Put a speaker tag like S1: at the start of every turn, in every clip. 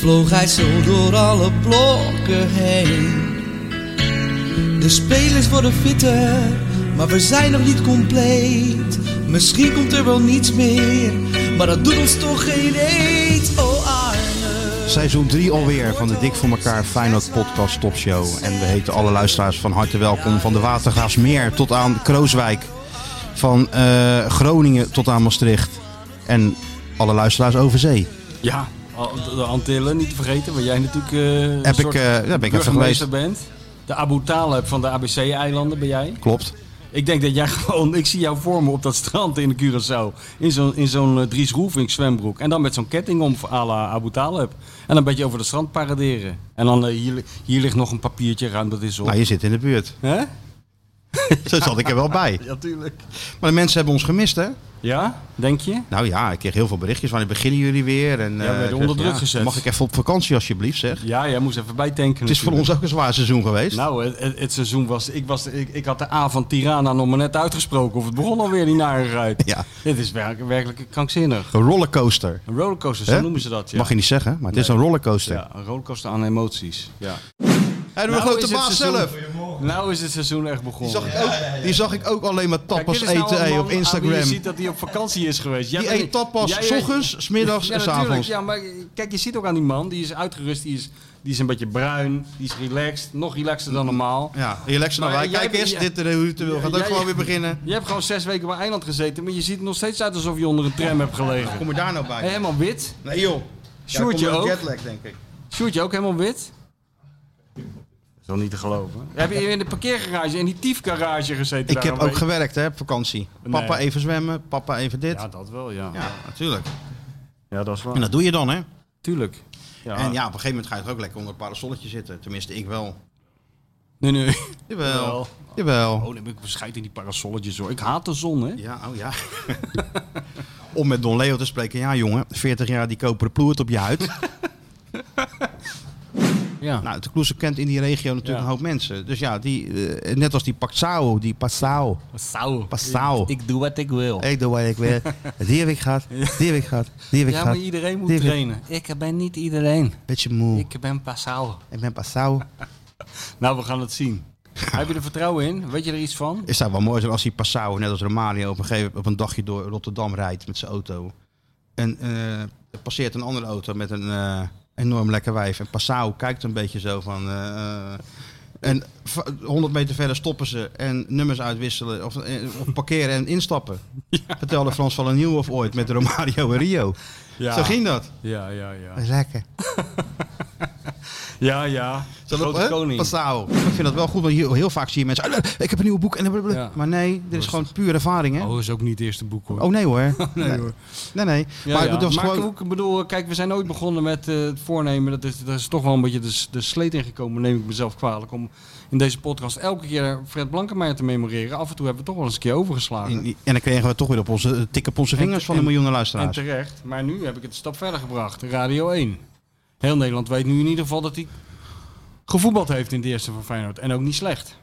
S1: Vloog hij zo door alle blokken heen De spelers worden fitter Maar we zijn nog niet compleet Misschien komt er wel niets meer Maar dat doet ons toch geen eet Oh Arne
S2: Seizoen 3 alweer van de Dik voor elkaar Feyenoord podcast topshow. En we heten alle luisteraars van harte welkom. Van de Watergaasmeer tot aan Krooswijk. Van eh, Groningen tot aan Maastricht. En alle luisteraars over zee.
S3: Ja, al- de Antillen niet te vergeten, waar jij natuurlijk eh een
S2: Heb ik,
S3: soort
S2: eh, ja, ben ik even
S3: burgemeester bent. De Abu Talib van de ABC-eilanden ben jij.
S2: Klopt.
S3: Ik denk dat jij gewoon, ik zie jou voor me op dat strand in de Curaçao. In zo'n in zo'n eh, Dries Roelvink zwembroek. En dan met zo'n ketting om à la Abu Talib. En een beetje over het strand paraderen. En dan eh, hier, li- hier ligt nog een papiertje, ruim dat is op.
S2: Nou, je zit in de buurt.
S3: Hè?
S2: Zo zat ik er wel bij.
S3: Ja, tuurlijk.
S2: Maar de mensen hebben ons gemist, hè?
S3: Ja, denk je?
S2: Nou ja, ik kreeg heel veel berichtjes. Wanneer beginnen jullie weer? En,
S3: we
S2: eh,
S3: werden
S2: ik
S3: onder
S2: zeg,
S3: druk gezet.
S2: Mag ik even op vakantie, alsjeblieft, zeg.
S3: Ja, jij moest even bijtanken.
S2: Het is voor ons ook een zwaar seizoen geweest.
S3: Nou, het, het- het seizoen was. Ik, was ik, ik had de A van Tirana nog maar net uitgesproken. Of het begon alweer die narigheid.
S2: Ja.
S3: Dit is werk- werkelijk krankzinnig.
S2: Een rollercoaster.
S3: Een rollercoaster, zo
S2: Hè?
S3: noemen ze dat. Ja.
S2: Mag je niet zeggen, maar het is
S3: Nee.
S2: een rollercoaster.
S3: Ja, een rollercoaster aan emoties. Ja.
S2: Hij doet
S3: Nou
S2: een grote
S3: is het
S2: baas
S3: seizoen-
S2: zelf.
S3: Nou is het seizoen echt
S2: Die
S3: begonnen.
S2: zag, ik ook, die zag ik ook alleen maar
S3: Kijk, dit
S2: tapas
S3: is nou
S2: eten
S3: een
S2: hey, E
S3: man
S2: op
S3: aan wie Je
S2: Instagram.
S3: ziet dat hij op vakantie is geweest. Jij
S2: Die
S3: bent-
S2: eet tapas
S3: jij-
S2: s ochtends, s middags
S3: Ja,
S2: en s
S3: natuurlijk.
S2: avonds.
S3: Ja, maar kijk, je ziet ook aan die man. Die is uitgerust, die is, die is een beetje bruin, die is relaxed. Nog relaxter dan normaal.
S2: Ja, relax nou.
S3: Maar
S2: wij.
S3: jij-
S2: Kijk eens,
S3: jij-
S2: dit eh, hoe het wil. Gaat ook
S3: Jij-
S2: gewoon weer beginnen.
S3: Je hebt gewoon zes weken op een eiland gezeten, maar je ziet er nog steeds uit alsof je onder een tram hebt gelegen.
S2: Kom je daar nou
S3: Hey,
S2: bij?
S3: helemaal wit.
S2: Nee joh.
S3: Sjoerdje
S2: komt door de
S3: ook?
S2: jetlag denk ik.
S3: Sjoerdje ook helemaal wit. Dat is wel niet te geloven. Heb je in de parkeergarage, in die tiefgarage gezeten?
S2: Ik
S3: daar
S2: heb
S3: een
S2: ook
S3: week?
S2: gewerkt hè, op vakantie. Papa
S3: Nee.
S2: even zwemmen, papa even dit.
S3: Ja, dat wel, ja.
S2: Ja, natuurlijk.
S3: Ja, dat is waar.
S2: En dat doe je dan hè.
S3: Tuurlijk. Ja.
S2: En ja, op een gegeven moment ga je toch ook lekker onder een parasolletje zitten. Tenminste, ik wel.
S3: Nee, nee.
S2: Jawel.
S3: Wel.
S2: Jawel.
S3: Oh, dan ben ik bescheid in die parasolletjes hoor. Ik haat de zon, hè?
S2: Ja, oh ja. Om met Don Leo te spreken. Ja jongen, 40 jaar die koperen ploert op je huid.
S3: Ja.
S2: Nou, de Kloeze kent in die regio natuurlijk
S3: Ja.
S2: een hoop mensen. Dus ja, die, eh, net als die Paxao, die Passau.
S3: Sau.
S2: Passau. Ik,
S3: Ik doe wat ik wil.
S2: doe wat ik wil. Die heb ik gehad, die heb ik gehad, die heb ik
S3: Ja, maar
S2: gehad.
S3: iedereen moet
S2: Die heb ik-
S3: trainen. Ik ben niet iedereen.
S2: Beetje moe. Ik,
S3: Ik ben Passau.
S2: ben Passau.
S3: Nou, we gaan het zien. Heb je er vertrouwen in? Weet je er iets van?
S2: Is dat wel mooi zijn als die Passau, net als Romario, op een gegeven op een dagje door Rotterdam rijdt met zijn auto. En eh, er passeert een andere auto met een eh, enorm lekker wijf. En Passau kijkt een beetje zo van... eh, eh, en v- 100 meter verder stoppen ze en nummers uitwisselen. Of, eh, of parkeren en instappen. Vertelde Frans van Nieuw of ooit met Romario en Rio.
S3: Ja.
S2: Zo ging dat.
S3: Ja, ja, ja.
S2: Lekker.
S3: Ja, ja. Grote koning.
S2: Passau. Ik vind dat wel goed, want hier- heel vaak zie je mensen... "Ah, Ik heb een nieuw boek. En blablabla."
S3: Ja.
S2: Maar nee, dit is gewoon puur ervaring. Hè?
S3: Oh, is ook niet het eerste boek hoor.
S2: Oh nee hoor. nee,
S3: hoor.
S2: Nee, nee.
S3: Ja,
S2: maar
S3: ja.
S2: dat was
S3: Maar
S2: gewoon...
S3: ik bedoel, eh, kijk, we zijn ooit begonnen met eh, het voornemen. Dat is, daar is toch wel een beetje de, de sleet in gekomen, neem ik mezelf kwalijk. Om in deze podcast elke keer Fred Blankenmeijer te memoreren. Af en toe hebben we toch wel eens een keer overgeslagen.
S2: En dan kregen we toch weer op onze, tik op onze vingers van de
S3: en-
S2: miljoenen
S3: en
S2: luisteraars.
S3: terecht. Maar nu heb ik het een stap verder gebracht. Radio 1. Heel Nederland weet nu in ieder geval dat hij gevoetbald heeft in de eerste van Feyenoord. En ook niet slecht.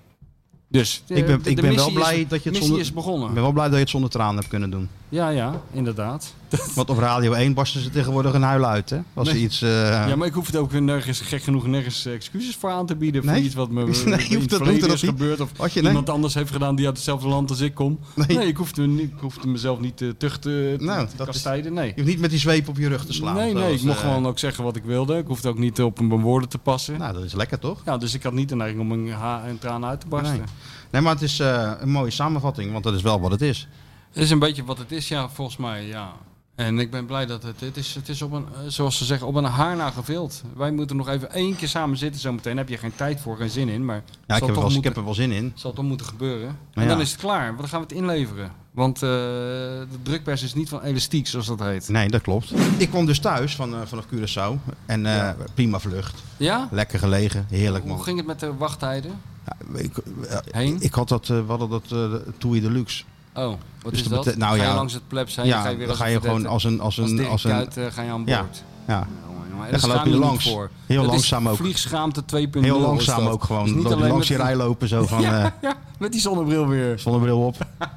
S3: Dus de-
S2: Ik ben-
S3: de-
S2: ik
S3: de
S2: ben wel
S3: missie
S2: blij
S3: is,
S2: dat je het
S3: missie
S2: zonder-
S3: is begonnen.
S2: Ik ben wel blij dat je het zonder tranen hebt kunnen doen.
S3: Ja, ja, inderdaad.
S2: Want op Radio 1 barsten ze tegenwoordig een huil uit, hè? Als ze
S3: Nee.
S2: iets... eh,
S3: Ja, maar ik hoef het ook nergens, gek genoeg, nergens eh, excuses voor aan te bieden. Voor
S2: Nee?
S3: iets wat me
S2: Nee,
S3: in het
S2: je hoeft dat-
S3: verleden
S2: hoeft dat
S3: is
S2: niet.
S3: gebeurd. Of
S2: Had je- nee.
S3: iemand anders heeft gedaan die uit hetzelfde land als ik kom.
S2: Nee.
S3: Nee, ik, hoefde, me niet- ik hoefde mezelf niet te tuchten, te,
S2: Nou,
S3: te
S2: dat is-
S3: kastijden. Nee.
S2: Je hoeft niet met die zweep op je rug te slaan.
S3: nee, nee,
S2: zoals,
S3: ik mocht
S2: eh,
S3: gewoon ook zeggen wat ik wilde. Ik hoefde ook niet op mijn woorden te passen.
S2: Nou, dat is lekker, toch?
S3: Ja, dus ik had niet de neiging om een, ha- een traan uit te barsten.
S2: Nee, maar het is eh, een mooie samenvatting, want dat is wel wat het is.
S3: Het is een beetje wat het is, ja, volgens mij, ja. En ik ben blij dat het, het is, het is op een, eh, zoals ze zeggen, op een haarna gevild. Wij moeten nog even één keer samen zitten zometeen. Daar heb je geen tijd voor, geen zin in, maar
S2: Ja, ik
S3: zal
S2: heb, er
S3: toch
S2: wel, ik
S3: moeten-
S2: heb er wel zin in.
S3: zal toch moeten gebeuren. En
S2: Maar ja.
S3: dan is het klaar. Want Dan gaan we het inleveren. Want eh, de drukpers is niet van elastiek, zoals dat heet.
S2: Nee, dat klopt. Ik kwam dus thuis van, eh, vanaf Curaçao. En eh, prima vlucht.
S3: Ja?
S2: Lekker gelegen. Heerlijk, man.
S3: Hoe ging het met de wachttijden?
S2: Ja, ik, eh,
S3: Heen?
S2: ik had dat, eh, we hadden dat eh Toei Deluxe.
S3: Oh, wat
S2: Dus
S3: is
S2: dat
S3: dat?
S2: bete- nou
S3: ga je
S2: ja.
S3: langs het plebs heen,
S2: ja,
S3: dan ga je weer
S2: dan
S3: als
S2: ga
S3: een
S2: je gewoon
S3: verdette-
S2: als een... Als
S3: als
S2: een,
S3: Dirk
S2: als een
S3: Kuyt, eh, ga je aan
S2: Ja.
S3: boord.
S2: ja.
S3: Ja, jongen, jongen. En
S2: Dan
S3: daar
S2: loop
S3: staan
S2: je er
S3: we niet
S2: langs.
S3: voor.
S2: Heel
S3: Dat is
S2: langzaam ook.
S3: Vliegschaamte 2.0.
S2: Heel
S3: is dat.
S2: langzaam ook
S3: Dus
S2: gewoon.
S3: niet
S2: Loop je
S3: alleen
S2: langs je
S3: met-
S2: rij lopen zo van... eh
S3: Ja, met die zonnebril weer.
S2: zonnebril op. eh,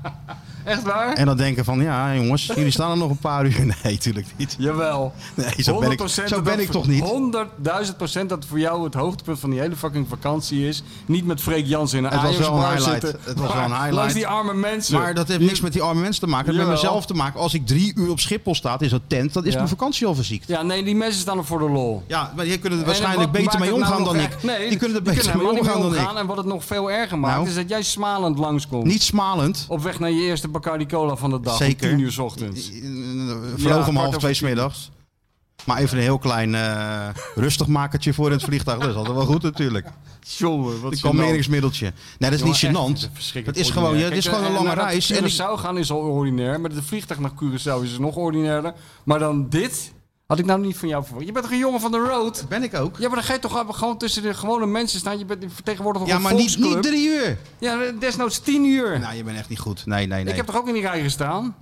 S3: Echt waar?
S2: En dan denken van, ja jongens, jullie staan er nog een paar uur. Nee, tuurlijk niet.
S3: Jawel.
S2: Nee, zo ben ik,
S3: 100%
S2: zo
S3: dat
S2: ben
S3: dat
S2: ik
S3: voor-
S2: toch niet.
S3: 100.000 procent dat voor jou het hoogtepunt van die hele fucking vakantie is. Niet met Freek Jans in een
S2: Het was wel een
S3: Ajax-bar
S2: highlight.
S3: zitten,
S2: Het was wel
S3: maar
S2: een highlight.
S3: Langs die arme mensen.
S2: Maar dat heeft niks met die arme mensen te maken. Het heeft met
S3: Jawel.
S2: mezelf te maken. Als ik drie uur op Schiphol sta in zo'n tent, dan is
S3: Ja.
S2: mijn vakantie al verziekt.
S3: Ja, nee, die mensen staan er voor de lol.
S2: Ja, maar die kunnen er
S3: En
S2: waarschijnlijk
S3: wat
S2: beter
S3: maakt
S2: mee
S3: het nou
S2: omgaan dan
S3: nog
S2: ik.
S3: echt- Nee,
S2: die kunnen er beter mee
S3: helemaal niet
S2: omgaan dan ik.
S3: En wat het nog veel erger maakt,
S2: Nou.
S3: is dat jij smalend langskomt.
S2: Niet smalend.
S3: Op weg naar je eerste Bacardi Cola van de dag.
S2: Zeker.
S3: Om tien uur 's ochtends.
S2: Vloog om
S3: kwart
S2: half
S3: over
S2: twee 's middags. Maar even een heel klein eh rustigmakertje voor in het vliegtuig. Dat is altijd wel goed natuurlijk.
S3: Jongen, wat
S2: Een
S3: gênant.
S2: kalmeringsmiddeltje. Nee, dat is niet
S3: Jongen, echt,
S2: gênant.
S3: het is verschrikkelijk
S2: Het is
S3: ordinair.
S2: gewoon, ja, het
S3: Kijk,
S2: is gewoon een lange
S3: eh, naar
S2: reis. En ik-
S3: Curaçao gaan is al ordinair, maar de vliegtuig naar Curaçao is nog ordinairder. Maar dan dit had ik nou niet van jou verwacht. Je bent toch een jongen van de road?
S2: ben ik ook.
S3: Ja, maar dan ga je toch gewoon tussen de gewone mensen staan. Je bent vertegenwoordiger van
S2: Ja,
S3: een
S2: maar niet,
S3: volksclub.
S2: niet drie uur.
S3: Ja, desnoods tien uur.
S2: Nou, je bent echt niet goed. Nee, nee, nee.
S3: Ik heb toch ook in die rij gestaan?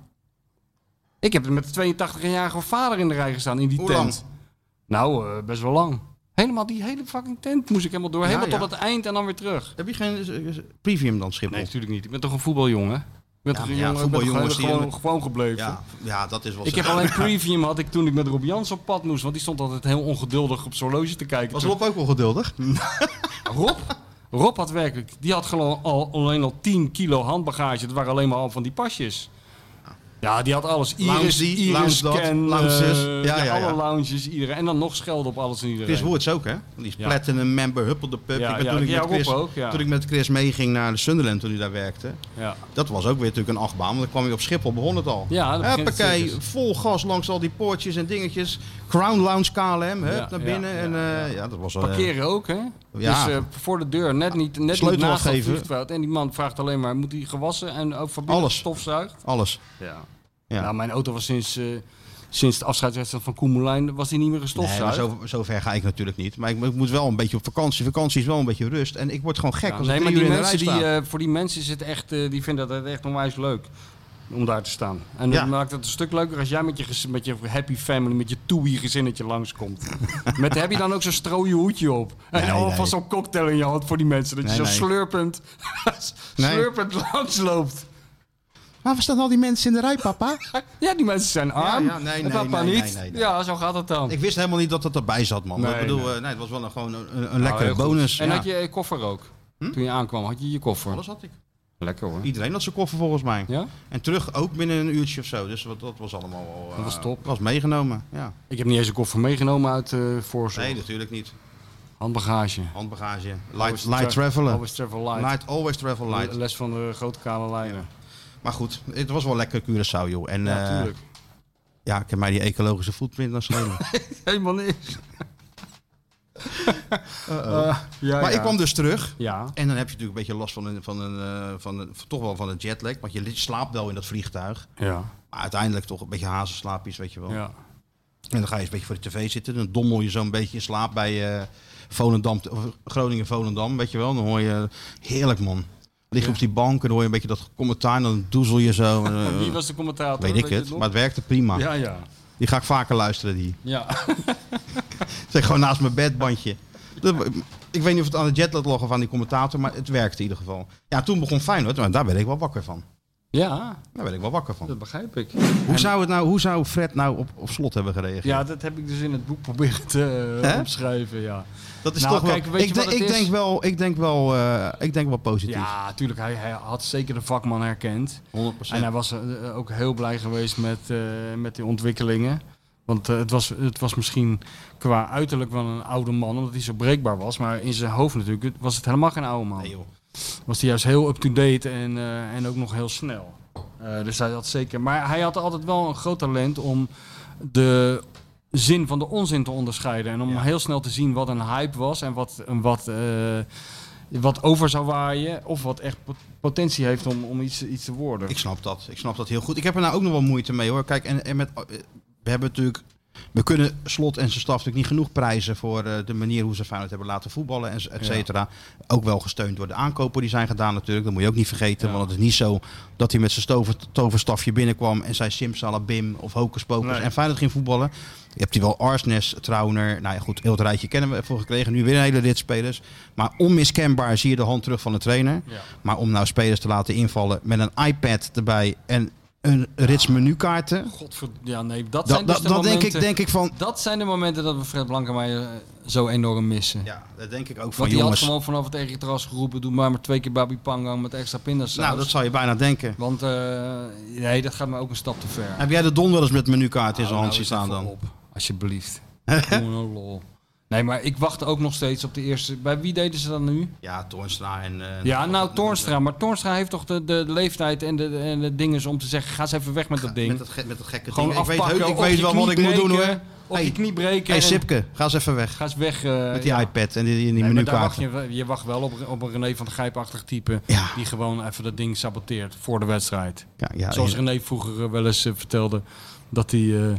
S3: Ik heb met de 82-jarige vader in de rij gestaan, in die
S2: Hoe
S3: tent.
S2: lang?
S3: Nou, eh, best wel lang. Helemaal die hele fucking tent moest ik helemaal door. Helemaal
S2: ja.
S3: tot het eind en dan weer terug.
S2: Heb je geen eh, premium dan, Schiphol?
S3: Nee, natuurlijk niet. Ik ben toch een voetbaljongen? Ik ben
S2: Ja, maar
S3: toch een
S2: ja,
S3: jongen, ik ben toch
S2: voetbaljongens die
S3: gewoon,
S2: hebben-
S3: gewoon gebleven.
S2: ja, ja, dat is wel
S3: Ik
S2: zo.
S3: heb alleen premium had ik toen ik met Rob Jans op pad moest, want die stond altijd heel ongeduldig op zijn horloge te kijken.
S2: Was
S3: Toen-
S2: Rob ook wel geduldig?
S3: Rob? Rob had werkelijk, die had gewoon al, alleen al 10 kilo handbagage. Het waren alleen maar al van die pasjes. Ja, die had alles.
S2: Lounge
S3: Iris,
S2: die,
S3: Iris
S2: lounge dat,
S3: scan, eh,
S2: lounges. Ja, ja,
S3: alle
S2: ja.
S3: lounges, iedereen. En dan nog schelden op alles en iedereen.
S2: Chris Woods ook, hè? Die is
S3: Ja.
S2: platinum member, huppel de pup.
S3: Ja,
S2: ik ben,
S3: ja,
S2: toen, ik
S3: ja,
S2: met
S3: Rob
S2: Chris,
S3: ook, ja.
S2: toen ik met Chris meeging naar de Sunderland toen hij daar werkte.
S3: Ja.
S2: Dat was ook weer natuurlijk een achtbaan, want dan kwam je op Schiphol, begon het al.
S3: Ja, dan begint het
S2: Huppakee,
S3: circus.
S2: vol gas langs al die poortjes en dingetjes. Crown Lounge KLM, hup,
S3: Ja,
S2: naar
S3: ja,
S2: binnen.
S3: ja,
S2: en, eh, ja, dat was wel, eh,
S3: Parkeren ook, hè?
S2: Ja.
S3: Dus eh, voor de deur, net niet, net niet
S2: Sleutel
S3: naast dat
S2: afgeven.
S3: vliegveld. En die man vraagt alleen maar, moet hij gewassen en ook van binnen
S2: Alles.
S3: stofzuigt?
S2: alles.
S3: Ja.
S2: Ja.
S3: Nou, mijn auto was sinds, eh, sinds de afscheidswedstrijd van Koemelijn, was die niet meer
S2: Nee,
S3: gestofzuigd.
S2: maar zo, zo ver ga ik natuurlijk niet. Maar ik, ik moet wel een beetje op vakantie. Vakantie is wel een beetje rust. En ik word gewoon gek
S3: Ja,
S2: als
S3: nee,
S2: ik
S3: maar
S2: drie
S3: die
S2: uur in de rij
S3: mensen, die,
S2: sta.
S3: eh, voor die mensen is het echt, eh, die vinden dat echt onwijs leuk om daar te staan. En
S2: Ja.
S3: dat maakt het een stuk leuker als jij met je, gez- met je happy family, met je toei gezinnetje langskomt. met, heb je dan ook zo'n strooie hoedje op? En
S2: Nee,
S3: alvast
S2: nee.
S3: zo'n cocktail in je hand voor die mensen. Dat je
S2: Nee, nee.
S3: zo eh, slurpend,
S2: Nee.
S3: slurpend langsloopt.
S2: Waar staan al die mensen in de rij, papa?
S3: Ja, die mensen zijn arm.
S2: ja, nee,
S3: en
S2: nee,
S3: papa
S2: nee,
S3: niet.
S2: nee, nee, nee.
S3: Ja, zo gaat het dan.
S2: Ik wist helemaal niet dat dat erbij zat, man.
S3: Nee,
S2: ik bedoel,
S3: nee.
S2: eh, nee, het was wel een, gewoon een, een
S3: Nou,
S2: lekkere
S3: heel goed.
S2: bonus.
S3: En
S2: ja. Hm?
S3: had je je koffer ook? Toen je aankwam, had je je koffer?
S2: Alles had ik.
S3: Lekker hoor.
S2: Iedereen had zijn koffer volgens mij.
S3: Ja?
S2: En terug ook binnen een uurtje of zo. Dus wat, dat was allemaal wel... eh,
S3: Dat was top.
S2: Was meegenomen, ja.
S3: Ik heb niet eens een koffer meegenomen uit eh Voorzorg.
S2: Nee, dus- natuurlijk niet.
S3: Handbagage.
S2: Handbagage.
S3: Always
S2: Light, light
S3: tra-
S2: travelen.
S3: Always travel light.
S2: Light, always travel light.
S3: Les van de grote kale lijnen.
S2: Maar goed, het was wel lekker Curaçao, joh. En
S3: Ja,
S2: ja,
S3: natuurlijk.
S2: ja ik heb mij die ecologische footprint naar schelen.
S3: Helemaal niks. Eh, ja,
S2: Oh. maar
S3: ja.
S2: ik kwam dus terug.
S3: Ja.
S2: En dan heb je natuurlijk een beetje last van een, van een, eh, van een, toch wel van een jetlag. Want je slaapt wel in dat vliegtuig.
S3: Ja.
S2: Maar uiteindelijk toch een beetje hazenslaapjes, weet je wel.
S3: ja.
S2: En dan ga je eens een beetje voor de tv zitten. Dan dommel je zo'n beetje in slaap bij eh Volendam, of Groningen-Volendam, weet je wel. Dan hoor je, heerlijk man. Lig je op die bank en dan hoor je een beetje dat commentaar. En dan doezel je zo. en, eh,
S3: Wie was de commentator?
S2: weet ik
S3: je
S2: het,
S3: nog?
S2: maar het werkte prima.
S3: Ja, ja.
S2: Die ga ik vaker luisteren, die.
S3: Ja.
S2: Zeg gewoon naast mijn bedbandje. Dat- Ik weet niet of het aan de jetlag lag of aan die commentator, maar het werkte in ieder geval. Ja, toen begon Feyenoord, maar daar ben ik wel wakker van.
S3: ja,
S2: Ah, Daar ben ik wel wakker van.
S3: dat begrijp ik.
S2: Hoe zou, het nou, hoe zou Fred nou op, op slot hebben gereageerd?
S3: Ja, dat heb ik dus in het boek proberen te eh,
S2: Hè?
S3: opschrijven, ja.
S2: dat is
S3: nou,
S2: toch wel.
S3: kijk, weet je
S2: ik,
S3: wat
S2: denk-
S3: het
S2: ik,
S3: is?
S2: denk wel, ik denk wel, eh, ik denk wel positief.
S3: Ja, tuurlijk, hij, hij had zeker de vakman herkend.
S2: 100%.
S3: En hij was eh, ook heel blij geweest met, eh, met die ontwikkelingen. Want eh, het, was, het was misschien qua uiterlijk wel een oude man, omdat hij zo breekbaar was. Maar in zijn hoofd natuurlijk het- was het helemaal geen oude man.
S2: Nee, joh.
S3: Was hij juist heel up-to-date en, eh, en ook nog heel snel. Eh, Eh, dus hij had zeker. Maar hij had altijd wel een groot talent om de zin van de onzin te onderscheiden. En om heel snel te zien wat een hype was en wat, en wat, eh, wat over zou waaien. Of wat echt pot- potentie heeft om, om iets, iets te worden.
S2: Ik snap dat. Ik snap dat heel goed. Ik heb er nou ook nog wel moeite mee hoor. Kijk, en, en met, eh, we hebben natuurlijk. We kunnen slot en zijn staf natuurlijk niet genoeg prijzen voor eh, de manier hoe ze Feyenoord hebben laten voetballen en z- et cetera. Ook wel gesteund door de aankopen die zijn gedaan natuurlijk. Dat moet je ook niet vergeten.
S3: Ja.
S2: Want het is niet zo dat hij met zijn stover, toverstafje binnenkwam en zei Simsalabim of Hocus Pocus
S4: Nee.
S2: en Feyenoord ging voetballen. Je hebt hier wel Arsnes, Trauner. Nou ja, goed, heel het rijtje kennen we ervoor gekregen. Nu weer een hele rit spelers. Maar onmiskenbaar zie je de hand terug van de trainer.
S3: Ja.
S2: Maar om nou spelers te laten invallen met een iPad erbij en een rits menukaarten.
S3: Godverd... Ja, nee, dat
S2: Dat,
S3: zijn dus
S2: dat,
S3: de
S2: dat denk,
S3: momenten...
S2: ik, denk ik van.
S3: Dat zijn de momenten dat we Fred Blankenmeijer eh, zo enorm missen.
S2: Ja, dat denk ik ook van
S3: Want die had
S2: jongens.
S3: gewoon vanaf het eigen terras geroepen, doe maar maar twee keer Babi Pangang met extra pindasaus.
S2: Nou, dat zou je bijna denken.
S3: Want eh, nee, dat gaat me ook een stap te ver.
S2: Heb jij de don wel eens met menukaart in
S3: Hou
S2: zijn
S3: nou
S2: hand zien
S3: eens
S2: staan
S3: even
S2: dan?
S3: Op, alsjeblieft. Doe nou lol. Nee, maar ik wacht ook nog steeds op de eerste. Bij wie deden ze dat nu?
S2: Ja, Toornstra en. eh,
S3: Ja, nou Toornstra. Maar Toornstra heeft toch de, de leeftijd en de, en de dingen om te zeggen: ga eens even weg met dat ding.
S2: Met dat, ge- met dat gekke
S3: Gewoon
S2: ding. Ik weet,
S3: afpakken.
S2: heus- ik
S3: op
S2: weet
S3: je
S2: wel
S3: knie
S2: wat ik moet doen hoor.
S3: breken, Op
S2: Hey.
S3: je knie breken.
S2: hey,
S3: en
S2: Sipke, ga eens even weg.
S3: Ga eens weg. eh,
S2: Met die
S3: ja.
S2: iPad en die, die
S3: Nee, maar daar
S2: menukaarten.
S3: wacht je, wel- je wacht wel op, op een René van de Grijpachtig type.
S2: Ja.
S3: Die gewoon even dat ding saboteert voor de wedstrijd.
S2: Ja, ja,
S3: Zoals
S2: ja.
S3: René vroeger eh, wel eens eh, vertelde dat hij. eh,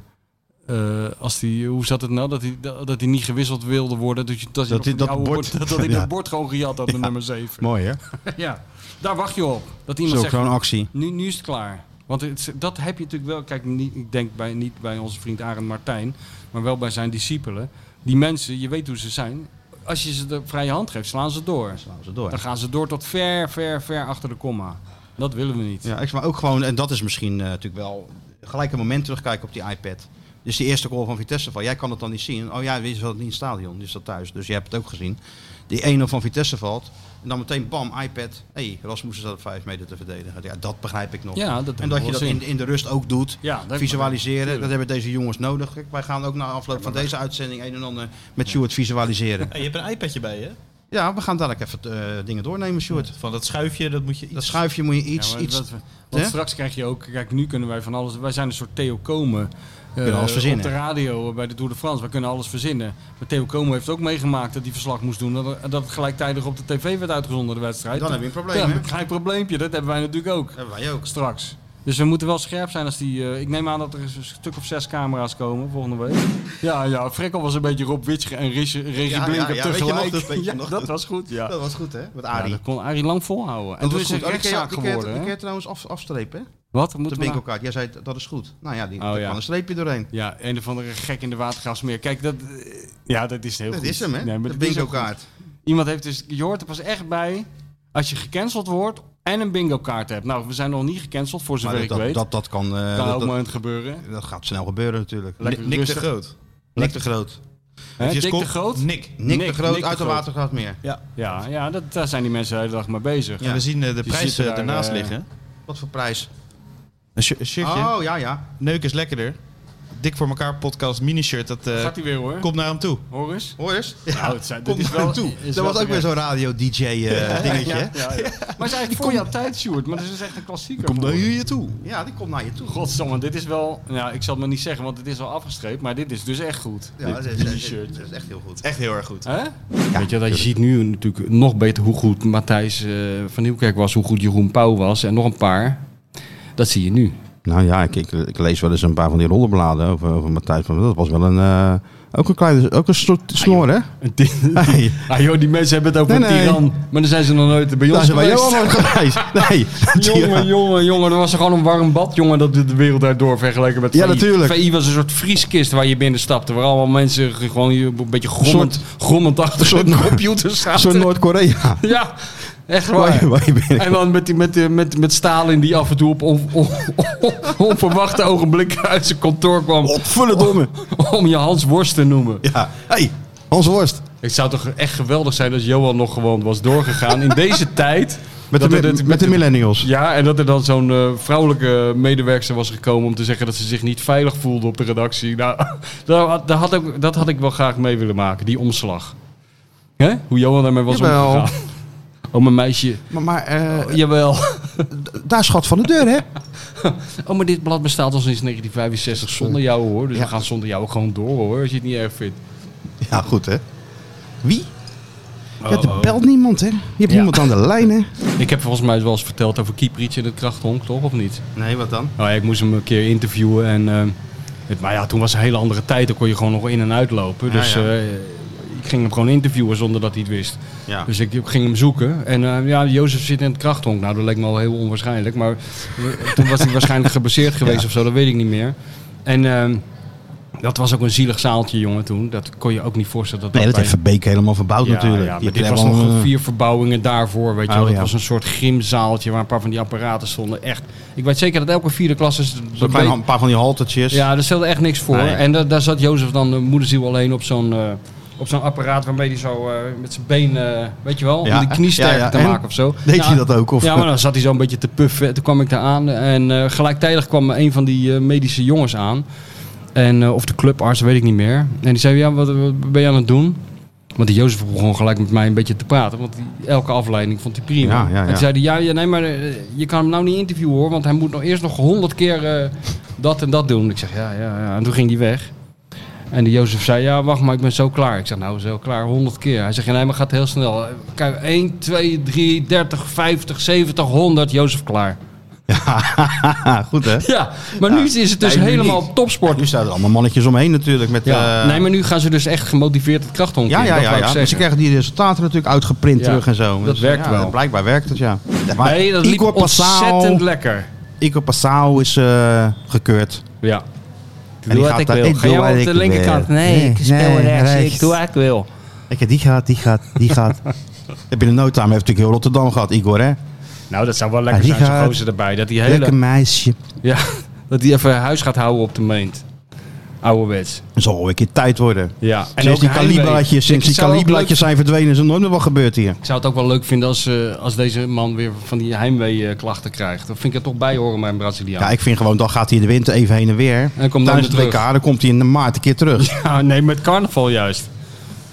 S3: eh, als die, hoe zat het nou? Dat hij, dat, dat hij niet gewisseld wilde worden. Dat, je, dat, je
S2: Dat
S3: nog
S2: hij
S3: van
S2: dat
S3: die oude
S2: bord-
S3: dat, dat hij
S2: Ja.
S3: dat bord gewoon gejat had met nummer 7.
S2: Mooi hè?
S3: ja, daar wacht je op. Dat iemand
S2: Zo,
S3: zegt,
S2: zo'n actie.
S3: nu, nu is het klaar. Want het is- dat heb je natuurlijk wel. Kijk, niet, ik denk bij, niet bij onze vriend Arend Martijn, maar wel bij zijn discipelen. Die mensen, je weet hoe ze zijn. Als je ze de vrije hand geeft, slaan ze door.
S2: Slaan ze door.
S3: Dan gaan ze door tot ver, ver, ver achter de komma. Dat willen we niet.
S2: Ja, ik maar ook gewoon, en dat is misschien eh, natuurlijk wel gelijk een moment terugkijken op die iPad. Dus die eerste goal van Vitesse val. Jij kan het dan niet zien. Oh ja, die is wel niet in het stadion, die is dat thuis. Dus je hebt het ook gezien. Die 1-0 van Vitesse valt. En dan meteen bam, iPad. Hé, hey, Rasmussen staat op 5 meter te verdedigen. Ja, dat begrijp ik nog.
S3: Ja, dat doe
S2: en
S3: ik
S2: dat
S3: wel
S2: je dat
S3: zin.
S2: in, in de rust ook doet.
S3: Ja, dat-
S2: visualiseren.
S3: tuurlijk.
S2: Dat hebben deze jongens nodig. Kijk, wij gaan ook na afloop van deze uitzending een en ander met Stuart visualiseren.
S4: Hey, je hebt een iPadje bij je.
S2: Ja, we gaan dadelijk even eh, dingen doornemen, Stuart.
S4: Van dat schuifje, dat moet je iets...
S2: Dat schuifje moet je
S3: Ja,
S2: iets...
S3: maar
S2: iets
S3: dat we- want
S2: hè?
S3: straks krijg je ook, kijk, nu kunnen wij van alles. Wij zijn een soort Theo Komen. eh,
S2: alles verzinnen.
S3: Op de radio eh, bij de Tour de France. Wij kunnen alles verzinnen. Maar Theo Komen heeft ook meegemaakt dat hij verslag moest doen. Dat, er- dat het gelijktijdig op de tv werd uitgezonden, de wedstrijd.
S2: Dan heb je een probleem,
S3: Dan
S2: hè?
S3: heb je een probleempje. Dat hebben wij natuurlijk ook.
S2: hebben wij ook.
S3: Straks. Dus we moeten wel scherp zijn als die... eh, ik neem aan dat er een stuk of zes camera's komen volgende week. ja, ja. Frekkel was een beetje Rob Witsch en Regie Regie
S2: Ja, ja,
S3: Blinker
S2: ja, weet je nog
S3: tegelijk.
S2: dat, weet je
S3: Ja,
S2: nog
S3: dat
S2: dat?
S3: was goed, ja.
S2: Dat was goed, hè? Met
S3: Ja,
S2: Arie.
S3: dat kon Arie lang volhouden. En toen is het rechtszaak geworden.
S2: Ik
S3: hè?
S2: kan trouwens af, afstrepen, hè?
S3: Wat?
S2: De
S3: Moeten we nou-
S2: winkelkaart. Jij zei, dat is goed. Nou ja, die,
S3: Oh,
S2: daar
S3: ja.
S2: kan een streepje doorheen.
S3: Ja, een of andere gek in de watergraafsmeer. Kijk, dat, eh, ja, dat is heel
S2: Dat
S3: goed.
S2: is hem, hè?
S3: Nee, maar
S2: de
S3: dat is ook
S2: bingo-kaart.
S3: goed. Iemand heeft dus... Je hoort er pas echt bij als je gecanceld wordt en een bingo-kaart hebt. Nou, we zijn nog niet gecanceld, voor zover
S2: Maar
S3: ik
S2: dat,
S3: weet.
S2: dat, dat, dat kan... eh,
S3: kan
S2: dat,
S3: elk
S2: dat,
S3: moment gebeuren.
S2: dat gaat snel gebeuren natuurlijk.
S3: Lekker
S4: Nick
S3: rustig.
S4: te Groot.
S2: Nick de Groot.
S3: Hè,
S4: Je
S3: Dick
S4: scot-
S3: de Groot?
S4: Nick.
S2: Nick,
S3: Nick,
S2: de Groot
S3: Nick de
S2: uit de
S3: Groot.
S2: Watergraafmeer.
S4: Ja.
S3: Ja, ja dat, daar zijn die mensen de hele dag mee bezig.
S4: En we zien eh, de
S3: Die
S4: prijs
S3: zitten
S4: eh,
S3: daar,
S4: ernaast
S3: eh,
S4: liggen.
S2: Wat voor prijs?
S4: Een, shi- een shirtje.
S2: Oh, ja, ja.
S4: Neuk is lekkerder. Dik voor elkaar podcast mini-shirt. Dat eh,
S3: Gaat hij weer hoor.
S4: komt naar hem toe.
S3: Hoor eens.
S2: Hoor eens.
S3: Nou, het zijn,
S2: Kom
S3: dit is wel,
S2: naar toe. Dat
S3: is wel
S2: was ook weer
S3: terecht.
S2: zo'n radio-dj-dingetje, hè?
S3: Ja, ja, ja. Maar het is eigenlijk voor jouw tijd, Sjoerd. Maar dat is echt een klassieker. voor ons.
S4: je toe.
S2: Ja, die komt naar je toe.
S3: Godsamme, dit is wel... Nou, ik zal het me niet zeggen, want het is al afgestreept. Maar dit is dus echt goed.
S2: Ja, dat is- dat is,
S3: T-shirt.
S2: dat is echt heel goed.
S4: Echt heel erg goed.
S3: Hè? Weet je, dat je ziet nu natuurlijk nog beter hoe goed Matthijs eh, van Nieuwkerk was, hoe goed Jeroen Pauw was en nog een paar. Dat zie je nu.
S2: Nou ja, ik, ik, ik lees wel eens een paar van die rollenbladen over, over Matthijs. van- Dat was wel een... eh, ook een kleine... Ook een soort snor, hè? Hey.
S3: ah joh, die mensen hebben het over
S2: Nee,
S3: een
S2: nee.
S3: tiran, maar dan zijn ze nog nooit bij
S2: Daar
S3: ons
S2: zijn wij
S3: geweest.
S2: jou allemaal geweest. Nee.
S3: Jongen, jongen, jongen, dat was gewoon een warm bad, jongen, dat de wereld daardoor vergeleken met
S2: Ja,
S3: VI.
S2: natuurlijk.
S3: VI was een soort vrieskist waar je binnen stapte, waar allemaal mensen gewoon hier een beetje grommend, grommend achter zo'n computer zaten.
S2: Zo'n Noord-Korea.
S3: Ja, echt
S2: Waar
S3: waar.
S2: je- waar je binnen-
S3: En dan met, die, met, die- met, met Stalin die af en toe op on- on- on- onverwachte ogenblikken uit zijn kantoor kwam.
S2: Opvullen, domme.
S3: Om je Hans Worst te noemen.
S2: Ja. hey, Hans Worst.
S3: Het zou toch echt geweldig zijn als Johan nog gewoon was doorgegaan in deze tijd.
S2: Met de,
S3: Dat er
S2: mi-
S3: dit-
S2: met de millennials.
S3: Ja, en dat er dan zo'n eh, vrouwelijke medewerkster was gekomen om te zeggen dat ze zich niet veilig voelde op de redactie. Nou, dat, had- dat, had ik, dat had ik wel graag mee willen maken, die omslag. Hè? Hoe Johan daarmee was
S2: Jawel.
S3: omgegaan. Oh, mijn meisje.
S2: Maar, maar eh,
S3: Jawel.
S2: d- daar is gat van de deur, hè?
S3: oh, maar dit blad bestaat al sinds 1965 zonder jou hoor. Dus
S2: Ja.
S3: we gaan zonder jou gewoon door hoor, als je het niet erg vindt.
S2: Ja, goed hè. Wie? Ja,
S3: Oh,
S2: er
S3: oh.
S2: belt niemand hè. Je hebt
S3: Ja.
S2: niemand aan de lijn hè.
S3: Ik heb volgens mij wel eens verteld over Kieprietje in het krachthonk, toch? Of niet?
S2: Nee, wat dan?
S3: Nou, ja, ik moest hem een keer interviewen. En, eh, het, maar ja, toen was het een hele andere tijd. Dan kon je gewoon nog in en uitlopen. Dus
S2: ja.
S3: eh, ik ging hem gewoon interviewen zonder dat hij het wist.
S2: Ja.
S3: Dus ik ging hem zoeken. En eh, ja, Jozef zit in het krachthonk. Nou, dat leek me al heel onwaarschijnlijk. Maar eh, toen was hij waarschijnlijk gebaseerd geweest of zo. Dat weet ik niet meer. En eh, dat was ook een zielig zaaltje, jongen, toen. Dat kon je ook niet voorstellen. Dat
S2: Nee, dat
S3: bij-
S2: heeft Verbeek helemaal verbouwd
S3: ja,
S2: natuurlijk.
S3: Ja,
S2: Die
S3: maar dit
S2: hebben
S3: was nog
S2: helemaal,
S3: een
S2: eh,
S3: vier verbouwingen daarvoor. Weet je, wel.
S2: Oh,
S3: dat
S2: ja.
S3: was een soort gymzaaltje waar een paar van die apparaten stonden. Echt, ik weet zeker dat elke vierde klas is.
S2: Een paar, een paar van die haltertjes.
S3: ja, daar stelde echt niks voor.
S2: Nee.
S3: En da- daar zat Jozef dan, de moederziel, alleen op zo'n. eh, op zo'n apparaat waarmee hij zo eh, met zijn been, eh, weet je wel,
S2: Ja,
S3: om die knie sterker
S2: ja, ja.
S3: te
S2: En?
S3: maken of zo.
S2: Deed
S3: Nou,
S2: hij dat ook? Of?
S3: ja, maar dan zat hij zo een beetje te puffen. Toen kwam ik daar aan en eh, gelijktijdig kwam een van die eh, medische jongens aan. En, eh, of de clubarts, weet ik niet meer. En die zei, ja, wat, wat ben je aan het doen? Want die Jozef begon gelijk met mij een beetje te praten. Want die, elke afleiding vond hij prima.
S2: Ja, ja, ja.
S3: En toen zei hij, ja, ja, nee, maar eh, je kan hem nou niet interviewen hoor. Want hij moet nog eerst nog honderd keer eh, dat en dat doen. Ik zeg, ja, ja, ja. En toen ging hij weg. En die Jozef zei, ja, wacht maar, ik ben zo klaar. Ik zeg, nou, zo klaar, honderd keer. Hij zegt, ja, nee, maar gaat heel snel. Kijk, 1, 2, 3, 30, 50, 70, 100, Jozef klaar.
S2: Ah, goed hè.
S3: Ja, maar nu is het dus
S2: Nee, nu
S3: helemaal
S2: niet.
S3: topsport.
S2: Nu staan er allemaal mannetjes omheen natuurlijk. Met,
S3: Ja.
S2: eh,
S3: nee, maar nu gaan ze dus echt gemotiveerd het krachthonk
S2: ja,
S3: in.
S2: ja,
S3: dat
S2: ja.
S3: wou ik
S2: ja. Dus Maar
S3: zeggen.
S2: Ze krijgen die resultaten natuurlijk uitgeprint
S3: Ja,
S2: terug en zo. Dus,
S3: dat werkt
S2: ja,
S3: wel.
S2: Blijkbaar werkt het, ja. Maar
S3: Nee, dat liep
S2: Igor Passau,
S3: ontzettend lekker.
S2: Igor Passau is eh, gekeurd.
S3: Ja.
S2: En die gaat daar- ik
S3: Ga
S2: doe
S3: jij
S2: wat
S3: op
S2: ik
S3: de linkerkant?
S2: wil. Nee, nee, rechts.
S3: wat ik wil.
S2: Kijk, die gaat, die gaat, die gaat. Heb je de nota, heeft natuurlijk heel Rotterdam gehad, Igor, hè?
S3: Nou, dat zou wel
S2: Ja,
S3: lekker
S2: die
S3: zijn, zo'n
S2: gaat-
S3: gozer erbij. Dat die
S2: Lekker
S3: hele...
S2: meisje.
S3: Ja, dat die even huis gaat houden op de meent. Ouderwets.
S2: Zal wel een keer tijd worden.
S3: Ja.
S2: sinds die
S3: heimwee.
S2: kalibratjes,
S3: Ik
S2: sinds die
S3: zou ook
S2: kalibratjes
S3: leuk-
S2: zijn verdwenen, is er nooit meer wat gebeurd hier.
S3: Ik zou het ook wel leuk vinden als, eh, als deze man weer van die heimwee-klachten krijgt. Dat vind ik er toch bij horen bij een Braziliaan.
S2: Ja, ik vind gewoon, dan gaat hij in de winter even heen en weer.
S3: dan weer
S2: Tijdens het
S3: terug.
S2: WK, dan komt hij in de maart een keer terug.
S3: Ja, nee, met carnaval juist.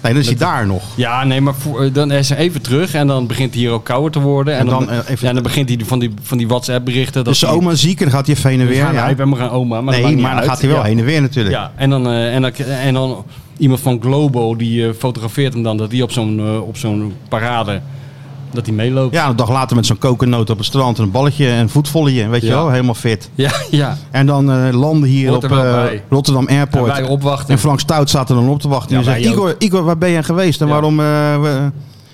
S2: Nee, dan is hij daar nog.
S3: Ja, nee, maar voor- eh, dan is hij even terug en dan begint hij hier ook kouder te worden. En,
S2: En
S3: dan,
S2: dan, eh, even-
S3: ja, dan begint hij van die, van die WhatsApp-berichten. dat
S2: Dus zijn
S3: hij-
S2: oma is ziek en dan gaat hij even heen en
S3: Dus
S2: weer.
S3: gaan
S2: ja.
S3: hij bij me gaan oma. Maar
S2: Nee,
S3: dat maakt
S2: maar
S3: niet
S2: dan
S3: uit.
S2: gaat hij wel
S3: ja.
S2: heen en weer natuurlijk.
S3: Ja, en dan, eh, en, dan, en dan iemand van Globo die eh, fotografeert hem dan. Dat die op zo'n eh, op zo'n parade, dat hij meeloopt.
S2: Ja, een dag later met zo'n kokennoot op het strand en een balletje en voetvolletje, weet je
S3: Ja.
S2: wel, helemaal fit.
S3: ja. ja.
S2: En dan eh, landen hier
S3: Hoort
S2: op
S3: er wel
S2: eh,
S3: bij.
S2: Rotterdam Airport.
S3: En wij opwachten.
S2: En Frank Stout staat er dan op te wachten.
S3: Ja,
S2: en zegt,
S3: wij ook.
S2: Igor, Igor, waar ben je geweest en
S3: Ja.
S2: waarom, eh, we-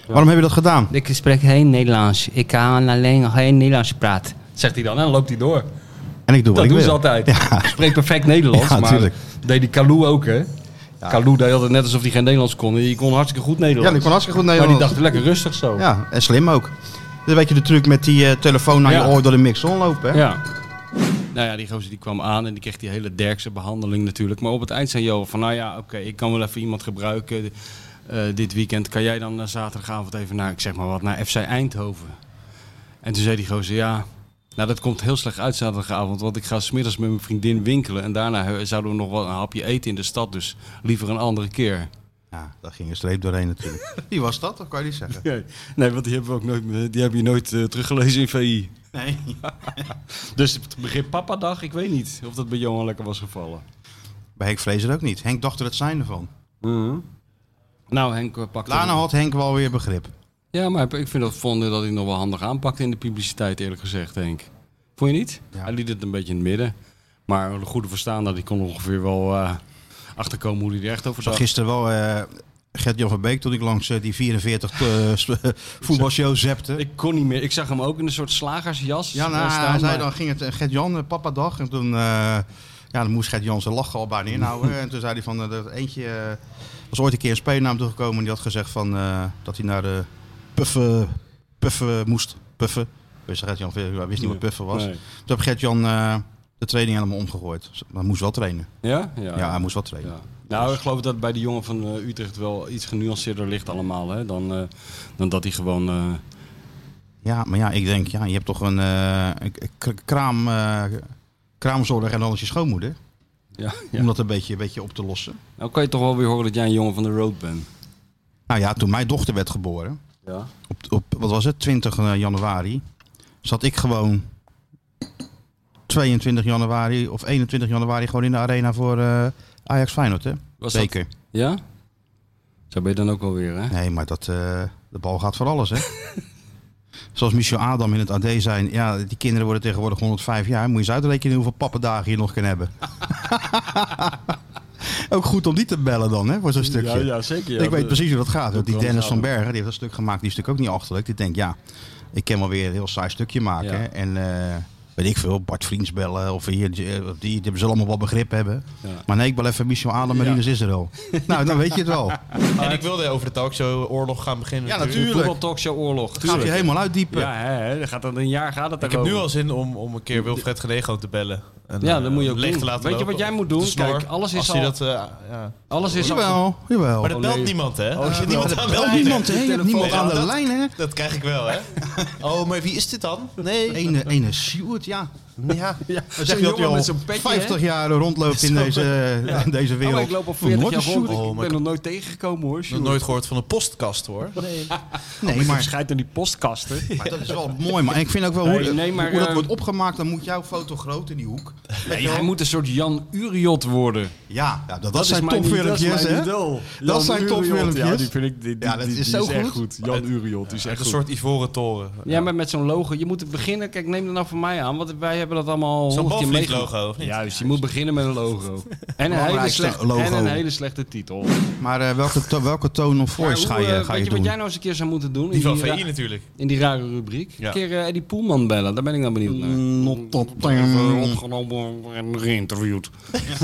S2: waarom heb je dat gedaan?
S3: Ik spreek geen Nederlands. Ik kan alleen nog geen Nederlands praten. Zegt hij dan en dan loopt hij door.
S2: En ik doe wat
S3: Dat
S2: ik
S3: doen ze
S2: wil.
S3: altijd. Ik spreek perfect Nederlands,
S2: Ja,
S3: maar
S2: tuurlijk.
S3: deed die Kalou ook, hè? Kalou deed altijd net alsof hij geen Nederlands kon. Die kon hartstikke goed Nederlands.
S2: Ja, ik kon hartstikke goed
S3: maar
S2: Nederlands.
S3: die dacht lekker rustig zo.
S2: Ja, en slim ook. Dus weet je de truc met die eh, telefoon naar
S3: Ja.
S2: je oor door de mixon lopen, hè?
S3: Ja. Nou ja, die gozer die kwam aan en die kreeg die hele derkse behandeling natuurlijk. Maar op het eind zei Jo van, nou ja, oké, ik kan wel even iemand gebruiken eh, dit weekend. Kan jij dan eh, zaterdagavond even naar, ik zeg maar wat, naar FC Eindhoven? En toen zei die gozer, ja, nou dat komt heel slecht uit zaterdagavond. Want ik ga smiddags met mijn vriendin winkelen. En daarna eh, zouden we nog wel een hapje eten in de stad. Dus liever een andere keer.
S2: Ja, daar ging een streep doorheen natuurlijk. Wie was dat? Dat kan je niet zeggen.
S3: Nee, nee, want die hebben we ook nooit, die hebben je nooit eh, teruggelezen in VI.
S2: Nee.
S3: Dus het begrip papadag, ik weet niet of dat bij Johan lekker was gevallen.
S2: Bij Henk Vrezer ook niet. Henk dacht er het zijn ervan.
S3: Nou, Henk eh, pakte...
S2: Lana had Henk wel weer begrip.
S3: Ja, maar ik vind dat, vond dat hij nog wel handig aanpakte in de publiciteit, eerlijk gezegd, Henk. Vond je niet?
S2: Ja.
S3: Hij liet het een beetje in het midden. Maar de goede verstaander, die kon ongeveer wel eh, achterkomen hoe hij er echt over
S2: zag
S3: zat.
S2: gisteren wel eh Gert-Jan van Beek toen ik langs eh, die 44 eh, s- voetbalshow zepte.
S3: Ik kon niet meer. Ik zag hem ook in een soort slagersjas.
S2: ja,
S3: eh,
S2: nou,
S3: staan,
S2: hij zei
S3: maar-
S2: dan ging het eh, Gert-Jan, eh, papa dag. En toen, eh, ja, dan moest Gert-Jan zijn lachen al bijna inhouden. en toen zei hij van, eh, dat eentje eh, was ooit een keer een speelnaam toegekomen. En die had gezegd van, eh, dat hij naar de puffen, puffen moest. Puffen. Wist Gert-Jan veel, hij wist niet wat puffen was.
S3: Nee.
S2: Toen heb Gert-Jan eh, de training helemaal omgegooid. Maar Hij moest wel trainen.
S3: Ja? Ja.
S2: Ja, hij moest wel trainen.
S3: Ja. Nou, ik geloof dat het bij de jongen van eh, Utrecht wel iets genuanceerder ligt allemaal, hè, dan, eh, dan dat hij gewoon... eh,
S2: Ja, maar ja, ik denk, ja, je hebt toch een, eh, een k- kraam, eh, kraamzorg en dan is je schoonmoeder.
S3: ja,
S2: Om
S3: ja.
S2: dat een beetje, een beetje op te lossen.
S3: Nou kan je toch wel weer horen dat jij een jongen van de road bent.
S2: Nou ja, toen mijn dochter werd geboren,
S3: Ja.
S2: op, eh, op wat was het, 20 januari, zat ik gewoon 22 januari of 21 januari gewoon in de arena voor eh, Ajax Feyenoord, hè?
S3: Was dat-
S2: Zeker.
S3: Ja? Zo ben je dan ook wel weer, hè?
S2: Nee, maar dat, eh, de bal gaat voor alles, hè? Zoals Michel Adam in het AD zijn. Ja, die kinderen worden tegenwoordig 105 jaar. Moet je eens uitrekenen hoeveel pappendagen je nog kan hebben. Ook goed om die te bellen dan, hè, voor zo'n stukje.
S3: zeker.
S2: ik weet precies hoe dat gaat. Want die
S3: kan
S2: Dennis
S3: gaan.
S2: van Bergen, die heeft dat stuk gemaakt, die is natuurlijk ook niet achterlijk. Die denkt, ja, ik kan wel weer een heel saai stukje maken.
S3: Ja.
S2: hè. En eh, weet ik veel, Bart Vriends bellen of hier, die, eh, die, die zullen allemaal wel begrip hebben. Maar nee, ik bel even Michel Adam, Marines Israël. nou, dan weet je het wel.
S4: En ik wilde over de talkshow oorlog gaan beginnen.
S2: Ja,
S4: natuurlijk.
S2: natuurlijk.
S3: Voetbal Talkshow Oorlog.
S2: Gaat je helemaal uitdiepen.
S3: Ja, hè, hè, dan gaat dat een jaar gaat het
S4: Ik heb nu
S3: daarover.
S4: al zin om, om een keer Wilfred Genego te bellen. En,
S3: Ja,
S4: eh,
S3: dat moet je ook
S4: leeg
S3: doen.
S4: te laten
S3: Weet je
S4: lopen.
S3: wat jij moet doen?
S4: De snor,
S3: Kijk, alles is
S4: als hij
S3: al-
S4: dat, eh, ja.
S3: Alles is al.
S2: Jawel, jawel.
S4: Maar dat
S3: Oh,
S4: belt
S3: nee.
S4: niemand, hè?
S3: Oh,
S4: er zit niemand aan de
S2: Wel
S4: lijn, hè?
S2: niemand, hè? Je hebt niemand
S4: telefoon.
S2: aan de
S4: Ja,
S2: lijn, hè?
S4: Dat krijg ik wel, hè? Oh, maar wie is dit dan? Nee.
S2: Ene, ene Sjoerd, ja.
S4: Ja.
S3: Ja,
S2: Dan
S3: zo'n
S2: zeg je dat
S3: jongen
S2: hij al
S3: met zo'n petje, hè?
S2: 50 jaar rondloopt in deze, in deze
S3: Oh,
S2: wereld.
S3: ik loop al
S2: Hoe
S3: 40
S2: wordt
S3: jaar
S2: een
S3: rond.
S2: Sjoerd?
S4: Oh,
S3: Ik
S4: maar
S3: ben
S4: ik-
S3: nog nooit tegengekomen hoor.
S4: Nog nooit gehoord van een postkast, hoor.
S2: Nee, maar
S3: Schijt aan die postkasten.
S2: Maar dat is wel mooi, man. En ik vind ook wel hoe,
S3: Nee,
S2: dat-
S3: nee, maar,
S2: hoe dat
S3: eh,
S2: wordt opgemaakt, dan moet jouw foto groot in die hoek.
S3: Nee, hij moet een soort Jan Uriot worden.
S2: Ja, ja dat, dat,
S3: is
S2: zijn
S3: mijn-
S2: topfilmpjes,
S3: mijn
S2: hè?
S3: idool.
S2: Dat
S3: Jan
S2: zijn
S3: Uriot,
S2: topfilmpjes.
S3: Ja, die vind ik die, die,
S2: Ja, dat
S3: die-
S2: is
S3: die
S2: zo
S3: echt
S2: goed.
S3: goed. Jan Uriot, die is echt
S4: Een
S3: goed.
S4: soort ivoren toren.
S3: Ja, maar met zo'n logo. Je moet beginnen. Kijk, neem dat nou van mij aan. Want wij hebben dat allemaal al
S4: Zo'n
S3: honderd keer
S4: balvliet
S3: meegemaakt.
S4: logo, of niet?
S3: Juist, je moet beginnen met een logo. En een, hele,
S2: Belangrijkste
S3: slechte,
S2: logo.
S3: En een hele slechte titel.
S2: Maar eh, welke, to- welke toon of
S3: Maar
S2: voice
S3: hoe,
S2: ga je,
S3: eh,
S2: ga
S3: weet
S2: je
S3: je wat
S2: doen?
S3: jij nou eens een keer zou moeten doen? In
S4: Die van
S3: ra-
S4: VI natuurlijk.
S3: in die rare rubriek.
S4: Ja.
S3: Een keer eh, Eddie Poelman bellen, daar ben ik dan benieuwd naar.
S2: Mm,
S3: Not
S2: ehm,
S3: opgenomen en geïnterviewd.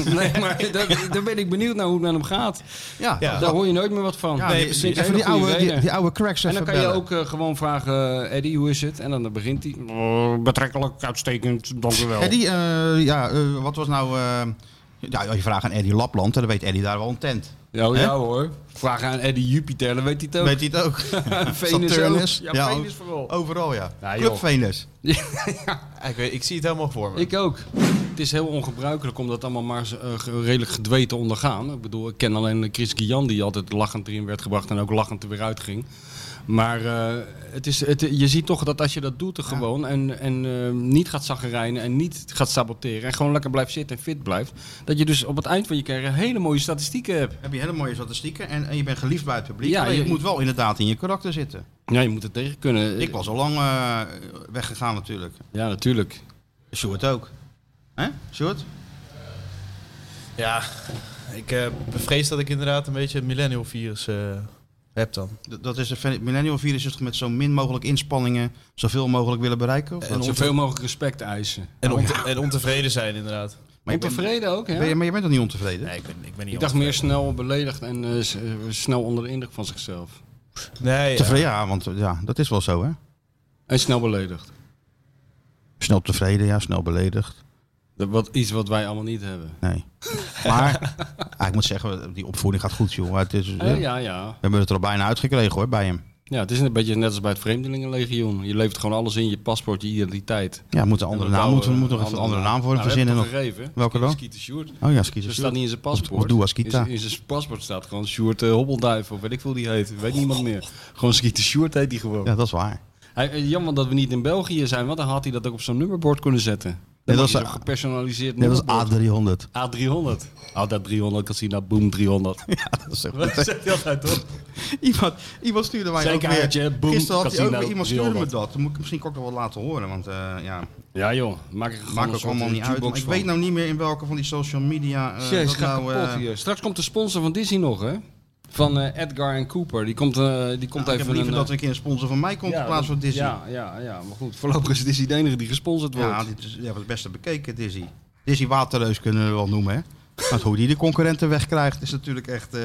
S3: nee, maar daar, daar ben ik benieuwd naar hoe het met hem gaat.
S2: Ja,
S4: Ja.
S3: Daar hoor je nooit meer wat van.
S2: ja,
S4: Nee,
S2: die-
S4: precies.
S2: die-
S3: Vind ik
S2: even
S3: een
S2: die
S3: hele
S2: oude,
S3: goede
S2: die,
S3: reden.
S2: die oude cracks
S3: En
S2: even
S3: dan kan je
S2: bellen.
S3: ook eh, gewoon vragen, eh, Eddie, hoe is het? En dan begint hij.
S2: Oh,
S3: "Eh, betrekkelijk, uitstekend, dank u wel.
S2: Eddie, eh, ja, eh, wat was nou... eh, ja, als je vraagt aan Eddie Lapland, dan weet Eddie daar wel een tent.
S3: Ja,
S2: Hè?
S3: ja hoor. Vraag aan Eddie Jupiter, dan weet hij het ook.
S2: Weet hij het ook?
S3: Venus
S2: Saturnus.
S3: ook. Ja,
S2: Ja,
S3: Venus vooral.
S2: Overal, ja.
S3: Ja, joh.
S2: Club Venus.
S4: Ik, weet, ik zie het helemaal voor me.
S3: Ik ook. Het is heel ongebruikelijk om dat allemaal maar zo, eh, ge- redelijk gedwee te ondergaan. Ik bedoel, ik ken alleen Chris Guillan die altijd lachend erin werd gebracht en ook lachend er weer uitging. Maar eh, het is, het, je ziet toch dat als je dat doet er gewoon en, en eh, niet gaat zaggerijnen en niet gaat saboteren en gewoon lekker blijft zitten en fit blijft, dat je dus op het eind van je carrière hele mooie statistieken hebt.
S2: Heb je hele mooie statistieken en, en je bent geliefd bij het publiek.
S3: Ja,
S2: maar je,
S3: je-
S2: moet wel inderdaad in je karakter zitten.
S3: Ja, je moet het tegen kunnen.
S2: Ik was al lang eh, weggegaan natuurlijk.
S3: Ja, natuurlijk.
S2: Sjoerd ook. Hè, Sjoerd?
S4: Ja, ik eh, bevrees dat ik inderdaad een beetje het millennial virus eh, heb dan.
S2: D- Dat is een millennial virus is toch met zo min mogelijk inspanningen zoveel mogelijk willen bereiken? Of wat?
S3: Eh, Zoveel mogelijk respect eisen.
S4: En, onte- en ontevreden zijn inderdaad.
S2: maar, je bent-
S3: Ontevreden ook, hè?
S2: ben je, maar je bent toch niet ontevreden?
S4: Nee, ik ben, ik ben niet
S3: Ik dacht meer snel beledigd en eh, s- eh, snel onder de indruk van zichzelf.
S4: ontevreden. Nee, ja.
S2: Tevreden, ja, want eh, ja, dat is wel zo hè.
S3: En snel beledigd.
S2: Snel tevreden, ja, snel beledigd.
S3: Dat wat, iets wat wij allemaal niet hebben.
S2: Nee. Maar ah, ik moet zeggen, die opvoeding gaat goed joh. Het is,
S3: Eh,
S2: eh,
S3: ja, ja.
S2: We hebben het er al bijna uitgekregen hoor, bij hem.
S3: Ja, het is een beetje net als bij het Vreemdelingenlegioen. Je levert gewoon alles in, je paspoort, je identiteit.
S2: Ja, moet een andere naam, moeten we moeten nog even een andere naam voor hem verzinnen.
S3: nog.
S2: nog.
S3: gegeven.
S2: Welke dan?
S3: Skeeter Sjoerd.
S2: Oh ja,
S3: Ze
S2: Skeeter
S3: staat niet in zijn
S2: Of- of
S3: paspoort.
S2: Dua Skeeta.
S3: In zijn- In zijn paspoort staat gewoon Sjoerd eh, Hobbelduif of weet ik veel die heet. Weet niemand meer. Gewoon Skeeter Sjoerd heet die gewoon.
S2: Ja, dat is waar.
S3: Hij, eh, jammer dat we niet in België zijn, want dan had hij dat ook op zo'n nummerbord kunnen zetten.
S2: dat
S3: Dan had
S2: is-
S3: je zo'n gepersonaliseerd
S2: Net als
S3: nummerbord.
S2: A300.
S3: A300. Ah, dat 300 Casino Boom 300.
S2: Dat is zo goed.
S3: Dat zegt hij altijd toch?
S2: Iemand, iemand stuurde mij
S3: Zijn
S2: ook
S3: kaartje,
S2: weer.
S3: boem,
S2: Gisteren had hij ook
S3: casino,
S2: weer iemand stuurde me
S3: 300.
S2: dat. Dan moet ik misschien ook nog wat laten horen, want eh, ja,
S3: Ja joh, maak er gewoon
S2: maakt
S3: een
S2: ook
S3: soort
S2: allemaal niet uit. Maar
S3: jukebox
S2: ik weet
S3: van.
S2: nou niet meer in welke van die social media. eh,
S3: Jezus,
S2: dat
S3: gaat
S2: nou, eh,
S3: kapot hier. Straks komt de sponsor van Disney nog hè? Van eh, Edgar en Cooper. Die komt, eh, die komt
S2: nou, ik heb
S3: even
S2: liever
S3: een...
S2: dat
S3: eh,
S2: er een keer een sponsor van mij komt
S3: ja,
S2: in plaats van
S3: dat-
S2: Disney. Ja,
S3: Ja, ja, ja, maar goed. Voorlopig is Disney de enige die gesponsord wordt.
S2: dit is ja, het beste bekeken, Disney. Disney Waterreus kunnen we wel noemen, hè? Want hoe die de concurrenten wegkrijgt is natuurlijk echt. eh,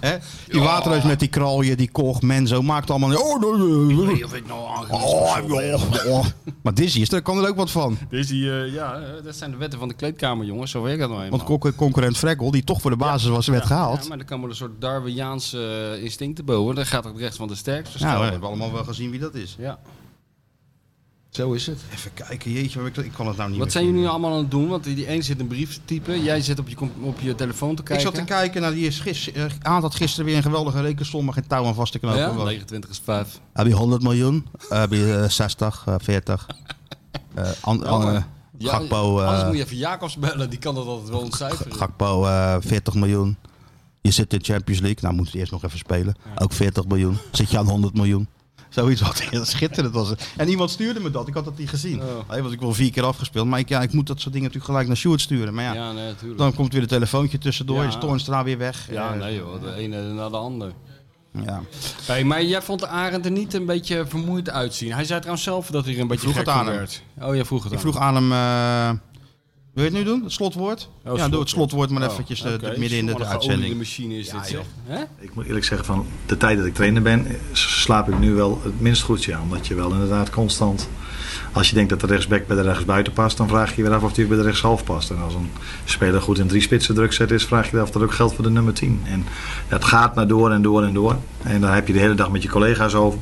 S2: hè? Die Waterreus met die kralje, die koch, Menzo, maakt allemaal. Oh, nee, nee, nee.
S3: nou
S2: Oh, joh, joh. Maar Disney is, daar kan er ook wat van.
S3: Disney, eh, ja, eh, dat zijn de wetten van de kleedkamer jongens. Zo werkt dat nou eenmaal.
S2: Want con- concurrent Frekkel, die toch voor de basis was, werd
S3: Ja,
S2: gehaald.
S3: maar dan komen er een soort Darwiniaanse eh, instincten boven. Dan gaat het recht van de sterkste.
S2: Nou, we
S3: staan.
S2: hebben allemaal wel gezien wie dat is.
S3: ja. Zo is het.
S2: Even kijken, jeetje, maar ik, ik kan het nou niet
S3: Wat
S2: meer
S3: zijn jullie
S2: vinden.
S3: allemaal aan het doen? Want die een zit een brief te typen, jij zit op je, com- op je telefoon te
S2: Ik
S3: kijken.
S2: zat te kijken naar die is gis, eh, Aad had gisteren weer een geweldige rekensom, maar geen touw aan vast te knopen.
S3: Ja?
S2: Want-
S3: 29 is 5.
S2: Heb je 100 miljoen? Heb je eh, 60, eh, 40? Eh, an- an- eh,
S3: Ja,
S2: Gakpo, eh,
S3: Anders moet je even Jacobs bellen, die kan dat altijd wel ontcijferen.
S2: Gakpo eh, 40 miljoen. Je zit in Champions League. Nou, moet het eerst nog even spelen. Ook 40 miljoen. Zit je aan 100 miljoen. Zoiets wat heel schitterend was. het. En iemand stuurde me dat. Ik had dat niet gezien.
S3: Oh.
S2: Hey, want ik wil vier keer afgespeeld. Maar ik, ja, ik moet dat soort dingen natuurlijk gelijk naar Sjoerd sturen. Maar ja,
S3: ja, nee, natuurlijk.
S2: dan komt weer een telefoontje tussendoor.
S3: Ja.
S2: Is Toornstra weer weg.
S3: Ja,
S2: Eh,
S3: nee joh, de ene na de ander.
S2: ja.
S3: Hey, maar jij vond Arend er niet een beetje vermoeid uitzien. Hij zei trouwens zelf dat hij er een beetje
S2: vroeg
S3: gek
S2: het aan
S3: van
S2: hem.
S3: werd. Oh, jij vroeg het
S2: Ik
S3: aan
S2: vroeg aan hem... eh, wil je het nu doen? Het slotwoord? ja, doe
S3: Oh, slotwoord.
S2: het slotwoord maar
S3: hem.
S2: eventjes eh,
S3: Oh, oké.
S2: midden in de, de
S3: Sommige
S2: uitzending.
S3: geoliede machine is dit, zeg. Hè?
S5: Ik moet eerlijk zeggen, van de tijd dat ik trainer ben, slaap ik nu wel het minst goed. Ja, omdat je wel inderdaad constant, als je denkt dat de rechtsback bij de rechtsbuiten past, dan vraag je je weer af of die bij de rechtshalf past. En als een speler goed in drie spitsen druk zet is, vraag je je af of dat ook geldt voor de nummer 10. En dat gaat maar door en door en door. En daar heb je de hele dag met je collega's over.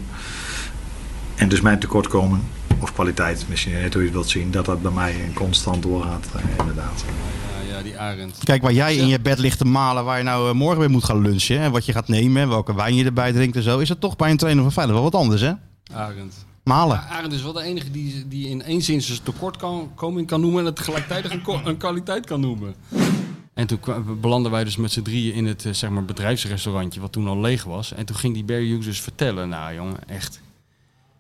S5: En dus mijn tekortkomen, of kwaliteit, misschien net hoe je het wilt zien, dat dat bij mij constant doorgaat, eh, inderdaad.
S3: Ja, ja, die Arend.
S2: Kijk, waar jij in je bed ligt te malen waar je nou eh, morgen weer moet gaan lunchen. En wat je gaat nemen, en welke wijn je erbij drinkt en zo. Is dat toch bij een trainer van Feyenoord wel wat anders, hè?
S3: Arend.
S2: Malen.
S3: Arend is wel de enige die, die in één zin zijn tekortkoming kan noemen en het gelijktijdig een, ko- een kwaliteit kan noemen. En toen kwa- belanden wij dus met z'n drieën in het eh, zeg maar, bedrijfsrestaurantje, wat toen al leeg was. En toen ging die Barry Hughes dus vertellen, nou jongen, echt.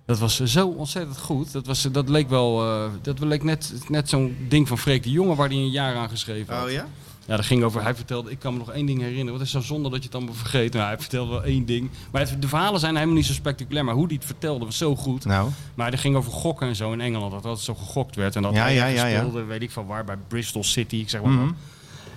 S3: Dat was eh, zo ontzettend goed. Dat, was, dat leek wel, eh, dat leek net, net zo'n ding van Freek de Jonge waar hij een jaar aan geschreven had.
S2: Oh, ja?
S3: Ja, dat ging over. Hij vertelde, ik kan me nog één ding herinneren. Wat is zo zonde dat je het allemaal vergeet? Nou, hij vertelde wel één ding. Maar het- de verhalen zijn helemaal niet zo spectaculair. Maar hoe die het vertelde was zo goed.
S2: Nou,
S3: Maar dat ging over gokken en zo in Engeland. Dat altijd zo gegokt werd. En dat
S2: Ja,
S3: hij
S2: ja, ja, ja.
S3: speelde, weet ik van waar, bij Bristol City. Ik zeg maar wat.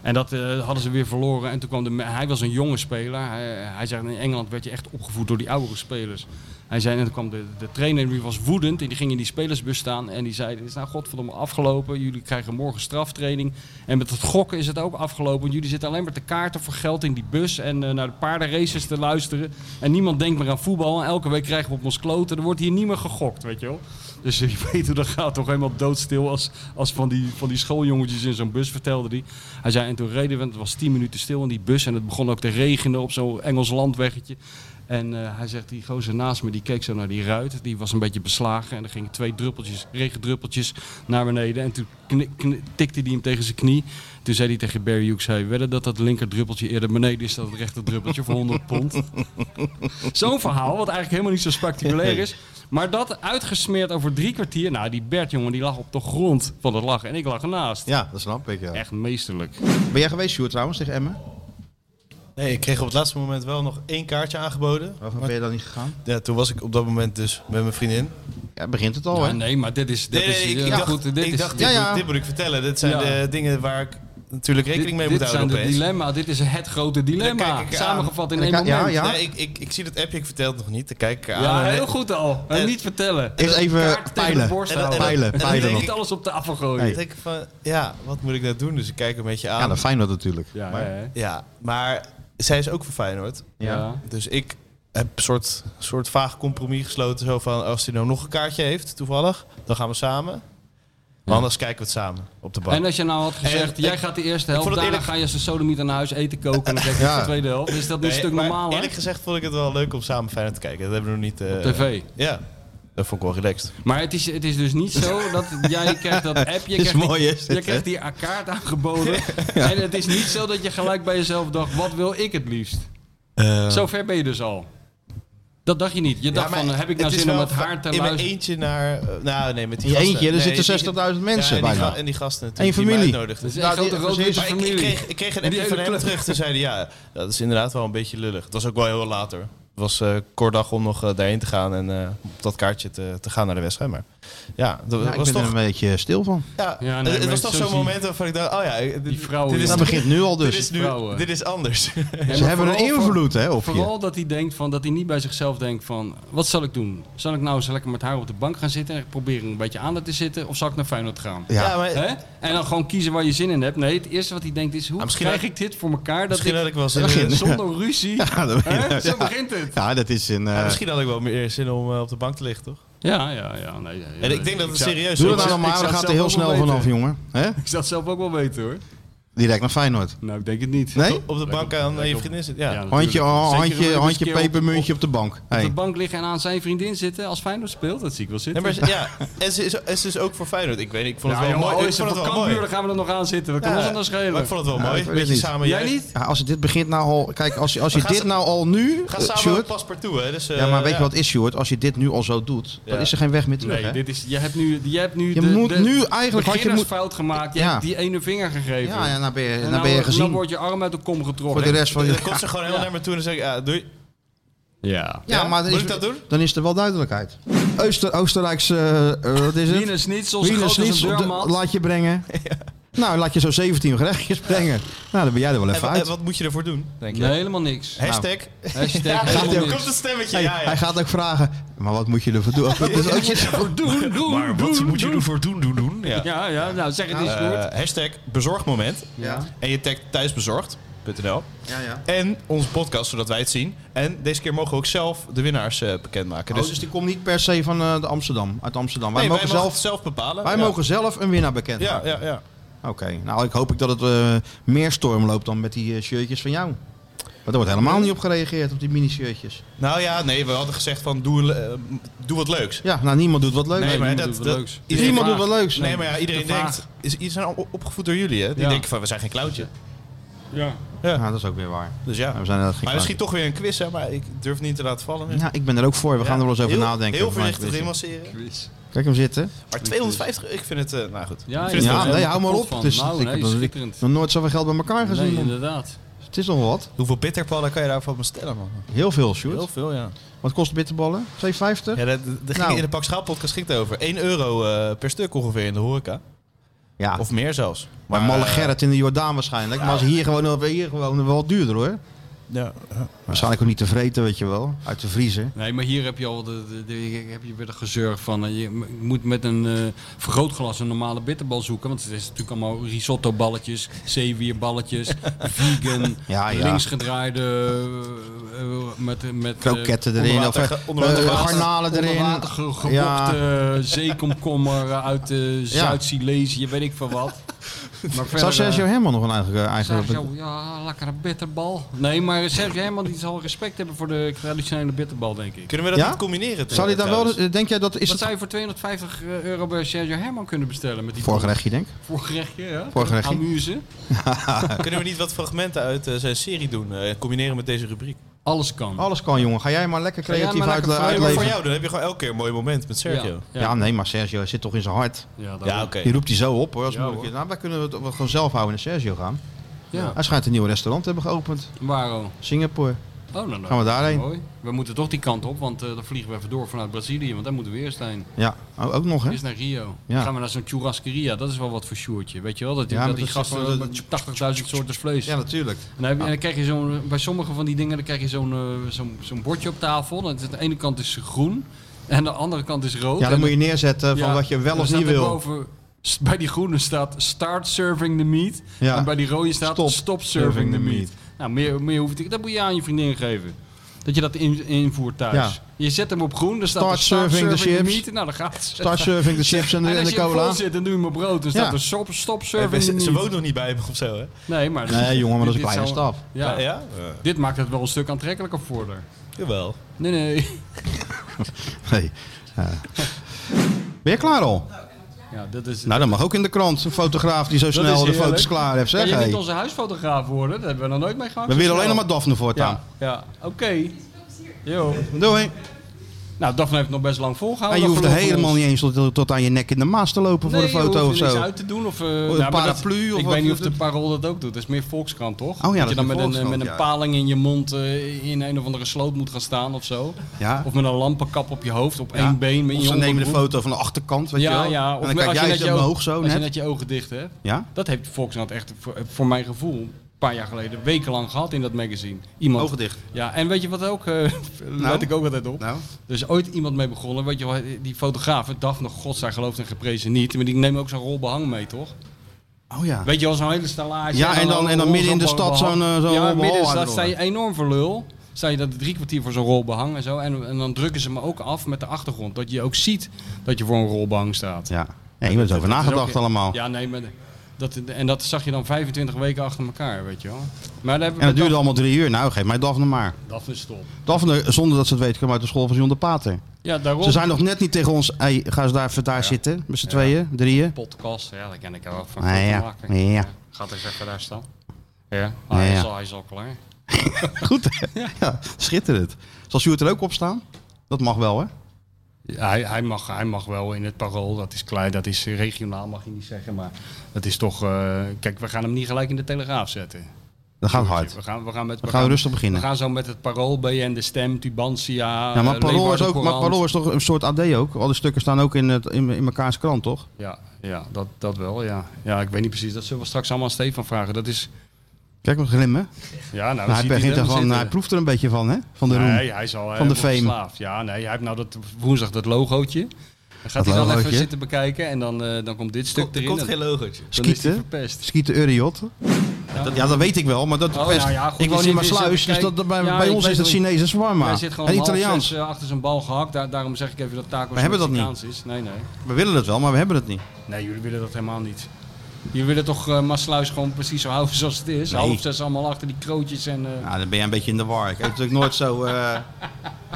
S3: En dat eh, hadden ze weer verloren. En toen kwam de, me- hij was een jonge speler. Hij, hij zei, in Engeland werd je echt opgevoed door die oudere spelers. Hij zei, en toen kwam de, de trainer, en die was woedend. En die ging in die spelersbus staan. En die zei, het is nou godverdomme afgelopen. Jullie krijgen morgen straftraining. En met het gokken is het ook afgelopen. Want jullie zitten alleen maar te kaarten voor geld in die bus. En eh, naar de paardenraces te luisteren. En niemand denkt meer aan voetbal. En elke week krijgen we op ons kloten. Er wordt hier niet meer gegokt, weet je wel. Dus je weet hoe dat gaat, toch helemaal doodstil als, als van, die, van die schooljongetjes in zo'n bus, vertelde hij. Hij zei, en toen reden we, het was tien minuten stil in die bus en het begon ook te regenen op zo'n Engels landweggetje. En eh, hij zegt, die gozer naast me, die keek zo naar die ruit, die was een beetje beslagen en er gingen twee druppeltjes, regendruppeltjes naar beneden. En toen kni- kni- tikte hij hem tegen zijn knie. Toen zei hij tegen Barry Hughes, hey, wedden dat dat linker druppeltje eerder beneden is dan het rechter druppeltje voor 100 pond. Zo'n verhaal, wat eigenlijk helemaal niet zo spectaculair is. Maar dat uitgesmeerd over drie kwartier. Nou, die Bert, jongen, die lag op de grond van het lachen. En ik lag ernaast.
S2: ja, dat snap ik, ja.
S3: Echt meesterlijk.
S2: Ben jij geweest, Sjoerd, trouwens, tegen Emmen?
S4: Nee, ik kreeg op het laatste moment wel nog één kaartje aangeboden.
S2: Waarom
S4: Maar
S2: ben je dan niet gegaan?
S4: ja, toen was ik op dat moment dus met mijn vriendin.
S2: Ja, begint het al,
S3: Ja,
S2: hè?
S3: nee, maar dit is... Dit
S4: Nee, nee,
S3: is
S4: ik,
S3: ja,
S4: ik dacht,
S3: goed, dit
S4: ik
S3: is,
S4: dacht,
S2: Ja,
S4: dit,
S2: ja.
S4: Moet, dit moet ik vertellen. Dit zijn
S3: Ja.
S4: de dingen waar ik natuurlijk rekening mee
S3: dit,
S4: moet
S3: dit
S4: houden
S3: zijn de
S4: opeens.
S3: dilemma. Dit is het grote
S4: Dan
S3: dilemma.
S4: kijk ik aan.
S3: Ah, Samengevat in
S2: eh, En
S3: één
S2: dan
S3: moment.
S2: ka- ja,
S3: Ja,
S2: ja.
S4: Ja, ik, ik, ik zie dat appje, ik vertel het nog niet. Dan kijk ik eh, aan. en-
S3: heel goed al. En niet vertellen.
S2: Eerst even
S3: Kaart tegen de
S2: peilen.
S3: borst
S4: En dan- en dan-
S3: houden.
S2: Peilen,
S4: en dan
S2: peilen
S4: denk
S2: nog.
S3: Niet
S4: ik-
S3: alles op de afval gooien.
S4: Dan denk ik van, ja, wat moet ik nou doen? Dus ik kijk een beetje aan.
S2: Ja, dat Feyenoord natuurlijk.
S3: Ja,
S2: Maar-
S3: hè?
S4: Ja, maar zij is ook van Feyenoord.
S3: ja.
S4: Dus ik heb een soort, soort vaag compromis gesloten. Zo van, als hij nou nog een kaartje heeft, toevallig, dan gaan we samen. Maar anders kijken we het samen op de bank.
S3: En als je nou had gezegd,
S4: En-
S3: jij gaat de eerste
S4: vond
S3: helft,
S4: het
S3: daarna
S4: eerlijk-
S3: ga je als een sodomieter naar huis eten koken en dan kijk je
S2: Ja.
S3: de tweede helft. Is dat nu een
S4: Nee,
S3: stuk
S4: maar
S3: normaler?
S4: Eerlijk gezegd vond ik het wel leuk om samen Feyenoord te kijken. Dat hebben we nog niet... eh,
S3: TV.
S4: Ja, dat vond ik wel relaxed.
S3: Maar het is, het is dus niet zo dat jij krijgt dat app, je
S2: Is
S3: krijgt,
S2: mooi,
S3: die,
S2: is dit,
S3: je krijgt die kaart aangeboden. En het is niet zo dat je gelijk bij jezelf dacht, wat wil ik het liefst? Zover ben je dus al. Dat dacht je niet. Je
S4: Eh.
S3: dacht
S4: Ja, maar
S3: van, heb ik nou
S4: het is
S3: zin om
S4: wel
S3: met haar te
S4: In mijn
S3: luisteren?
S4: eentje naar... eh, nou, nee, met die
S2: In je
S4: gasten.
S2: eentje, er
S4: Nee,
S2: zitten
S4: die-
S2: 60.000 mensen
S4: ja, en die
S2: bijna.
S4: ga- en die gasten
S2: Eén
S4: natuurlijk. die mij
S2: familie.
S4: uitnodigden.
S3: Dat is een
S2: Nou,
S3: grote
S2: die-
S3: rood
S2: precies.
S4: Maar ik,
S3: familie.
S4: ik, kreeg, ik kreeg een
S3: En die
S4: appje van
S3: hele
S4: hem
S3: club.
S4: terug. Toen zeiden ja, dat is inderdaad wel een beetje lullig. Het was ook wel heel laat hoor. Het was eh kort dag om nog eh, daarheen te gaan en eh, op dat kaartje te, te gaan naar de wedstrijd. Maar ja, dat
S2: Ja, ik
S4: was
S2: ben er
S4: toch...
S2: een beetje stil van.
S4: Ja,
S3: Ja, nee,
S4: het-
S3: maar
S4: het was toch
S3: zo
S4: zo'n
S3: zie je-
S4: moment waarvan ik dacht, oh ja, dit,
S3: Die vrouwen,
S4: dit, is,
S2: Dat begint nu al
S4: dit
S2: dus.
S4: is nu,
S3: vrouwen.
S4: dit is anders.
S3: Nee,
S2: Ze
S3: maar
S2: hebben een
S3: vooral voor-
S2: invloed, hè, op je.
S3: Vooral dat hij denkt van dat hij niet bij zichzelf denkt van wat zal ik doen? Zal ik nou eens lekker met haar op de bank gaan zitten en proberen een beetje aan te zitten of zal ik naar Feyenoord gaan?
S2: Ja.
S4: maar
S3: Hè? En dan gewoon kiezen waar je zin in hebt. Nee, het eerste wat hij denkt is hoe
S4: Ah, misschien
S3: krijg
S4: had-
S3: ik dit voor elkaar dat ik,
S4: misschien had ik wel zin
S3: eh,
S4: in-
S3: zonder ruzie.
S2: Ja, dat
S3: Hè?
S2: begint-
S3: Zo
S2: ja.
S3: begint het.
S2: Ja, dat is een...
S4: Ja,
S2: eh,
S4: misschien had ik wel meer zin om eh, op de bank te liggen, toch?
S3: Ja, ja, ja. Nee, ja, ja.
S4: En ik denk dat het
S3: zou-
S4: serieus
S2: Doe
S4: is.
S2: dat nou
S3: zou-
S2: dan maar,
S3: ik
S2: dan
S3: zou
S2: gaat
S3: het
S2: er heel
S3: zelf ook
S2: snel
S3: wel
S2: vanaf,
S3: weten.
S2: jongen. Hè?
S3: Ik zou het zelf ook wel weten hoor.
S2: Direct naar Feyenoord.
S3: Nou, ik denk het niet.
S2: Nee?
S4: Op de bank aan eh, je vriendin zit. Ja.
S3: Ja,
S2: Handje,
S3: natuurlijk.
S2: oh,
S3: Zeker
S2: handje,
S3: nog eens
S2: handje
S3: een keer op-
S2: pepermuntje op de bank.
S3: Op
S2: Hey.
S3: de bank liggen en aan zijn vriendin zitten als Feyenoord speelt. Dat zie ik wel
S4: Nee,
S3: zitten.
S4: maar ze- ja, en ze is, en ze is ook voor Feyenoord. Ik weet niet, ik vond het
S3: ja,
S4: wel
S3: jongen,
S4: mooi.
S3: oh,
S4: ik
S3: is het
S4: vond het
S3: voor
S4: wel mooi.
S3: Cambuur, dan gaan we er nog aan zitten. We kunnen ons
S4: Ja,
S3: aan dat
S4: Maar
S3: schelen.
S4: ik vond het wel mooi.
S2: ik weet
S4: Beetje
S2: het niet.
S4: samen
S3: Jij
S4: juichen.
S3: niet?
S2: Ja, als het dit begint nou al... Kijk, als je, als je
S4: gaan
S2: dit
S4: ze-
S2: nou al nu...
S4: Ga
S2: eh,
S4: samen
S2: Sjoerd,
S4: pas partout, hè. Dus, eh,
S2: ja, maar weet
S4: ja.
S2: je wat is, Sjoerd? Als je dit nu al zo doet,
S4: Ja.
S2: dan is er geen weg meer terug,
S3: Nee,
S2: hè?
S3: dit is, je hebt nu, je hebt nu
S2: Je
S3: de,
S2: moet
S3: de
S2: nu eigenlijk- had je moet-
S3: fout gemaakt. Je
S2: Ja.
S3: hebt die ene vinger gegeven.
S2: Ja, ja, nou ben je,
S3: En
S2: nou ben je
S3: dan- Dan
S2: gezien
S3: wordt je arm uit de kom getrokken.
S2: voor de rest van
S4: Dan
S2: je...
S4: komt ze gewoon helemaal naar me toe en dan zeg ik, ja, doei.
S3: Ja.
S2: Ja, maar dan
S4: Moet
S2: is,
S4: ik dat doen?
S2: dan is er wel duidelijkheid. Ooster, Oostenrijkse... eh, wat is het?
S3: Linus niet zoals
S2: Wie
S3: groot
S2: is
S3: als
S2: niet
S3: een
S2: op de,
S3: deurmat.
S2: laat je brengen. Nou, laat je zo 17 gerechtjes brengen. Nou, dan ben jij er wel
S4: En,
S2: even
S4: wa- en
S2: uit. Nou.
S4: wat moet je ervoor doen, denk je?
S3: Nee, helemaal niks. Nou.
S4: Hashtag.
S3: Hashtag
S4: Ja,
S3: helemaal
S4: er komt
S3: niks.
S4: een stemmetje,
S2: Hey,
S4: ja, ja.
S2: Hij gaat ook vragen, maar wat moet je ervoor doen? Dat is ook je-
S3: Doen, doen, doen, doen.
S4: ervoor doen, doen, doen? Ja.
S3: Ja, ja, nou zeg het eens goed.
S4: Eh, hashtag bezorgmoment.
S3: Ja.
S4: En je tagt thuisbezorgd.nl.
S2: Ja, ja.
S4: En onze podcast, zodat wij het zien. En deze keer mogen we ook zelf de winnaars eh, bekendmaken.
S2: Oh,
S4: Dus,
S2: dus die komt niet per se van eh, de Amsterdam, uit Amsterdam. Wij,
S4: Nee,
S2: mogen,
S4: mogen
S2: zelf,
S4: het zelf bepalen.
S2: wij
S4: ja.
S2: mogen zelf een winnaar bekend
S4: Ja,
S2: maken.
S4: ja, ja.
S2: Oké, nou ik hoop ik dat het eh, meer storm loopt dan met die eh, shirtjes van jou. Maar er wordt helemaal niet op gereageerd, op die mini-shirtjes.
S4: Nou ja, nee, we hadden gezegd van doe, een le- eh, doe wat leuks.
S2: Ja, nou niemand doet wat leuks.
S4: Nee, maar
S3: niemand
S4: dat,
S3: doet wat
S4: dat-
S3: leuks.
S4: iedereen-
S2: niemand doet wat leuks.
S4: Nee, maar ja, iedereen
S3: te vaag.
S4: denkt... Is, iedereen zijn al opgevoed door jullie, hè? Die
S3: Ja.
S4: denken van, we zijn geen clownje.
S3: Ja.
S2: Ja, Nou, dat is ook weer waar.
S4: Dus ja.
S2: Ja, we zijn inderdaad geen
S4: Maar misschien
S2: kwaad.
S4: toch weer een quiz, hè? Maar ik durf niet te laten vallen.
S2: Ja, ik ben er ook voor. We gaan er wel eens over
S4: heel,
S2: nadenken.
S4: Heel
S2: over mijn
S4: voorzichtig
S2: quizje.
S4: remasseren.
S2: Kijk hem zitten.
S4: Maar 250, ik vind het... eh, nou goed.
S3: Ja,
S4: Ik
S3: ja,
S4: vind het wel-
S2: Ja, nee,
S3: helemaal
S2: hou maar
S3: kapot
S2: op.
S3: van.
S2: Het is-
S3: Nou,
S2: ik
S3: nee,
S2: heb nog niet-
S3: schitterend.
S2: Nog nooit zoveel geld bij elkaar gezien.
S3: Nee,
S2: man.
S3: inderdaad.
S2: het is nog wat.
S4: Hoeveel bitterballen kan je daarvan bestellen, man?
S2: Heel veel, Sjoerd.
S4: Heel veel, ja.
S2: Wat kost bitterballen? 2,50? Ja.
S4: Ja, daar daar ging
S2: Nou.
S4: in de Pak Schaal podcast ging het over. 1 euro eh, per stuk ongeveer in de horeca. Of meer zelfs.
S2: Maar Malle
S4: eh,
S2: Gerrit in de Jordaan waarschijnlijk. Maar als hier gewoon, hier gewoon wel duurder hoor.
S4: Ja.
S2: Waarschijnlijk ook niet te vreten, weet je wel. Uit de vriezer.
S3: Nee, maar hier heb je al de, de- de- heb je weer de gezeur van. eh, Je m- moet met een eh, vergrootglas een normale bitterbal zoeken. Want het is natuurlijk allemaal risotto balletjes, zeewierballetjes, vegan,
S2: Ja, ja.
S3: linksgedraaide eh, eh, met, met eh,
S2: Kroketten erin. Of
S4: onderwater-
S2: eh,
S4: onderwater-
S2: eh, garnalen
S3: onder
S2: erin.
S3: water ge- gewokte
S2: Ja.
S3: eh, zeekomkommer uit eh, Zuid-Silesië, weet ik van wat. Maar
S2: Zou
S3: verder,
S2: Sergio
S3: eh,
S2: helemaal nog een eigen... eigen
S3: Sergio, ja, lekkere bitterbal. Nee, maar Sergio helemaal die zal respect hebben voor de traditionele bitterbal, denk ik.
S4: Kunnen we dat
S2: Ja?
S4: niet combineren?
S2: Zou die dan
S4: trouwens?
S2: wel... Denk jij dat... Is
S3: Wat
S2: het
S3: zou je voor 250 euro bij Sergio Herman kunnen bestellen? Met die
S2: voorgerechtje, denk ik?
S3: Voorgerechtje, ja.
S2: Voorgerechtje.
S3: Amuse.
S4: Kunnen we niet wat fragmenten uit eh, zijn serie doen eh, en combineren met deze rubriek?
S3: Alles kan.
S2: Alles kan, jongen. Ga jij maar lekker
S3: jij
S2: creatief
S3: maar
S2: uit,
S3: lekker vrij-
S4: Nee, maar voor
S2: uitleven.
S4: jou, dan heb je gewoon elke keer een mooi moment met Sergio.
S2: Ja. nee, maar Sergio zit toch in zijn hart.
S3: Ja,
S4: Ja,
S3: dat-
S4: oké.
S2: Die roept hij zo op hoor. Als
S3: Ja,
S2: moeilijk
S3: hoor.
S2: is. Nou, wij kunnen het we gewoon zelf houden en naar Sergio gaan.
S3: ja.
S2: Hij schijnt een nieuw restaurant te hebben geopend.
S3: Waarom?
S2: Singapore.
S3: Oh, nou, nou.
S2: Gaan we daarheen?
S3: Mooi. We moeten toch die kant op, want eh, dan vliegen we even door vanuit Brazilië, want daar moeten we eerst heen.
S2: Ja, o- ook nog hè.
S3: Eerst naar Rio.
S2: Ja.
S3: Dan gaan we naar zo'n churrasqueria, dat is wel wat voor sjoertje. Weet je wel, dat die,
S2: Ja, maar
S3: dat die
S2: dat is
S3: gasten
S2: gewoon
S3: met 80.000 soorten vlees.
S2: Ja, natuurlijk.
S3: En dan, heb je, en dan krijg je zo'n, bij sommige van die dingen dan krijg je zo'n, eh, zo'n, zo'n bordje op tafel. Dan is het- Aan de ene kant is groen en aan de andere kant is rood.
S2: Ja,
S3: En
S2: dan moet je neerzetten van
S3: Ja,
S2: wat je wel
S3: dan
S2: of
S3: staat
S2: niet
S3: er
S2: wil.
S3: boven, st- bij die groene staat start serving the meat.
S2: Ja.
S3: En bij die rode staat
S2: Stop
S3: stop, serving the meat. Nou, meer, meer hoeft ik. Dat moet je aan je vriendin geven. Dat je dat in, invoert thuis. Je zet hem op groen, dan staat
S2: Start
S3: er start
S2: serving the
S3: serving, the,
S2: chips.
S3: meat. Nou, dan gaat ze.
S2: Start serving de chips en eh, de,
S3: en
S2: en
S3: als
S2: de
S3: je vol
S2: cola.
S3: zit, dan doe je hem op rood. Dan staat
S2: Ja.
S3: er stop, stop
S4: Eh,
S3: serving the
S4: ze, ze
S3: meat.
S4: woont nog niet bij me of zo, hè?
S3: Nee, maar
S2: Nee jongen, maar dat is een
S3: dit
S2: kleine
S3: zou-
S2: stap.
S3: Ja,
S4: Ja? ja? Eh,
S3: Dit maakt het wel een stuk aantrekkelijker voor haar.
S4: jawel.
S3: Nee, nee.
S2: Nee. Ja. Ben je klaar al?
S3: Ja, dat is...
S2: Nou, dat mag ook in de krant. Een fotograaf die zo snel de
S3: heerlijk.
S2: foto's klaar heeft.
S3: Ja,
S2: Zeg,
S3: je
S2: hey.
S3: moet onze huisfotograaf worden. Daar hebben we nog nooit mee gehad.
S2: We willen alleen nog
S3: maar
S2: maar Daphne voortaan.
S3: Ja, ja. oké. Jo.
S2: Doei.
S3: Nou, Daphne heeft het nog best lang volgehouden.
S2: En je hoeft er
S3: geloof ik
S2: helemaal
S3: ons.
S2: niet eens tot, tot aan je nek in de maas te lopen voor
S3: Nee,
S2: de foto
S3: je
S2: of
S3: hoeft er niks
S2: zo.
S3: uit te doen. Of, eh,
S2: een
S3: maar dat-
S2: paraplu of
S3: Ik
S2: wat
S3: weet niet
S2: is
S3: of de
S2: het?
S3: parool dat ook doet. Dat is meer Volkskrant, toch?
S2: ja, dat
S3: je
S2: is
S3: dan
S2: meer
S3: met een, eh, met een
S2: Volkskrant, ja.
S3: paling in je mond eh, in een of andere sloot moet gaan staan of zo.
S2: Ja.
S3: Of met een lampenkap op je hoofd, op
S2: Ja.
S3: één been. Met
S2: Of
S3: je
S2: ze nemen de
S3: onderbroek.
S2: foto van de achterkant, weet je
S3: Ja,
S2: wel.
S3: ja.
S2: En
S3: Of
S2: dan
S3: met-
S2: kijk
S3: als je
S2: jij
S3: net je
S2: zo omhoog
S3: oog-
S2: zo
S3: Als je
S2: net.
S3: net je ogen dicht hebt.
S2: Ja?
S3: Dat heeft Volkskrant echt, voor, voor mijn gevoel, een paar jaar geleden, wekenlang gehad in dat magazine. Iemand.
S2: Ogen dicht.
S3: Ja, en weet je wat ook, eh let ik ook altijd op.
S2: Nou?
S3: Er is ooit iemand mee begonnen, weet je wel, die fotograaf, Daphne, god, zij gelooft en geprezen niet, maar die neemt ook zo'n rol behang mee, toch?
S2: Oh ja.
S3: Weet je wel, zo'n hele stallage.
S2: Ja, en dan- en dan
S3: rol-
S2: midden in de
S3: zo'n
S2: stad
S3: behang.
S2: zo'n, eh, zo'n rol
S3: Ja, midden in de
S2: behang
S3: stad
S2: eronder.
S3: sta je enorm voor lul. Sta je dat drie kwartier voor zo'n rol behang en zo. En, en dan drukken ze me ook af met de achtergrond, dat je ook ziet dat je voor een rol behang staat.
S2: Ja. Nee, je bent over
S3: Dat is
S2: nagedacht
S3: ook-
S2: allemaal.
S3: Ja, nee, maar Dat, en dat zag je dan 25 weken achter elkaar, weet je wel. Maar daar hebben
S2: En
S3: we
S2: dat duurde allemaal drie uur. Nou, geef mij Daphne maar.
S3: Dat is top.
S2: Daphne, zonder dat ze het weet, kwam uit de school van John de Pater.
S3: Ja, daarom.
S2: Ze zijn nog net niet tegen ons. Hey, ga eens daar even daar zitten. Met z'n tweeën, drieën.
S3: podcast. Ja, dat ken ik wel van
S2: Ah,
S3: Koen
S2: ja.
S3: Bakker.
S2: Ja.
S3: Gaat eens even daar staan. Ja, Ah, hij,
S2: Ja, ja.
S3: Is al, hij is al klaar.
S2: Goed, hè? Ja, schitterend. Zal Sjoerd er ook op staan? Dat mag wel, hè?
S3: Ah, Ja, hij, hij, mag, hij mag wel in het parool, dat is klein, dat is eh, regionaal mag je niet zeggen, maar dat is toch... eh, kijk, we gaan hem niet gelijk in de Telegraaf zetten.
S2: Dat gaat hard.
S3: We gaan, we gaan, met,
S2: Dan gaan we rustig beginnen.
S3: We gaan zo met het parool, BN De Stem, Tubantia,
S2: Ja, maar
S3: eh,
S2: Parool is,
S3: Leeuwarden
S2: ook, maar
S3: Courant.
S2: Parool is toch een soort AD ook? Al die stukken staan ook in, het, in, in mekaars krant, toch?
S3: Ja, ja dat, dat wel, ja. Ja, ik weet niet precies, dat zullen we straks allemaal aan Stefan vragen. Dat is...
S2: Kijk maar glimmen.
S3: Ja, nou,
S2: Nou,
S3: ziet
S2: hij, begint
S3: helemaal
S2: ervan, hij
S3: zitten.
S2: proeft er een beetje van, hè? Van de roem.
S3: Nee, hij is al
S2: Van de
S3: helemaal
S2: fame.
S3: verslaafd. Ja, nee, hij heeft nou dat woensdag dat logootje. Dan gaat
S2: Dat
S3: hij dan
S2: logootje.
S3: even zitten bekijken en dan, eh, dan komt dit stuk
S4: Er
S3: erin.
S4: komt
S3: en
S4: geen logootje.
S3: dan is hij
S2: Skieten.
S3: verpest.
S2: Skieten Uriot. Ja. dat weet ik wel, maar dat
S3: Oh,
S2: best-
S3: nou ja, goed,
S2: ik
S3: we
S2: woon in
S3: zitten-
S2: Maasluis,
S3: zitten-
S2: dus dat, dat- bij,
S3: kijk,
S2: bij
S3: ja, ik
S2: ons is
S3: weet
S2: dat
S3: wel-
S2: Chinese
S3: Hij
S2: zwarma.
S3: zit gewoon
S2: En
S3: om half
S2: Italiaans.
S3: zes, eh, achter zijn bal gehakt. Daar- daarom zeg ik even dat tacos
S2: We hebben dat niet.
S3: Mexicaans is. Nee, nee.
S2: We willen dat wel, maar we hebben het niet.
S3: Nee, jullie willen dat helemaal niet. Jullie willen toch eh Maasluis gewoon precies zo houden zoals het is?
S2: Nee.
S3: Half zes allemaal achter die krootjes en... eh,
S2: Nou, dan ben jij een beetje in de war. Ik eet natuurlijk nooit zo... eh,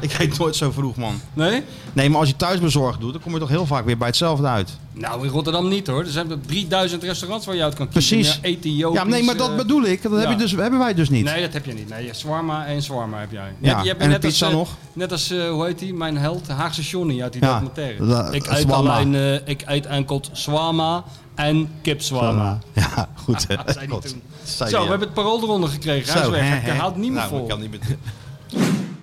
S2: ik eet nooit zo vroeg, man.
S3: Nee?
S2: Nee, maar als je thuisbezorgd doet, dan kom je toch heel vaak weer bij hetzelfde uit.
S3: Nou, in Rotterdam niet hoor. Er zijn er 3000 restaurants waar je uit kan kiezen.
S2: Precies.
S3: Ja, Ethiopisch.
S2: Ja, nee, maar dat
S3: eh,
S2: bedoel ik. Dat heb
S3: ja.
S2: je dus, hebben wij dus niet.
S3: Nee, dat heb je niet. Nee, Swarma en Swarma heb jij.
S2: Ja, en een pizza
S3: als, eh,
S2: nog.
S3: Net als, eh, hoe heet die, mijn held, Haagse Johnny uit die
S2: Ja,
S3: documentaire.
S2: dat-
S3: ik,
S2: dat
S3: eet
S2: Swarma.
S3: alleen, eh, ik eet enkel Swarma en kip Swarma.
S2: Ja, goed. hè.
S3: Dat zei hij
S2: God,
S3: toen.
S2: dat zei hij,
S3: Zo, we
S2: ja.
S3: hebben het parool eronder gekregen. Hij is
S2: Zo, hè,
S3: weg. Hij
S2: hè.
S3: haalt niet meer
S2: Nou,
S3: vol.
S2: ik kan niet meer...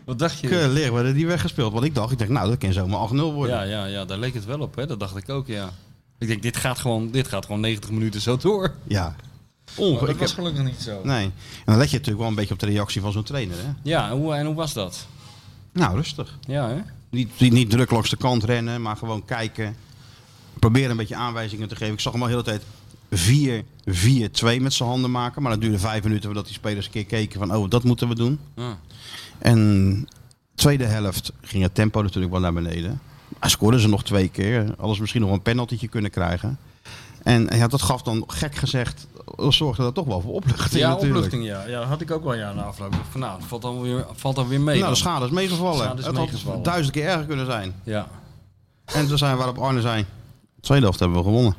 S3: Wat dacht je?
S2: Keur leer, we hadden die weggespeeld. Want ik dacht, ik denk, nou, dat kan zomaar 8-0 worden.
S3: Ja, ja, ja, daar leek het wel op. Hè? Dat dacht ik ook, ja. Ik denk, dit gaat gewoon, dit gaat gewoon 90 minuten zo door. Oh,
S2: Ja.
S3: Onge-
S2: ik
S6: Dat was
S2: heb-
S6: gelukkig niet
S3: Oh.
S6: zo.
S2: Nee. En dan let je natuurlijk wel een beetje op de reactie van zo'n trainer. Hè?
S3: Ja, en hoe, en hoe was dat?
S2: Nou, rustig.
S3: Ja, hè?
S2: Niet, niet, niet druk langs de kant rennen, maar gewoon kijken. Proberen een beetje aanwijzingen te geven. Ik zag hem al de hele tijd 4-4-2 met zijn handen maken. Maar dat duurde vijf minuten voordat die spelers een keer keken van, oh, dat moeten we doen.
S3: Ja.
S2: En tweede helft ging het tempo natuurlijk wel naar beneden. Maar scoorden ze nog twee keer. Alles misschien nog een penaltytje kunnen krijgen. En ja, dat gaf dan, gek gezegd, zorgde dat toch wel voor opluchting
S3: Ja,
S2: natuurlijk.
S3: opluchting, ja. ja. Dat had ik ook wel ja, na afloop. Ik dacht Van, nou, dat valt dan weer, valt dan weer
S2: nou,
S3: mee.
S2: de
S3: dan.
S2: schade is meegevallen.
S3: De schade is
S2: het
S3: meegevallen.
S2: had duizend keer erger kunnen zijn.
S3: Ja.
S2: En toen zijn we waarop Arne zei, tweede helft hebben we gewonnen.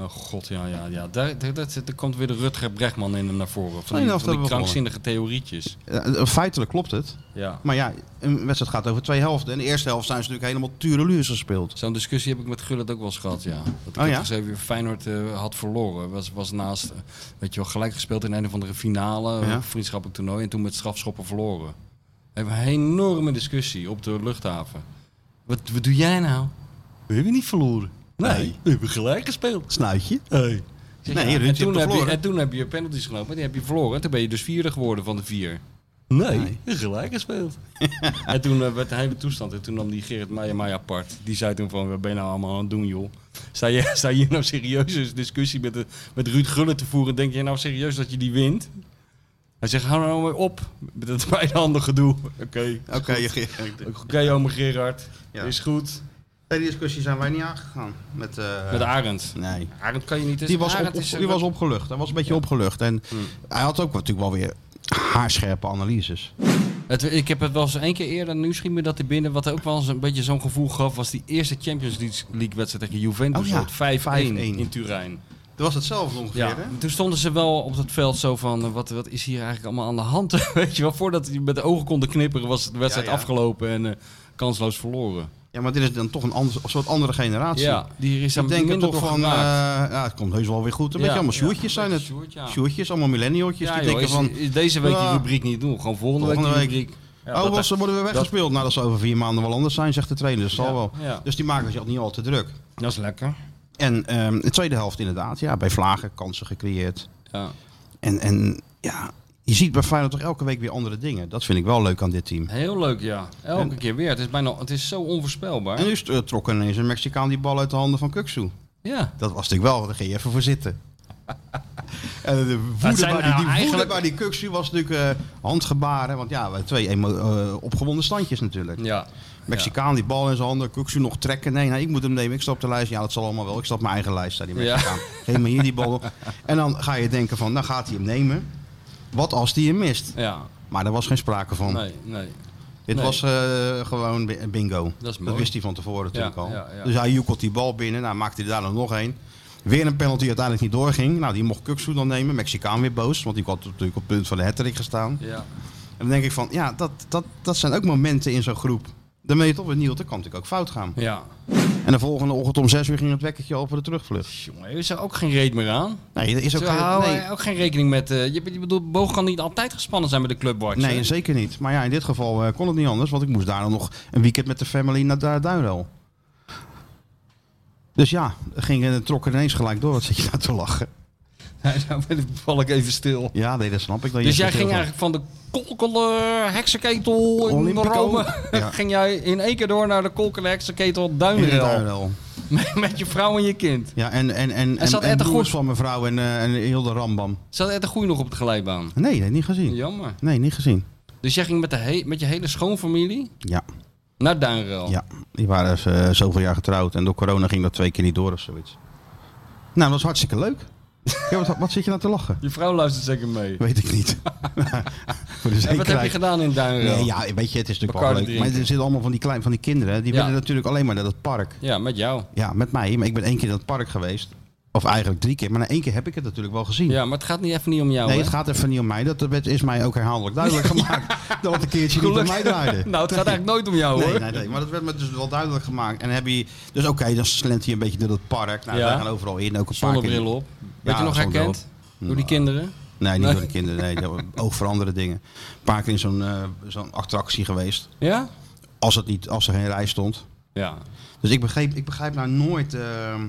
S3: Oh god, ja, ja, ja. Daar, daar, daar, daar komt weer de Rutger Brechtman in hem naar voren. Van
S2: Nee, dat
S3: die, van die
S2: hebben we
S3: krankzinnige theorietjes.
S2: Eh, Feitelijk klopt het.
S3: Ja.
S2: Maar ja, een wedstrijd gaat over twee helften. En de eerste helft zijn ze natuurlijk helemaal tureluurs gespeeld.
S3: Zo'n discussie heb ik met Gullit ook wel eens gehad, ja. Dat ik
S2: Oh,
S3: had
S2: ja?
S3: gezegd, weer Feyenoord eh, had verloren. Was, was naast, eh, weet je wel, gelijk gespeeld in een of andere
S2: Ja.
S3: finale, eh, vriendschappelijk toernooi. En toen met strafschoppen verloren. We hebben een enorme discussie op de luchthaven. Wat, wat doe jij nou? We hebben niet verloren. Nee, we hebben gelijk gespeeld.
S2: Snuitje.
S3: Hey. Zeg,
S2: Nee,
S3: ja,
S2: Ruud, je hebt
S3: en, toen heb je,
S2: verloren.
S3: en toen heb je penalties genomen en die heb je verloren. En toen ben je dus vierde geworden van de vier. Nee, gelijk gespeeld. en toen eh, werd de hele toestand. En toen nam die Gerrit Meijer mij apart. Die zei toen van, wat ben je nou allemaal aan het doen, joh? Sta je, sta je hier nou serieus een discussie met, de, met Ruud Gullit te voeren? Denk je nou serieus dat je die wint? Hij zegt, hou nou maar op. Dat is mijn handen gedoe. Oké,
S2: Oké, je ge-
S3: oké, oma Gerard.
S2: Ja.
S3: Is goed.
S2: Nee, die discussie zijn wij niet aangegaan. Met, eh,
S3: Met Arend.
S2: Nee.
S3: Arend kan je niet...
S2: Die was,
S3: Arend
S2: op,
S3: is, eh,
S2: die was opgelucht. Hij was een beetje opgelucht. En
S3: Hmm.
S2: hij had ook natuurlijk wel weer haarscherpe analyses.
S3: Het- ik heb het wel eens één keer eerder, nu schiet me dat er binnen. Wat ook wel eens een beetje zo'n gevoel gaf, was die eerste Champions League wedstrijd tegen Juventus.
S2: Oh ja,
S3: ooit, 5-1
S2: 5-1.
S3: in Turijn.
S2: Dat was hetzelfde ongeveer,
S3: Ja, toen stonden ze wel op dat veld zo van, eh, wat, wat is hier eigenlijk allemaal aan de hand? Weet je wel, voordat die met de ogen konden knipperen was de wedstrijd
S2: Ja, ja.
S3: afgelopen en eh, kansloos verloren.
S2: Ja, maar dit is dan toch een, ander, een soort andere generatie.
S3: Ja, die is daar
S2: Ik denk er
S3: minder
S2: toch
S3: door
S2: van, eh,
S3: gemaakt.
S2: ja, het komt heus wel weer goed. Een
S3: Ja.
S2: beetje allemaal
S3: Ja,
S2: sjoertjes zijn het.
S3: Sjoerd, ja.
S2: Sjoertjes, allemaal millennialtjes.
S3: Ja,
S2: die
S3: joh,
S2: denken
S3: is-
S2: van,
S3: is deze week
S2: ja.
S3: die rubriek niet doen, gewoon volgende,
S2: Volgende
S3: week
S2: week.
S3: die rubriek. Ja,
S2: oh,
S3: dat-
S2: was, ze worden we weggespeeld. Nou, dat is over vier maanden wel anders zijn, zegt de trainer. Dus, dat zal wel.
S3: ja.
S2: dus die maken zich niet al te druk.
S3: dat is lekker.
S2: En ehm, de tweede helft inderdaad. Ja, bij Vlagen kansen gecreëerd.
S3: Ja.
S2: En, en ja, je ziet bij Feyenoord toch elke week weer andere dingen. Dat vind ik wel leuk aan dit team.
S3: Heel leuk, ja. Elke keer weer. Het is, bijna, het is zo onvoorspelbaar.
S2: En nu st- eh, trok ineens een Mexicaan die bal uit de handen van Kuksu.
S3: Ja.
S2: Dat was natuurlijk wel, daar ging je even voor zitten. En eh, de
S3: Het
S2: woede
S3: zijn
S2: bij die,
S3: nou
S2: die, woede
S3: eigenlijk-
S2: bij die Kuxu was natuurlijk eh, handgebaren. Want ja, we- twee emo- eh, opgewonden standjes natuurlijk.
S3: Ja.
S2: Mexicaan die bal in zijn handen, Kuxu nog trekken. Nee, nou, ik moet hem nemen. Ik stap op de lijst. Ja, dat zal allemaal wel. Ik stap op mijn eigen lijst, zei die
S3: Ja.
S2: Mexicaan. Geef me hier die bal op. En dan ga je denken van, nou gaat hij hem nemen. Wat als hij hem mist?
S3: Ja,
S2: Maar daar was geen sprake van.
S3: nee, nee.
S2: Dit
S3: Nee.
S2: was eh, gewoon bi- bingo.
S3: Dat is mooi.
S2: wist hij van tevoren natuurlijk al.
S3: ja, ja.
S2: Dus hij joekelt die bal binnen. Nou, maakte hij daar dan nog een. Weer een penalty die uiteindelijk niet doorging. Nou, die mocht Kuksu dan nemen. Mexicaan weer boos. Want die had natuurlijk op het punt van de hattrick gestaan.
S3: Ja.
S2: En dan denk ik van, ja, dat, dat, dat zijn ook momenten in zo'n groep. Dan ben je toch benieuwd. Dat kan natuurlijk ook fout gaan.
S3: Ja.
S2: En de volgende ochtend om 6 uur ging het wekkertje al voor de terugvlucht.
S3: Jongen, is er ook geen reet meer aan.
S2: Nee, er is ook
S3: Ze
S2: geen...
S3: houden
S2: Nee,
S3: ook geen rekening met... eh, je, je bedoelt, boog kan niet altijd gespannen zijn bij de clubwatch.
S2: nee,
S3: hè?
S2: zeker niet. Maar ja, in dit geval eh, kon het niet anders. Want ik moest daar dan nog een weekend met de family naar Du- Duinrel. Dus ja, ging, eh, trok er ineens gelijk door. Wat zit je nou te lachen?
S3: Nee, nou ben ik toevallig even stil.
S2: Ja, nee, dat snap ik. Dat
S3: Dus
S2: je
S3: jij ging
S2: heel
S3: eigenlijk van de kolkelen heksenketel in
S2: Olympico.
S3: Rome...
S2: Ja.
S3: ging jij in één keer door naar de kolkelen heksenketel
S2: veel- in
S3: Duinrel.
S2: Duinrel.
S3: Met, met je vrouw en je kind.
S2: Ja, en, en, en, en,
S3: zat
S2: en
S3: Ed de
S2: broers
S3: Goed?
S2: van mevrouw en, eh, en heel de rambam.
S3: Zat Ed de Goeie nog op de glijbaan?
S2: Nee, nee, niet gezien.
S3: Jammer.
S2: Nee, niet gezien.
S3: Dus jij ging met, de he- met je hele schoonfamilie
S2: Ja,
S3: naar Duinrel?
S2: ja. die waren eh, zoveel jaar getrouwd. En door corona ging dat twee keer niet door of zoiets. Nou, dat was hartstikke leuk. Ja, wat, wat zit je nou te lachen?
S3: Je vrouw luistert zeker mee.
S2: Weet ik niet. Voor de
S3: En wat heb je
S2: zekerheid.
S3: gedaan in Duinrel?
S2: Dus Nee, ja, weet je, het is natuurlijk wel
S3: Bacardi
S2: leuk. Maar er
S3: drinken.
S2: zitten allemaal van die, klein, van die kinderen. Die
S3: Ja.
S2: willen natuurlijk alleen maar naar dat park.
S3: Ja, met jou.
S2: Ja, met mij. Maar ik ben één keer in dat park geweest. Of eigenlijk drie keer. Maar na één keer heb ik het natuurlijk wel gezien.
S3: Ja, maar het gaat niet even niet om jou,
S2: nee,
S3: hè?
S2: het gaat even niet om mij. Dat werd- is mij ook herhaaldelijk duidelijk gemaakt. Dat het een keertje niet om mij draaide.
S3: nou, het gaat eigenlijk nooit om jou,
S2: Nee,
S3: hoor.
S2: nee, nee, maar dat werd me dus wel duidelijk gemaakt. En heb je, dus oké, dan slent hij een beetje door dat park. Nou,
S3: Ja.
S2: wij gaan overal in, ook een paar
S3: Zonder
S2: keer.
S3: bril op. Weet je nog
S2: zonnebril
S3: herkend? Door die kinderen?
S2: Nou, Nee, niet
S3: Nee.
S2: door de kinderen. Nee, dat- oog voor andere dingen. Een paar keer in zo'n eh, zo'n attractie geweest.
S3: Ja?
S2: Als, het niet, als er geen rij stond.
S3: Ja.
S2: Dus ik begrijp, ik begrijp nou nooit ehm,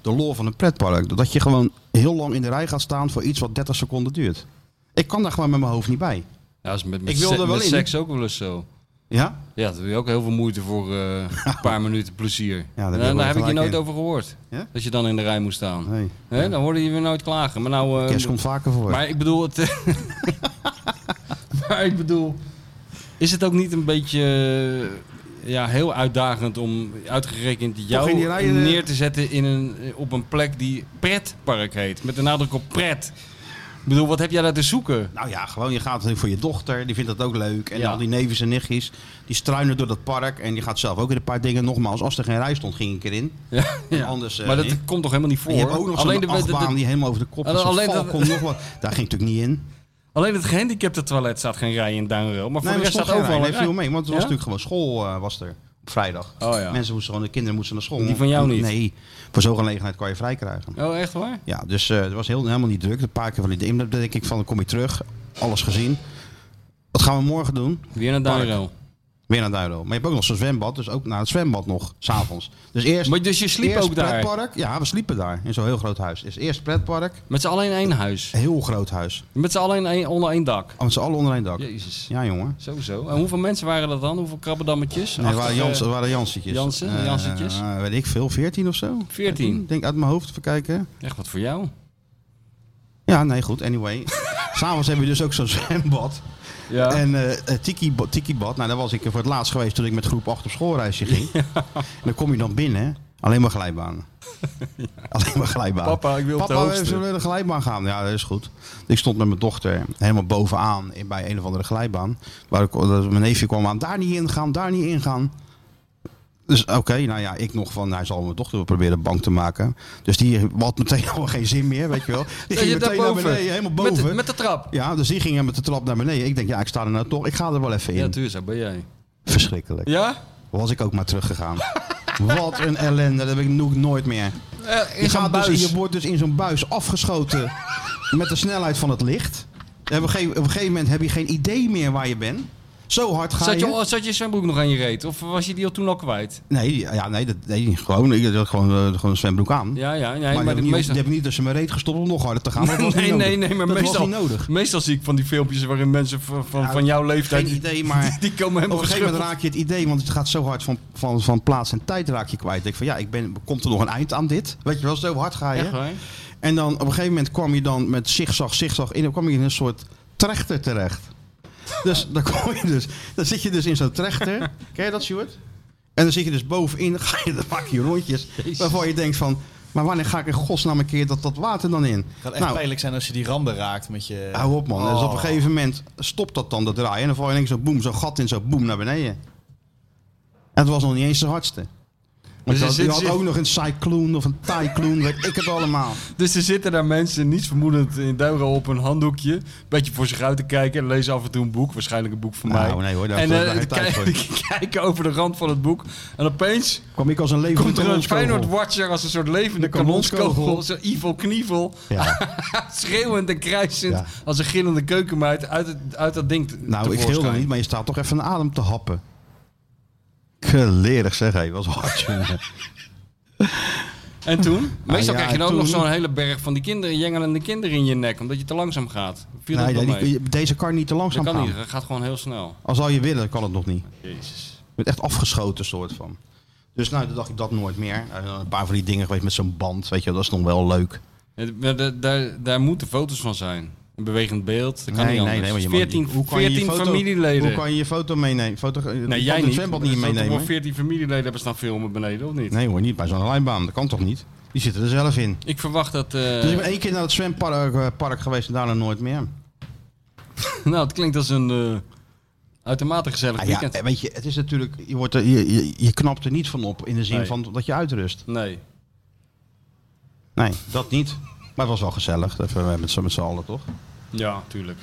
S2: de lol van een pretpark. Dat je gewoon heel lang in de rij gaat staan voor iets wat 30 seconden duurt. Ik kan daar gewoon met mijn hoofd niet bij.
S3: Ja, is met, met,
S2: Ik wil
S3: se-
S2: er wel
S3: met
S2: in.
S3: seks ook wel eens zo.
S2: Ja?
S3: Ja, daar doe je ook heel veel moeite voor eh, een paar minuten plezier.
S2: daar
S3: Ja,
S2: ben je
S3: daar
S2: wel
S3: heb ik je
S2: gelijk
S3: nooit
S2: in.
S3: over gehoord.
S2: Ja?
S3: Dat je dan in de rij moet staan.
S2: Nee.
S3: Hè? Dan hoorde je weer nooit klagen. Maar nou... eh,
S2: Kerst komt vaker voor.
S3: Maar ik bedoel het. maar ik bedoel. Is het ook niet een beetje. eh, Ja, heel uitdagend om uitgerekend jou
S2: in die rij, eh,
S3: neer te zetten in een, op een plek die pretpark heet. Met de nadruk op pret. Ik bedoel, wat heb jij daar te zoeken?
S2: Nou ja, gewoon je gaat voor je dochter, die vindt dat ook leuk. En
S3: Ja.
S2: al die neven en nichtjes, die struinen door dat park. En die gaat zelf ook in een paar dingen. Nogmaals, als er geen rij stond, ging ik erin.
S3: Ja, ja.
S2: Anders, eh,
S3: maar dat
S2: niet.
S3: komt toch helemaal niet voor?
S2: En je hebt ook nog
S3: alleen,
S2: zo'n
S3: de, de- de-
S2: achtbaan die helemaal over de kop is.
S3: Alleen
S2: Alleen
S3: dat-
S2: komt nog wat. Daar ging ik natuurlijk niet in.
S3: alleen het gehandicapte toilet staat geen rij in Duinrel.
S2: Nee,
S3: Maar voor de
S2: maar
S3: rest
S2: stond geen
S3: staat overal
S2: rij. Nee,
S3: een rij.
S2: viel mee, want het was
S3: Ja?
S2: natuurlijk gewoon school eh, was er op vrijdag.
S3: Oh ja.
S2: Mensen moesten gewoon, de kinderen moesten naar school.
S3: Die van jou niet?
S2: Nee, voor zo'n gelegenheid kan je vrij krijgen.
S3: Oh, echt waar?
S2: Ja, dus eh, het was heel, helemaal niet druk. Een paar keer van die dingen. Dan denk ik van, dan kom je terug. Alles gezien. Wat gaan we morgen doen?
S3: Weer naar
S2: Park.
S3: Duinrel.
S2: Weer naar Duiro. Maar je hebt ook nog zo'n zwembad. Dus ook naar het zwembad nog, s'avonds. Dus eerst,
S3: Maar dus je sliep
S2: eerst
S3: ook daar?
S2: pretpark. Ja, we sliepen daar in zo'n heel groot huis. Dus eerst pretpark,
S3: Met z'n allen in één huis.
S2: heel groot huis.
S3: Met z'n allen in één- onder één dak.
S2: Oh, Met z'n allen onder één dak.
S3: Jezus.
S2: Ja, jongen.
S3: Sowieso. En hoeveel mensen waren dat dan? Hoeveel krabbendammetjes?
S2: Nee, het
S3: Achter,
S2: waren, Jans,
S3: eh,
S2: het waren Jansetjes.
S3: Jansen,
S2: Eh,
S3: Jansetjes.
S2: eh, weet ik veel, 14 of zo?
S3: 14.
S2: Ik Denk uit mijn hoofd, even kijken.
S3: Echt wat voor jou.
S2: Ja, nee, goed, anyway. S'avonds hebben we dus ook zo'n zwembad.
S3: Ja.
S2: En eh, eh, tiki, ba- tiki Bad, nou daar was ik voor het laatst geweest toen ik met groep 8 op schoolreisje ging. En dan kom je dan binnen, alleen maar glijbanen. Alleen maar glijbanen.
S3: Papa, ik wil op de
S2: Papa, we
S3: hoogste.
S2: zullen de glijbaan gaan? Ja, dat is goed. Ik stond met mijn dochter helemaal bovenaan in, bij een of andere glijbaan. Waar ik, dat mijn neefje kwam aan, daar niet in gaan, daar niet in gaan. Dus oké, nou ja, ik nog van, hij zal mijn dochter wel proberen bang te maken. Dus die had meteen al geen zin meer, weet je wel. Die ging
S3: je
S2: meteen naar
S3: daarboven?
S2: beneden, helemaal
S3: Met
S2: boven.
S3: de, met de trap.
S2: Ja, dus die gingen met de trap naar beneden. Ik denk, ja, ik sta er nou toch. Ik ga er wel even in.
S3: Ja, tuurlijk, zo ben jij.
S2: Verschrikkelijk.
S3: Ja?
S2: Was ik ook maar teruggegaan. Wat een ellende. Dat heb ik nog nooit meer.
S3: Eh,
S2: Je,
S3: in zo'n
S2: gaat dus,
S3: buis.
S2: je wordt dus in zo'n buis afgeschoten met de snelheid van het licht. En Op een, gegeven, op een gegeven moment heb je geen idee meer waar je bent. Zo hard ga
S3: Zat je,
S2: je.
S3: oh, zat je zwembroek nog aan je reet? Of was je die al toen al kwijt?
S2: Nee, ja, nee, dat, nee gewoon, ik had gewoon, eh, gewoon een zwembroek aan.
S3: Ja, ja. Nee,
S2: maar
S3: maar,
S2: die
S3: de
S2: heb ik
S3: meeste...
S2: niet, niet tussen mijn reet gestopt om nog harder te gaan. Dat was
S3: nee,
S2: niet nodig.
S3: nee, nee, maar
S2: dat
S3: meestal,
S2: was niet nodig. Nou,
S3: meestal zie ik van die filmpjes waarin mensen van, van, van jouw leeftijd...
S2: Geen idee, maar
S3: Die komen helemaal
S2: Op een gegeven moment
S3: geschrubbeld.
S2: raak je het idee, want het gaat zo hard van, van, van plaats en tijd raak je kwijt. Ik denk van ja, ik ben, komt er nog een eind aan dit? Weet je wel, zo hard ga je.
S3: Echt waar?
S2: En dan op een gegeven moment kwam je dan met zigzag, zigzag in. Dan kwam je in een soort trechter terecht. Dus dan, kom je dus, dan zit je dus in zo'n trechter. Ken je dat, Stuart? En dan zit je dus bovenin, dan, ga je, dan maak je rondjes. Waarvan je denkt van, maar wanneer ga ik in godsnaam een keer dat, dat water dan in?
S4: Het gaat echt pijnlijk zijn als je die randen raakt met je...
S2: Nou. Hou op man. Dus op een
S4: Oh.
S2: gegeven moment stopt dat dan, dat draaien. En dan val je ineens zo boem, zo'n gat in, zo boem naar beneden. En het was nog niet eens de hardste. Want
S3: Dus
S2: je
S3: er
S2: had, je
S3: zit-
S2: had
S3: zit-
S2: ook nog een cycloon of een tycloon, weet ik het allemaal.
S3: Dus er zitten daar mensen niets vermoedend in Duiro op een handdoekje. Een beetje voor zich uit te kijken. Lezen af en toe een boek. Waarschijnlijk een boek van
S2: Nou,
S3: mij.
S2: nee hoor, daar
S3: en
S2: heb ik
S3: eh,
S2: geen tijd
S3: kijk- kijken over de rand van het boek. En opeens
S2: Kwam ik als een levende
S3: komt er een
S2: kanonskogel.
S3: Feyenoord-watcher als een soort levende
S2: De kanonskogel.
S3: kanonskogel. Zo'n evil knievel.
S2: Ja.
S3: Schreeuwend en krijsend
S2: Ja.
S3: als een gillende keukenmeid uit, het, uit dat ding te-
S2: Nou, ik schreeuw dan
S3: tevoorschijn.
S2: niet, maar je staat toch even een adem te happen. Gelerig zeg, hé, was hard jongen. Nou
S3: En toen? Meestal
S2: ja,
S3: krijg je dan ook nog
S2: toen-
S3: zo'n hele berg van die kinderen, jengelende kinderen in je nek. Omdat je te langzaam gaat. Viel
S2: Nee,
S3: dat
S2: nee,
S3: wel
S2: Nou die-
S3: mee?
S2: deze kan niet te
S3: Dat
S2: langzaam
S3: kan
S2: gaan.
S3: niet. Dat gaat gewoon heel snel.
S2: Al zou je willen, kan het nog niet.
S3: Jezus.
S2: Je bent echt afgeschoten soort van. Dus nou, toen dacht ik dat nooit meer. Nou, dan een paar van die dingen geweest met zo'n band, weet je, dat is nog wel leuk.
S3: Ja, maar da- daar, daar moeten foto's van zijn. Een bewegend beeld. Dat kan niet anders.
S2: want je mag-
S3: 14,
S2: hoe kan je je
S3: 14
S2: foto-
S3: familieleden.
S2: Hoe kan je je foto meenemen? Foto, eh, nee,
S3: nee, jij
S2: het
S3: niet.
S2: zwembad niet
S3: Er staat toch wel
S2: meenemen?
S3: 14 familieleden hebben staan filmen beneden, of niet?
S2: Nee hoor, niet bij zo'n lijnbaan. Dat kan toch niet? Die zitten er zelf in.
S3: Ik verwacht dat... eh,
S2: Dus ik ben één keer naar het zwempark eh, park geweest en daarna nooit meer.
S3: Nou, het klinkt als een eh, uitermate gezellig
S2: Ah,
S3: weekend.
S2: ja, weet je, het is natuurlijk, je, wordt er, je, je, je knapt er niet van op in de zin
S3: Nee.
S2: van dat je uitrust.
S3: Nee.
S2: Nee, dat niet. Maar het was wel gezellig, even met z'n- met z'n allen toch?
S3: Ja, tuurlijk.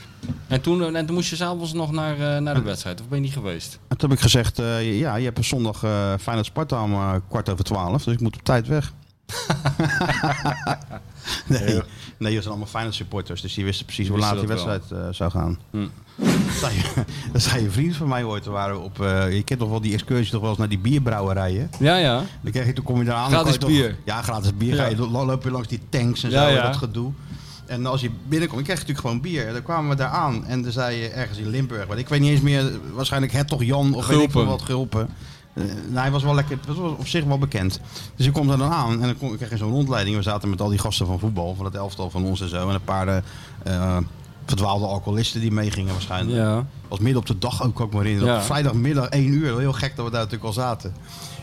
S3: En toen, eh, en toen moest je s'avonds nog naar, eh, naar de wedstrijd, of ben je niet geweest?
S2: En toen heb ik gezegd, eh, ja, je hebt een zondag eh Feyenoord Sparta om eh, kwart over twaalf, dus ik moet op tijd weg. nee, nee, dat zijn allemaal Feyenoord supporters, dus die wisten precies hoe
S3: Die
S2: laat die
S3: wisten dat
S2: wedstrijd eh, zou gaan.
S3: Hm.
S2: Dat zei je- dat zei een vriend van mij ooit, we waren op, eh, je kent toch wel die excursie toch wel eens naar die bierbrouwerijen.
S3: Ja, ja.
S2: Dan krijg je, toen kom je daar aan. dan
S3: Gratis
S2: kan je toch-
S3: bier.
S2: ja, gratis bier. Ga je, dan loop je langs die tanks en zo,
S3: Ja,
S2: en
S3: ja.
S2: dat gedoe. En als je binnenkomt, dan krijg je natuurlijk gewoon bier. En dan kwamen we daar aan en dan zei je ergens in Limburg. Want ik weet niet eens meer, waarschijnlijk Hertog Jan of weet ik veel
S3: Gulpen.
S2: wat, Gulpen. Eh, nou, hij was wel lekker, dat was op zich wel bekend. Dus je komt daar dan aan en dan kom, krijg je zo'n rondleiding. We zaten met al die gasten van voetbal, van het elftal van ons en zo. En een paar eh, eh, verdwaalde alcoholisten die meegingen waarschijnlijk.
S3: Ja.
S2: Was midden op de dag ook, ook maar in.
S3: Ja.
S2: Op vrijdagmiddag 1 uur. Heel gek dat we daar natuurlijk al zaten.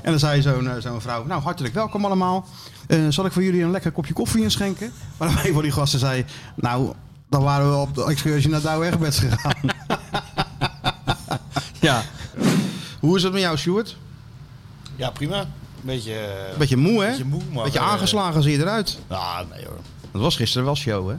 S2: En dan zei zo'n eh, zo'n vrouw, nou hartelijk welkom allemaal. Eh, zal ik voor jullie een lekker kopje koffie inschenken? Maar dan een van die gasten zei, nou dan waren we op de excursie naar Douwe Egberts gegaan.
S3: Ja,
S2: Hoe is het met jou Sjoerd?
S4: Ja, prima. Beetje... eh,
S2: Beetje moe hè?
S4: beetje moe, maar...
S2: Beetje
S4: eh,
S2: aangeslagen zie je eruit.
S4: Ah, nee hoor.
S2: Dat was gisteren wel show hè?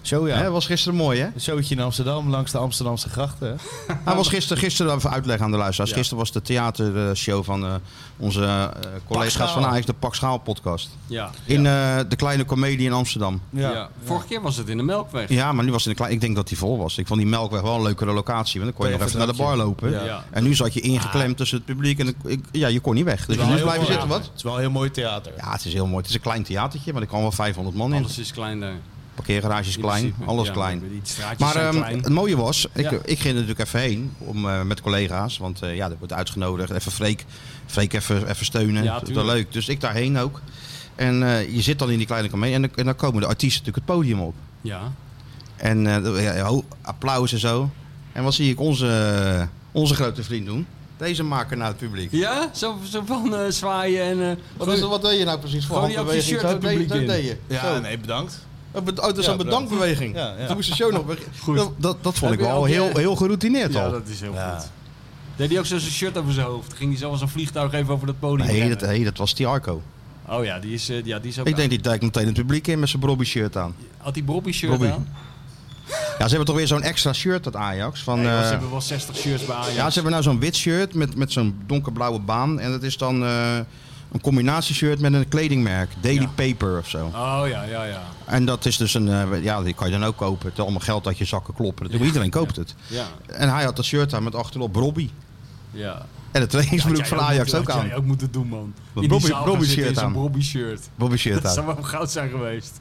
S4: Zo ja.
S2: Hè, was gisteren mooi hè?
S4: Een showtje in Amsterdam langs de Amsterdamse grachten. hè?
S2: Hij was gisteren, gisteren even uitleg aan de luisteraars. Gisteren was de theatershow van eh, onze eh, collega's van
S4: Schaal.
S2: Ajax, de Pak Schaal podcast.
S3: ja.
S2: In eh, de Kleine Comedie in Amsterdam.
S3: ja. Vorige keer was het in de Melkweg.
S2: Ja, maar nu was het in de klein. Ik denk dat die vol was. Ik vond die Melkweg wel een leukere locatie. Want dan kon je nog even naar de bar lopen.
S4: Ja.
S3: Ja.
S2: En nu zat je ingeklemd tussen het publiek. En ik- ik- ja, je kon niet weg. Dus
S4: Het is wel
S2: nu
S4: heel
S2: blijven
S4: mooi.
S2: zitten, wat?
S4: Het is wel een heel mooi theater.
S2: Ja, het is heel mooi. Het is een klein theatertje, maar er kan wel 500 man in.
S3: Alles is klein daar. in
S2: Parkeergarage is klein,
S3: principe.
S2: alles
S3: Ja,
S2: klein.
S3: Die straatjes
S2: Maar
S3: zijn
S2: ehm,
S3: klein.
S2: het mooie was, ik,
S3: Ja.
S2: ik ging er natuurlijk even heen om, eh, met collega's. Want eh, ja, dat wordt uitgenodigd. Even Freek, Freek even, even steunen.
S3: Ja,
S2: Dat- dat
S3: tuurlijk.
S2: leuk. Dus ik daarheen ook. En eh, je zit dan in die kleine kamer en, dan- en dan komen de artiesten natuurlijk het podium op.
S3: Ja.
S2: En eh, ja, ho- applaus en zo. En wat zie ik onze, onze grote vriend doen? Deze maken naar het publiek.
S3: Ja? Zo, zo van eh, zwaaien en... eh,
S2: Wat, is, wat deed je nou precies voor
S3: Gooi je ook je
S2: handbeweging?
S3: shirt het
S2: Zo deed-
S3: publiek
S2: zo
S3: in.
S2: deed je.
S4: Ja,
S2: Zo.
S4: nee, bedankt.
S2: Oh, beda- oh, dat is
S4: Ja,
S2: een bedankbeweging.
S4: Ja, ja.
S2: Toen moest de show nog beginnen. Dat, dat, dat vond ik
S3: Heb je
S2: wel
S3: ook je-
S2: heel, heel geroutineerd
S3: Ja,
S2: al.
S3: dat is heel
S4: Ja.
S3: goed. Deed hij ook zo zijn shirt over zijn hoofd? Ging hij zo als een vliegtuig even over dat podium
S2: Nee,
S3: rennen?
S2: dat, nee, dat was die Arco.
S3: Oh ja, die is, eh, ja, die is ook
S2: Ik denk die duikt meteen het publiek in met zijn Brobby shirt aan.
S3: Had die Bobby shirt
S2: Bobby.
S3: aan?
S2: Ja, ze hebben toch weer zo'n extra shirt dat Ajax. Van,
S3: Nee,
S2: eh,
S3: want ze hebben wel 60 shirts bij Ajax.
S2: ja, ze hebben nou zo'n wit shirt met, met zo'n donkerblauwe baan. En dat is dan eh, een combinatieshirt met een kledingmerk. Daily Paper of zo.
S3: Oh ja, ja, ja.
S2: En dat is dus een, eh, ja, die kan je dan ook kopen. Het is allemaal geld uit je zakken kloppen. Dat doet- Iedereen koopt het.
S3: Ja,
S2: En hij had dat shirt aan met achterop Robbie.
S3: ja.
S2: En de trainingsbroek van Ajax ook
S3: Dat
S2: aan.
S3: jij ook moeten doen, man.
S2: Bobby- Bobby shirt aan.
S3: Bobby shirt.
S2: Bobby shirt
S3: Dat
S2: aan.
S3: zou wel goud zijn geweest.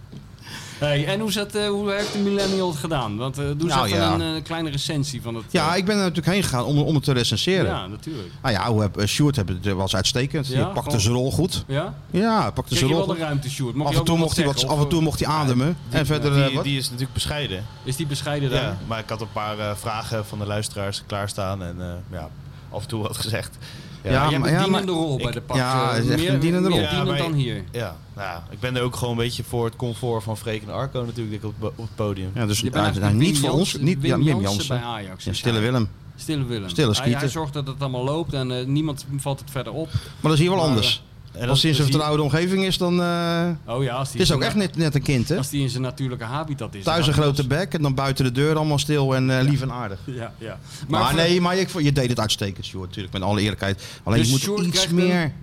S3: Hey, en hoe, zat, eh, hoe heeft de millennial het gedaan? Want eh, doe
S2: Nou,
S3: eens even
S2: ja.
S3: een eh, kleine recensie van het...
S2: Ja,
S3: eh,
S2: ik ben er natuurlijk heen gegaan om, om het te recenseren.
S3: ja, natuurlijk.
S2: Nou ja, hoe heb, eh, Sjoerd heb, het- was uitstekend.
S3: Ja,
S2: Die pakte
S3: gewoon-
S2: zijn rol goed.
S3: Ja?
S2: Ja, hij pakte
S3: Kreeg
S2: zijn
S3: je
S2: rol
S3: wel de
S2: goed.
S3: ruimte, Sjoerd?
S2: Af en, toe mocht hij wat,
S3: zeggen,
S2: af en
S3: of, eh,
S2: toe mocht hij ademen. en verder eh,
S4: Die,
S2: wat?
S4: die is natuurlijk bescheiden.
S3: Is die bescheiden daar?
S4: Ja, maar ik had een paar eh, vragen van de luisteraars klaarstaan. En eh, ja, af en toe wat gezegd. Ja,
S2: Ja,
S4: ja,
S3: Jij hebt
S2: maar-
S3: een
S2: ja,
S3: dienende
S2: maar-
S3: rol bij
S4: ik-
S3: de pak.
S2: ja,
S3: eh,
S2: het is echt
S3: meer,
S2: een dienende
S3: meer
S2: rol.
S3: dienend
S4: Ja, maar-
S3: dan hier.
S4: nou ja, ik ben er ook gewoon een beetje voor het comfort van Freek en Arco natuurlijk op, op het podium.
S2: Ja, dus
S3: Je bent
S2: hij-
S3: eigenlijk
S2: hij-
S3: Wim
S2: niet voor ons.
S3: Jansen-
S2: Niet, ja,
S3: Wim
S2: Mim
S3: Jansen bij
S2: Jansen.
S3: Ajax.
S2: Ja,
S3: is
S2: Stille
S3: hij.
S2: Willem.
S3: Stille Willem.
S2: Stille
S3: hij, hij
S2: Schieten.
S3: zorgt dat het allemaal loopt en eh, niemand valt het verder op.
S2: Maar dat is hier wel anders.
S3: eh,
S4: En dat-
S2: Als hij in
S4: dat
S2: zijn
S4: zie-
S2: vertrouwde omgeving is, dan... eh,
S3: Oh ja, als die
S2: het is
S3: zo-
S2: ook echt net, net een kind, hè?
S3: Als die in zijn natuurlijke habitat is.
S2: Thuis
S3: dan
S2: een
S3: gaat
S2: grote bek en dan buiten de deur allemaal stil en eh, lief en aardig.
S3: hij los. Ja, ja.
S2: Maar,
S3: voor-
S2: nee, maar ik, vond- je deed het uitstekend, Sjoerd. Natuurlijk, met alle eerlijkheid. Alleen
S3: Dus
S2: je moet
S3: Sjoerd
S2: iets
S3: krijgt
S2: meer...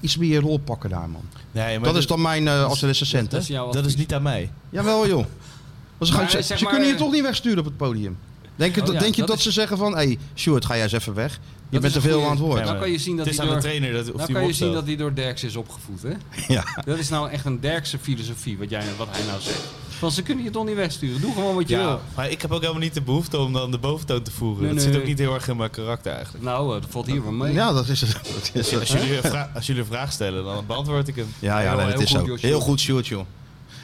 S2: Iets meer rol pakken daar, man.
S4: Nee, maar
S2: Dat is dan mijn eh, als recensent, hè?
S3: Dat is jouw
S4: dat is
S3: advies.
S4: niet aan mij.
S2: Jawel, joh. Dat is
S3: Maar,
S2: gewoon- ze
S3: eh, zeg
S2: ze
S3: maar,
S2: kunnen je
S3: eh,
S2: toch niet wegsturen op het podium. Denk, je
S3: Oh
S2: dat-
S3: ja,
S2: denk je
S3: dat
S2: dat,
S3: is-
S2: ze zeggen van... Hé, hey, Sjoerd, ga jij eens even weg. Je
S3: Dat
S2: bent
S3: is
S2: te
S3: een
S2: veel
S3: goeie.
S2: aan het woord.
S3: Ja, Dan kan je zien dat
S4: het is
S3: hij
S4: aan de
S3: door-
S4: trainer dat, of die
S3: Dan kan
S4: hem
S3: je zien
S4: opstelt.
S3: dat hij door Derks is opgevoed, hè?
S2: Ja.
S3: Dat is nou echt een Derkse filosofie, wat, jij, wat hij nou zegt. Van, ze kunnen je toch niet wegsturen. Doe gewoon wat je
S4: Ja,
S3: wil.
S4: maar ik heb ook helemaal niet de behoefte om dan de boventoon te voeren.
S3: Nee,
S4: dat
S3: nee,
S4: zit ook
S3: nee.
S4: niet heel erg in mijn karakter eigenlijk.
S3: Nou, eh, dat valt hier wel mee.
S2: Ja, dat is het. Dat is het.
S4: Als jullie, een vra- als jullie een vraag stellen, dan beantwoord ik hem.
S2: Ja, ja,
S3: Heel-
S2: nee,
S3: heel
S2: dat is
S3: goed,
S2: zo.
S3: joh,
S2: Heel goed, Sjoerd, joh.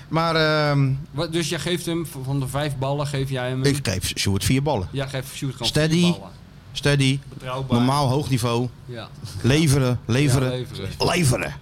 S2: Maar ehm,
S3: Wat- Dus jij geeft hem, v- van de vijf ballen geef jij hem...
S2: ik geef Sjoerd vier ballen.
S3: Jij geeft Sjoerd gewoon
S2: Steady.
S3: vier ballen.
S2: Steady,
S3: Betrouwbaar.
S2: normaal, hoog niveau.
S3: Ja.
S2: Leveren,
S3: Ja,
S2: leveren,
S3: leveren.
S2: leveren.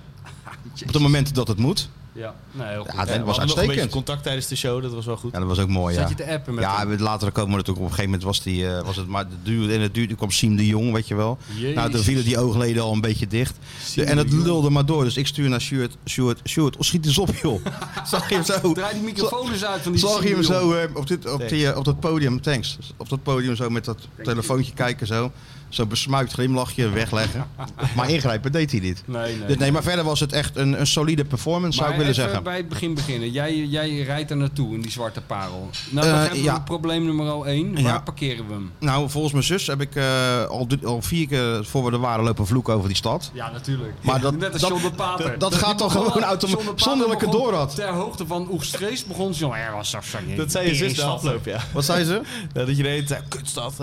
S2: Op het moment dat het moet.
S3: Ja, nee,
S2: Ja,
S3: heel goed.
S2: dat
S4: We hadden
S2: was
S4: nog een beetje
S2: uitstekend.
S4: contact tijdens de show, dat was wel goed.
S2: Ja, dat was ook mooi,
S3: Zat
S2: ja.
S3: je te appen met
S2: Ja,
S3: hem?
S2: we- later komen we natuurlijk op een gegeven moment was, die, eh, was het maar het duurde en het duurde. Toen kwam Siem de Jong, weet je wel.
S3: Jezus.
S2: Nou, toen vielen die oogleden al een beetje dicht.
S3: Siem
S2: en het
S3: de Jong.
S2: lulde maar door. Dus ik stuur naar Sjoerd, Sjoerd, Sjoerd, oh, schiet eens op joh. Zag je hem zo,
S3: Draai die microfoon eens uit van die
S2: zag je hem
S3: Siem,
S2: zo
S3: jongen.
S2: eh, op, dit, op, die, eh, op dat podium, thanks. Op dat podium zo met dat telefoontje kijken zo. Zo besmuikt glimlachje, wegleggen. maar ingrijpen deed hij niet.
S3: Nee, nee.
S2: Dus nee, maar verder was het echt een, een solide performance, zou ik
S3: Maar
S2: willen
S3: even
S2: zeggen.
S3: bij het begin beginnen. Jij, jij rijdt er naartoe in die zwarte parel. Nou,
S2: Eh,
S3: dan hebben
S2: ja.
S3: we probleem nummer 1. Waar
S2: Ja.
S3: parkeren we hem?
S2: Nou, volgens mijn zus heb ik eh, al, drie- al vier keer voor we er waren lopen vloeken over die stad.
S3: Ja, natuurlijk.
S2: Maar dat-
S3: Net als
S2: dat-
S3: John de Pater.
S2: dat- dat gaat dan
S3: Die begon-
S2: gewoon automatisch,
S3: John de Pater
S2: zonder dat ik het
S3: begon
S2: door had.
S3: Ter hoogte van Oegstrees begon ze... Ja, was zo, zo,
S4: Dat zei je zus de afloop, ja.
S2: Wat zei ze?
S4: Ja, Dat je de hele tijd, kutstad.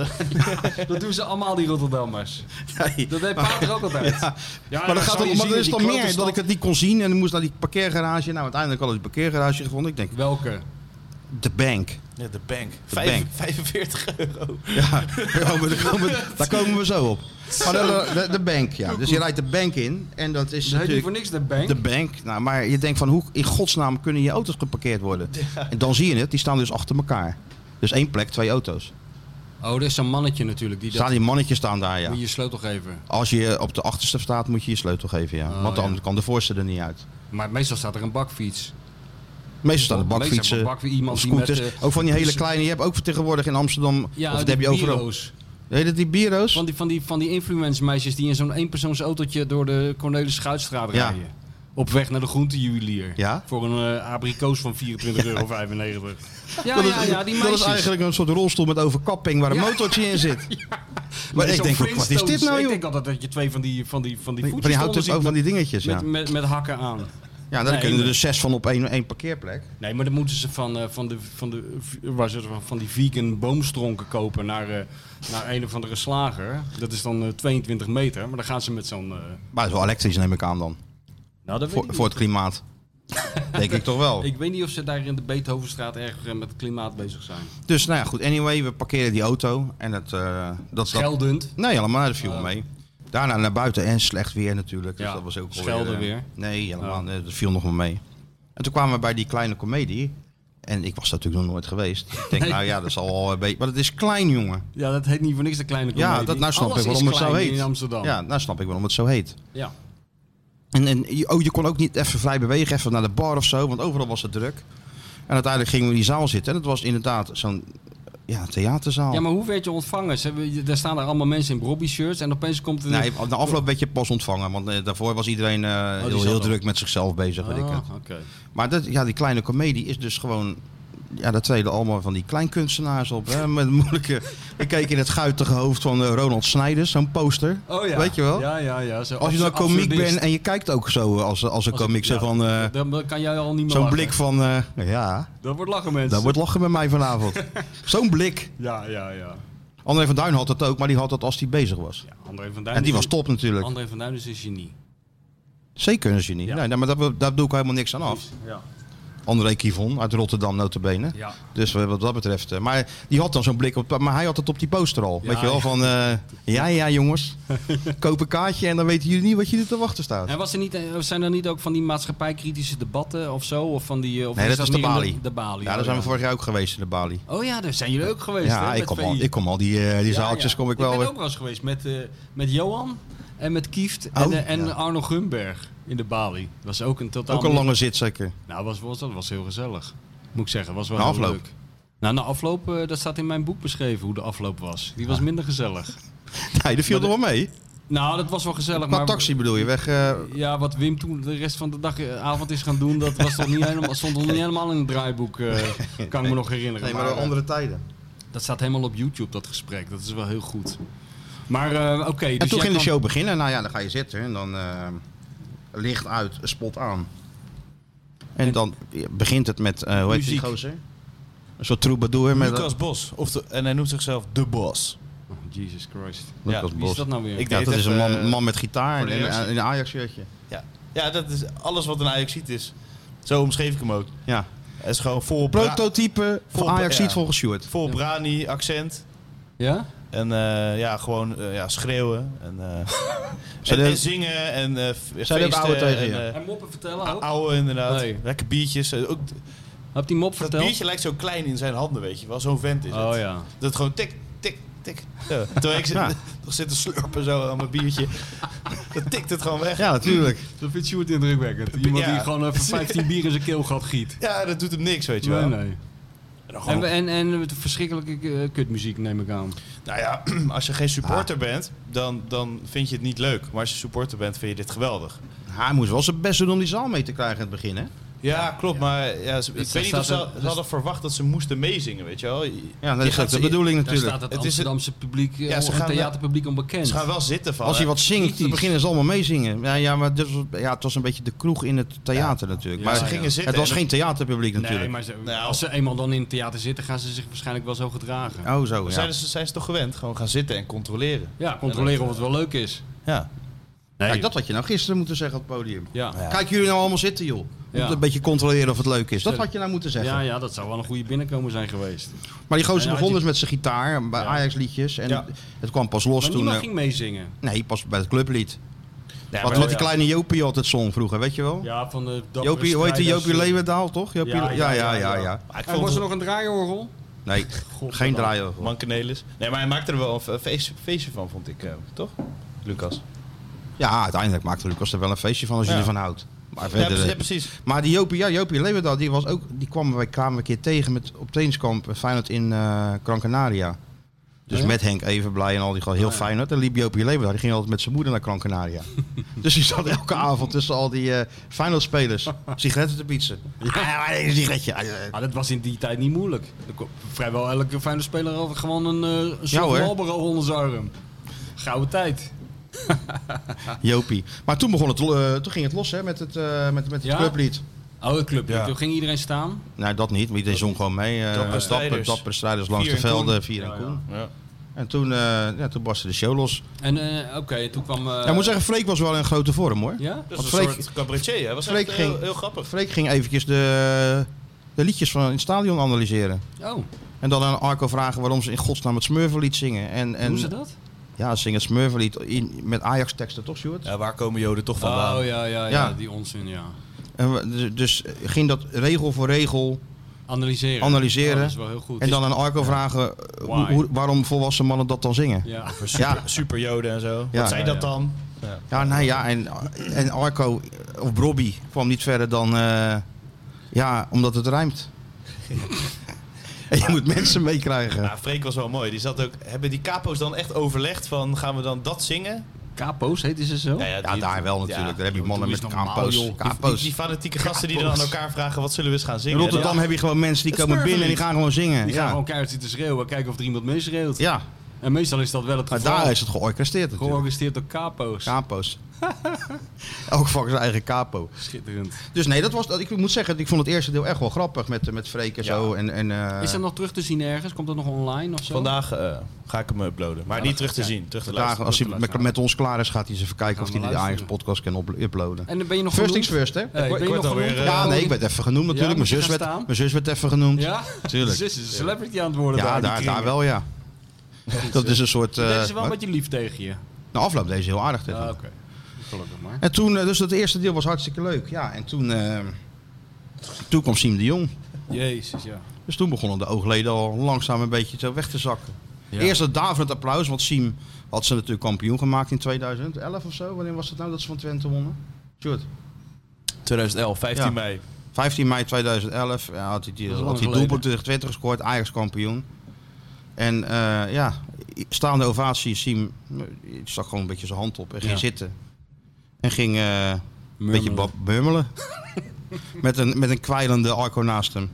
S3: Dat doen ze allemaal, die Rotterdammers.
S2: Nee.
S3: Dat deed Pater ook altijd. Ja,
S2: maar dat gaat
S3: zou
S2: ook,
S3: je
S2: maar
S3: zien
S2: er is
S3: die
S2: dan
S3: klote
S2: meer
S3: stad-
S2: dat ik het niet kon zien. En ik moest naar die parkeergarage. Nou, uiteindelijk had ik die parkeergarage gevonden. Ik denk,
S3: Welke?
S2: de bank.
S4: Ja, de bank.
S2: Vijf- bank.
S4: 45 euro.
S2: Ja, daar komen, we- Oh, daar komen we- daar komen we zo op. Maar de, de, de bank, ja. Dus je rijdt de bank in. En dat is
S3: Ze heet niet voor
S2: natuurlijk
S3: niks de bank.
S2: de bank. Nou, maar je denkt van, hoe in godsnaam kunnen je auto's geparkeerd worden? En dan zie je het, die staan dus achter elkaar. Dus één plek, twee auto's.
S3: Oh, er is zo'n mannetje natuurlijk. Die dat...
S2: Staan die mannetjes staan daar, ja.
S3: Moet je je sleutel geven.
S2: Als je op de achterste staat, moet je je sleutel geven, ja.
S3: Oh,
S2: Want dan
S3: ja.
S2: kan de voorste er niet uit.
S3: Maar meestal staat er een bakfiets.
S2: Meestal staan de
S3: Meestal
S2: bakfietsen,
S3: een bakfiets, iemand
S2: of
S3: die met,
S2: scooters.
S3: eh,
S2: ook van die hele
S3: dus-
S2: kleine. Je hebt ook tegenwoordig in Amsterdam,
S3: Ja,
S2: of dat
S3: die
S2: heb je overal.
S3: bureaus.
S2: Heet het die bureaus?
S3: Van die, van die, van die influencemeisjes die in zo'n eenpersoonsautootje door de Cornelis Schuitstraat
S2: Ja.
S3: rijden. Op weg naar de groentejuwelier.
S2: Ja?
S3: Voor een eh, abrikoos van 24,95 euro. Ja,
S2: dat is,
S3: ja, ja, die
S2: dat
S3: meisjes.
S2: is eigenlijk een soort rolstoel met overkapping waar een
S3: Ja.
S2: motortje in zit.
S3: Met
S2: Maar ik
S3: zo'n
S2: denk, ook, wat is dit
S3: Flintstones.
S2: nou,
S3: Ik
S2: joh?
S3: denk altijd dat je twee van die, van die, van die
S2: Van die
S3: voetjes
S2: houten ook van die dingetjes, ja.
S3: met, met, met hakken aan.
S2: Ja, daar
S3: Nee,
S2: kunnen er
S3: nee.
S2: dus zes van op één, één parkeerplek.
S3: Nee, maar dan moeten ze van, eh, van, de, van, de, waar ze van- van die vegan boomstronken kopen naar, eh, naar een of andere slager. Dat is dan eh, 22 meter. Maar dan gaan ze met zo'n... eh,
S2: Maar het is wel elektrisch, neem ik aan dan.
S3: nou, dat weet
S2: Voor,
S3: ik niet.
S2: voor het klimaat. denk ik toch wel.
S3: Ik weet niet of ze daar in de Beethovenstraat erg eh, met het klimaat bezig zijn.
S2: Dus nou ja, goed. Anyway, we parkeren die auto. En het, eh, dat is dat.
S3: Geldend.
S2: Nee, helemaal dat viel
S3: Oh.
S2: mee. Daarna naar buiten en slecht weer natuurlijk. Dus
S3: Ja,
S2: dat was ook
S3: schelden
S2: eh,
S3: weer.
S2: Nee, helemaal
S3: Oh.
S2: nee, dat viel nog maar mee. En toen kwamen we bij die kleine komedie. En ik was daar natuurlijk nog nooit geweest. Ik denk,
S3: Nee.
S2: nou ja, dat zal al een beetje... Maar het is klein, jongen.
S3: Ja, dat heet niet voor niks de kleine
S2: Ja,
S3: komedie.
S2: dat, nou snap
S3: Alles
S2: ik
S3: is
S2: waarom het
S3: klein
S2: zo heet.
S3: in Amsterdam.
S2: Ja, nou snap ik waarom het zo heet.
S3: Ja.
S2: En, en je- oh, je kon ook niet even vrij bewegen, even naar de bar of zo. Want overal was het druk. En uiteindelijk gingen we in die zaal zitten. En het was inderdaad zo'n ja, theaterzaal.
S3: ja, maar hoe werd je ontvangen? Ze hebben, daar staan daar allemaal mensen in Brobby shirts en opeens komt er...
S2: Nee, na afloop werd je pas ontvangen. Want eh, daarvoor was iedereen eh, heel,
S3: Oh, zat
S2: heel
S3: al.
S2: druk met zichzelf bezig. Weet ik het.
S3: Ah, oké.
S2: Maar dat, ja, die kleine komedie is dus gewoon ja, daar treden allemaal van die kleinkunstenaars op. Hè, met moeilijke... Ik keek in het guitige hoofd van eh, Ronald Snijders, zo'n poster.
S3: Oh ja.
S2: Weet je wel?
S3: Ja, ja, ja. Zo,
S2: Als je dan komiek
S3: absurdist.
S2: bent en je kijkt ook zo eh, als, als een
S3: Als ik-
S2: komiek, zo
S3: ja.
S2: van... eh,
S3: Dan kan jij al niet meer
S2: Zo'n
S3: lachen.
S2: blik van, eh, ja,
S3: Dat wordt lachen, mensen.
S2: dat wordt lachen bij mij vanavond. Zo'n blik.
S3: Ja, ja, ja.
S2: André van Duin had dat ook, maar die had dat als hij bezig was.
S3: ja André van Duin
S2: En die
S3: is-
S2: was top natuurlijk.
S3: André van Duin is een genie.
S2: Zeker een genie.
S3: Ja.
S2: Nee, nee, maar daar, daar doe ik helemaal niks aan af.
S3: Ja.
S2: André Kivon uit Rotterdam, notabene.
S3: Ja.
S2: Dus eh, wat dat betreft. eh, maar die had dan zo'n blik op. Maar hij had het op die poster al.
S3: Ja,
S2: weet je wel,
S3: ja.
S2: van eh, ja, ja, jongens. Koop een kaartje en dan weten jullie niet wat jullie te wachten staat.
S3: En was er niet, eh, zijn er niet ook van die maatschappijkritische debatten of zo? Of van die, eh, of
S2: Nee, dat
S3: dat
S2: is de
S3: niet in
S2: Bali.
S3: De Bali.
S2: Ja, daar zijn we vorig jaar ook geweest in de Bali.
S3: Oh ja, daar zijn jullie ook geweest. hè,
S2: Ja, ik
S3: met
S2: kom,
S3: VI.
S2: al, ik kom al die, eh, die
S3: Ja,
S2: zaaltjes
S3: ja.
S2: kom ik wel
S3: Ik
S2: weer.
S3: ben ook wel eens geweest met, eh, met Johan en met Kieft en,
S2: Oh,
S3: eh, en
S2: ja.
S3: Arno Gunberg in de Bali. Was ook een totaal...
S2: Ook een lange zit zeker.
S3: Nou, was, was, dat was heel gezellig. Moet ik zeggen, was wel
S2: Na
S3: heel
S2: afloop.
S3: leuk. Nou, na afloop, eh, dat staat in mijn boek beschreven hoe de afloop was. Die was minder gezellig.
S2: Nee, dat viel er wel mee.
S3: Nou, dat was wel gezellig,
S2: Qua
S3: maar...
S2: taxi bedoel je, weg... eh,
S3: Ja, wat Wim toen de rest van de dag, eh, avond is gaan doen, dat was toch niet helemaal, stond nog niet helemaal in het draaiboek, eh, kan ik me nog herinneren.
S2: nee, maar
S3: Maar,
S2: door
S3: eh,
S2: andere tijden.
S3: Dat staat helemaal op YouTube, dat gesprek. Dat is wel heel goed. Maar eh, oké,
S2: en
S3: dus
S2: toen
S3: jij
S2: ging de
S3: kwam-
S2: show beginnen. Nou ja, dan ga je zitten en dan eh, licht uit, spot aan. En dan begint het met, eh, hoe heet die
S3: Muziek.
S2: gozer? Een soort troubadour. Met
S4: Lucas Bos. Of de- en hij noemt zichzelf De Bos.
S3: Oh, Jesus Christ.
S2: Lucas
S4: Ja,
S3: Wie is
S2: Bos.
S3: dat nou weer?
S4: Ik
S2: Ja,
S4: deed
S2: dat is een man,
S4: even- eh,
S2: man met gitaar
S4: voor de
S2: en
S4: reactie.
S2: een- een Ajax-shirtje.
S4: Ja. ja, dat is alles wat een Ajaxiet is. Zo omschreef ik hem ook.
S2: Ja.
S4: Hij is gewoon vol, bra-
S2: Prototype voor
S4: Vol-
S2: ajax
S4: ja.
S2: volgens Stuart.
S4: vol brani, accent.
S3: Ja?
S4: En eh, ja, gewoon eh, ja, schreeuwen. En, eh, en,
S2: Zouden-
S4: en zingen en eh f-
S2: Zouden we
S4: feesten.
S2: ouwe tegen
S4: en,
S2: je?
S4: eh,
S3: En moppen vertellen ook?
S4: Ouwe inderdaad.
S3: Nee.
S4: Lekker biertjes. Eh, Ook,
S3: Heb die mop
S4: dat
S3: verteld?
S4: biertje lijkt zo klein in zijn handen, weet je wel. Zo'n vent is het.
S3: Oh ja.
S4: Dat het gewoon tik, tik, tik. Ja. Terwijl ik zit,
S2: Ja.
S4: nog zit te slurpen zo aan mijn biertje. Dan tikt het gewoon weg. Ja,
S2: Ja, natuurlijk.
S3: Dat vindt Sjoerd indrukwekkend. Iemand
S4: Ja.
S3: die gewoon even 15 bier in zijn keelgat giet.
S4: dat doet hem niks, weet je
S3: Nee,
S4: wel.
S3: nee.
S4: En dan gewoon-
S3: En, we- en, en met verschrikkelijke eh, kutmuziek neem ik aan.
S4: Nou ja, als je geen supporter bent, dan, dan vind je het niet leuk. Maar als je supporter bent, vind je dit geweldig.
S2: Hij moest wel zijn best doen om die zaal mee te krijgen in het begin, hè?
S4: Ja, klopt. Maar ja, ze- ik
S3: staat
S4: weet niet of ze,
S3: een-
S4: ze
S3: dus-
S4: hadden verwacht dat ze moesten meezingen, weet je wel.
S2: Ja,
S4: Je
S2: dat is
S4: gaat
S2: ook de
S4: ze-
S2: bedoeling
S3: Daar
S2: natuurlijk.
S3: staat het,
S4: Het is-
S3: Amsterdamse publiek, eh,
S4: Ja, ze
S3: het
S4: gaan-
S3: theaterpubliek onbekend.
S4: Ze gaan wel zitten van. eh,
S2: Als hij wat zingt, dan
S3: Kritisch.
S2: beginnen ze allemaal meezingen. Ja, ja, maar dus, ja, het was een beetje de kroeg in het theater natuurlijk.
S3: Ja,
S2: Maar
S4: ze gingen zitten
S2: het was
S4: en-
S2: geen theaterpubliek
S3: Nee,
S2: natuurlijk.
S3: maar ze-
S4: Nou.
S3: als ze eenmaal dan in het theater zitten, gaan ze zich waarschijnlijk wel zo gedragen. Ja,
S2: Oh, zo, ja.
S4: Zijn, ze, zijn ze toch gewend? Gewoon gaan zitten en controleren.
S3: controleren of het wel leuk is.
S4: Ja.
S3: Nee.
S2: Kijk, dat had je nou gisteren moeten zeggen op het podium.
S3: Ja. Ja.
S2: Kijk jullie nou allemaal zitten, joh. Je
S3: Ja.
S2: Moet een beetje controleren of het leuk is. Dat had je nou moeten zeggen.
S3: Ja, dat zou wel een goede binnenkomen zijn geweest.
S2: Maar die gozer
S3: Ja, ja,
S2: begon
S3: die-
S2: dus met zijn gitaar bij
S3: Ja.
S2: Ajax-liedjes. En
S4: Ja.
S2: het kwam pas los
S3: Maar
S2: toen...
S3: niemand
S2: eh,
S3: ging meezingen.
S2: Nee, pas bij het clublied.
S4: Ja,
S2: Wat,
S4: maar-
S2: wat die kleine Jopie altijd zong vroeger, weet je wel?
S3: Ja, van de dappere
S2: Jopie, hoe heet die?
S3: strijders.
S2: Jopie Leeuwendaal, toch? Jopie
S3: eh, Ja,
S2: Le- ja, ja, ja, ja,
S3: ja.
S4: maar ik
S3: En
S4: vond
S3: was er
S4: het
S3: nog een draaiorgel?
S2: Nee, geen draaien.
S4: Man Cornelis. Nee, maar hij maakte er wel een fe- feest- feestje van, vond ik. eh, toch? Lucas.
S2: Ja, uiteindelijk maakte Lucas er wel een feestje van als je
S4: Ja.
S2: ervan houdt. Maar
S4: Ja,
S2: verder... eh,
S4: precies. ja, precies.
S2: Maar die Jopie, ja, Jopie Leeuwendaal, die, was ook, die kwamen wij kwamen we een keer tegen met, op trainingskamp eh, Feyenoord in eh Gran Canaria. Dus met Henk Evenblij en al die gewoon heel Feyenoord. En liep Jopie Leeuwendaal, die ging altijd met zijn moeder naar Gran Canaria. dus die zat elke avond tussen al die eh Feyenoord-spelers sigaretten te pietsen. Ja, maar één sigaretje. Ah, ja.
S3: Ah, dat was in die tijd niet moeilijk. Er kon- Vrijwel elke fijne speler had gewoon een, eh, een soort
S2: hoor.
S3: Marlboro onder zijn arm. Gouden tijd.
S2: Jopie. Maar toen, begon het, eh, toen ging het los hè, met het, eh, met, met het
S3: Ja? Oh,
S2: clublied.
S3: Oude club.
S4: Ja.
S3: Toen ging iedereen staan.
S2: Nou, dat niet. Maar iedereen zong gewoon mee. eh
S4: Dappere
S2: dapper, dapper,
S4: strijders.
S2: dapper strijders langs
S4: Vier
S2: de
S4: en Koen.
S2: velden. Vier en
S3: Ja,
S2: Koen.
S4: Ja.
S2: En toen, eh ja, toen barstte de show los.
S3: En eh, oké, toen kwam... eh,
S2: Ja, ik moet zeggen, Freek was wel in grote vorm hoor.
S3: Ja?
S4: Dat is
S2: Want
S4: een
S2: Freek-
S4: soort cabaretier. Hij was
S2: Freek
S4: echt heel,
S2: ging-
S4: heel grappig.
S2: Freek ging eventjes de, de liedjes van het stadion analyseren.
S3: Oh,
S2: En dan aan Arco vragen waarom ze in godsnaam het Smurvenlied zingen. En, en
S3: doen ze dat?
S2: ja, ze zingen het Smurvenlied in, met Ajax-teksten, toch, Stuart?
S4: Ja, waar komen joden toch vandaan?
S3: Oh, ja, ja, ja,
S2: Ja.
S3: Die onzin, ja.
S2: En we- dus- dus ging dat regel voor regel.
S3: Analyseren.
S2: Analyseren.
S3: Oh, dat is wel heel goed.
S2: En dan aan Arco vragen eh,
S3: Why?
S2: hoe- hoe- waarom volwassen mannen dat dan zingen.
S3: Ja.
S2: Ja,
S4: Super joden en zo.
S2: Ja.
S4: Wat zijn
S3: Ja,
S4: dat
S3: ja.
S4: dan?
S2: ja, nou ja, en, en Arco eh, of Bobby kwam niet verder dan. eh, ja, omdat het rijmt. en je moet mensen meekrijgen.
S4: Ja, Freek was wel mooi. Die zat ook, hebben die capo's dan echt overlegd van gaan we dan dat zingen?
S3: Kapo's heette ze zo?
S4: Ja, ja,
S2: Ja,
S4: die-
S2: daar wel natuurlijk. daar heb je mannen
S3: doe
S2: met
S3: eens normaal,
S2: kapo's.
S3: joh.
S4: Die,
S2: kapo's.
S4: die fanatieke gasten die dan aan elkaar vragen, wat zullen we eens gaan
S2: In
S4: zingen?
S2: Rotterdam
S4: Ja,
S2: heb je gewoon mensen die
S4: Het
S2: komen binnen en die
S4: smurfenlied.
S2: gaan gewoon zingen.
S3: Die gaan
S2: Ja,
S3: gewoon keihard zitten schreeuwen, kijken of er iemand mee schreeuwt.
S2: ja.
S3: En meestal is dat wel het
S2: Maar
S3: geval.
S2: daar is het georchestreerd natuurlijk.
S3: Georganiseerd door Kapo's.
S2: Kapo's. Elk vak zijn eigen capo.
S3: Schitterend.
S2: Dus nee, dat was, dat- ik moet zeggen, ik vond het eerste deel echt wel grappig met, met Freek en zo. En, en, eh,
S3: Is dat nog terug te zien ergens? Komt dat nog online of zo?
S4: Vandaag eh, ga ik hem uploaden. Maar niet terug te zien, terug te
S2: vandaag,
S4: luisteren.
S2: als hij met, met ons klaar is, gaat hij eens even kijken of
S3: Gaan
S2: hij
S3: we
S2: de Ajax
S3: luisteren.
S2: podcast kan op- uploaden.
S3: En dan ben je nog
S2: First
S3: genoemd?
S2: things first, hè?
S3: Hey, ben
S4: ik
S3: je nog
S4: word alweer,
S3: genoemd?
S4: eh,
S2: ja, nee, ik werd even genoemd natuurlijk.
S3: moet
S2: mijn,
S3: je
S2: zus
S3: gaan
S2: werd,
S3: staan?
S2: mijn zus werd even genoemd.
S3: Ja?
S2: Tuurlijk.
S3: Zus is een celebrity aan het worden
S2: Ja,
S3: in die
S2: daar,
S3: kringen.
S2: daar wel, ja. Dat is een soort... eh,
S3: Deze is wel een
S2: wat?
S3: beetje lief tegen je.
S2: Na afloop deze heel aardig. dit.
S3: Ah, Oké. Gelukkig maar.
S2: En toen, eh, dus dat eerste deel was hartstikke leuk. Ja, en toen, eh, toen kwam Siem de Jong.
S3: Jezus, ja.
S2: Dus toen begonnen de oogleden al langzaam een beetje zo weg te zakken. Eerst dat daverend applaus, want Siem had ze natuurlijk kampioen gemaakt in 2011 of zo. Wanneer was het nou dat ze van Twente wonnen? Sjoerd.
S4: 2011, 15
S2: Ja.
S4: mei.
S2: 15 mei 2011 ja, had hij die,
S3: is lang
S2: had hij
S3: geleden.
S2: doelpunt tegen Twente gescoord, Ajax kampioen. En eh, ja, staande ovatie, Siem eh, stak gewoon een beetje zijn hand op en ging
S3: Ja.
S2: zitten. En ging eh, een beetje
S3: Murmelen.
S2: bab- murmelen. met, een, met een kwijlende Arco naast hem.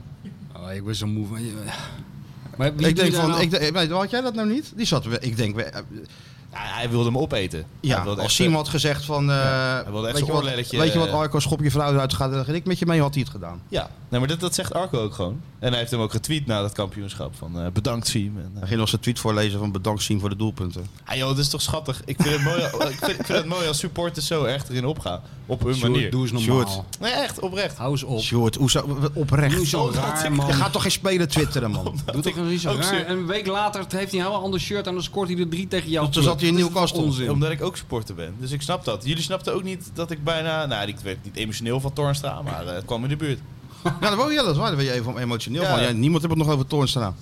S3: Oh, ik ben zo moe van je. Maar wie
S2: ik denk
S3: doet daar
S2: van,
S3: nou-
S2: ik, denk- weet- had jij dat nou niet? Die zat, we- ik denk, we- eh,
S4: Ja, hij wilde hem opeten.
S2: ja,
S4: hij wilde
S2: als
S4: echt,
S2: Siem had gezegd van, eh,
S4: wilde echt
S2: weet, je
S4: zijn
S2: wat,
S4: oorlelletje,
S2: weet je wat
S4: eh,
S2: Arco, schop je vrouw eruit, gaat, dan ga ik met je mee, had hij het gedaan.
S4: Ja, nee, maar dat, dat zegt Arco ook gewoon. En hij heeft hem ook getweet na dat kampioenschap. Van eh, bedankt, Siem. En, eh,
S2: Hij ging nog zijn tweet voorlezen van bedankt Siem voor de doelpunten.
S4: ah, joh, dat is toch schattig. Ik vind het mooi, ik vind, ik vind het mooi als supporters zo echt erin opgaan. Op hun
S3: Sjoerd,
S4: manier. Nou
S3: doe eens normaal.
S2: Sjoerd.
S4: Nee, echt, oprecht.
S3: Hou eens op.
S2: Sjoerd, hoe zou- oprecht.
S3: Doe zo
S4: Oh, dat-
S3: raar, man.
S2: Je gaat toch geen spelen twitteren, man?
S3: Doe toch niet zo
S4: ook zo-
S3: raar. En een week later heeft hij een heel ander shirt aan dan scoort hij er drie tegen jou.
S2: Toen zat hij in
S3: Dat is
S2: Newcastle.
S3: onzin.
S4: Omdat ik ook supporter ben. Dus ik snap dat. Jullie snapten ook niet dat ik bijna... Nou, ik werd niet emotioneel van Tornstra, maar eh, het kwam in de buurt.
S2: Ja, dat, wou- ja, dat is waar. Daar ben je even emotioneel
S4: Ja.
S2: van. Ja, niemand heeft het nog over Toornstra.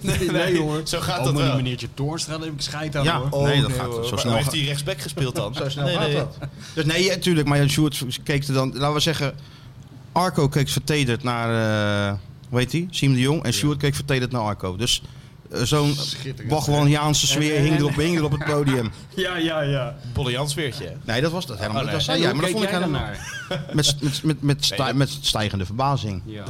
S3: Nee, nee, hoor.
S4: Zo gaat
S3: Oh,
S4: dat
S3: maar
S4: wel.
S3: die meneertje Toornstra, daar heb ik scheid aan
S2: Ja.
S3: hoor.
S2: Oh, nee, dat gaat
S4: hoor.
S2: zo
S4: Maar
S2: snel
S4: Heeft
S2: gaat-
S4: hij rechtsback gespeeld dan?
S2: Zo snel
S4: Nee,
S2: gaat
S4: nee.
S2: dat. Dus nee, ja, tuurlijk. Maar ja, Sjoerd keek er dan... Laten we zeggen... Arco keek vertederd naar... eh, hoe heet hij? Siem de Jong. En Sjoerd keek vertederd naar Arco. Dus eh, zo'n Bachwaniaanse sfeer hing erop, hing er op het podium.
S3: Ja, ja, ja.
S4: Bolle Jans weertje.
S2: Nee, dat was dat helemaal
S4: Oh,
S2: niet.
S4: nee.
S2: Dat zei jij, maar dat
S3: Hoe
S2: vond ik
S3: keek jij
S2: helemaal...
S3: daarnaar?
S2: Met, met, met, met, stij-
S4: dat-
S2: met stijgende verbazing.
S3: Ja.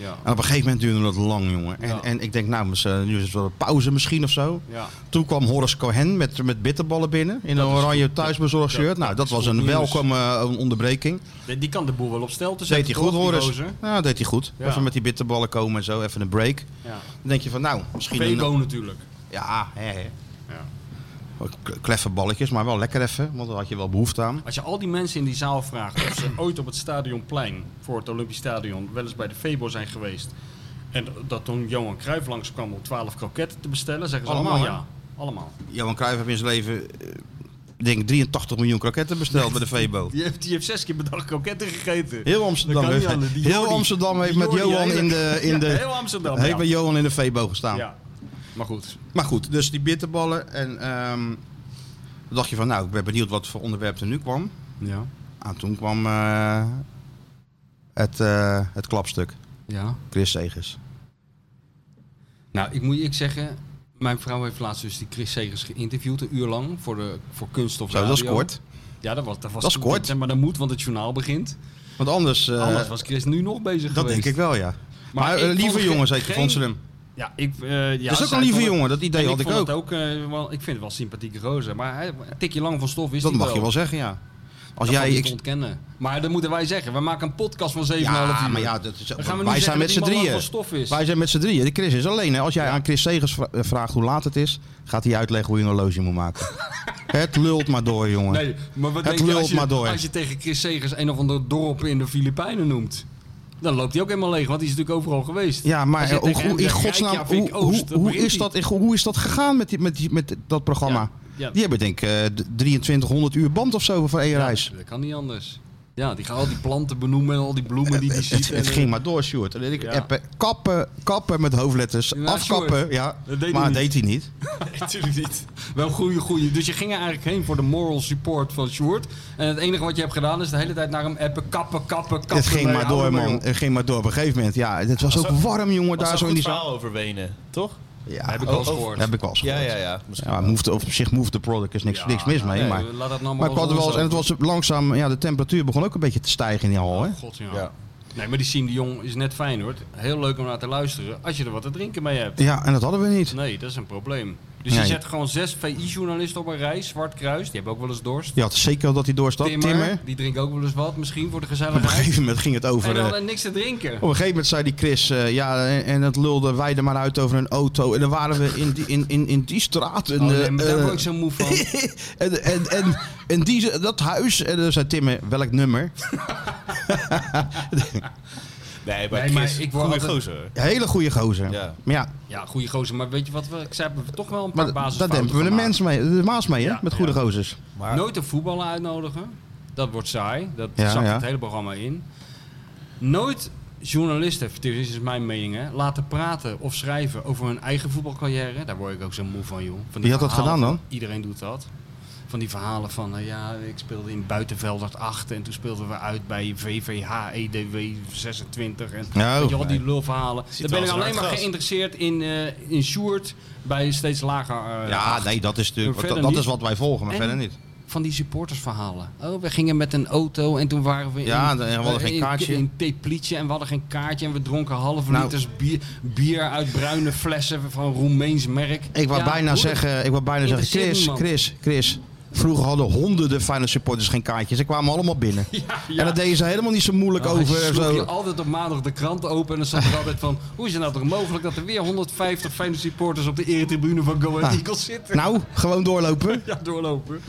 S3: Ja.
S2: En op een gegeven moment duurde dat lang, jongen. En,
S3: Ja.
S2: en ik denk, nou, mis- eh, nu is het wel een pauze misschien of zo.
S3: Ja.
S2: Toen kwam Horace Cohen met, met bitterballen binnen. In een oranje thuisbezorgd shirt. nou, dat was een welkome eh, onderbreking.
S3: Die die kan de boel wel op stel te
S2: Deed
S3: zetten.
S2: hij goed,
S3: toch, die
S2: Horace?
S3: gozer?
S2: Ja, deed hij goed.
S3: Ja.
S2: Even met die bitterballen komen en zo. Even een break.
S3: Ja.
S2: Dan denk je van, nou, misschien... een-
S3: Vego natuurlijk.
S2: ja, hè, hè.
S3: Ja.
S2: Wel k- Kleffe balletjes, maar wel lekker even. Want daar had je wel behoefte aan.
S3: Als je al die mensen in die zaal vraagt of ze ooit op het stadionplein voor het Olympisch Stadion wel eens bij de Febo zijn geweest. En dat toen Johan Cruijff langskwam om 12 kroketten te bestellen, zeggen ze allemaal,
S2: Allemaal,
S3: ja. Allemaal.
S2: Johan Cruijff heeft in zijn leven, eh, ik denk 83 miljoen kroketten besteld bij de Febo.
S3: Die heeft, die heeft zes keer per dag kroketten gegeten.
S2: Heel Amsterdam,
S3: Dat kan
S2: heeft,
S3: niet anders. Die
S2: heel
S3: Jordi-
S2: Amsterdam heeft
S3: die
S2: met
S3: Jordi
S2: Johan in de...
S3: eigenlijk.
S2: In de
S3: Ja, heel Amsterdam.
S2: heeft
S3: ja.
S2: bij Johan in de Febo gestaan.
S3: Ja. Maar goed.
S2: Maar goed, dus die bitterballen. En ehm, dan dacht je van, nou, ik ben benieuwd wat voor onderwerp er nu kwam.
S3: Ja.
S2: En toen kwam eh, het, eh, het klapstuk.
S3: Ja.
S2: Chris Segers.
S3: Nou, ik moet je eerlijk zeggen, mijn vrouw heeft laatst dus die Chris Segers geïnterviewd, een uur lang, voor, de, voor kunst of
S2: Zo, dat is
S3: radio.
S2: kort.
S3: Ja, dat was, dat was,
S2: Dat is kort.
S3: Zeg maar dat moet, want het journaal begint.
S2: Want anders... eh,
S3: Anders was Chris nu nog bezig
S2: dat
S3: geweest.
S2: denk ik wel, ja. Maar,
S3: ik
S2: eh,
S3: vond
S2: lieve
S3: geen-
S2: jongen, zei je
S3: geen-
S2: van Slum.
S3: Ja, ik... eh ja,
S2: dat is ook
S3: zij
S2: een lieve
S3: vond het-
S2: jongen, dat idee
S3: en
S2: had ik,
S3: vond
S2: ook.
S3: het eh, wel, ik vind het wel sympathieke roze, maar hij, een tikje lang van stof is
S2: Dat
S3: hij
S2: mag je wel zeggen, ja. Als
S3: Dat valt
S2: jij...
S3: niet te
S2: ik-
S3: ontkennen. Maar dat moeten wij zeggen. We maken een podcast van 7,5
S2: ja,
S3: uur.
S2: maar ja, dat is-
S3: Dan gaan we niet
S2: wij zijn
S3: zeggen
S2: met z'n
S3: dat die man lang
S2: drieën.
S3: van stof is.
S2: Wij zijn met z'n drieën. De Chris is alleen. Hè. Als jij aan Chris Segers vra- eh, vraagt hoe laat het is, gaat hij uitleggen hoe je een horloge moet maken. het lult maar door, jongen.
S3: Nee, maar wat
S2: Het
S3: denk je
S2: lult
S3: als, je
S2: maar door.
S3: als je tegen Chris Segers een of ander dorp in de Filipijnen noemt? Dan loopt hij ook helemaal leeg, want die is natuurlijk overal geweest.
S2: Ja, maar
S3: Als je
S2: eh,
S3: tegen
S2: hoe,
S3: hem
S2: in
S3: zegt,
S2: godsnaam,
S3: Rijkja,
S2: hoe,
S3: Vink, Oost,
S2: hoe,
S3: dan
S2: hoe,
S3: begint
S2: is
S3: hij.
S2: dat, hoe is dat gegaan met, die, met, die, met dat programma?
S3: Ja, ja.
S2: Die hebben denk ik eh, d- 2300 uur band of zo voor één reis.
S3: Dat kan niet anders. Ja, die gaan al die planten benoemen en al die bloemen die hij
S2: Het,
S3: ziet.
S2: het,
S3: en, eh,
S2: ging maar door, Sjoerd. En ik
S3: Ja.
S2: appen, kappen, kappen met hoofdletters,
S3: Ja,
S2: afkappen.
S3: Sjoerd.
S2: Ja,
S3: Dat deed
S2: maar
S3: hij
S2: deed
S3: niet.
S2: hij niet.
S4: Natuurlijk niet.
S3: Wel goede, goede. Dus je ging er eigenlijk heen voor de moral support van Sjoerd. En het enige wat je hebt gedaan is de hele tijd naar hem appen, kappen, kappen, kappen.
S2: Het ging
S3: Nee,
S2: maar
S3: hou
S2: door,
S3: er
S2: man.
S3: op.
S2: Het ging maar door. Op een gegeven moment, ja, het was ook warm, jongen,
S4: Daar
S2: daar
S4: is
S2: zo
S4: een
S2: in
S4: goed
S2: die zaal.
S4: verhaal over Wenen, toch?
S2: Ja, oh,
S3: Heb ik wel eens gehoord.
S2: heb ik wel eens
S4: Ja,
S2: gehoord.
S4: ja, ja. Misschien.
S2: Ja, maar move the- op zich move the product is niks, niks mis mee.
S3: Nee,
S2: maar
S3: Laat dat
S2: maar
S3: nou maar
S2: ik had er wel eens, en het was langzaam, ja, de temperatuur begon ook een beetje te stijgen in die hal. Hè?
S3: Oh, God, ja.
S4: Ja.
S3: Nee, maar die Siem de Jong is net fijn hoor. Heel leuk om naar te luisteren als je er wat te drinken mee hebt.
S2: Ja, en dat hadden we niet.
S3: Nee, dat is een probleem. Dus je
S2: Nee.
S3: zet gewoon zes VI-journalisten op een rij, Zwart Kruis, die hebben ook wel eens dorst.
S2: Je had zeker wel dat hij doorstak. Timmer.
S3: Timmer, die drinkt ook wel eens wat, misschien voor de
S2: Op een
S3: gezelligheid.
S2: gegeven moment ging het over.
S3: En we
S2: eh,
S3: hadden niks te drinken.
S2: Op een gegeven moment zei die Chris, eh, ja, en, en het lulde wij er maar uit over een auto. En dan waren we in die, in, in, in die straat. En,
S3: Oh, nee,
S2: eh,
S3: maar daar
S2: eh,
S3: word ik zo moe van.
S2: en, en, en, en die, dat huis. En dan zei Timmer, welk nummer?
S4: Nee,
S3: Nee,
S4: maar,
S3: maar
S4: Chris,
S3: ik word
S4: goeie
S3: altijd-
S4: gozer.
S2: Hele goede gozer.
S4: Ja.
S2: Maar ja,
S3: Ja, goede gozer, maar weet je wat? We, ik zei, we hebben toch wel een
S2: maar
S3: paar
S2: daar
S3: basisfouten
S2: dempen we de
S3: van maken.
S2: mens mee, de maas mee, hè?
S3: Ja,
S2: met goede gozers.
S4: Maar-
S3: Nooit een voetballer uitnodigen. Dat wordt saai. Dat
S2: Ja,
S3: zakt
S2: ja.
S3: het hele programma in. Nooit journalisten, dit is mijn mening, hè, laten praten of schrijven over hun eigen voetbalcarrière. Daar word ik ook zo moe van, joh. Van die
S2: Wie had dat
S3: verhalen
S2: gedaan dan?
S3: van- Iedereen doet dat. Van die verhalen van, eh, ja, ik speelde in Buitenveldert 8 en toen speelden we uit bij VVH EDW 26. En
S2: Nou,
S3: weet je, al die lulverhalen. Dan ben
S4: wel
S3: ik
S4: eens
S3: alleen
S4: hard
S3: maar
S4: gras.
S3: geïnteresseerd in, eh in Sjoerd bij steeds lager eh,
S2: Ja,
S3: acht.
S2: nee, dat is natuurlijk,
S3: Maar
S2: dat,
S3: verder
S2: dat
S3: niet.
S2: is wat wij volgen, maar
S3: En-
S2: verder niet.
S3: van die supportersverhalen. Oh, we gingen met een auto en toen waren we
S2: Ja,
S3: in,
S2: en we hadden geen
S3: in-
S2: kaartje.
S3: in Teplice en we hadden geen kaartje en we dronken halve
S2: Nou.
S3: liters bier, bier uit bruine flessen van Roemeens merk.
S2: Ik wou
S3: Ja,
S2: bijna
S3: goed.
S2: zeggen, ik wou bijna zeggen,
S3: Interesseert
S2: Chris,
S3: niemand.
S2: Chris, Chris. Vroeger hadden honderden Feyenoord supporters geen kaartjes. Ze kwamen allemaal binnen. En dat deden ze helemaal niet zo moeilijk
S3: Dan
S2: over. en
S3: Nou, sloeg
S2: zo.
S3: Oh, je altijd op maandag de krant open en dan zat er altijd van... hoe is het nou toch mogelijk dat er weer 150 Feyenoord supporters op de eretribune van Go Ahead
S2: Ah.
S3: Eagles zitten?
S2: Nou, gewoon doorlopen.
S3: Ja, doorlopen.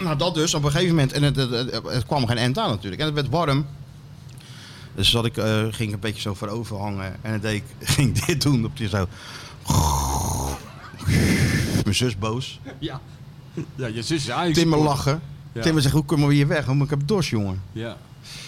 S2: Nou, dat dus op een gegeven moment. En het, het, het- het kwam geen eind aan natuurlijk. En het werd warm. Dus zat ik, eh, ging een beetje zo voorover hangen. En dan deed ik, ging dit doen. Op die zo. Mijn zus boos.
S3: Ja. Ja, je zus is Ajax.
S2: Timmer lachen.
S3: Ja.
S2: Timmer zegt, hoe komen we hier weg? Want ik heb dorst, jongen.
S3: Ja.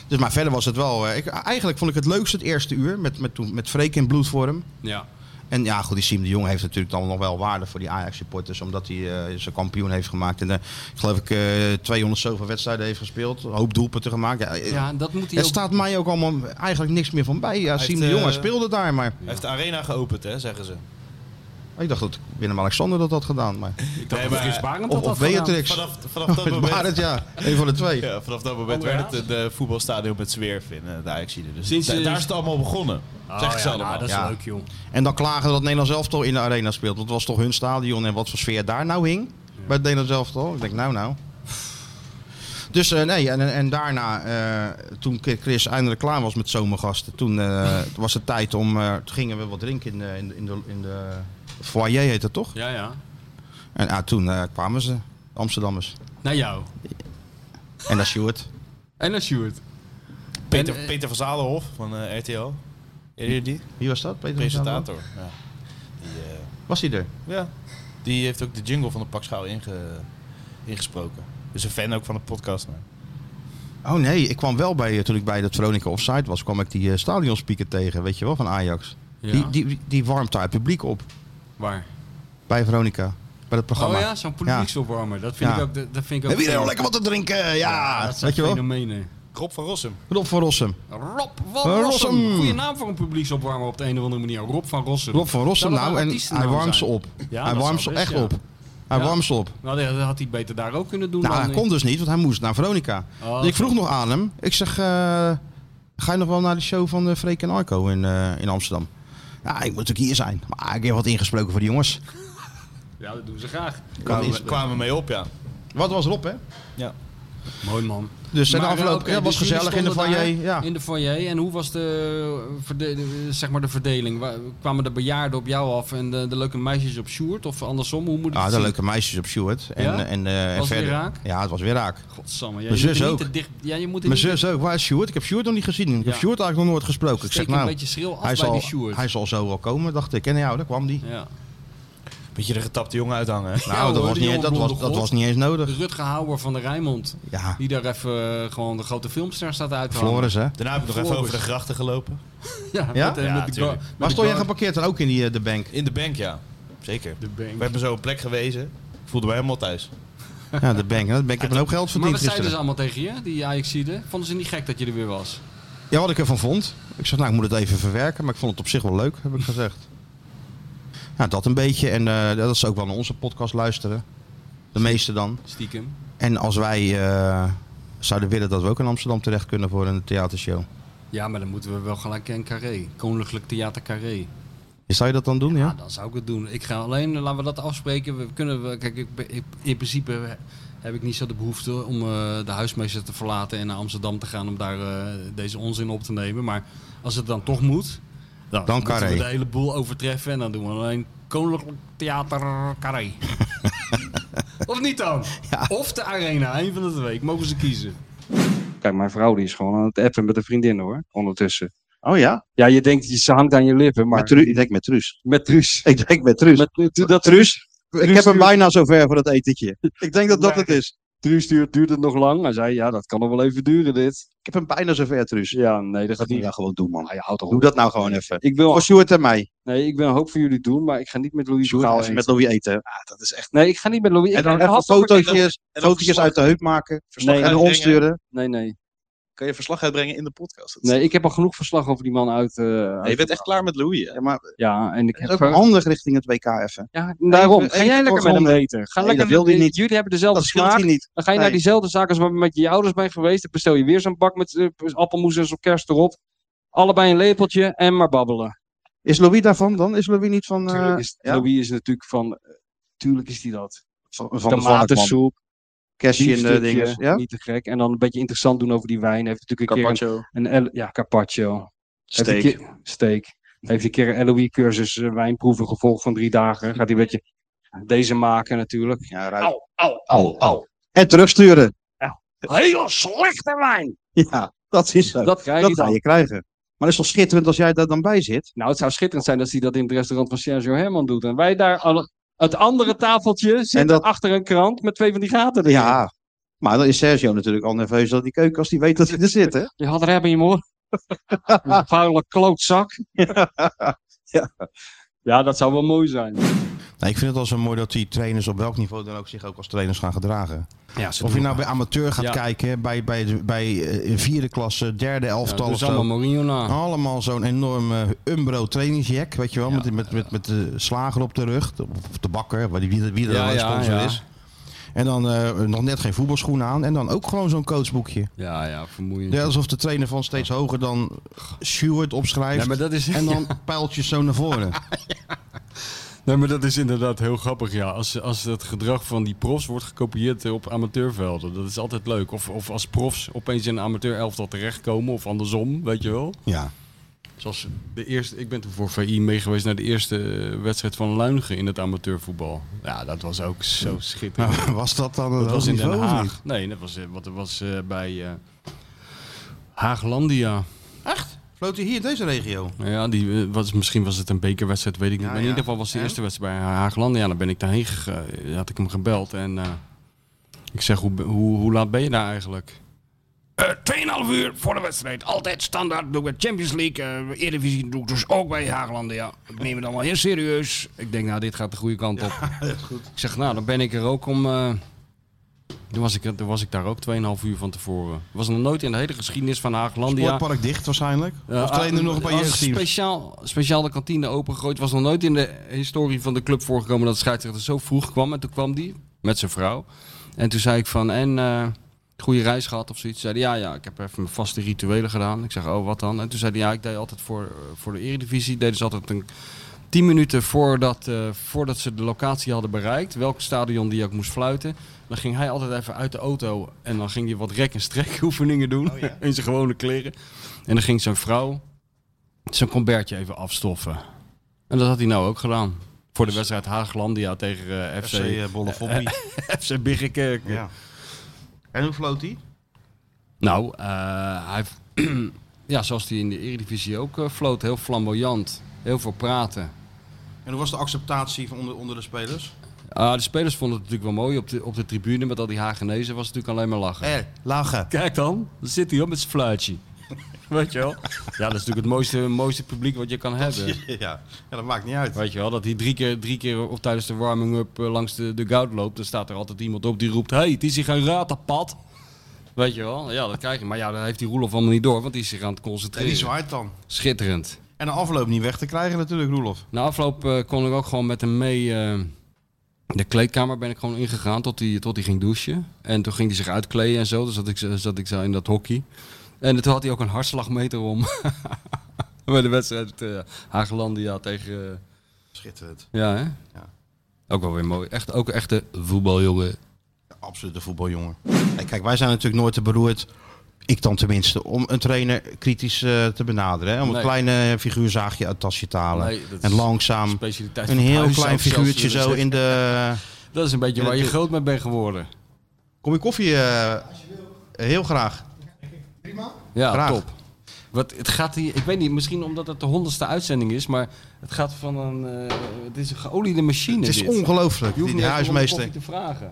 S2: Dus, maar verder was het wel... eh, ik, eigenlijk vond ik het leukst het eerste uur. Met, met, toen- met Freek in bloedvorm.
S3: Ja.
S2: En ja, goed, die Siem de Jong heeft natuurlijk dan nog wel waarde voor die Ajax-supporters. Omdat hij eh, zijn kampioen heeft gemaakt. En eh, ik geloof ik eh 200 zoveel wedstrijden heeft gespeeld. Een hoop doelpunten gemaakt. Ja, eh,
S3: ja, dat moet hij
S2: het
S3: ook...
S2: staat mij ook allemaal eigenlijk niks meer van bij. Ja,
S4: Hij
S2: Siem de
S4: heeft,
S2: Jong hij
S4: eh,
S2: speelde daar. Maar
S4: Hij heeft de arena geopend, hè, zeggen ze.
S2: ik dacht dat Willem-Alexander dat had gedaan. Maar,
S3: Ik dacht
S4: Nee,
S3: dat
S4: maar-
S3: Frits Barend
S2: of
S3: dat had
S2: of
S3: gedaan.
S2: Beatrix.
S4: Vanaf, vanaf dat
S2: Met
S4: moment...
S2: Barend, ja. Een van de twee.
S4: Ja, vanaf dat moment
S2: Oh,
S3: Andere
S4: werd het een eh, voetbalstadion met zwerf in eh, de Ajaxide. Dus
S3: Sinds,
S4: da-
S3: eh,
S4: daar is het allemaal begonnen.
S3: Oh,
S4: zeggen ze
S3: ja,
S4: allemaal.
S3: nou, dat is
S2: Ja.
S3: leuk, joh.
S2: En dan klagen dat Nederland zelf toch in de arena speelt. Want het was toch hun stadion en wat voor sfeer daar nou hing. Bij het Nederland zelf toch? Ik denk, nou, nou. Dus eh, nee, en, en daarna, eh, toen Chris eindelijk klaar was met zomergasten, toen eh, was het tijd om. eh, toen gingen we wat drinken in de, in de, in de, in de foyer, heet dat toch?
S3: Ja, ja.
S2: En ah, toen eh, kwamen ze, Amsterdammers.
S3: Naar jou.
S2: En dat Sjoerd.
S3: En naar Sjoerd.
S4: Peter,
S3: En, eh,
S4: Peter van Zalenhof van eh, RTL. Ken je die?
S2: Wie was dat? Peter van Zaandam?
S4: Presentator. Ja. Die, eh,
S2: Was hij er?
S4: ja. die heeft ook de jingle van de Pakschaal inge, ingesproken. Dus een fan ook van de podcast. nou.
S2: Oh nee, ik kwam wel bij, eh, toen ik bij dat Veronica Offside was, kwam ik die eh, stadionspeaker tegen, weet je wel, van Ajax.
S3: Ja.
S2: Die, die, die warmt daar het publiek op.
S3: Waar?
S2: Bij Veronica. Bij dat programma.
S3: Oh ja, zo'n publieksopwarmer. Dat vind
S2: Ja.
S3: ik ook... Dat dat vind ik ook
S2: Hebben jullie nou lekker wat te drinken? Ja,
S3: dat zijn
S2: weet je wel.
S3: fenomenen.
S4: Rob van Rossum.
S2: Rob van Rossum.
S3: Rob
S2: Eh,
S3: van Rossum.
S2: Rossum.
S3: Goeie naam voor een publieksopwarmer op de een of andere manier. Rob van Rossum.
S2: Rob van Rossum
S3: Zou dat
S2: nou.
S3: een
S2: En
S3: artiestennaam
S2: hij warmt ze
S3: zijn?
S2: op.
S3: Ja,
S2: hij
S3: dat
S2: warmt ze
S3: zou
S2: echt
S3: best, ja.
S2: op. Hij
S3: Ja.
S2: warmt ze op.
S3: Nou, dat had hij beter daar ook kunnen doen.
S2: Nou,
S3: dan
S2: hij
S3: in-
S2: kon dus niet, want hij moest naar Veronica.
S3: Oh.
S2: Dus ik vroeg nog aan hem. Ik zeg, eh, ga je nog wel naar de show van eh Freek en Arco in, eh, in Amsterdam? Ja, ik moet natuurlijk hier zijn. Maar ik heb wat ingesproken voor de jongens.
S3: Ja, dat doen ze graag.
S4: Kwamen, we- kwamen we mee op, ja.
S2: Wat was Rob, hè?
S3: Mooi man.
S2: Dus en de
S3: Maar,
S2: afloop
S3: eh, oké,
S2: ja, was
S3: dus jullie
S2: gezellig in de
S3: stonden
S2: foyer.
S3: daar
S2: Ja.
S3: In de foyer. En hoe was de, eh, verde- de- zeg maar de verdeling? Wa- Kwamen de bejaarden op jou af en de, de leuke meisjes op Sjoerd? Of andersom? Hoe moet ik
S2: Ah,
S3: het
S2: de
S3: zien?
S2: leuke meisjes op Sjoerd. En,
S3: Ja?
S2: en, eh, en
S3: Was het weer
S2: verder.
S3: raak?
S2: Ja, het was weer raak.
S3: Godsamme. Ja,
S2: Mijn
S3: je moet
S2: zus
S3: er
S2: ook.
S3: niet te dicht, ja, je moet er
S2: Mijn
S3: niet
S2: zus ook. Waar is Sjoerd? Ik heb Sjoerd nog niet gezien. Ik heb
S3: Ja.
S2: Sjoerd eigenlijk nog nooit gesproken. Ik
S3: Steek
S2: zeg
S3: hem
S2: nou,
S3: een beetje schril af
S2: hij,
S3: bij
S2: zal,
S3: die Sjoerd.
S2: hij zal zo wel komen, dacht ik. En ja, daar kwam die.
S3: Ja.
S4: Beetje de getapte jongen uithangen. hè.
S2: Nou, dat,
S3: hoor,
S2: was
S3: die
S2: niet,
S3: jongen
S2: dat, was,
S3: blonde
S2: dat
S3: god.
S2: was niet eens nodig.
S3: Rutger Hauer van de Rijnmond.
S2: Ja,
S3: Die daar even eh, gewoon de grote filmster staat uit te hangen.
S2: Ah. Floris hè.
S4: Daarna heb ik nog even
S3: Floris.
S4: over de grachten gelopen.
S3: Ja,
S2: Ja?
S3: met, eh,
S4: Ja,
S3: met de, go-
S4: tuurlijk.
S3: met
S2: Waar
S3: de
S2: stond jij
S3: guard.
S2: geparkeerd dan ook in die, eh, de bank?
S4: In de bank, ja. Zeker.
S3: De bank.
S4: We hebben zo een plek gewezen. Ik voelde me helemaal thuis.
S2: Ja, de bank. Nou, de bank ik heb een hoop geld
S3: Maar
S2: verdiend
S3: wat zeiden ze
S2: gisteren.
S3: allemaal tegen je, die Ajaxide? Vonden ze niet gek dat je er weer was?
S2: Ja, wat ik ervan vond. Ik zeg, nou, ik moet het even verwerken. Maar ik vond het op zich wel leuk, heb ik gezegd. Ja, dat een beetje. En eh, dat ze ook wel naar onze podcast luisteren. De meeste dan.
S3: Stiekem.
S2: En als wij eh, zouden willen dat we ook in Amsterdam terecht kunnen voor een theatershow.
S3: Ja, maar dan moeten we wel gelijk in Carré. Koninklijk Theater Carré.
S2: Zou je dat dan doen, ja?
S3: Ja, dan zou ik het doen. Ik ga alleen, eh, laten we dat afspreken. We kunnen, we, kijk, ik, ben- ik- in principe heb ik niet zo de behoefte om eh, de huismeester te verlaten en naar Amsterdam te gaan om daar eh, deze onzin op te nemen. Maar als het dan toch moet, dan,
S2: Dan
S3: moeten
S2: Carré.
S3: we de hele boel overtreffen en dan doen we alleen Koninklijk Theater Carré. of niet dan? Of de Arena, één van de twee. Mogen ze kiezen.
S6: Kijk, mijn vrouw die is gewoon aan het appen met een vriendin hoor, ondertussen. Oh ja? Ja, je denkt, ze hangt aan je lippen, maar...
S7: Maar Tru- ik denk met Truus.
S6: Met Truus.
S7: Ik denk met Truus.
S6: Met, met- dat
S7: Truus, ik heb hem
S6: stuurt-
S7: bijna zover voor dat etentje. Ik denk dat dat het is.
S6: Truus duurt, duurt het nog lang. Hij zei, ja, dat kan nog wel even duren dit.
S7: Ik heb hem bijna zover, Truus.
S6: Ja, nee,
S7: Dat
S6: dat gaat
S7: moet je
S6: niet.
S7: nou gewoon doen, man.
S6: Nou, je houdt toch
S7: Doe
S6: op.
S7: dat nou gewoon even.
S6: Ik wil,
S7: Voor Sjoerd en mij.
S6: nee, ik wil een hoop van jullie doen, maar ik ga niet met Louis
S7: Sjoerd,
S6: Gaal
S7: als je
S6: eten.
S7: met Louis eten.
S6: Ah, dat is echt... Nee, ik ga niet met Louis...
S7: En
S6: ik-
S7: dan
S6: hij
S7: even
S6: had toch verkeerd-
S7: fotootjes,
S4: En dan
S7: fotootjes
S4: verslag-
S7: uit de heup maken.
S4: verslag
S7: en naar
S4: uitbrengen.
S7: ons sturen.
S6: Nee, nee.
S4: Kan je verslag uitbrengen in de podcast? Dat is-
S6: Nee, ik heb al genoeg verslag over die man uit... eh,
S2: Nou,
S4: Nee, je
S6: uit-
S4: bent echt klaar met Louis, hè?
S7: Ja, maar
S6: Ja, en ik
S7: het
S6: heb...
S7: is ook handig richting het WK even.
S6: Ja, daarom.
S7: Even-
S6: Ga jij
S7: even
S6: lekker met hem
S7: voorgaan.
S6: eten. Ga
S7: Nee,
S6: lekker
S7: dat wil
S6: met-
S7: hij niet.
S6: Jullie hebben dezelfde
S7: Dat scheelt
S6: smaak.
S7: hier niet.
S6: Dan ga je naar
S7: Nee.
S6: diezelfde zaak als waar we met je ouders bij geweest. Dan bestel je weer zo'n bak met eh, appelmoes en zo'n kerst erop. Allebei een lepeltje en maar babbelen.
S7: Is Louis daarvan dan? Is Louis niet van, eh,
S6: Tuurlijk is,
S7: ja.
S6: Louis is natuurlijk van... eh, Tuurlijk is die dat.
S7: van, van de Valkman?
S6: Tomatensoep,
S7: Kerstje en eh,
S6: biefstukje,
S7: dinges. Ja?
S6: niet te gek. En dan een beetje interessant doen over die wijn. Heeft natuurlijk een
S4: Carpaccio,
S6: keer een, een El- ja, carpaccio. Heeft een
S4: steak.
S6: keer- steak. Heeft een keer een LOE-cursus eh, wijnproeven gevolgd van drie dagen. Gaat hij een beetje deze maken natuurlijk.
S7: Ja, ruikt. Au, au. En terugsturen.
S6: Heel slechte wijn!
S7: Ja, dat is zo. Dat,
S6: Dat krijg je
S7: ga
S6: dan.
S7: je krijgen. Maar het is toch schitterend als jij daar dan bij zit?
S6: Nou, het zou schitterend zijn als hij dat in het restaurant van Sergio Herman doet. En wij daar alle, het andere tafeltje zitten
S7: dat-
S6: achter een krant met twee van die gaten erin.
S7: Ja. Maar dan is Sergio natuurlijk al nerveus dat die keuken als hij weet dat hij er zit, hè?
S6: Je had er hebben, hoor. Een vuile klootzak. ja. ja, dat zou wel mooi zijn.
S2: Nou, ik vind het wel zo mooi dat die trainers op welk niveau dan ook zich ook als trainers gaan gedragen.
S3: Ja, ze
S2: Of je nou bij amateur gaat
S3: Ja.
S2: kijken, bij, bij, de- bij eh, vierde klasse, derde elftal
S3: dat
S2: of
S3: is
S2: zo.
S3: allemaal Mourinho na.
S2: Allemaal zo'n enorme eh, Umbro trainingsjack, weet je wel, met, met, met, met de slager op de rug, de- of de bakker, wie, wie, wie er
S3: Ja,
S2: dan een
S3: ja,
S2: sponsor
S3: ja.
S2: is. En dan eh, nog net geen voetbalschoenen aan en dan ook gewoon zo'n coachboekje.
S3: Ja, ja, vermoeiend.
S2: Ja, alsof de trainer van steeds hoger dan Stewart opschrijft
S3: Nee, maar dat is...
S2: en dan pijltjes zo naar voren.
S3: Nee, maar dat is inderdaad heel grappig, ja. Als, als het gedrag van die profs wordt gekopieerd eh, op amateurvelden. Dat is altijd leuk. Of, of als profs opeens in een amateurelftal terechtkomen of andersom, weet je wel.
S2: Ja.
S3: Zoals de eerste... Ik ben toen voor VI meegeweest naar de eerste eh, wedstrijd van Luinigen in het amateurvoetbal. Ja, dat was ook zo schitterend.
S2: Nou, was dat dan het
S3: dat was in
S2: niveau
S3: Den
S2: of niet?
S3: Haag. Nee, dat was, eh, wat, dat was eh, bij eh, Haaglandia.
S2: Floot hij hier in deze regio?
S3: Nou Ja, die, eh, was, misschien was het een bekerwedstrijd, weet ik niet.
S2: Ja,
S3: maar in
S2: ja.
S3: ieder geval was de
S2: En?
S3: eerste wedstrijd bij Haagland. Ja, dan ben ik daarheen gegaan. Had ik hem gebeld en eh, ik zeg, hoe, be- hoe, hoe laat ben je daar eigenlijk? Eh, Tweeënhalf uur voor de wedstrijd. Altijd standaard. Doe ik bij Champions League. eh Eredivisie doe ik dus ook bij Haagland. Ja. Ik neem het allemaal heel serieus. Ik denk, nou, dit gaat de goede kant op. Ik zeg, nou, dan ben ik er ook om... eh, toen was, ik, toen was ik daar ook 2,5 uur van tevoren. Was nog nooit in de hele geschiedenis van Haaglandia...
S2: Sportpark dicht waarschijnlijk.
S3: Ja,
S2: of trainen nog een paar
S3: als
S2: jeugdteams?
S3: Speciaal, speciaal de kantine opengegooid. Was nog nooit in de historie van de club voorgekomen dat de scheidsrechter zo vroeg kwam. En toen kwam die met zijn vrouw. En toen zei ik van, en eh goede reis gehad of zoiets. Zei die, ja, ja, ik heb even mijn vaste rituelen gedaan. Ik zeg, oh, wat dan? En toen zei hij, ja, ik deed altijd voor, eh, voor de eredivisie. Deed dus altijd een... 10 minuten voordat, eh, voordat ze de locatie hadden bereikt, welk stadion die ook moest fluiten, dan ging hij altijd even uit de auto en dan ging hij wat rek- en strekoefeningen doen in zijn gewone kleren. En dan ging zijn vrouw zijn combertje even afstoffen. En dat had hij nou ook gedaan. Voor
S2: Dus-
S3: de wedstrijd Haaglandia tegen eh, FC,
S2: Bollefoppie.
S3: FC Birkenkerk.
S2: Ja. En hoe floot hij?
S3: Nou, eh, hij heeft, ja, zoals hij in de Eredivisie ook eh, floot, heel flamboyant, heel veel praten.
S2: En hoe was de acceptatie van onder, onder de spelers?
S3: Ah, de spelers vonden het natuurlijk wel mooi op de, op de tribune met al die Hagenezen was het natuurlijk alleen maar lachen.
S2: Eh, lachen.
S3: Kijk dan, dan zit hij op met zijn fluitje. Weet je wel? Ja, dat is natuurlijk het mooiste, mooiste publiek wat je kan hebben.
S2: ja. ja, dat maakt niet uit.
S3: Weet je wel, dat hij drie keer, drie keer of tijdens de warming-up eh, langs de, de goud loopt. Dan staat er altijd iemand op die roept, hey, het is hier een ratenpad. Weet je wel, ja, dat krijg je. Maar ja, dat heeft die Roelof allemaal niet door, want die is zich aan het
S2: En die
S3: concentreren.
S2: zwaait dan.
S3: Schitterend.
S2: En de afloop niet weg te krijgen natuurlijk, Roelof.
S3: Na afloop eh, kon ik ook gewoon met hem mee. eh, de kleedkamer ben ik gewoon ingegaan tot hij, tot hij ging douchen. En toen ging hij zich uitkleden en zo. Dus zat ik, zo- zat ik zo in dat hockey. En toen had hij ook een hartslagmeter om. Bij de wedstrijd eh Hagelandia tegen... eh,
S2: Schitterend.
S3: ja, hè? Ook wel weer mooi. Echt, ook een echte voetbaljongen.
S2: Absolute voetbaljongen. Nee, kijk, wij zijn natuurlijk nooit te beroerd, ik dan tenminste, om een trainer kritisch eh, te benaderen. Hè? Om
S3: Nee.
S2: een kleine eh, figuurzaagje uit het tasje te halen.
S3: Nee, dat
S2: en
S3: is
S2: langzaam
S3: Specialiteit
S2: een
S3: van het
S2: heel
S3: huis, zou
S2: klein
S3: ik zelfs
S2: figuurtje
S3: willen
S2: zo
S3: zeggen.
S2: in de...
S3: Dat is een beetje waar je
S2: Ja,
S3: groot mee bent geworden.
S2: Kom je koffie? eh, heel graag.
S3: Ja,
S2: Graag.
S3: top. Wat, het gaat hier, ik weet niet, misschien omdat het de honderdste uitzending is, maar het gaat van een. eh, het is een geoliede machine.
S2: Het is
S3: dit.
S2: ongelooflijk,
S3: Je
S2: die,
S3: hoeft
S2: die
S3: niet eens om een koffie
S2: huismeester.
S3: te vragen.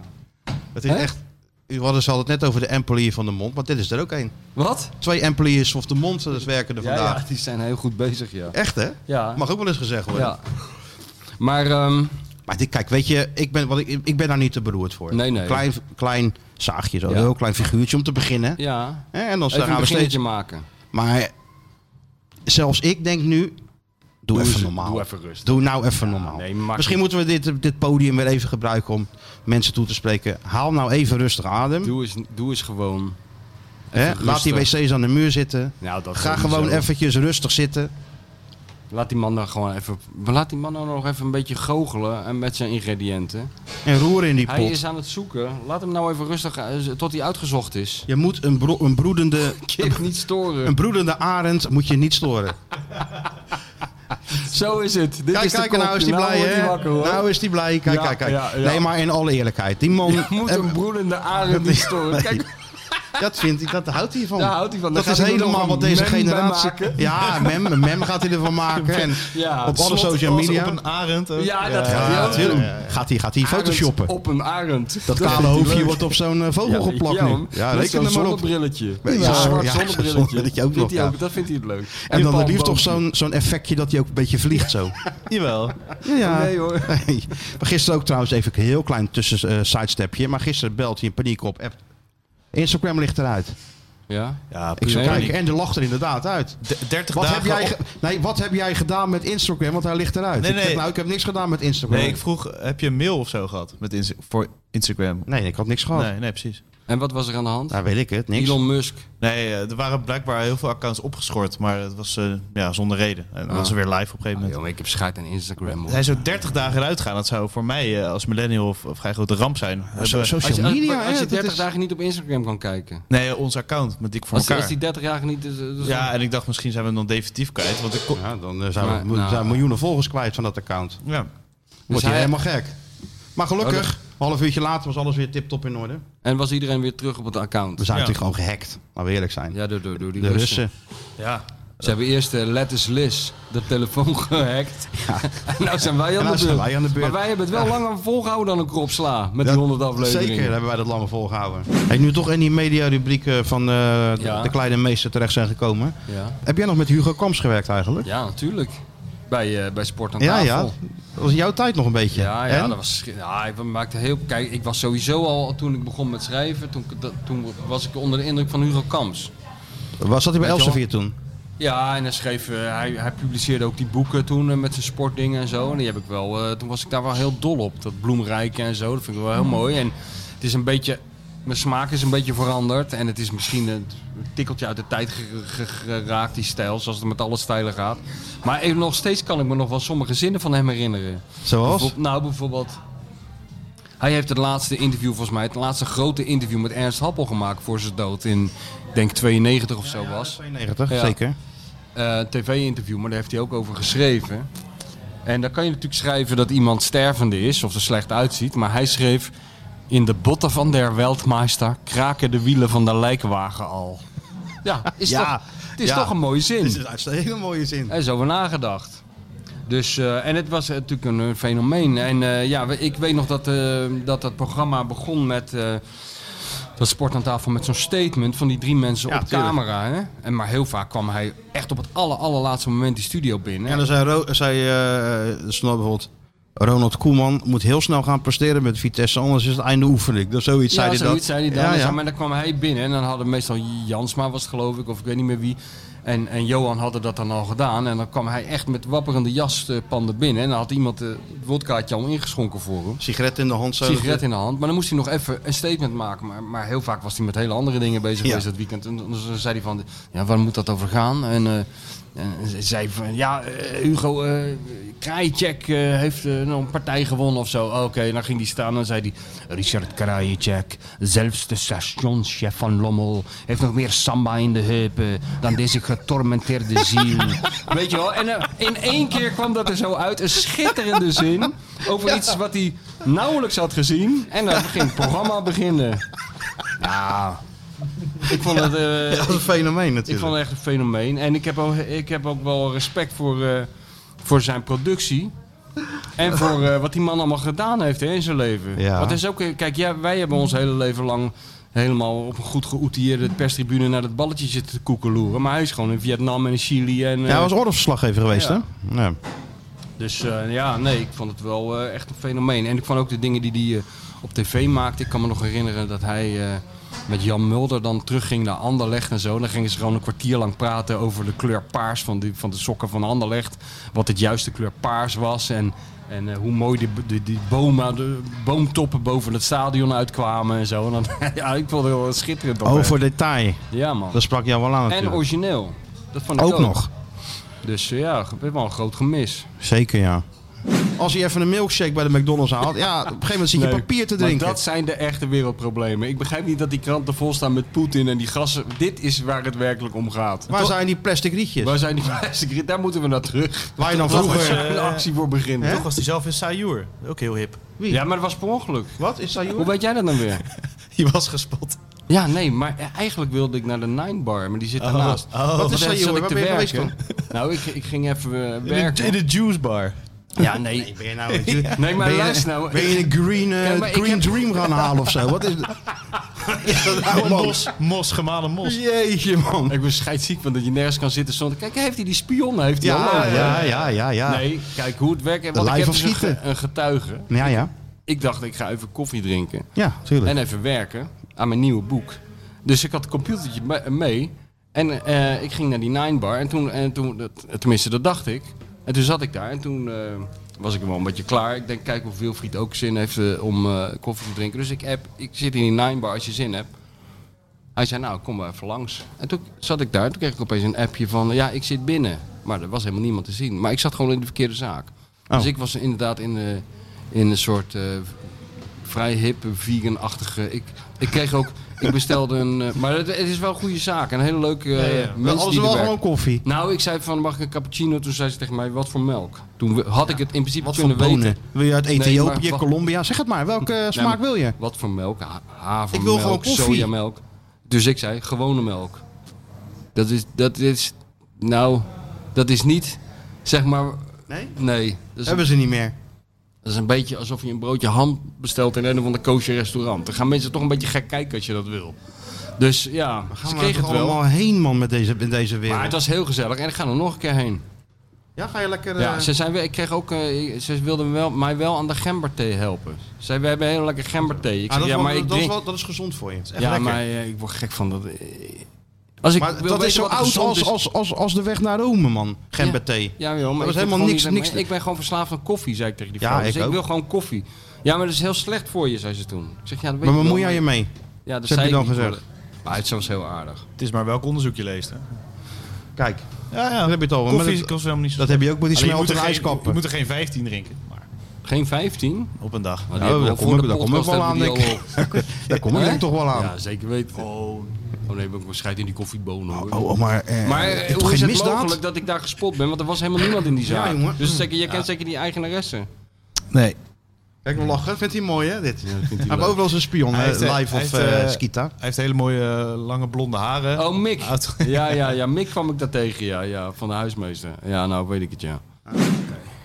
S2: Het is
S3: Hè?
S2: echt... We hadden ze hadden het net over de employee van de mond, maar dit is er ook één.
S3: Wat?
S2: Twee employees of de mond eh, werken er
S3: Ja,
S2: vandaag.
S3: ja, die zijn heel goed bezig, ja.
S2: Echt hè?
S3: Ja.
S2: Mag ook wel eens gezegd worden.
S3: ja. Maar ehm,
S2: Maar dit, kijk, weet je, ik ben, wat ik, ik ben daar niet te beroerd voor.
S3: Nee, nee.
S2: Klein, klein zaagje, zo,
S3: Ja.
S2: een heel klein figuurtje om te beginnen.
S3: ja,
S2: Hè, En dan
S3: even
S2: gaan
S3: een
S2: we
S3: beginnetje
S2: steeds.
S3: maken.
S2: Maar zelfs ik denk nu. Doe, even
S3: eens-
S2: normaal.
S3: doe even rustig.
S2: Doe nou even normaal.
S3: nee, maakt
S2: Misschien moeten we dit, dit podium weer even gebruiken om mensen toe te spreken. Haal nou even rustig adem.
S3: Doe eens, doe eens gewoon.
S2: hè?
S3: even
S2: Laat die
S3: rustig.
S2: wc's aan de muur zitten.
S3: Nou, dat
S2: Ga
S3: sowieso.
S2: gewoon eventjes rustig zitten.
S3: Laat die man dan gewoon even. Laat die man dan nog even een beetje goochelen en met zijn ingrediënten.
S2: En roer in die pot.
S3: Hij is aan het zoeken. Laat hem nou even rustig eh, tot hij uitgezocht is.
S2: Je moet een, bro- een broedende
S3: Kip niet storen.
S2: Een broedende arend moet je niet storen.
S3: Zo is het. Dit
S2: Kijk,
S3: is de
S2: kijk, en nou
S3: kop.
S2: is die blij,
S3: wordt
S2: hè?
S3: hij wakker, hoor.
S2: Nou is die blij. Kijk,
S3: Ja,
S2: kijk, kijk.
S3: ja, ja.
S2: Nee, maar in alle eerlijkheid. Die man...
S3: Je moet een broedende arend niet storen. Kijk,
S2: Dat vindt hij, dat houdt hij van.
S3: Daar houdt hij van. Daar
S2: Dat is
S3: gaat hij nog
S2: helemaal
S3: een
S2: wat deze
S3: mem bij
S2: generatie...
S3: maken.
S2: Ja, mem, mem gaat hij ervan maken. En
S3: Ja,
S2: op alle
S3: slot
S2: social
S3: als
S2: media.
S4: Op een arend. ook.
S3: ja, dat gaat hij
S2: Ja,
S3: ook doen.
S2: natuurlijk. Gaat hij, gaat hij
S3: Arend
S2: photoshoppen.
S3: Op een arend.
S2: Dat kale hoofdje wordt op zo'n eh, vogel geplakt nu. Ja,
S3: dat is
S2: reken
S3: zo'n
S2: er maar op.
S3: zonnebrilletje.
S2: Ja,
S3: Zo'n zwart
S2: ja, zo'n
S3: zonnebrilletje.
S2: zonnebrilletje ook
S3: Vindt
S2: nog,
S3: hij
S2: ja.
S3: Dat vindt hij het leuk.
S2: En dan het liefst
S3: palmboom.
S2: toch zo'n zo'n effectje dat hij ook een beetje vliegt zo.
S4: Jawel.
S2: Ja.
S3: Nee hoor.
S2: Nee. Maar gisteren ook trouwens even een heel klein tussen eh, sidestepje. Maar gisteren belt hij in paniek op. App. Instagram ligt eruit.
S3: Ja?
S4: Ja,
S2: Ik zou
S3: Nee,
S2: kijken en er lacht er inderdaad uit.
S4: D- 30
S2: Wat
S4: dagen
S2: heb, jij
S4: op-
S2: ge- nee, wat heb jij gedaan met Instagram? Want hij ligt eruit.
S4: Nee,
S2: Ik, zeg,
S4: nee.
S2: nou, ik heb niks gedaan met Instagram.
S4: Nee, ik vroeg, heb je een mail of zo gehad met Insta- voor Instagram?
S2: nee ik had niks gehad.
S4: Nee, nee, precies.
S3: En wat was er aan de hand?
S2: Nou, weet ik het. Niks.
S3: Elon Musk.
S4: Nee, eh, er waren blijkbaar heel veel accounts opgeschort, maar het was eh, ja, zonder reden. En dan
S3: Ah.
S4: was ze weer live op een gegeven
S3: Ah,
S4: moment.
S3: jongen, ik heb scheid aan Instagram. hoor.
S4: Hij zou 30 dagen eruit gaan. Dat zou voor mij eh, als millennial of, of vrij grote ramp zijn.
S2: Zo-
S4: Hebben-
S3: Als je,
S2: social
S3: als,
S2: media,
S3: als
S2: hè,
S3: je
S2: dat
S3: 30
S2: is-
S3: dagen niet op Instagram kan kijken.
S4: Nee, eh, ons account met Dik voor
S3: Als,
S4: elkaar.
S3: als die 30 dagen niet... is, eh, dus
S4: Ja, en ik dacht misschien zijn we hem dan definitief kwijt. Want ik kon-
S2: Ja, dan eh, zijn, we,
S3: Maar,
S2: mo-
S3: nou.
S2: zijn we miljoenen volgers kwijt van dat account.
S4: ja.
S2: Wordt
S3: hij-
S2: hij helemaal gek. Maar
S3: Oh, dat-
S2: gelukkig, een half uurtje later was alles weer tip-top in orde.
S3: En was iedereen weer terug op het account?
S2: We zijn
S4: Ja.
S2: natuurlijk gewoon gehackt. Laten we eerlijk zijn.
S3: Ja, door, door, door die
S2: De
S3: Russen.
S2: Russen.
S4: ja.
S3: Ze hebben eerst eh, Letters Liz de telefoon gehackt. En nou zijn wij aan,
S2: En
S3: de,
S2: nou
S3: beurt.
S2: zijn wij aan de beurt.
S3: Maar wij hebben het wel langer volgehouden dan een kropsla met die
S2: Ja,
S3: 100 afleveringen.
S2: Zeker hebben wij dat langer volgehouden. Hey, nu toch in die mediarubrieken van eh, de-
S3: Ja.
S2: de kleine meester terecht zijn gekomen.
S3: Ja,
S2: Heb jij nog met Hugo Kamps gewerkt eigenlijk?
S3: ja natuurlijk. Bij, eh, bij Sport aan
S2: Ja,
S3: tafel.
S2: ja. Dat was jouw tijd nog een beetje.
S3: Ja, ja,
S2: En?
S3: dat was, ja, ik maakte heel... Kijk, ik was sowieso al, toen ik begon met schrijven, toen, ik dat- toen was ik onder de indruk van Hugo Kamps.
S2: Was dat hij bij
S3: Weet je
S2: Elsevier toen?
S3: Ja, en hij schreef, eh, hij, hij publiceerde ook die boeken toen eh, met zijn sportdingen en zo. En die heb ik wel, eh, toen was ik daar wel heel dol op. Dat bloemrijke en zo, dat vind ik wel heel mooi. En het is een beetje, mijn smaak is een beetje veranderd. En het is misschien een tikkeltje uit de tijd ge- ge- geraakt, die stijl, zoals het met alle stijlen gaat. Maar even nog steeds kan ik me nog wel sommige zinnen van hem herinneren.
S2: Zoals?
S3: Bijvoorbeeld- nou, bijvoorbeeld. Hij heeft het laatste interview, volgens mij, het laatste grote interview met Ernst Happel gemaakt voor zijn dood in, ik denk 92 of zo was.
S2: 92,
S3: Ja.
S2: zeker.
S3: Eh, tv-interview, maar daar heeft hij ook over geschreven. En dan kan je natuurlijk schrijven dat iemand stervende is of er slecht uitziet. Maar hij schreef, in de botten van der Weltmeister kraken de wielen van de lijkwagen al. Ja, is
S2: Ja,
S3: Toch, het is
S2: ja.
S3: toch een mooie zin.
S2: Dit is een hele mooie zin.
S3: Er is over nagedacht. Dus, eh, en het was natuurlijk een, eh, fenomeen. En eh, ja, we- ik weet nog dat, eh, dat dat programma begon met... eh, dat sport aan tafel met zo'n statement van die drie mensen op camera. Hè? En maar heel vaak kwam hij echt op het aller, allerlaatste moment die studio binnen.
S2: En dan zei, Ro zei eh, er stond bijvoorbeeld... Ronald Koeman moet heel snel gaan presteren met Vitesse, anders is het einde oefening. Dat zoiets zei hij
S3: zoiets
S2: dat.
S3: zei hij dan.
S2: Ja,
S3: En
S2: ja.
S3: zo, Maar dan kwam hij binnen en dan hadden meestal Jansma was het geloof ik, of ik weet niet meer wie. En, en Johan hadden dat dan al gedaan. En dan kwam hij echt met wapperende jaspanden binnen. En dan had iemand eh, het wodkaatje al ingeschonken voor hem.
S2: Sigaret in de hand. Zo
S3: Sigaret in de hand. Maar dan moest hij nog even een statement maken. Maar, maar heel vaak was hij met hele andere dingen bezig
S2: Ja.
S3: geweest dat weekend. En dan zei hij van, ja, waar moet dat over gaan? En, eh, en ze- zei van, ja, eh, Hugo, eh Krajicek eh, heeft eh, nou een partij gewonnen of zo. Oh, Oké, dan ging hij staan en dan zei hij, Richard Krajicek, zelfs de stationschef van Lommel, heeft nog meer samba in de heupen eh, dan deze getormenteerde ziel. Weet je wel? En eh, in één keer kwam dat er zo uit, een schitterende zin over iets wat hij nauwelijks had gezien. En dan ging het programma beginnen. Ja, ik vond het... eh,
S2: Ja, dat is een fenomeen
S3: ik
S2: natuurlijk.
S3: vond het echt een fenomeen. En ik heb ook, ik heb ook wel respect voor, eh, voor zijn productie. En voor eh, wat die man allemaal gedaan heeft hè, in zijn leven.
S2: Ja.
S3: Want het is ook, eh, kijk, ja, wij hebben ons hele leven lang helemaal op een goed geoutilleerde perstribune naar dat balletje zitten te koekeloeren. Maar hij is gewoon in Vietnam en in Chili. En, eh,
S2: Ja, hij was oorlogsverslaggever geweest,
S3: Ja.
S2: hè? Ja.
S3: Dus eh, ja, nee, ik vond het wel eh, echt een fenomeen. En ik vond ook de dingen die hij eh, op tv maakte. Ik kan me nog herinneren dat hij eh, met Jan Mulder dan terugging naar Anderlecht en zo. Dan gingen ze gewoon een kwartier lang praten over de kleur paars van, die, van de sokken van Anderlecht. Wat het juiste kleur paars was en, en eh, hoe mooi die, die, die bomen, de boomtoppen boven het stadion uitkwamen en zo. En dan, ja, ik vond het wel schitterend.
S2: Oh, voor detail.
S3: Ja, man.
S2: Dat sprak jou wel aan
S3: En
S2: natuurlijk.
S3: origineel. Dat vond ik ook.
S2: ook nog.
S3: Dus eh, ja, ik heb wel een groot gemis.
S2: Zeker, ja. Als hij even een milkshake bij de McDonald's haalt, ja, op een gegeven moment zit je
S3: Nee,
S2: papier te
S3: maar
S2: drinken.
S3: dat zijn de echte wereldproblemen. Ik begrijp niet dat die kranten vol staan met Poetin en die gassen. Dit is waar het werkelijk om gaat.
S2: Waar zijn die plastic rietjes?
S3: Waar zijn die plastic? Daar moeten we naar terug.
S2: Waar je dan
S3: Daar moeten
S2: vroeger...
S3: we een actie voor beginnen.
S4: Toch was hij zelf in Sayur. Ook heel hip.
S3: Ja, maar dat was per ongeluk.
S2: Wat is dat, joh?
S3: Hoe weet jij dat dan weer?
S4: Die was gespot.
S3: Ja, nee, maar eigenlijk wilde ik naar de Nine Bar, maar die
S4: Oh.
S3: zit daarnaast.
S2: Wat is
S3: Daar
S2: dat,
S3: zat
S2: joh?
S3: ik
S2: Waar
S3: te
S2: ben je geweest
S3: werken.
S2: dan?
S3: Nou, ik, ik ging even eh,
S4: In de, in
S3: werken.
S4: de juice bar.
S3: Ja, nee.
S2: Ben je nou... een-
S3: Nee, maar
S2: ben je-
S3: luister nou.
S2: Ben je een green, eh,
S3: Kijk, maar ik
S2: green
S3: heb-
S2: dream gaan halen of zo? Wat is dat? Is dat nou
S4: Mos, mos, gemalen mos.
S2: Jeetje, man.
S3: Ik ben scheidsziek van dat je nergens kan zitten zonder... Kijk, heeft hij die spion? Heeft hij al
S2: Ja,
S3: lang, hè?
S2: ja, ja, ja, ja.
S3: Nee, kijk hoe het werkt. Want ik
S2: lijf van
S3: heb dus een, ge-
S2: schieten.
S3: een getuige.
S2: Ja, ja.
S3: Ik dacht, ik ga even koffie drinken.
S2: Ja, tuurlijk.
S3: En even werken aan mijn nieuwe boek. Dus ik had het computertje me- mee. En eh, ik ging naar die Nine Bar. En toen, en toen dat- tenminste, dat dacht ik. En toen zat ik daar. En toen eh, was ik wel een beetje klaar. Ik denk, kijk of Wilfried ook zin heeft eh, om eh, koffie te drinken. Dus ik app, ik zit in die Nine Bar als je zin hebt. Hij zei, nou, kom maar even langs. En toen zat ik daar. En toen kreeg ik opeens een appje van, ja, ik zit binnen. Maar er was helemaal niemand te zien. Maar ik zat gewoon in de verkeerde zaak. Dus ik was inderdaad in, de, in een soort... eh, vrij hip, vegan-achtige. Ik, ik kreeg ook. Ik bestelde een. eh, maar het, het is wel een goede zaak. Een hele leuke. eh, mensen
S2: Alles
S3: die er
S2: wel
S3: werken.
S2: gewoon koffie.
S3: Nou, ik zei van mag ik een cappuccino? Toen zei ze tegen mij wat voor melk. Toen we- had ik het in principe
S2: Wat voor
S3: kunnen
S2: bonen?
S3: weten.
S2: Wil je uit Ethiopië,
S3: Nee, maar-
S2: Colombia? Zeg het maar, welke eh, smaak
S3: maar-
S2: wil je?
S3: Wat voor melk? Ha- Havermelk,
S2: Ik wil gewoon koffie.
S3: sojamelk. Dus ik zei gewone melk. Dat is dat is nou dat is niet zeg maar
S2: Nee?
S3: nee. Dat is een
S2: Hebben ze niet meer.
S3: Dat is een beetje alsof je een broodje ham bestelt in een van de kosher restaurant. Dan gaan mensen toch een beetje gek kijken als je dat wil. Dus ja, ze
S2: Gaan we
S3: kregen
S2: er
S3: het wel.
S2: allemaal heen, man, met deze, in deze
S3: Maar het
S2: wereld?
S3: was heel gezellig en ik ga er nog een keer heen.
S2: Ja, ga je lekker...
S3: Ja,
S2: eh,
S3: ze, zijn, weer- ik kreeg ook, eh, ze wilden wel, mij wel aan de gemberthee helpen. Ze zei, we hebben heel lekker gemberthee. Ik
S2: Ah,
S3: zei,
S2: dat, is
S3: ja,
S2: wel-
S3: maar ik
S2: dat, is
S3: drink...
S2: wel, dat is gezond voor je. Het is echt
S3: Ja,
S2: lekker.
S3: maar eh, ik word gek van dat... eh, Als ik
S2: Maar
S3: wil
S2: dat
S3: weten
S2: is zo
S3: wat er
S2: oud
S3: gezond
S2: als,
S3: is-
S2: als, als, als de weg naar Rome, man. Gember thee.
S3: Ja, joh, maar
S2: Dat
S3: ik
S2: is
S3: vind
S2: helemaal
S3: gewoon
S2: niks-
S3: niet-
S2: niks-
S3: maar Ik ben gewoon verslaafd aan koffie, zei ik tegen die
S2: Ja,
S3: vrouw. dus
S2: ik
S3: ik
S2: ook.
S3: wil gewoon koffie. Ja, maar dat is heel slecht voor je, zei ze toen. Ik zeg, ja, dat weet
S2: Maar
S3: ik wel,
S2: bemoei jij je mee?
S3: Ja, dat
S2: Ze
S3: zei
S2: hebben dan
S3: ik niet,
S2: gezegd.
S3: Maar, maar het was heel aardig.
S4: Het is maar welk onderzoek je leest. Hè?
S2: Kijk,
S4: Ja, ja.
S2: dan heb je het al. Maar
S4: Koffie
S2: dat,
S4: kost helemaal niet zo.
S2: dat heb je ook met die
S4: Alleen, je moet
S2: smelten
S4: er geen- Je
S2: ijskappen.
S4: moet er geen 15 drinken. Maar
S3: Geen 15?
S4: op een dag.
S3: Maar
S2: Ja, Oh, daar kom ik- daar kom ik wel aan, denk Daar kom ik
S3: Hè?
S2: denk toch wel aan.
S3: Ja, zeker weten. Oh, nee, ik ben ook waarschijnlijk in die koffiebonen hoor.
S2: Oh, oh, maar... eh,
S3: Maar
S2: is
S3: eh,
S2: toch
S3: hoe is
S2: geen
S3: het
S2: misdaad?
S3: mogelijk dat ik daar gespot ben? Want er was helemaal niemand in die zaak.
S2: jongen.
S3: dus zeker, je kent zeker die eigenaresse.
S8: Nee.
S2: Kijk, we lachen. Vindt hij mooi, hè, dit?
S3: Ja, vindt
S2: Hij heeft ook wel eens een spion,
S4: Hij
S2: hè,
S4: heeft, eh,
S2: live
S4: hij
S2: of
S4: heeft,
S2: eh,
S4: eh,
S2: Skita.
S4: Hij heeft hele mooie eh, lange blonde haren.
S3: Oh, Mick.
S4: Uit-
S3: Ja, ja, ja, Mick kwam ik daar tegen, ja, ja, van de huismeester. Ja, nou weet ik het, ja.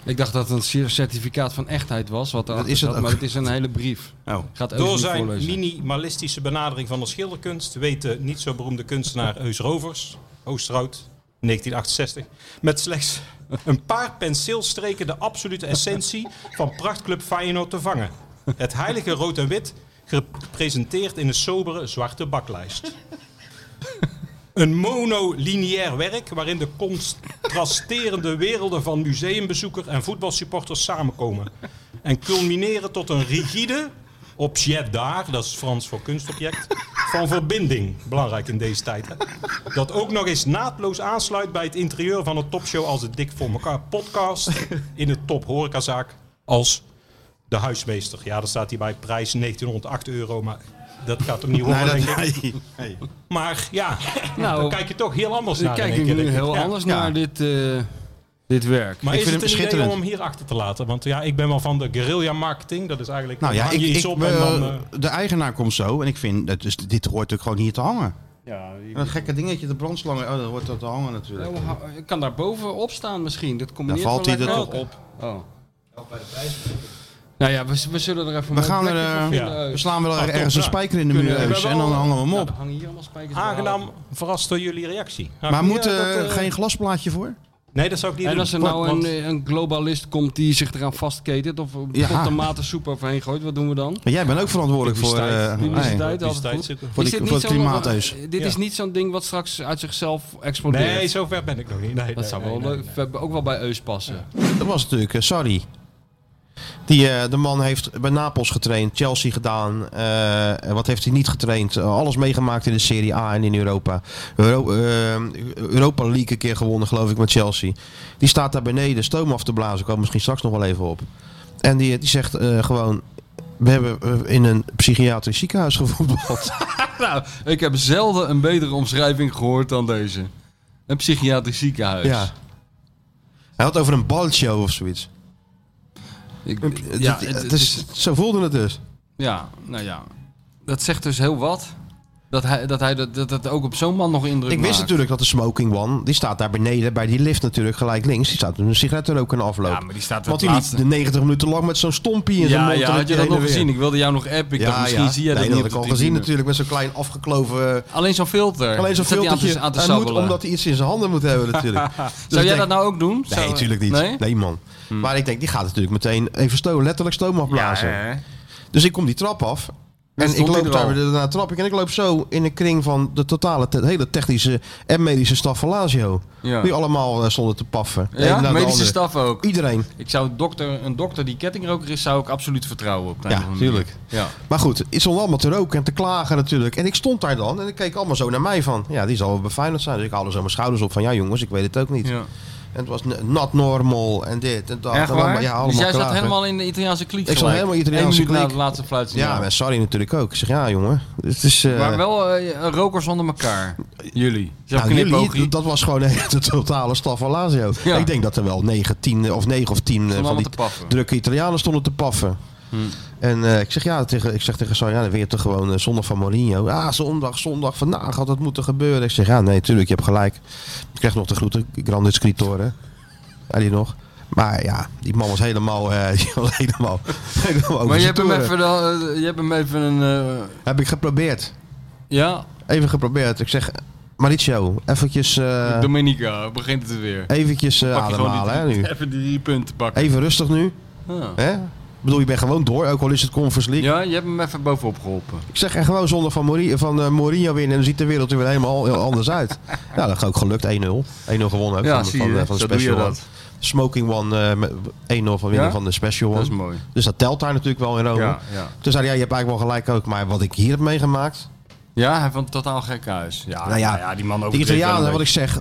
S3: Ik dacht dat het een certificaat van echtheid was, wat dat
S2: is het ook.
S3: maar het is een hele brief.
S2: Oh.
S3: Ik ga het
S9: Door
S3: even
S9: zijn
S3: voorlezen.
S9: minimalistische benadering van de schilderkunst weet de niet zo beroemde kunstenaar Eus Rovers, Oosterhout, 1968, met slechts een paar penseelstreken de absolute essentie van prachtclub Feyenoord te vangen. Het heilige rood en wit, gepresenteerd in een sobere zwarte baklijst. Een monolineair werk waarin de contrasterende werelden van museumbezoeker en voetbalsupporters samenkomen. En culmineren tot een rigide objet daar, dat is Frans voor kunstobject, van verbinding. Belangrijk in deze tijd. Hè? Dat ook nog eens naadloos aansluit bij het interieur van een topshow als het Dik voor elkaar podcast. In de top horecazaak als de huismeester. Ja, daar staat hij bij prijs 1908 euro, maar dat gaat hem niet horen,
S10: Nee, dat-
S9: denk ik. Maar ja,
S3: Nou,
S9: dan kijk je toch heel anders
S3: Dan
S9: naar.
S3: kijk
S9: in één
S3: ik
S9: keer,
S3: nu
S9: denk
S3: heel
S9: Ja.
S3: anders
S9: Ja.
S3: naar dit, eh, dit werk.
S9: Maar
S3: Ik
S9: is
S3: vind
S9: het een idee om hem hier achter te laten? Want ja, ik ben wel van de guerrilla marketing. Dat is eigenlijk...
S10: Nou ja,
S9: hang je
S10: ik,
S9: iets
S10: ik,
S9: op en dan...
S10: eh,
S9: eh,
S10: de eigenaar komt zo en ik vind, dat is, dit hoort natuurlijk gewoon hier te hangen.
S3: Ja,
S10: Dat gekke dingetje, de brandslangen, oh, dat hoort dat te hangen natuurlijk.
S3: Oh, ha- ik kan daar bovenop staan misschien. Dat
S10: Dan
S3: combineert
S10: valt
S3: wel
S10: hij er
S3: lekker
S10: toch op.
S3: Oh. Nou ja, we, we zullen er even
S10: We
S3: een
S10: gaan er,
S3: plekje voor
S10: eh,
S3: vinden.
S10: we slaan wel
S9: Ah, top,
S10: ergens een
S9: ja.
S10: spijker in de
S9: Kunnen
S10: muur
S9: we- we
S10: even en
S9: hebben
S10: dan
S9: al-
S10: hangen we hem
S3: Ja,
S10: op.
S3: er hangen hier allemaal spijkers.
S9: Aangenaam verrast door jullie reactie. Nou,
S10: Maar
S9: ik-
S10: moet
S9: ja,
S10: er
S9: dat, eh,
S10: geen glasplaatje voor?
S9: Nee, dat zou ik niet
S3: En
S9: doen.
S3: als er
S9: Want-
S3: nou
S9: want-
S3: een, een globalist komt die zich eraan vastketent of op
S10: Ja.
S3: de tomatensoep overheen gooit, wat doen we dan?
S10: Maar jij bent ook verantwoordelijk voor,
S9: Publiciteit.
S10: eh,
S3: Publiciteit,
S10: hey,
S3: altijd
S9: Publiciteit
S3: goed.
S9: zitten.
S10: voor,
S3: Is
S10: die,
S3: dit
S10: voor
S3: niet
S10: het
S3: zo'n- eh,
S10: klimaat eens.
S3: Dit is
S9: Ja.
S3: niet zo'n ding wat straks uit zichzelf explodeert.
S9: Nee, zover ben ik nog niet. Nee,
S3: dat zou wel leuk. we hebben Ook wel bij Eus passen.
S11: Dat was natuurlijk, eh, sorry.
S2: Die, eh, de man heeft bij Napels getraind, Chelsea gedaan. eh, en wat heeft hij niet getraind? Eh, alles meegemaakt in de Serie A en in Europa. Euro- eh, Europa League een keer gewonnen, geloof ik, met Chelsea. Die staat daar beneden stoom af te blazen. Ik kom misschien straks nog wel even op. En die, die zegt eh, gewoon... We hebben eh, in een psychiatrisch ziekenhuis gevoetbald.
S3: nou, ik heb zelden een betere omschrijving gehoord dan deze. Een psychiatrisch ziekenhuis.
S2: ja. Hij had over een balshow of zoiets.
S3: Ik-
S2: ja,
S3: ja, het-
S2: het is, zo voelde het dus.
S3: Ja, nou ja. Dat zegt dus heel wat. Dat hij dat, hij dat, dat, dat ook op zo'n man nog indruk
S2: Ik wist
S3: maakt.
S2: natuurlijk dat de smoking one, die staat daar beneden bij die lift natuurlijk gelijk links. Die staat een sigaret er ook in afloop.
S3: Ja, maar die staat
S2: Want die
S3: het
S2: liep
S3: laatste.
S2: de 90 minuten lang met zo'n stompie in zijn
S3: Ja,
S2: mond.
S3: ja,
S2: en
S3: had je
S2: heen
S3: dat
S2: en
S3: nog
S2: weer.
S3: gezien? Ik wilde jou nog appen. Ik dacht, misschien zie jij dat
S2: nee,
S3: niet
S2: had ik
S3: op de
S2: al gezien
S3: tribune.
S2: natuurlijk met zo'n klein afgekloven... eh,
S3: Alleen zo'n filter.
S2: alleen zo'n
S3: Zat die aan te-
S2: filtertje.
S3: aan te
S2: Hij moet,
S3: sabbelen.
S2: omdat hij iets in zijn handen moet hebben natuurlijk. Dus
S3: Zou
S2: ik
S3: jij
S2: denk-
S3: dat nou ook doen?
S2: Nee,
S3: Zou-
S2: natuurlijk niet.
S3: Nee? Hm.
S2: Nee, man. Maar ik denk, die gaat natuurlijk meteen even stoom, letterlijk stoom afblazen. Dus ik kom die trap af. En ik
S3: stond hij
S2: loop
S3: er
S2: daar
S3: al.
S2: weer naar de trap. En ik loop zo in een kring van de totale, te- hele technische en medische staf van Lazio.
S3: Ja.
S2: Die allemaal eh, stonden te paffen. De
S3: Ja,
S2: een na de
S3: medische
S2: ander.
S3: staf ook.
S2: Iedereen.
S3: Ik zou dokter, een dokter die kettingroker is, zou ik absoluut vertrouwen op.
S2: Ja, tuurlijk.
S3: Ja.
S2: Maar goed, het stond allemaal te roken en te klagen natuurlijk. En ik stond daar dan en ik keek allemaal zo naar mij van... Ja, die zal wel beveiligd zijn. Dus ik haalde zo mijn schouders op van... Ja jongens, ik weet het ook niet.
S3: Ja.
S2: En het was n- not normal en dit en dat.
S3: Echt
S2: En
S3: waar?
S2: allemaal- Ja, allemaal
S3: dus jij zat
S2: klagen.
S3: helemaal in de Italiaanse kliek
S2: Ik zat
S3: gelijk.
S2: helemaal Italiaanse
S3: Eén minuut
S2: kliek.
S3: na de laatste fluitsignaal.
S2: Ja, en sorry natuurlijk ook. Ik zeg, ja jongen. Het is, eh,
S3: Maar wel eh, rokers onder elkaar. Jullie. Zo'n
S2: Nou,
S3: knipoogje.
S2: jullie, dat was gewoon de totale staf van Lazio.
S3: Ja.
S2: Ik denk dat er wel 9, 10 of 9 of 10 eh, van
S3: allemaal
S2: die
S3: te paffen. Hmm.
S2: drukke Italianen stonden te paffen. En eh, ik zeg ja tegen, ik zeg tegen Sarri, ja, dan weer toch gewoon eh, zondag van Mourinho. Ah, zondag, zondag, vandaag had dat moeten gebeuren. Ik zeg ja, nee, tuurlijk, je hebt gelijk. Ik krijg nog de groeten, Grandis Scritor, hè. Ja, die nog. Maar ja, die man was helemaal, eh, die was helemaal, helemaal over
S3: maar je
S2: zijn
S3: hebt, hem
S2: toeren.
S3: even, dan, eh, je hebt hem even een... eh,
S2: Heb ik geprobeerd.
S3: ja,
S2: Even geprobeerd. Ik zeg, Mauricio, eventjes... eh,
S3: Dominica, begint het weer.
S2: Eventjes eh,
S3: Pak je gewoon die
S2: ademhalen hè, nu.
S3: drie- Even die drie punten pakken.
S2: Even rustig nu.
S3: Ja.
S2: Hè? Ik bedoel, je bent gewoon door, ook al is het Conference League.
S3: Ah. Ja, je hebt hem even bovenop geholpen.
S2: Ik zeg er gewoon zonder van, Mourinho, van eh, Mourinho winnen en dan ziet de wereld er weer helemaal heel anders uit. nou, dat is ook gelukt, 1-0. 1-0 gewonnen ook
S3: Ja,
S2: van,
S3: zie
S2: van,
S3: je,
S2: eh, van de
S3: zo doe je
S2: Special One.
S3: dat.
S2: Smoking One, eh, met 1-0 van winnen
S3: Ja?
S2: van de Special One.
S3: Dat is mooi.
S2: Dus dat telt daar natuurlijk wel in Rome.
S3: Ja, ja.
S2: Toen zei hij, ja, je hebt eigenlijk wel gelijk ook, maar wat ik hier heb meegemaakt...
S3: Ja, hij vond het totaal gek huis. Ja,
S2: Nou ja,
S3: nou ja, die man ook.
S2: De Italianen, wat ik zeg,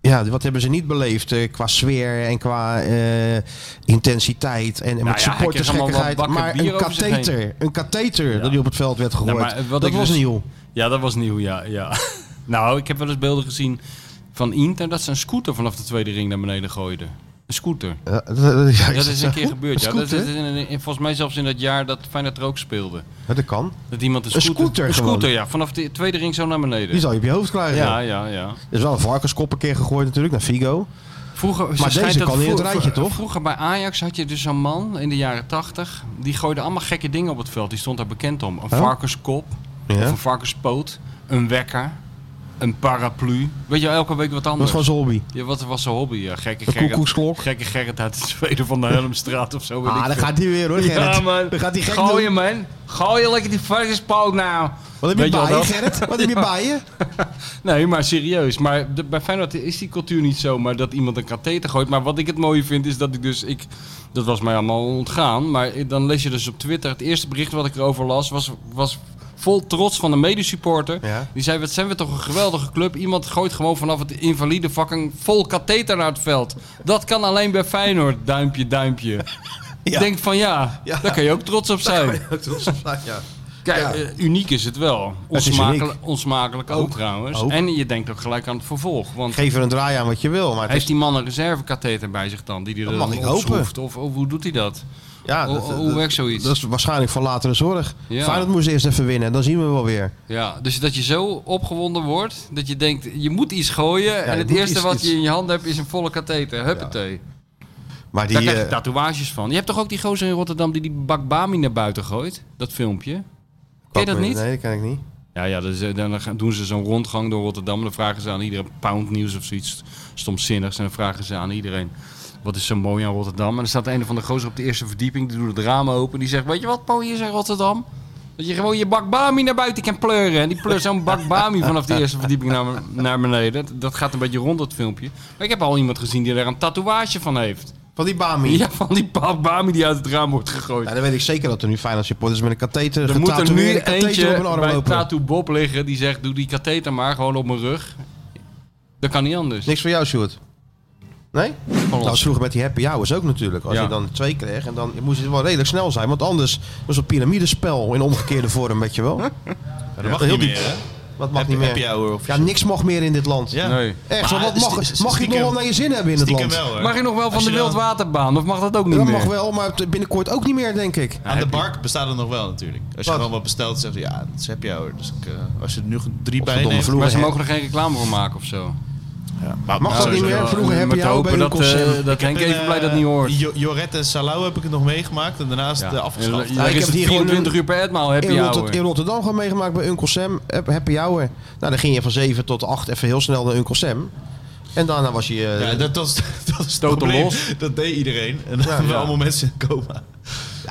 S2: ja, wat hebben ze niet beleefd eh, qua sfeer en qua eh, intensiteit en, en
S3: Nou
S2: met
S3: ja, hij kreeg allemaal wel
S2: supportersgekkigheid.
S3: bakken
S2: Maar
S3: bier
S2: een
S3: over zich
S2: katheter, een katheter dat die op het veld werd gegooid,
S3: Nou, maar wat
S2: dat
S3: ik
S2: was
S3: dus-
S2: nieuw.
S3: Ja, dat was nieuw, ja. ja. nou, ik heb wel eens beelden gezien van Inter dat ze een scooter vanaf de tweede ring naar beneden gooiden. Een scooter.
S2: Ja, dat- dat- ja,
S3: Ja,
S2: ik
S3: dat
S2: zeg,
S3: is een keer gebeurd. Ja. Dat is
S2: scooter?
S3: in, in- in- volgens mij zelfs in dat jaar dat Feyenoord er ook speelde.
S2: Ja, dat kan.
S3: Dat iemand een
S2: Een
S3: scooter...
S2: scooter
S3: een
S2: gewoon.
S3: scooter, ja. Vanaf de tweede ring zo naar beneden.
S2: Die zal je op je hoofd krijgen.
S3: Ja, ja, ja.
S2: Er is wel een varkenskop een keer gegooid natuurlijk naar Figo.
S3: Vroeger, ze
S2: deze
S3: schijnt dat
S2: kan in het
S3: vroeg-
S2: rijtje, toch?
S3: Vroeger bij Ajax had je dus zo'n man in de jaren tachtig. Die gooide allemaal gekke dingen op het veld. Die stond daar bekend om. Een varkenskop,
S2: Ja.
S3: of een varkenspoot, een wekker, Een paraplu. Weet je, wel, elke week wat anders.
S2: gewoon zijn hobby.
S3: Ja, wat was zijn hobby? Ja, gekke
S2: Een koekoeksklok.
S3: Gerrit. Gekke Gerrit uit de Zweden van de Helmstraat of zo. weet
S2: Ah,
S3: ik
S2: dan
S3: veel.
S2: gaat hij weer, hoor,
S3: Ja,
S2: Gerrit.
S3: man.
S2: Dan gaat hij gek
S3: Gooi
S2: doen.
S3: hem, man. Gooi je lekker die varkenspoot nou.
S2: Wat heb je bij je, Gerrit? Wat heb je bij je?
S3: Nee, maar serieus. Maar de- bij Feyenoord is die cultuur niet zo, maar dat iemand een katheter gooit. Maar wat ik het mooie vind, is dat ik dus... Ik, dat was mij allemaal ontgaan. Maar ik- dan lees je dus op Twitter... Het eerste bericht wat ik erover las, was, was vol trots van een medesupporter. Die zei, wat zijn we toch een geweldige club. Iemand gooit gewoon vanaf het invalide fucking vol katheter naar het veld. Dat kan alleen bij Feyenoord. Duimpje, duimpje. Ik denk van ja, daar kan je ook trots op zijn. Kijk,
S2: Ja.
S3: eh, uniek is het wel.
S2: Het is
S3: Onsmakelijk,
S2: uniek.
S3: onsmakelijk ook,
S2: Ook.
S3: trouwens.
S2: Ook.
S3: En je denkt ook gelijk aan het vervolg. Want
S2: Geef er een draai aan wat je wil. Maar het
S3: heeft
S2: is-
S3: die man een reservekatheter bij zich dan? Die die
S2: Dat
S3: er
S2: mag
S3: dan
S2: ik hopen.
S3: opschroeft? Of, of hoe doet hij dat?
S2: ja,
S3: hoe
S2: dat-
S3: hoe
S2: dat-
S3: werkt zoiets?
S2: Dat is waarschijnlijk van latere zorg.
S3: Ja.
S2: Feyenoord moest eerst even winnen, dan zien we wel weer.
S3: Ja, dus dat je zo opgewonden wordt dat je denkt, je moet iets gooien. en
S2: je
S3: het
S2: moet
S3: eerste
S2: iets-
S3: wat
S2: iets-
S3: je in je hand hebt is een volle katheter. Huppatee.
S2: Maar die,
S3: Daar krijg je
S2: eh,
S3: tatoeages van. Je hebt toch ook die gozer in Rotterdam die die bakbami naar buiten gooit? Dat filmpje. Ken je dat niet?
S2: Nee, dat ken ik niet.
S3: Ja, ja dus, eh, dan gaan- doen ze zo'n rondgang door Rotterdam. Dan vragen ze aan iedereen Pound Nieuws of zoiets stomzinnigs. En dan vragen ze aan iedereen, wat is zo mooi aan Rotterdam? En dan staat een van de gozer op de eerste verdieping. Die doet het raam open. Die zegt, weet je wat mooi is in Rotterdam? Dat je gewoon je bakbami naar buiten kan pleuren. En die pleurt zo'n bakbami vanaf de eerste verdieping naar, naar beneden. Dat, dat gaat een beetje rond, dat filmpje. Maar ik heb al iemand gezien die daar een tatoeage van heeft.
S2: Van die bami?
S3: Ja, van die ba- bami die uit het raam wordt gegooid.
S2: Ja, dan weet ik zeker dat er nu Feyenoord supporters met een katheter
S3: Er moet er nu
S2: getatoeëerde katheter op hun
S3: eentje
S2: arm
S3: bij
S2: lopen.
S3: Tattoo Bob liggen die zegt: Doe die katheter maar gewoon op mijn rug. Dat kan niet anders.
S2: Niks voor jou, Sjoerd? Nee? Dat was vroeger met die happy hours ook natuurlijk. Als
S3: Ja.
S2: je dan twee kreeg, en dan moest het wel redelijk snel zijn. Want anders was het piramidespel in omgekeerde vorm, weet je wel.
S4: dat mag niet meer, hè?
S2: Wat mag
S4: Happy-
S2: niet meer?
S4: happy hour of
S2: ja, niks mag meer in dit land.
S4: Ja. Nee.
S2: Echt,
S4: Maar
S2: wat mag, mag
S4: sti- sti-
S2: je het nog
S4: stiekem-
S2: wel naar je zin hebben in het
S4: stiekem
S2: land?
S4: wel, hoor.
S3: Mag je nog wel van
S4: Als
S3: de
S4: je dan-
S3: wildwaterbaan? Of mag dat ook niet
S2: dat
S3: meer?
S2: mag wel, maar binnenkort ook niet meer, denk ik.
S4: Aan de bark bestaat het nog wel natuurlijk. Als je
S2: Wat?
S4: gewoon wat bestelt, zegt hij, ja, dat is happy hour. Dus ik, eh, als je er nu drie bij
S2: Godverdomme,
S4: neemt...
S2: vroeger
S3: Maar ze mogen er geen reclame voor maken of zo. Nou, eh,
S4: Maar
S2: Mag dat niet meer? Vroeger heb
S3: maar
S2: je
S3: te
S2: jou bij
S3: hopen
S2: een
S3: dat,
S2: concert.
S3: eh, dat Henk even blij dat niet hoort.
S4: Jorette en Salau heb ik het nog meegemaakt en daarnaast eh, afgeschaft.
S3: Ja, ik heb het hier 24 uur per etmaal heb
S2: in,
S3: je
S2: Rotter- in
S3: houden.
S2: Rotterdam gewoon meegemaakt bij Uncle Sam. Hap- Happy hour. Nou, dan ging je van 7 tot 8 even heel snel naar Uncle Sam. En daarna was je... eh,
S4: Ja, dat, dat, is- dat is het
S3: Total
S4: probleem.
S3: los.
S4: Dat deed iedereen. En dan hebben we allemaal mensen in coma.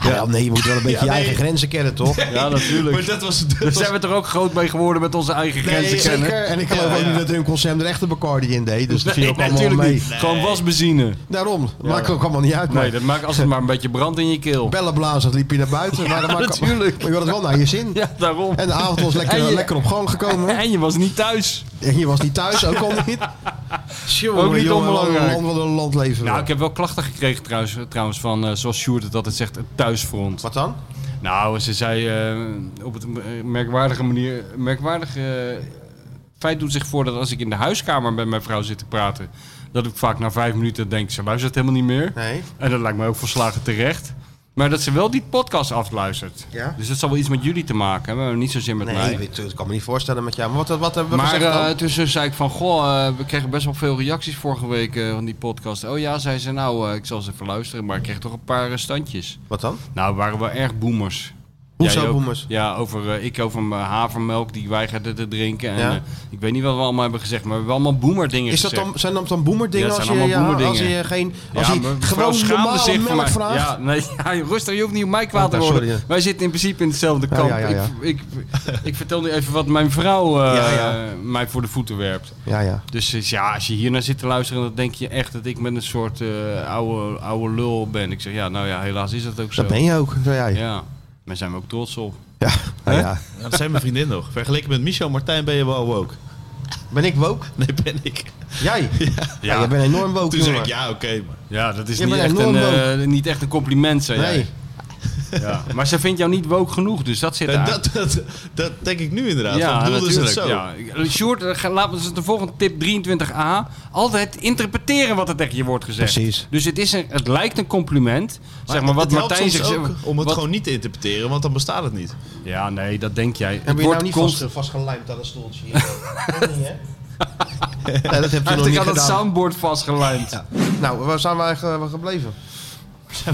S2: ja, wel, nee, je moet wel een beetje
S4: Ja,
S2: je
S4: nee.
S2: eigen grenzen kennen, toch?
S3: Ja, natuurlijk.
S4: Maar dat was... Dat
S3: Daar
S4: was
S3: zijn we er ook groot mee geworden met onze eigen grenzen kennen.
S2: Zeker. En ik geloof
S4: Ja,
S2: ook
S4: ja.
S2: niet dat Uncle Sam er echt een Bacardi in deed. Dus dat viel
S3: Nee,
S2: ook allemaal
S3: natuurlijk
S2: mee.
S3: niet. Gewoon wasbenzine.
S2: Daarom. Dat maakt ook allemaal niet uit. Maar
S3: Nee, dat maakt als het maar een beetje brand in je keel.
S2: bellenblaas, dat liep je naar buiten. maar, dat maakt,
S3: natuurlijk.
S2: maar je had het wel naar je zin.
S3: Ja, daarom.
S2: En de avond was lekker,
S3: En je-
S2: lekker op gang gekomen.
S3: En je was niet thuis.
S2: En je was niet thuis, ook al niet. Jongen,
S3: Ook niet
S2: jongen, wat een
S3: onbelangrijk.
S2: land- Wat een land leven we.
S3: Nou, ik heb wel klachten gekregen trouwens, trouwens van, eh, zoals Sjoerd het altijd zegt, het thuisfront.
S2: Wat dan?
S3: Nou, ze zei eh, op een merkwaardige manier, merkwaardig eh, feit doet zich voor dat als ik in de huiskamer met mijn vrouw zit te praten, dat ik vaak na vijf minuten denk, ze luistert helemaal niet meer.
S2: Nee.
S3: En dat lijkt me ook volslagen terecht. Maar dat ze wel die podcast afluistert.
S2: Ja.
S3: Dus dat zal wel iets met jullie te maken hebben, maar niet zozeer met
S2: Nee,
S3: mij.
S2: ik weet- ik kan me niet voorstellen met jou. Maar wat, wat, wat hebben we
S3: Maar
S2: gezegd dan?
S3: eh, tussen zei ik van, goh, eh, we kregen best wel veel reacties vorige week eh, van die podcast. Oh ja, zei ze, nou, eh, ik zal ze even luisteren, maar ik kreeg toch een paar eh, standjes.
S2: Wat dan?
S3: Nou, we waren wel erg boomers.
S2: Hoezo
S3: Jij ook?
S2: boomers?
S3: Ja, over, eh, ik over mijn havermelk, die weigerde te drinken. En,
S2: Ja.
S3: eh, ik weet niet wat we allemaal hebben gezegd, maar we hebben allemaal boomerdingen
S2: Is dat
S3: gezegd.
S2: dan, zijn dat dan boemerdingen
S3: Ja, het
S2: als, je,
S3: zijn allemaal
S2: ja, als
S3: boemerdingen.
S2: je geen als
S3: Ja,
S2: je
S3: maar mevrouw
S2: gewoon
S3: schaamde
S2: normale
S3: zich voor
S2: melk
S3: mij.
S2: vraagt?
S3: Ja, nee, ja, rustig, je hoeft niet op mij kwaad
S2: Oh,
S3: te
S2: nou,
S3: worden.
S2: sorry.
S3: Wij zitten in principe in hetzelfde kamp.
S2: ja, ja, ja.
S3: Ik, ik, ik vertel nu even wat mijn vrouw eh,
S2: Ja, ja.
S3: mij voor de voeten werpt.
S2: Ja, ja.
S3: Dus eh, ja, als je hier naar zit te luisteren, dan denk je echt dat ik met een soort eh, oude, oude lul ben. Ik zeg ja, nou ja, helaas is dat ook zo.
S2: Dat ben je ook, zei jij. Ja.
S3: Ja, daar zijn we ook trots op.
S2: Nou ja.
S4: Nou, dat zijn mijn vriendin nog. Vergeleken met Michel Martijn ben je wel woke.
S2: Ben ik woke?
S4: Nee, ben ik.
S2: Jij? Ja. jij bent enorm woke,
S4: Toen zei ik,
S2: jongen.
S4: ja, oké, maar...
S3: Ja, dat is
S2: Je
S3: niet
S2: bent
S3: echt, een,
S2: enorm
S3: eh, niet echt een compliment, zei
S2: Nee.
S3: jij. Ja. Maar ze vindt jou niet woke genoeg, dus dat zit
S4: En
S3: daar.
S4: dat, dat, dat denk ik nu inderdaad.
S3: ja,
S4: Ja, bedoelden ze het
S3: natuurlijk.
S4: zo.
S3: Ja. Sjoerd, eh, ga- laten we eens de volgende tip 23a. Altijd interpreteren wat er tegen je wordt gezegd.
S2: Precies.
S3: Dus het, is een, het lijkt een compliment. zeg maar wat
S4: het helpt
S3: Martijn
S4: soms
S3: zegt.
S4: ook om het
S3: wat-
S4: gewoon niet te interpreteren, want dan bestaat het niet.
S3: Ja, nee, dat denk jij. Het
S2: Heb je nou
S3: wordt
S2: niet
S3: const-
S2: vast, vastgelijmd aan een stoeltje? hier? Dat niet, hè? nee, dat heb je
S3: Hij
S2: nog
S3: heeft
S2: niet
S3: aan dat
S2: gedaan.
S3: soundboard vastgelijmd.
S2: Nou, waar zijn we eigenlijk eh, gebleven?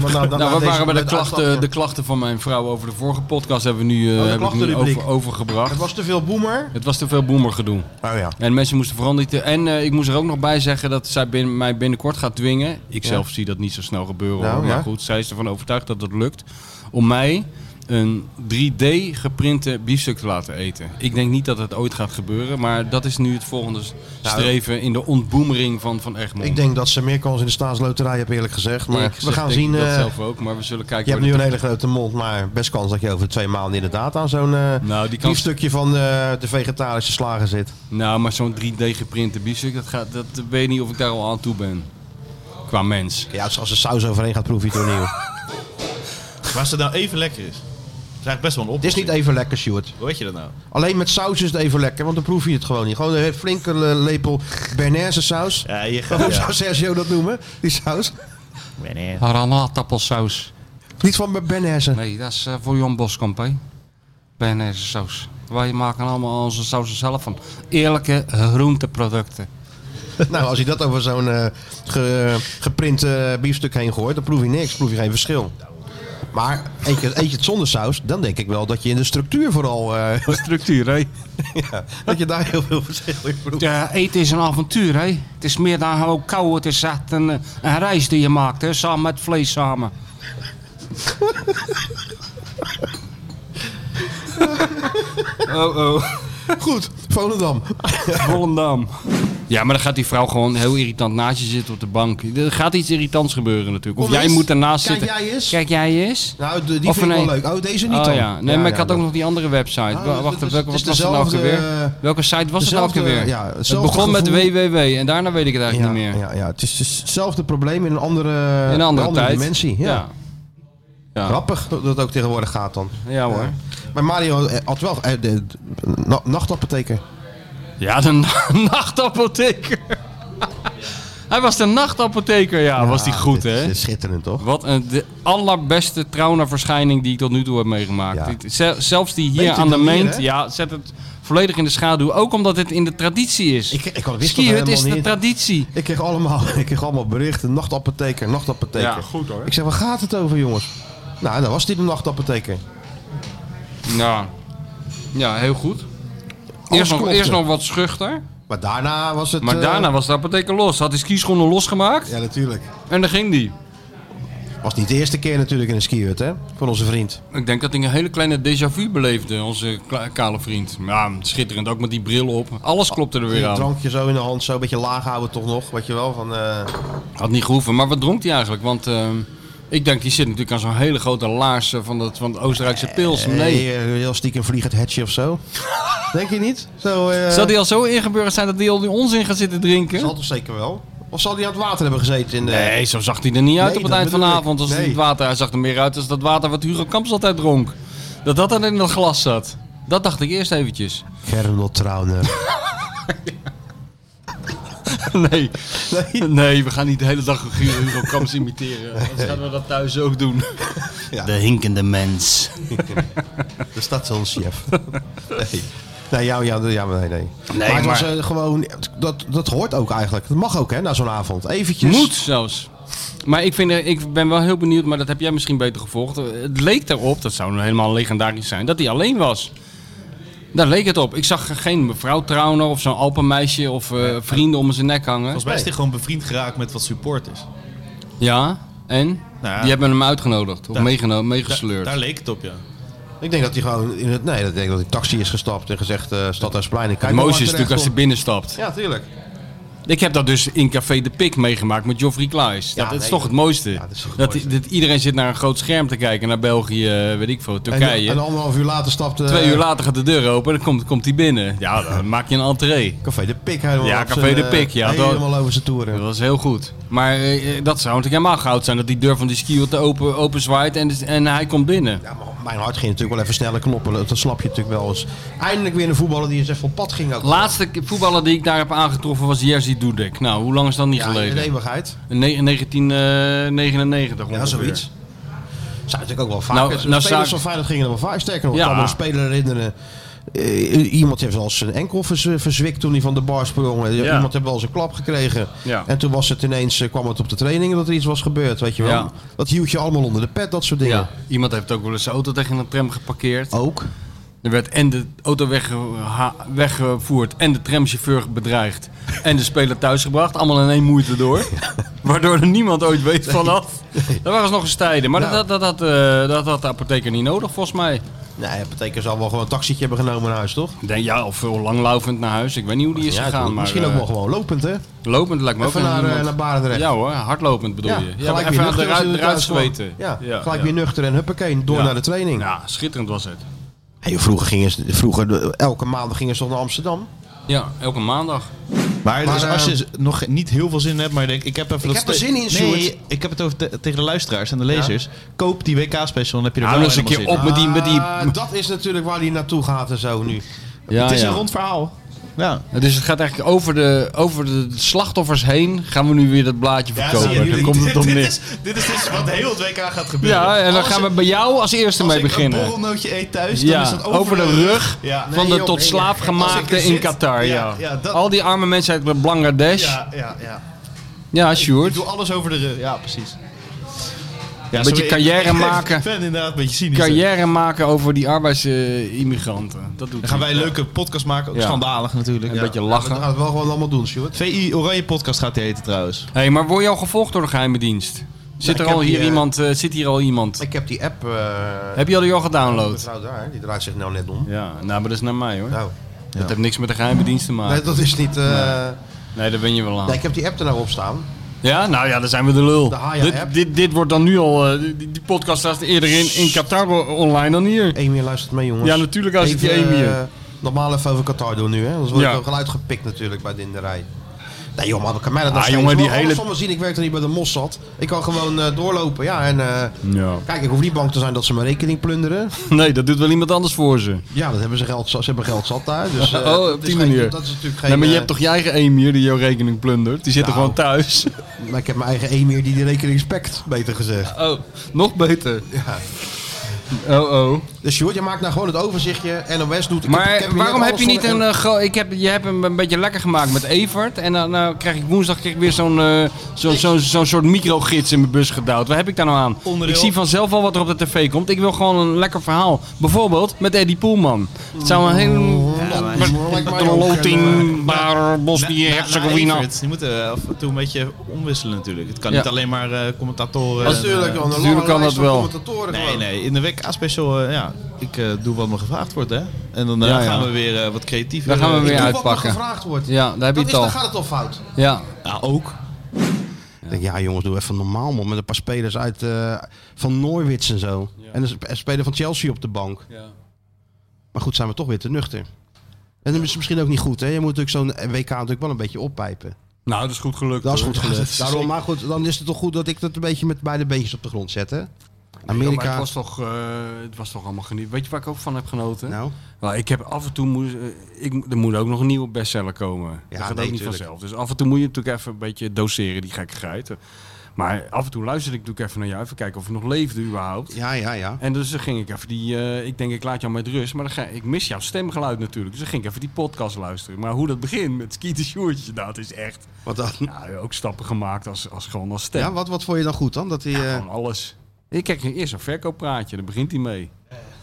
S2: Maar na- na-
S3: nou,
S2: na
S3: we waren
S2: deze-
S3: bij de
S2: met
S3: klachten,
S2: uitstapje.
S3: de klachten van mijn vrouw over de vorige podcast hebben we nu, eh,
S2: Oh, de
S3: hebben we nu
S2: klachtenrubriek.
S3: over, overgebracht.
S2: Het was te veel boomer.
S3: Het was te veel boemergedoe.
S2: Oh ja.
S3: En mensen moesten veranderen. En eh, ik moest er ook nog bij zeggen dat zij bin- mij binnenkort gaat dwingen. Ik
S2: Ja.
S3: zelf zie dat niet zo snel gebeuren.
S2: Nou,
S3: hoor.
S2: ja.
S3: Maar goed, zij is ervan overtuigd dat het lukt. Om mij een 3D geprinte biefstuk te laten eten. Ik denk niet dat het ooit gaat gebeuren. Maar dat is nu het volgende s-
S2: Nou,
S3: streven in de ontboemering van, van Egmond.
S2: Ik denk dat ze meer kans in de staatsloterij hebben, eerlijk gezegd. Maar
S3: Ik
S2: we
S3: zeg,
S2: gaan
S3: denk
S2: zien.
S3: Dat
S2: eh,
S3: zelf ook, maar we zullen kijken.
S2: je hebt
S3: waar
S2: nu een
S3: dit-
S2: hele grote mond, maar best kans dat je over twee maanden inderdaad aan zo'n eh
S3: Nou, die kans-
S2: biefstukje van eh, de vegetarische slager zit.
S3: Nou, maar zo'n 3D geprinte biefstuk, dat, gaat, dat weet ik niet of ik daar al aan toe ben. Qua mens.
S2: Ja, als de saus overheen gaat, proef je het opnieuw.
S4: Maar als het nou even lekker is. Dat is eigenlijk best wel een
S2: Het is
S4: oplossing.
S2: niet even lekker, Sjoerd.
S4: Hoe weet je dat nou?
S2: Alleen met saus is het even lekker, want dan proef je het gewoon niet. Gewoon een flinke eh, lepel Bernaise saus.
S4: Ja, je gaat...
S2: Waarom
S4: ja.
S2: zou Sergio dat noemen, die saus?
S3: Granaatappelsaus.
S2: Niet van Bernaise.
S3: Nee, dat is eh, voor Jan Boskamp, hè. Bernaise saus. Wij maken allemaal onze sausen zelf van. Eerlijke groenteproducten.
S2: nou, als je dat over zo'n eh, ge- geprint eh, biefstuk heen gooit, dan proef je niks, proef je geen verschil. Maar eet je, eet je het zonder saus, dan denk ik wel dat je in de structuur vooral... eh,
S3: Structuur, hè?
S2: ja, dat je daar heel veel verschil in proeft.
S3: Ja, eten is een avontuur, hè. Het is meer dan gewoon kou. Het is echt een, eh, een reis die je maakt, hè. Samen met vlees samen. oh, oh.
S2: Goed, Volendam.
S3: Volendam. Ja, maar dan gaat die vrouw gewoon heel irritant naast je zitten op de bank. Er gaat iets irritants gebeuren natuurlijk. Of
S2: Kom
S3: jij
S2: eens.
S3: moet daarnaast
S2: Kijk
S3: zitten.
S2: jij eens.
S3: Kijk jij eens.
S2: Nou, de- die
S3: Of
S2: vind ik wel
S3: nee.
S2: leuk. Oh, deze niet
S3: oh,
S2: dan.
S3: Ja. Nee,
S2: Ja,
S3: maar
S2: ja,
S3: ik had
S2: dat-
S3: ook nog die andere website.
S2: Ah,
S3: Wa-
S2: dat
S3: Wacht,
S2: is-
S3: welke,
S2: het
S3: wat
S2: is
S3: was het nou ook
S2: dezelfde,
S3: alweer?
S2: eh,
S3: Welke site was
S2: dezelfde,
S3: het nou ook alweer?
S2: ja,
S3: het
S2: hetzelfde
S3: begon met
S2: gevoel.
S3: www en daarna weet ik het eigenlijk niet meer.
S2: Ja, ja, het is dus hetzelfde probleem in een andere,
S3: In een andere, tijd.
S2: dimensie. Ja.
S3: ja. Ja.
S2: Grappig dat het ook tegenwoordig gaat dan.
S3: Ja, hoor.
S2: Maar Mario eh, had wel eh, de, na, nachtapotheker.
S3: Ja, de na- nachtapotheker. Hij was de nachtapotheker, ja. was die goed,
S2: dit is-
S3: hè?
S2: dit is Schitterend, toch?
S3: Wat een, de allerbeste traumaverschijning die ik tot nu toe heb meegemaakt.
S2: Ja.
S3: Dit- zel- zelfs die hier
S2: Beter
S3: aan de
S2: dan hier,
S3: meent,
S2: hè?
S3: ja, zet het volledig in de schaduw. Ook omdat het in de traditie is.
S2: Ik, ik wist dat
S3: Skihut
S2: helemaal
S3: is de
S2: niet.
S3: traditie.
S2: Ik kreeg allemaal, ik kreeg allemaal berichten. Nachtapotheker, nachtapotheker.
S3: Ja, goed, hoor.
S2: Ik zeg, waar gaat het over, jongens? Nou, dan was dit een nachtapotheker.
S3: Ja, ja heel goed.
S2: Alles
S3: Eerst nog,
S2: klopte.
S3: eerst nog wat schuchter.
S2: Maar daarna was het...
S3: Maar
S2: eh,
S3: daarna was de apotheker los. Had hij skischoenen losgemaakt
S2: Ja, natuurlijk.
S3: en dan ging die.
S2: Was niet de eerste keer natuurlijk in een skihut, hè? Van onze vriend.
S3: Ik denk dat hij een hele kleine déjà vu beleefde, onze kla- kale vriend. Ja, schitterend. Ook met die bril op. Alles klopte er
S2: Een
S3: weer aan.
S2: drankje zo in de hand, zo een beetje laag houden toch nog. Weet je wel, van... eh,
S3: Had niet gehoeven. Maar wat dronk hij eigenlijk? Want ehm, ik denk, die zit natuurlijk aan zo'n hele grote laars eh, van, dat, van de Oostenrijkse pils. Nee.
S2: eh, heel stiekem vliegend hetje of zo. Denk je niet? Zo, eh,
S3: Zou die al zo ingeburgerd zijn dat hij al die onzin gaat zitten drinken?
S2: Zal toch zeker wel? Of zal die aan het water hebben gezeten? In de...
S3: Nee, zo zag hij er niet uit
S2: Nee,
S3: op het
S2: dat
S3: eind van de
S2: bedoel ik.
S3: avond. Als
S2: Nee.
S3: het water, hij zag er meer uit als dat water wat Hugo Kamps altijd dronk. Dat dat dan in dat glas zat. Dat dacht ik eerst eventjes.
S2: Gernot Trauner.
S3: Nee. nee. we gaan niet de hele dag Hugo Kamps imiteren. Anders gaan we dat thuis ook doen.
S2: Ja.
S3: De hinkende mens.
S2: De stadshondchef. nee. Nee, ja, ja, ja, nee, nee. maar het was
S3: maar-
S2: eh, gewoon, dat, dat hoort ook eigenlijk. Dat mag ook, hè, na zo'n avond. Eventjes.
S3: Moet zelfs. Maar ik, vind, er- ik ben wel heel benieuwd, maar dat heb jij misschien beter gevolgd. Eh, Het leek erop, dat zou nou helemaal legendarisch zijn, dat hij alleen was. Daar leek het op. Ik zag geen mevrouw Trauner of zo'n Alpenmeisje of eh, vrienden om zijn nek hangen.
S4: Volgens mij is hij gewoon bevriend geraakt met wat supporters.
S3: Ja, en?
S4: Nou ja.
S3: Die hebben hem uitgenodigd of
S4: Daar-
S3: meegeno-
S4: Daar,
S3: meegesleurd.
S4: daar leek het op, ja.
S2: Ik denk dat hij gewoon in het, nee, dat ik denk dat hij taxi is gestapt en gezegd eh Stadhuisplein. Ik
S3: Het
S2: kijk wel
S3: mooiste is
S2: waar
S3: natuurlijk als hij
S2: terecht
S3: binnenstapt.
S2: komt. Ja, tuurlijk.
S3: Ik heb dat dus in Café de Pik meegemaakt met Geoffrey Klaes.
S2: Ja,
S3: dat, dat is
S2: nee,
S3: toch het mooiste.
S2: dat is toch het
S3: dat,
S2: mooiste.
S3: dat iedereen zit naar een groot scherm te kijken, naar België, eh, weet ik veel, Turkije.
S2: En, en anderhalf uur later stapt eh,
S3: Twee uur later gaat de deur open en dan komt, komt hij binnen. Ja, dan maak je een entree.
S2: Café de Pik helemaal
S3: Ja,
S2: op
S3: Café
S2: zijn,
S3: de
S2: eh,
S3: Pik, ja, dat-
S2: Helemaal over zijn toeren.
S3: Dat was heel goed. Maar eh, dat zou natuurlijk helemaal goud zijn. Dat die deur van die skier te open, open zwaait en, en hij komt binnen.
S2: Ja, maar mijn hart ging natuurlijk wel even sneller kloppen. Dat dat snap je natuurlijk wel eens. Eindelijk weer een voetballer die eens even op pad ging. Ook.
S3: Laatste k- voetballer die ik daar heb aangetroffen was Jerzy Dudek. Nou, hoe lang is dat niet
S2: ja, in
S3: geleden?
S2: de eeuwigheid.
S3: In ne- in 1999
S2: Ja,
S3: ongeveer.
S2: zoiets. Zou natuurlijk ook wel
S3: Nou,
S2: vaker.
S3: nou,
S2: spelers van
S3: zou-
S2: Feyenoord gingen er wel vaak. Sterker nog, ik
S3: Ja.
S2: kan me een speler herinneren eh, iemand heeft wel eens zijn enkel vers- verzwikt toen hij van de bar sprong. Eh,
S3: Ja.
S2: Iemand heeft wel eens een klap gekregen.
S3: Ja.
S2: En toen was het ineens, eh, kwam het op de trainingen dat er iets was gebeurd, weet je wel.
S3: Ja.
S2: Dat hield je allemaal onder de pet, dat soort dingen.
S3: Ja, iemand heeft ook wel eens zijn auto tegen een tram geparkeerd.
S2: Ook.
S3: Er werd en de auto weggeha- weggevoerd en de tramchauffeur bedreigd. En de speler thuisgebracht. Allemaal in één moeite door. Waardoor er niemand ooit weet vanaf. Dat waren ze nog eens tijden. Maar
S2: Nou.
S3: dat, dat, dat, eh, dat had de apotheker niet nodig volgens mij.
S2: Nee, de apotheker zal wel gewoon een taxietje hebben genomen naar huis, toch?
S3: Denk, ja, of heel langlaufend naar huis. Ik weet niet hoe die is
S2: Ja, het
S3: gegaan.
S2: moet
S3: Maar,
S2: misschien ook
S3: eh,
S2: wel gewoon lopend, hè?
S3: Lopend lijkt me
S2: Even
S3: ook
S2: naar,
S3: een-
S2: eh, naar Barendrecht.
S3: Ja hoor, hardlopend bedoel
S2: Ja,
S3: je. Ja,
S2: gelijk
S3: even
S2: weer nuchter als
S3: eruit,
S2: je er
S3: eruit
S2: thuis kwam.
S3: zweten.
S2: Ja, gelijk weer nuchter en huppakee, door
S3: Ja.
S2: naar de training.
S3: Ja, schitterend was het.
S2: Hey, joh, vroeger gingen ze, vroeger, elke maand gingen ze toch naar Amsterdam?
S3: Ja, elke maandag.
S4: Maar,
S2: Maar,
S4: dus
S2: eh,
S4: als je nog niet heel veel zin in hebt, maar je denkt, ik heb even
S2: Ik
S4: dat
S2: heb er
S4: ste-
S2: zin in, Sjoerd.
S4: Nee, ik heb het over te- tegen de luisteraars en de lezers. Koop die WK-special, dan heb je er
S3: Nou,
S4: wel
S3: dan is een
S4: helemaal
S3: keer
S4: zin
S3: op
S4: in.
S3: met die- met die-
S2: Ah, dat is natuurlijk waar hij naartoe gaat en zo nu.
S3: Ja,
S4: het is
S3: ja.
S4: een rond verhaal. Ja.
S3: Dus het gaat eigenlijk over de, over de slachtoffers heen. Gaan we nu weer dat blaadje verkopen. Daar komt het om
S4: dit,
S3: neer.
S4: is, dit is dus wat heel het WK gaat gebeuren.
S3: Ja, en dan
S4: Als
S3: gaan we
S4: ik-
S3: bij jou als eerste mee beginnen.
S4: Als ik een borrelnootje eet thuis, dan
S3: ja,
S4: is dat
S3: over, de rug
S4: Ja.
S3: van
S4: Nee,
S3: de
S4: joh,
S3: tot
S4: nee,
S3: slaaf
S4: nee. Als ik er
S3: gemaakte in
S4: zit-
S3: Qatar. Ja,
S4: Ja, ja, dat-
S3: Al die arme mensen uit Bangladesh. Ja,
S4: Ja, ja, ja. Ik
S3: Sjoerd.
S4: doe alles over de rug. Ja, precies.
S3: Een beetje
S4: ik-
S3: carrière
S4: ik ben-
S3: maken.
S4: Ik ben inderdaad een beetje cynisch.
S3: Carrière maken over die arbeidsimmigranten. dat doet
S4: Dan gaan
S3: hij.
S4: wij een leuke podcast maken. Ook
S3: Ja.
S4: schandalig natuurlijk.
S3: Een beetje lachen.
S2: Dat gaat het wel gewoon allemaal doen, Sjoerd.
S4: VI Oranje Podcast gaat die heten trouwens.
S3: hey, maar word je al gevolgd door de geheime dienst? Zit,
S2: ik
S3: er al
S2: heb
S3: hier
S2: die, eh,
S3: iemand, eh, zit hier al iemand?
S2: Ik heb die app... eh,
S3: Heb je die al gedownload?
S2: mevrouw daar, die draait zich nou net om.
S3: Ja, nou, maar dat is naar mij hoor.
S2: Nou,
S3: Dat heeft niks met de geheime dienst te maken.
S2: nee, dat is niet... eh,
S3: Nee, daar ben je wel aan.
S2: nee, ik heb die app er nou op staan.
S3: Ja, nou ja, dan zijn we de lul.
S2: De Haya
S3: dit,
S2: app.
S3: dit, dit wordt dan nu al. eh, die, die podcast staat eerder in, in Qatar o- online dan hier.
S2: Emir luistert mee, jongens.
S3: Ja, natuurlijk luistert die
S2: Even,
S3: Emir.
S2: eh, normaal even over Qatar doen nu, hè. Anders word
S3: Ja.
S2: ik ook wel uitgepikt natuurlijk bij de in de rij. Nee, joh, maar kan mij dat
S3: Ah,
S2: nou schelen?
S3: jongen, die
S2: Ik wil
S3: hele-
S2: alles van me zien. Ik werk er niet bij de Mossad. Ik kan gewoon eh, doorlopen, ja. En eh,
S3: Ja.
S2: kijk, ik hoef niet bang te zijn dat ze mijn rekening plunderen.
S3: Nee, dat doet wel iemand anders voor ze.
S2: Ja, dat hebben ze geld, ze hebben geld zat daar. Dus, eh,
S3: oh,
S2: dat
S3: op
S2: is
S3: die
S2: geen-
S3: manier.
S2: dat is natuurlijk geen...
S3: nee, maar je
S2: eh,
S3: hebt toch je eigen emir die jouw rekening plundert? Die zit er
S2: Nou.
S3: gewoon thuis.
S2: Maar ik heb mijn eigen emir die die rekening spekt, beter gezegd.
S3: Oh, nog beter.
S2: Ja.
S3: Oh, oh.
S2: Dus Sjoerd, je maakt nou gewoon het overzichtje. NOS doet... ik
S3: Maar
S2: heb- ik heb hier
S3: waarom
S2: net
S3: heb je
S2: alles
S3: niet
S2: van-
S3: een. eh, gro- ik heb, je hebt hem een beetje lekker gemaakt met Evert. En dan eh, krijg ik woensdag krijg ik weer zo'n eh, zo'n zo'n zo'n soort microgids in mijn bus gedouwd. Wat heb ik daar nou aan?
S4: Onderdeel.
S3: Ik zie vanzelf al wat er op de tv komt. Ik wil gewoon een lekker verhaal. Bijvoorbeeld met Eddie Poelman. Het zou een hele.
S2: maar-
S3: Loting, Bar,
S4: Na-
S3: Bosnië,
S4: na- na
S3: Herzegovina.
S4: Evert, Je moet eh, af en toe een beetje omwisselen natuurlijk. Het kan
S3: Ja.
S4: niet alleen maar eh, commentatoren. en,
S2: Natuurlijk,
S4: eh,
S2: want een
S3: Natuurlijk
S2: lange
S3: kan
S2: lijst
S3: dat
S2: van
S3: wel.
S2: commentatoren
S4: Nee,
S2: gewoon.
S4: nee, in de WK-special, ja, ik eh, doe wat me gevraagd wordt, hè. En dan eh,
S3: Ja, ja.
S4: gaan we weer eh, wat creatiever.
S3: Daar gaan we
S4: eh,
S3: weer
S2: Doe Wat
S3: uitpakken.
S2: er gevraagd wordt.
S3: Ja, daar heb je
S2: dat
S3: het
S2: is, dan
S3: al.
S2: gaat het al fout.
S3: Ja.
S4: Ja, ook.
S2: Ik denk, ja jongens, doe even normaal man. Met een paar spelers uit eh, van Norwits en zo. En een sp- een speler van Chelsea op de bank. Maar goed, zijn we toch weer te nuchter. En dat is misschien ook niet goed, hè? Je moet natuurlijk zo'n WK natuurlijk wel een beetje oppijpen.
S3: Nou, dat is goed gelukt.
S2: Dat is goed
S4: dat
S2: gelukt.
S4: is
S2: Daarom,
S4: zeker.
S2: maar goed, dan is het toch goed dat ik dat een beetje met beide beentjes op de grond zet, hè?
S3: Ja, maar
S2: Amerika.
S3: het, was toch, eh, het was toch allemaal geniet. Weet je waar ik ook van heb genoten?
S2: Nou,
S3: Nou, ik heb af en toe moest, eh, ik, er moet ook nog een nieuwe bestseller komen. dat gaat
S2: nee,
S3: ook niet
S2: tuurlijk.
S3: vanzelf. Dus af en toe moet je natuurlijk even een beetje doseren, die gekkigheid. Maar af en toe luisterde ik natuurlijk even naar jou, even kijken of je nog leefde überhaupt.
S2: ja, ja, ja.
S3: En dus dan ging ik even die, eh, ik denk ik laat jou met rust, maar dan ga, ik mis jouw stemgeluid natuurlijk. Dus dan ging ik even die podcast luisteren. Maar hoe dat begint met Skeeter Sjoertje, dat is echt,
S2: Wat dan?
S3: nou, ook stappen gemaakt als, als gewoon als stem.
S2: Ja, wat, wat vond je dan goed dan? Dat die, eh,
S3: Gewoon alles. Ik kijk eerst een verkooppraatje, daar begint hij mee.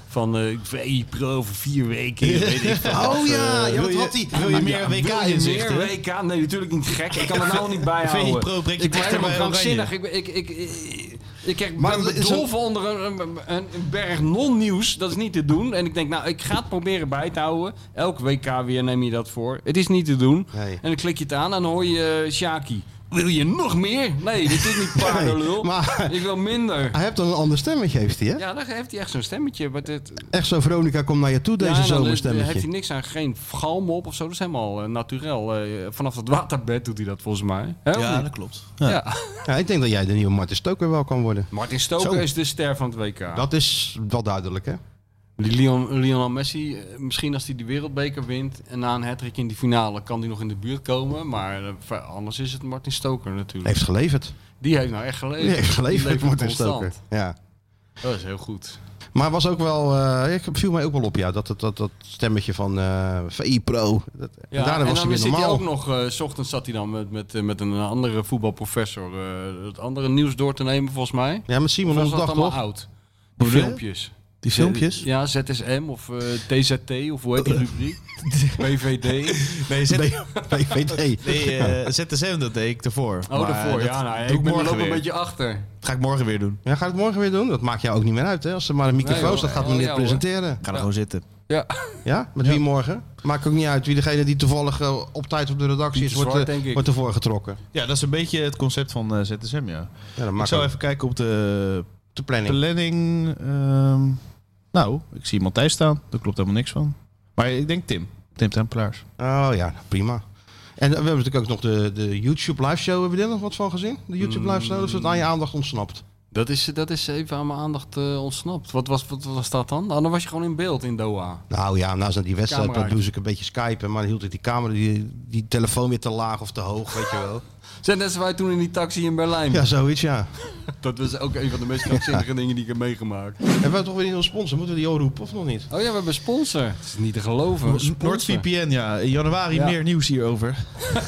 S3: Van eh VE-pro voor vier weken, weet ik veel. Eh,
S2: Oh ja, ja, dat had hij.
S4: Wil je meer WK-inzichten?
S3: Meer WK? Nee, natuurlijk niet gek. Ik kan het nou niet
S4: VI
S3: bijhouden.
S4: Pro brengt je
S3: ik word
S4: dichter bij
S3: helemaal
S4: Oranje.
S3: krankzinnig. Ik, ben- ik, ik, ik, ik krijg
S2: Maar
S3: maar
S2: dat is
S3: bedolven onder een, een, een berg non-nieuws. Dat is niet te doen. En ik denk, nou, ik ga het proberen bij te houden. Elk WK weer neem je dat voor. Het is niet te doen.
S2: Nee.
S3: En dan klik je het aan en dan hoor je eh, Shaki. Wil je nog meer? Nee, dit is niet paardenlul.
S2: maar-
S3: Ik wil minder.
S2: Hij heeft dan een ander stemmetje, heeft hij, hè?
S3: Ja, dan heeft hij echt zo'n stemmetje. Maar dit,
S2: Echt zo, Veronica, kom naar je toe,
S3: Ja,
S2: deze
S3: en dan, eh,
S2: zomerstemmetje.
S3: heeft hij niks aan, geen galm op of zo. Dat is helemaal eh, naturel. Eh, vanaf het waterbed doet hij dat volgens mij. Hè, of
S4: Ja,
S3: niet?
S4: dat klopt.
S3: ja.
S2: Ja, ik denk dat jij de nieuwe Martin Stoker wel kan worden.
S3: Martin Stoker
S2: Zo.
S3: is de ster van het WK.
S2: Dat is wel duidelijk, hè?
S3: Die Leon, Lionel Messi, eh, misschien als hij de wereldbeker wint... en na een hattrick in die finale kan hij nog in de buurt komen. Maar eh, ver- anders is het Martin Stoker natuurlijk.
S2: Heeft geleverd.
S3: Die heeft nou echt geleefd.
S2: Die heeft
S3: Die
S2: geleverd,
S3: levert
S2: Martin
S3: constant.
S2: Stoker. Ja.
S3: Dat is heel goed.
S2: Maar was ook wel, eh, ik viel mij ook wel op, ja, dat, dat, dat, dat stemmetje van eh VI Pro. Dat,
S3: Ja,
S2: daarna was
S3: en
S2: hij
S3: dan
S2: weer
S3: zit hij
S2: normaal.
S3: ook nog, eh, s ochtends zat hij dan met, met, eh, met een andere voetbalprofessor eh, het andere nieuws door te nemen, volgens mij.
S2: Ja, met Simon
S3: Of was
S2: Onderdag,
S3: dat allemaal
S2: toch?
S3: oud? Die
S2: Hoe bedoel je?
S3: filmpjes.
S2: Die filmpjes?
S3: Ja, ZSM of eh, TZT of hoe heet die rubriek? BVD.
S4: Nee, zet...
S3: BVD.
S4: Nee, eh, ZSM, dat deed ik ervoor.
S3: Oh, daarvoor, ja, nou, ik ben- loop een beetje achter.
S4: Ga ik morgen weer doen.
S2: Ja, ga ik het morgen weer doen? Dat maakt jou ook niet meer uit, hè? Als er maar een microfoon
S4: joh.
S2: staat, gaat
S4: Oh,
S2: meneer
S4: ja, hoor.
S2: presenteren.
S4: Ga er gewoon zitten.
S3: Ja.
S2: Ja? Met wie morgen? Maakt ook niet uit. Wie degene die toevallig eh, op tijd op de redactie is,
S4: Pieter
S2: wordt,
S4: Zwart,
S2: eh,
S4: denk ik.
S2: wordt ervoor getrokken.
S4: Ja, dat is een beetje het concept van eh, ZSM, ja.
S2: dat
S4: ik
S2: maakt
S4: zou
S2: ook-
S4: even kijken op de,
S2: de planning.
S4: ehm, nou, ik zie Matthijs staan. Daar klopt helemaal niks van. Maar ik denk Tim. Tim Tempelaars.
S2: Oh ja, prima. En eh, we hebben natuurlijk ook nog de, de YouTube live show. Hebben we daar nog wat van gezien? De YouTube live show, of is het aan je aandacht ontsnapt?
S3: Mm. Dat is, dat is even aan mijn aandacht eh, ontsnapt. Wat was, wat was dat dan? Nou, dan was je gewoon in beeld in Doha.
S2: Nou ja, nou zijn die wedstrijd, dat
S3: Cameraatje.
S2: moest ik een beetje skypen. Maar dan hield ik die camera, die, die telefoon weer te laag of te hoog, weet je wel.
S3: Zijn net als wij toen in die taxi in Berlijn.
S2: Ja, zoiets, ja.
S3: Dat was ook een van de meest krankzinnige dingen die ik heb meegemaakt.
S2: Hebben we toch weer een sponsor? Moeten we die al roepen of nog niet?
S3: Oh ja, we hebben een sponsor. Het is niet te geloven. Sponsor.
S4: NoordVPN, ja. In januari
S3: Ja.
S4: meer nieuws hierover.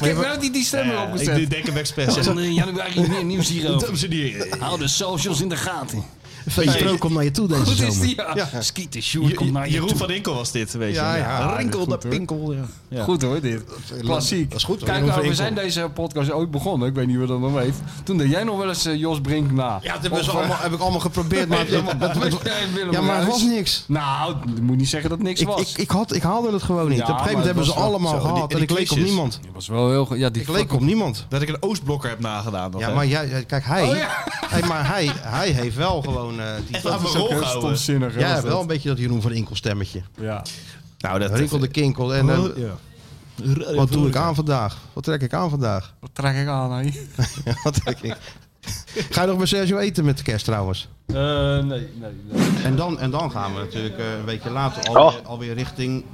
S3: Ik heb wel die, die stemmen
S4: Ja,
S3: opgezet.
S4: Ik denk hem expres.
S3: Ja, dan, eh, januari meer nieuws hierover.
S4: Dames en heren.
S3: Hou de socials in de gaten.
S2: VI Pro komt naar je toe deze
S3: Goed is
S2: zomer.
S3: die, ja.
S2: Ja.
S3: Skiet de Sjoerd komt naar je
S4: Jeroen
S3: toe.
S4: van Inkel was dit, weet je.
S2: Ja, ja.
S4: Rinkel
S2: Goed,
S4: de
S2: hoor.
S4: Pinkel, ja. Ja.
S3: Goed hoor, dit. Klassiek.
S2: Dat is goed hoor.
S3: Kijk,
S2: Jeroen
S3: nou,
S2: van Inkel.
S3: we zijn deze podcast ooit begonnen. Ik weet niet wie dat nog weet. Toen deed jij nog wel eens eh, Jos Brink na.
S2: Ja, dat hebben
S3: Of,
S2: ze
S3: eh,
S2: allemaal, heb ik allemaal geprobeerd, maar het, het- het- het-
S3: Nee, Willem
S2: ja, maar het
S3: Ruijs.
S2: was niks.
S3: Nou, je moet niet zeggen dat niks
S2: Ik,
S3: was.
S2: ik, ik, had, ik haalde het gewoon niet.
S3: Ja,
S2: op een gegeven moment
S3: maar
S2: hebben ze
S3: het was wel-
S2: allemaal
S4: Zo, en die-
S2: gehaald
S4: en
S2: en
S4: die
S2: ik leek op
S4: clichés.
S2: niemand.
S3: Dat was wel heel... ge- Ja, die
S2: Ik leek op niemand.
S4: Dat ik een Oostblokker heb nagedaan. nog,
S2: Ja,
S4: hè.
S2: maar jij, jij- kijk, hij,
S3: Oh, ja.
S2: hij, maar hij, hij heeft wel gewoon... eh die,
S4: Echt aan mijn rol
S3: heel
S4: gehouden.
S3: stomzinnig. hè,
S2: ja,
S3: was
S2: wel
S3: dat.
S2: een beetje dat Jeroen van Inkel stemmetje.
S3: Ja.
S4: Nou, dat...
S2: Rinkel de kinkel. En, eh,
S4: Ja.
S2: wat doe ik aan vandaag? Wat trek ik aan vandaag?
S3: Wat trek ik aan, hè?
S2: wat trek ik? Ga je nog bij Sergio eten met de kerst trouwens?
S3: nee, Eh, nee, nee.
S2: En dan, en dan gaan we natuurlijk eh, een weekje later
S3: Oh.
S2: alweer, alweer richting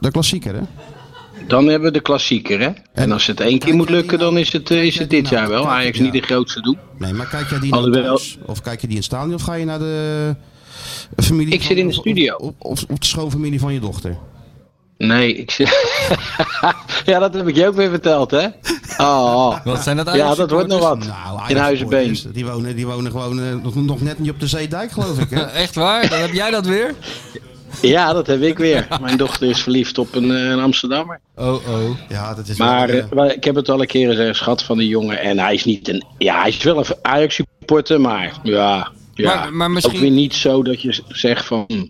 S2: de klassieker, hè?
S12: Dan hebben we de klassieker, hè? En als het één keer moet lukken,
S2: nou?
S12: dan is het, eh, is het dit jaar wel. Ajax niet de grootste doel.
S2: Nee, maar kijk jij die nou? naar
S12: Alhoewel-
S2: thuis? Of kijk je die in het stadion? Of ga je naar de eh, familie
S12: Ik zit in de
S2: of-
S12: studio.
S2: Of, of, of de schoonfamilie van je dochter?
S12: Nee, ik zeg. ja, dat heb ik je ook weer verteld, hè? Oh, oh.
S3: Wat zijn dat
S12: Ja, dat
S3: Ajax-supporters?
S12: wordt nog wat.
S2: Nou,
S12: in Huizenbeen.
S2: Ajax-supporters, Die wonen, die wonen gewoon eh, nog, nog net niet op de Zeedijk, geloof ik, hè?
S3: Echt waar? Dan heb jij dat weer?
S12: Ja, dat heb ik weer. Mijn dochter is verliefd op een, eh, een Amsterdammer.
S3: Oh, oh.
S2: Ja, dat is
S12: Maar
S2: wel,
S12: eh,
S2: eh,
S12: wel, ik heb het al een keer gezegd, schat van die jongen. En hij is niet een. Ja, hij is wel een Ajax supporter, maar ja. ja.
S3: Maar- maar misschien-
S12: Ook weer niet zo dat je z- zegt van. hm,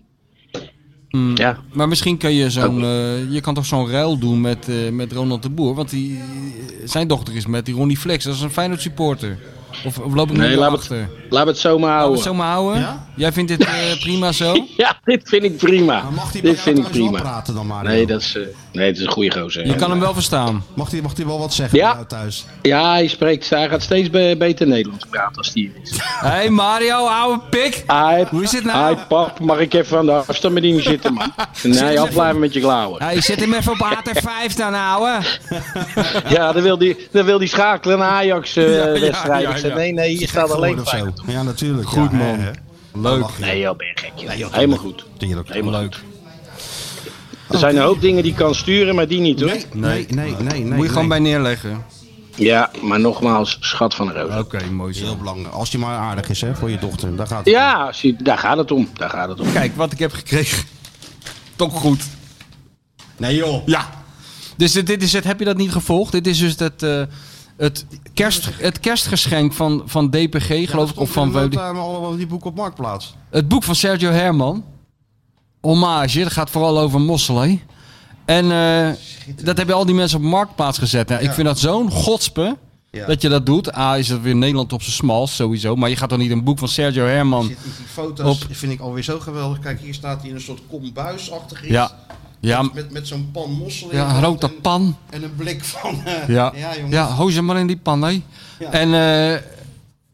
S12: Mm, Ja. Oh.
S3: Maar misschien kan je zo'n... eh, je kan toch zo'n ruil doen met, eh, met Ronald de Boer? Want die, eh, zijn dochter is met die Ronnie Flex. Dat is een Feyenoord supporter. Of, of loop ik
S12: Nee,
S3: nu
S12: laat
S3: achter?
S12: het, laat het zomaar
S3: Laten we
S12: houden.
S3: het zo maar houden. Jij vindt dit eh, prima zo?
S12: Ja, dit vind ik prima.
S2: Maar mag die bij
S12: Dit
S2: jou
S12: vind ik
S2: thuis wel
S12: prima.
S2: praten dan, Mario?
S12: Nee, dat is, eh, nee, het is een goede gozer.
S3: Je kan hem wel verstaan.
S2: eh, Mag die, mag die wel wat zeggen
S12: Ja.
S2: bij jou thuis?
S12: Ja, hij, spreekt, hij gaat steeds be- beter Nederlands praten als die hier is.
S3: Hé hey Mario, ouwe pik.
S12: Hij,
S3: Hoe is het nou?
S12: hij, pap, mag ik even aan de afstand met die zitten, man? Nee, afblijven met je klauwen.
S3: Hey, zet hem even op AT5 dan, ouwe.
S12: Ja, dan wil die, dan wil die schakelen naar
S3: ja,
S12: Ajax-wedstrijd.
S3: ja,
S12: Ik zei,
S3: ja.
S12: nee, nee, je staat alleen
S2: Gewoon of
S12: vijf.
S2: zo. Ja, natuurlijk.
S3: Goed,
S2: ja,
S3: man.
S2: hè, hè.
S3: Leuk.
S12: Nee, joh, ben je gek, joh.
S2: Nee, joh,
S12: Helemaal goed.
S2: Tuurlijk.
S12: Helemaal goed. Er zijn een hoop dingen die kan sturen, maar die niet, hoor.
S2: Nee, nee, nee, nee.
S3: Moet je gewoon bij neerleggen.
S12: Ja, maar nogmaals, schat van de roos.
S3: Oké, mooi zo.
S2: Heel belangrijk. Als die maar aardig is, hè, voor je dochter. Daar gaat het om.
S12: Ja, zie- daar gaat het om. Daar gaat het om.
S3: Kijk, wat ik heb gekregen. Toch goed.
S2: Nee, joh.
S3: Ja. Dus dit, dit is het, heb je dat niet gevolgd? Dit is dus het, eh, het, kerst, het kerstgeschenk van, van DPG, geloof ik. Of van
S2: We
S3: WD-
S2: allemaal die boek op Marktplaats.
S3: Het boek van Sergio Herman. Hommage, dat gaat vooral over mosselen. En eh, dat hebben al die mensen op marktplaats gezet. Nou, Ik vind dat zo'n godspe
S2: Ja.
S3: dat je dat doet. A, is dat weer Nederland op zijn smals, sowieso. Maar je gaat toch niet een boek van Sergio Herman...
S2: Zit in die foto's
S3: Op.
S2: vind ik alweer zo geweldig. Kijk, hier staat hij in een soort kombuisachtig iets.
S3: Ja, ja, m-
S2: Met, met zo'n pan mosselen. in
S3: ja,
S2: de
S3: een
S2: hand
S3: rode
S2: en-
S3: pan.
S2: En een blik van... eh,
S3: Ja,
S2: ja jongens.
S3: ja hou ze maar in die pan, hè.
S2: Ja.
S3: En eh,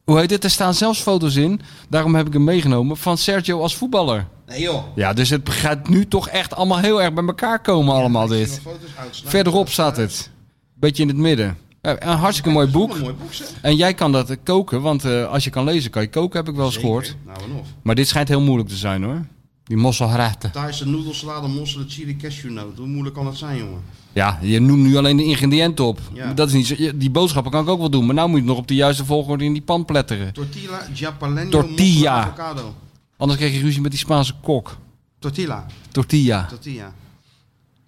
S3: hoe heet dit? Er staan zelfs foto's in, daarom heb ik hem meegenomen, van Sergio als voetballer.
S2: Nee, joh.
S3: Ja, dus het gaat nu toch echt allemaal heel erg bij elkaar komen allemaal
S2: Ik zie
S3: dit.
S2: wel foto's uitsnijden.
S3: Verderop staat het. Beetje in het midden. Ja, een hartstikke mooi boek.
S9: mooi boek, zeg.
S3: En jij kan dat eh, koken, want eh, als je kan lezen kan je koken, heb ik wel eens
S2: Zeker.
S3: gehoord.
S2: Nou, en of.
S3: Maar dit schijnt heel moeilijk te zijn hoor. Die mosselraten.
S2: Thaise noedelsalade, mosselen, chili, cashewnoot. Hoe moeilijk kan dat zijn, jongen?
S3: Ja, je noemt nu alleen de ingrediënten op.
S2: Ja.
S3: Dat is niet zo, je- die boodschappen kan ik ook wel doen, maar nou moet je het nog op de juiste volgorde in die pan pletteren.
S2: Tortilla, japaleno,
S3: Tortilla.
S2: mosselen, avocado.
S3: Anders krijg je ruzie met die Spaanse kok.
S2: Tortilla.
S3: Tortilla.
S2: Tortilla.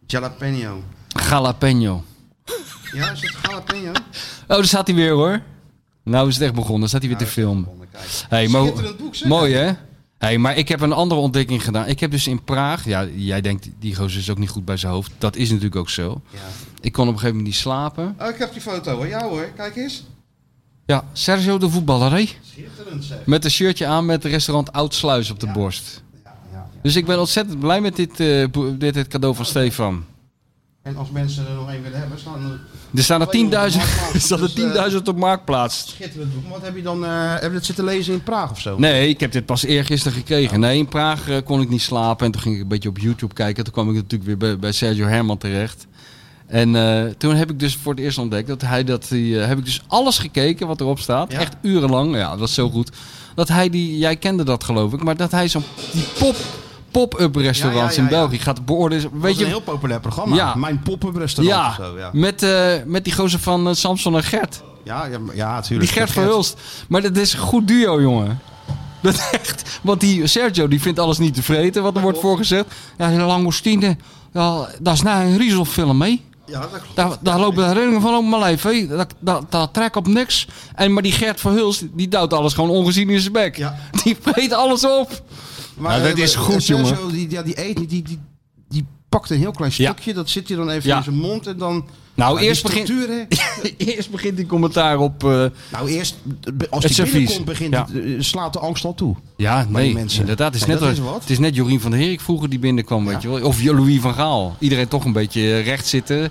S2: Jalapeno.
S3: Jalapeno.
S2: Ja, is dat jalapeno?
S3: Oh, daar staat hij weer hoor. Nou is het echt begonnen, daar staat hij weer te filmen. Hey, maar-
S2: Schitterend boek, zeg.
S3: mooi hè? Hey, maar ik heb een andere ontdekking gedaan. Ik heb dus in Praag, ja, jij denkt die gozer is ook niet goed bij zijn hoofd. Dat is natuurlijk ook zo. Ik kon op een gegeven moment niet slapen.
S2: Oh, ik heb die foto hoor. Ja hoor, kijk eens.
S3: Ja, Sergio de voetballer, hè?
S2: Schitterend zeg.
S3: Met een shirtje aan met het restaurant Oudsluis op de borst. Dus ik ben ontzettend blij met dit, eh, bo- dit, dit cadeau van Stefan.
S2: En als mensen er nog één willen hebben, staan er...
S3: Er staan er 10.000 er staan
S2: Dus, eh,
S3: er 10.000 op Marktplaats.
S2: Schitterend boek. Maar Wat heb je dan... eh heb je dat zitten lezen in Praag of zo? Oh.
S3: Nee, ik heb dit pas eergisteren gekregen. Nee, in Praag eh, kon ik niet slapen. En toen ging ik een beetje op YouTube kijken. Toen kwam ik natuurlijk weer bij, bij Sergio Herman terecht. En eh, toen heb ik dus voor het eerst ontdekt dat hij dat. Die, eh, heb ik dus alles gekeken wat erop staat. Echt urenlang. Ja, dat was zo goed. Dat hij die. Jij kende dat geloof ik. Maar dat hij zo'n. Die pop, pop-up restaurants
S2: Ja, ja, ja,
S3: in
S2: ja.
S3: België gaat beoordelen. Weet
S2: Dat is
S3: je,
S2: een heel populair programma.
S3: Ja.
S2: Mijn pop-up restaurant
S3: ja,
S2: of zo, ja.
S3: Met, eh, met die gozer van eh, Samson en Gert.
S2: Ja, ja, maar- ja,
S3: Die
S2: natuurlijk.
S3: Gert Verhulst. Maar dat is een goed duo, jongen. Dat is echt. Want die Sergio die vindt alles niet te vreten, wat er wordt voorgezegd. Ja, die langoustine. Ja, dat is nou een rieselfilm, hè?
S2: Ja, dat klopt.
S3: Daar, daar lopen de herinneringen van op mijn lijf, hè? Dat, dat, dat trek op niks. En, maar die Gert Verhulst, die duwt alles gewoon ongezien in zijn bek. Die vreet alles op. Nou,
S2: Maar, eh, Sergio, Die, ja, die eet, niet, die, die, die pakt een heel klein stukje. Dat zit hij dan even
S3: Ja.
S2: in zijn mond en dan...
S3: Nou,
S2: die
S3: eerst begint-
S2: structuur, hè.
S3: Eerst begint die commentaar op... eh,
S2: Nou, eerst
S3: Het
S2: als die
S3: servies.
S2: binnenkomt begint,
S3: Ja.
S2: het, eh, slaat de angst al toe.
S3: Ja,
S2: Bij
S3: nee,
S2: die mensen.
S3: inderdaad. Het is,
S2: Nee,
S3: net
S2: dat
S3: als-
S2: is wat.
S3: het is net Jorien van der Herik vroeger die binnenkwam, weet je wel. Of Louis van Gaal. Iedereen toch een beetje eh, recht zitten.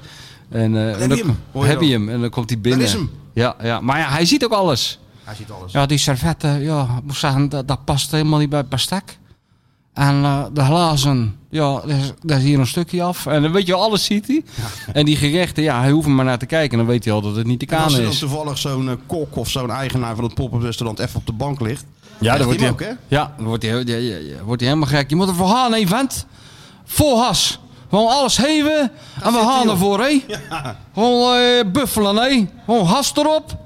S3: En, eh, en
S2: je
S3: dan-
S2: hem, hoor je
S3: heb je
S2: dan.
S3: hem. En dan komt hij binnen.
S2: Daar is hem.
S3: Ja, ja, maar ja, hij ziet ook alles.
S2: Hij ziet alles.
S3: Ja, die servetten, ja, ik moet zeggen, dat, dat past helemaal niet bij het bestek. En eh, de glazen, ja, daar is, daar is hier een stukje af. En dan weet je, wel, alles ziet hij. En die gerechten, ja, hij hoeft er maar naar te kijken. Dan weet hij al dat het niet de
S2: En als
S3: kanen
S2: er dan
S3: is.
S2: toevallig zo'n eh, kok of zo'n eigenaar van het pop-up restaurant even op de bank ligt.
S3: Ja, dan wordt
S2: hij
S3: hij
S2: ook, hè?
S3: Ja, dan wordt hij, heel- ja, ja, ja, wordt hij helemaal gek. Je moet ervoor gaan, hè, vent. Vol gas. Gewoon alles geven en we gaan ervoor, hè. Gewoon eh, buffelen, hè. Gewoon gas erop.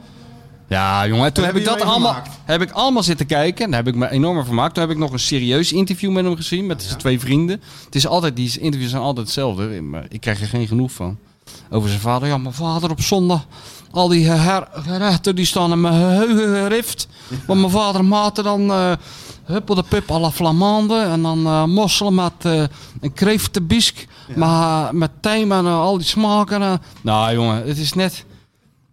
S3: Ja, jongen, en toen heb
S2: heb
S3: ik
S2: je
S3: dat
S2: hem even
S3: allemaal,
S2: gemaakt.
S3: heb ik allemaal zitten kijken. En daar heb ik me enorm aan vermaakt. Toen heb ik nog een serieus interview met hem gezien, met zijn twee vrienden. Het is altijd, die interviews zijn altijd hetzelfde, maar ik krijg er geen genoeg van. Over zijn vader. Ja, mijn vader op zondag. Al die eh, her- gerechten die staan in mijn geheugen gerift. Want mijn vader maakte dan eh huppel de pip à la Flamande. En dan eh mosselen met eh, een kreeftenbisk. Maar met tijm en eh, al die smaken. eh. Nou jongen, het is net...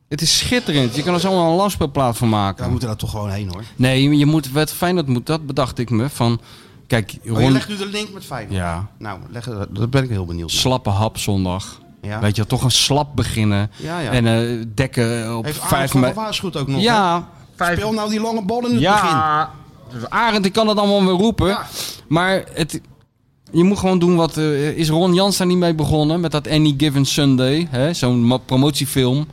S3: Het is schitterend. Je kan er zomaar een langspeelplaat van maken.
S2: We moeten daar toch gewoon heen, hoor.
S3: Nee, je moet, wat fijn dat moet. Dat bedacht ik me. Van, kijk,
S2: Oh, je
S3: Ron-
S2: legt nu de link met Feyenoord.
S3: Ja.
S2: Nou, leg, dat ben ik heel benieuwd. naar.
S3: slappe hap zondag.
S2: Ja.
S3: Weet je, wel, toch een slap beginnen.
S2: Ja, ja.
S3: En eh, dekken op
S2: Heeft Ajax
S3: vijf
S2: nog
S3: me-
S2: gewaarschuwd ook nog,
S3: Ja.
S2: Speel nou die lange bal in het begin.
S3: Ja. Dus Arend, ik kan het allemaal weer roepen. Maar het, je moet gewoon doen wat... eh, is Ron Jans daar niet mee begonnen? Met dat Any Given Sunday. hè? Zo'n ma- promotiefilm.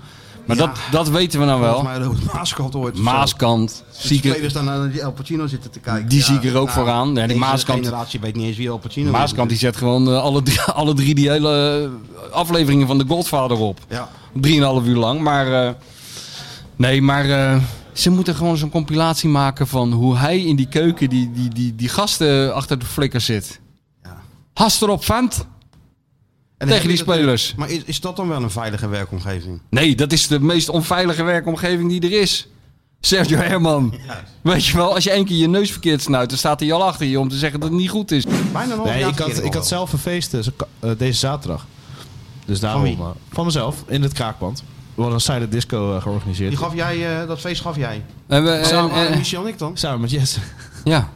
S3: Maar dat, dat weten we nou wel.
S2: Volgens mij roept Maaskant ooit. of zo.
S3: Maaskant.
S2: Dat de
S3: Zieke,
S2: spelers daar naar die Al Pacino zitten te kijken. nou,
S3: Die zie ik er ook vooraan. Ja, die
S2: deze
S3: Maaskant-
S2: generatie weet niet eens wie Al Pacino is.
S3: Maaskant die zet gewoon eh, alle, drie, alle drie die hele eh, afleveringen van The Godfather op.
S2: Ja.
S3: Drieënhalf uur lang. Maar eh, nee, maar eh, ze moeten gewoon zo'n compilatie maken van hoe hij in die keuken die, die, die, die gasten achter de flikker zit. Hast erop, vent.
S2: En
S3: Tegen
S2: heb
S3: die
S2: je dat-
S3: spelers.
S2: Maar is, is dat dan wel een veilige werkomgeving?
S3: Nee, dat is de meest onveilige werkomgeving die er is. Sergio Herman. Weet je wel, als je één keer je neus verkeerd snuit, dan staat hij al achter je om te zeggen dat het niet goed is.
S2: Bijna nog.
S4: Nee, ik had, ik had zelf een feest dus, eh, deze zaterdag. Dus daarom,
S2: wie?
S4: eh, van mezelf, in het kraakpand. We hadden een silent disco eh, georganiseerd.
S2: Die gaf jij, eh, dat feest gaf jij.
S3: En we- eh,
S2: Samen
S3: en- en-
S2: met Michel en ik dan?
S4: Samen met Jesse.
S3: Ja.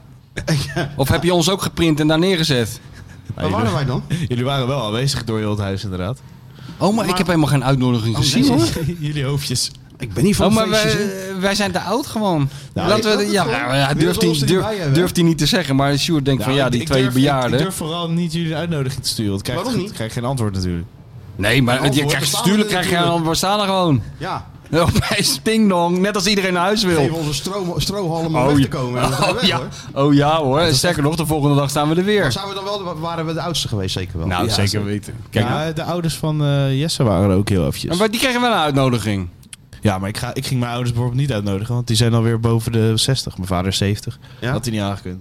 S3: Of heb je ons ook geprint en daar neergezet?
S2: Waar waren wij dan?
S4: Jullie waren wel aanwezig door heel het huis inderdaad.
S3: Oh, maar ik heb helemaal geen uitnodiging gezien
S4: nee,
S3: hoor.
S4: Jullie hoofdjes.
S2: Oh, Ik ben niet van
S3: Oh, maar
S2: feestjes, hè?
S3: wij, wij zijn te oud gewoon.
S4: Nou,
S3: Laten
S4: ik-
S3: we,
S4: dat
S3: ja,
S4: is
S3: nou,
S4: wel-
S3: ja,
S4: Willen
S3: durft
S4: ze ons
S3: hij
S4: er
S3: durf,
S4: niet bij hebben?
S3: durft hij niet te zeggen, maar Sjoerd denkt van
S4: Nou,
S3: ja,
S4: ik-
S3: die
S4: ik
S3: twee
S4: durf- ik-
S3: bejaarden.
S4: Ik durf vooral niet jullie uitnodiging te sturen. Want ik krijg,
S2: Waarom niet?
S4: ik krijg geen antwoord natuurlijk.
S3: Nee, maar
S13: Antwoord
S3: je krijgt,
S13: bestaan
S3: natuurlijk
S13: er
S3: krijg je
S13: natuurlijk.
S3: een Barsana gewoon.
S2: Ja.
S3: Opeens ding dong, net als iedereen naar huis wil.
S2: Geef onze stro strohalm om weg te komen. en we gaan
S3: oh,
S2: weg,
S3: ja.
S2: hoor.
S3: oh ja hoor, sterker nog, de volgende dag staan we er weer.
S2: Maar Zijn we dan wel, de- waren we de oudste geweest, zeker wel.
S3: Nou,
S2: Ja,
S3: zeker weten. Kijk, nou,
S4: Ja, de ouders van eh, Jesse waren er ook heel eventjes.
S3: Maar die kregen wel een uitnodiging.
S4: Ja, maar ik, ga, ik ging mijn ouders bijvoorbeeld niet uitnodigen, want die zijn alweer boven de 60. Mijn vader is 70.
S2: Ja?
S4: Had hij niet aangekund.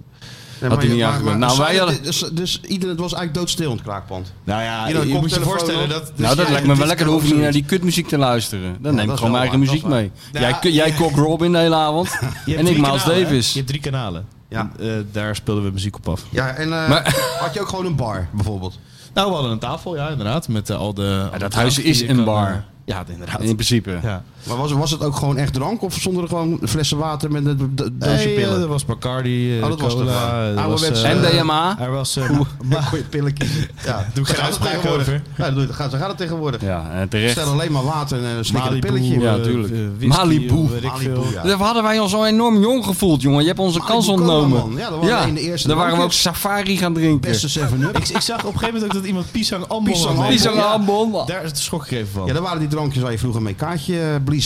S2: Nee,
S4: had
S2: maar
S4: hij
S2: je-
S4: niet
S2: maar-
S4: aangekund.
S2: maar
S4: Nou, wij
S2: silent-
S4: hadden...
S2: Dus, dus iedereen het was eigenlijk doodstil in het kraakpand.
S4: Nou ja,
S2: Iedereen
S4: je
S2: kon
S4: moet je
S2: telefoon
S4: voorstellen
S2: op.
S4: dat...
S2: Dus
S3: nou, dat
S2: ja,
S3: lijkt me
S2: dit
S3: wel lekker. Dan hoef
S2: kan
S3: ik niet
S2: ook
S3: naar die kutmuziek te luisteren. Dan
S4: Ja,
S3: neem
S4: dat
S3: ik
S4: is
S3: gewoon mijn
S4: wel
S3: eigen
S4: waar,
S3: muziek
S4: dat is
S3: mee.
S4: waar.
S3: Jij,
S4: Ja,
S3: jij
S4: ja.
S3: kok Robin de hele avond.
S4: Je hebt
S3: en
S4: drie
S3: ik Miles
S4: kanalen, hè?
S3: Davis.
S4: Je hebt drie kanalen. Ja. daar speelden we muziek op af.
S2: Ja, en eh,
S4: Maar-
S2: had je ook gewoon een bar, bijvoorbeeld?
S4: Nou, we hadden een tafel, ja, inderdaad. Met eh, al de...
S3: dat huis
S4: drankjes
S3: is
S4: die je
S3: een
S4: kan,
S3: bar.
S4: eh, ja, inderdaad.
S3: In principe.
S4: Ja.
S2: Maar was, was het ook gewoon echt drank of stonden er gewoon flessen water met een do- do- doosje
S4: Nee,
S2: pillen?
S4: eh, er was Bacardi, eh,
S2: Oh, dat was
S4: cola,
S2: toch waar.
S4: er was,
S2: Ouderwets,
S4: eh,
S2: eh,
S3: MDMA.
S4: Er was... eh,
S2: Goeie pillen kiezen. Ja,
S4: Doe
S2: dat
S4: ik geen
S2: gaat het
S4: uitspraak
S2: tegenwoordig.
S4: over.
S2: Ja, dat doe je- gaat, ze gaan het tegenwoordig.
S3: Ja, en terecht.
S2: Stel alleen maar water en een slikkende
S4: Malibu,
S2: pilletje.
S3: Ja,
S4: eh,
S3: tuurlijk.
S4: eh, whisky,
S3: Malibu.
S4: eh, weet ik
S2: Malibu,
S4: veel.
S2: ja.
S3: Daar hadden wij ons zo enorm jong gevoeld, jongen. Je hebt onze
S2: Malibu
S3: kans
S2: Cola,
S3: ontnomen.
S2: man. Ja, dat waren we in de eerste
S3: Daar waren we ook
S2: drankjes.
S3: safari gaan drinken.
S2: Beste 7-up.
S4: Ik, ik zag op een gegeven moment ook dat iemand Pisang Ambon
S2: Pisang
S4: had.
S2: Ambon, Pisang ja.
S4: Daar is het schok gegeven van.
S2: Ja, daar waren die drankjes waar je vroeger mee kaartje eh, bliezen.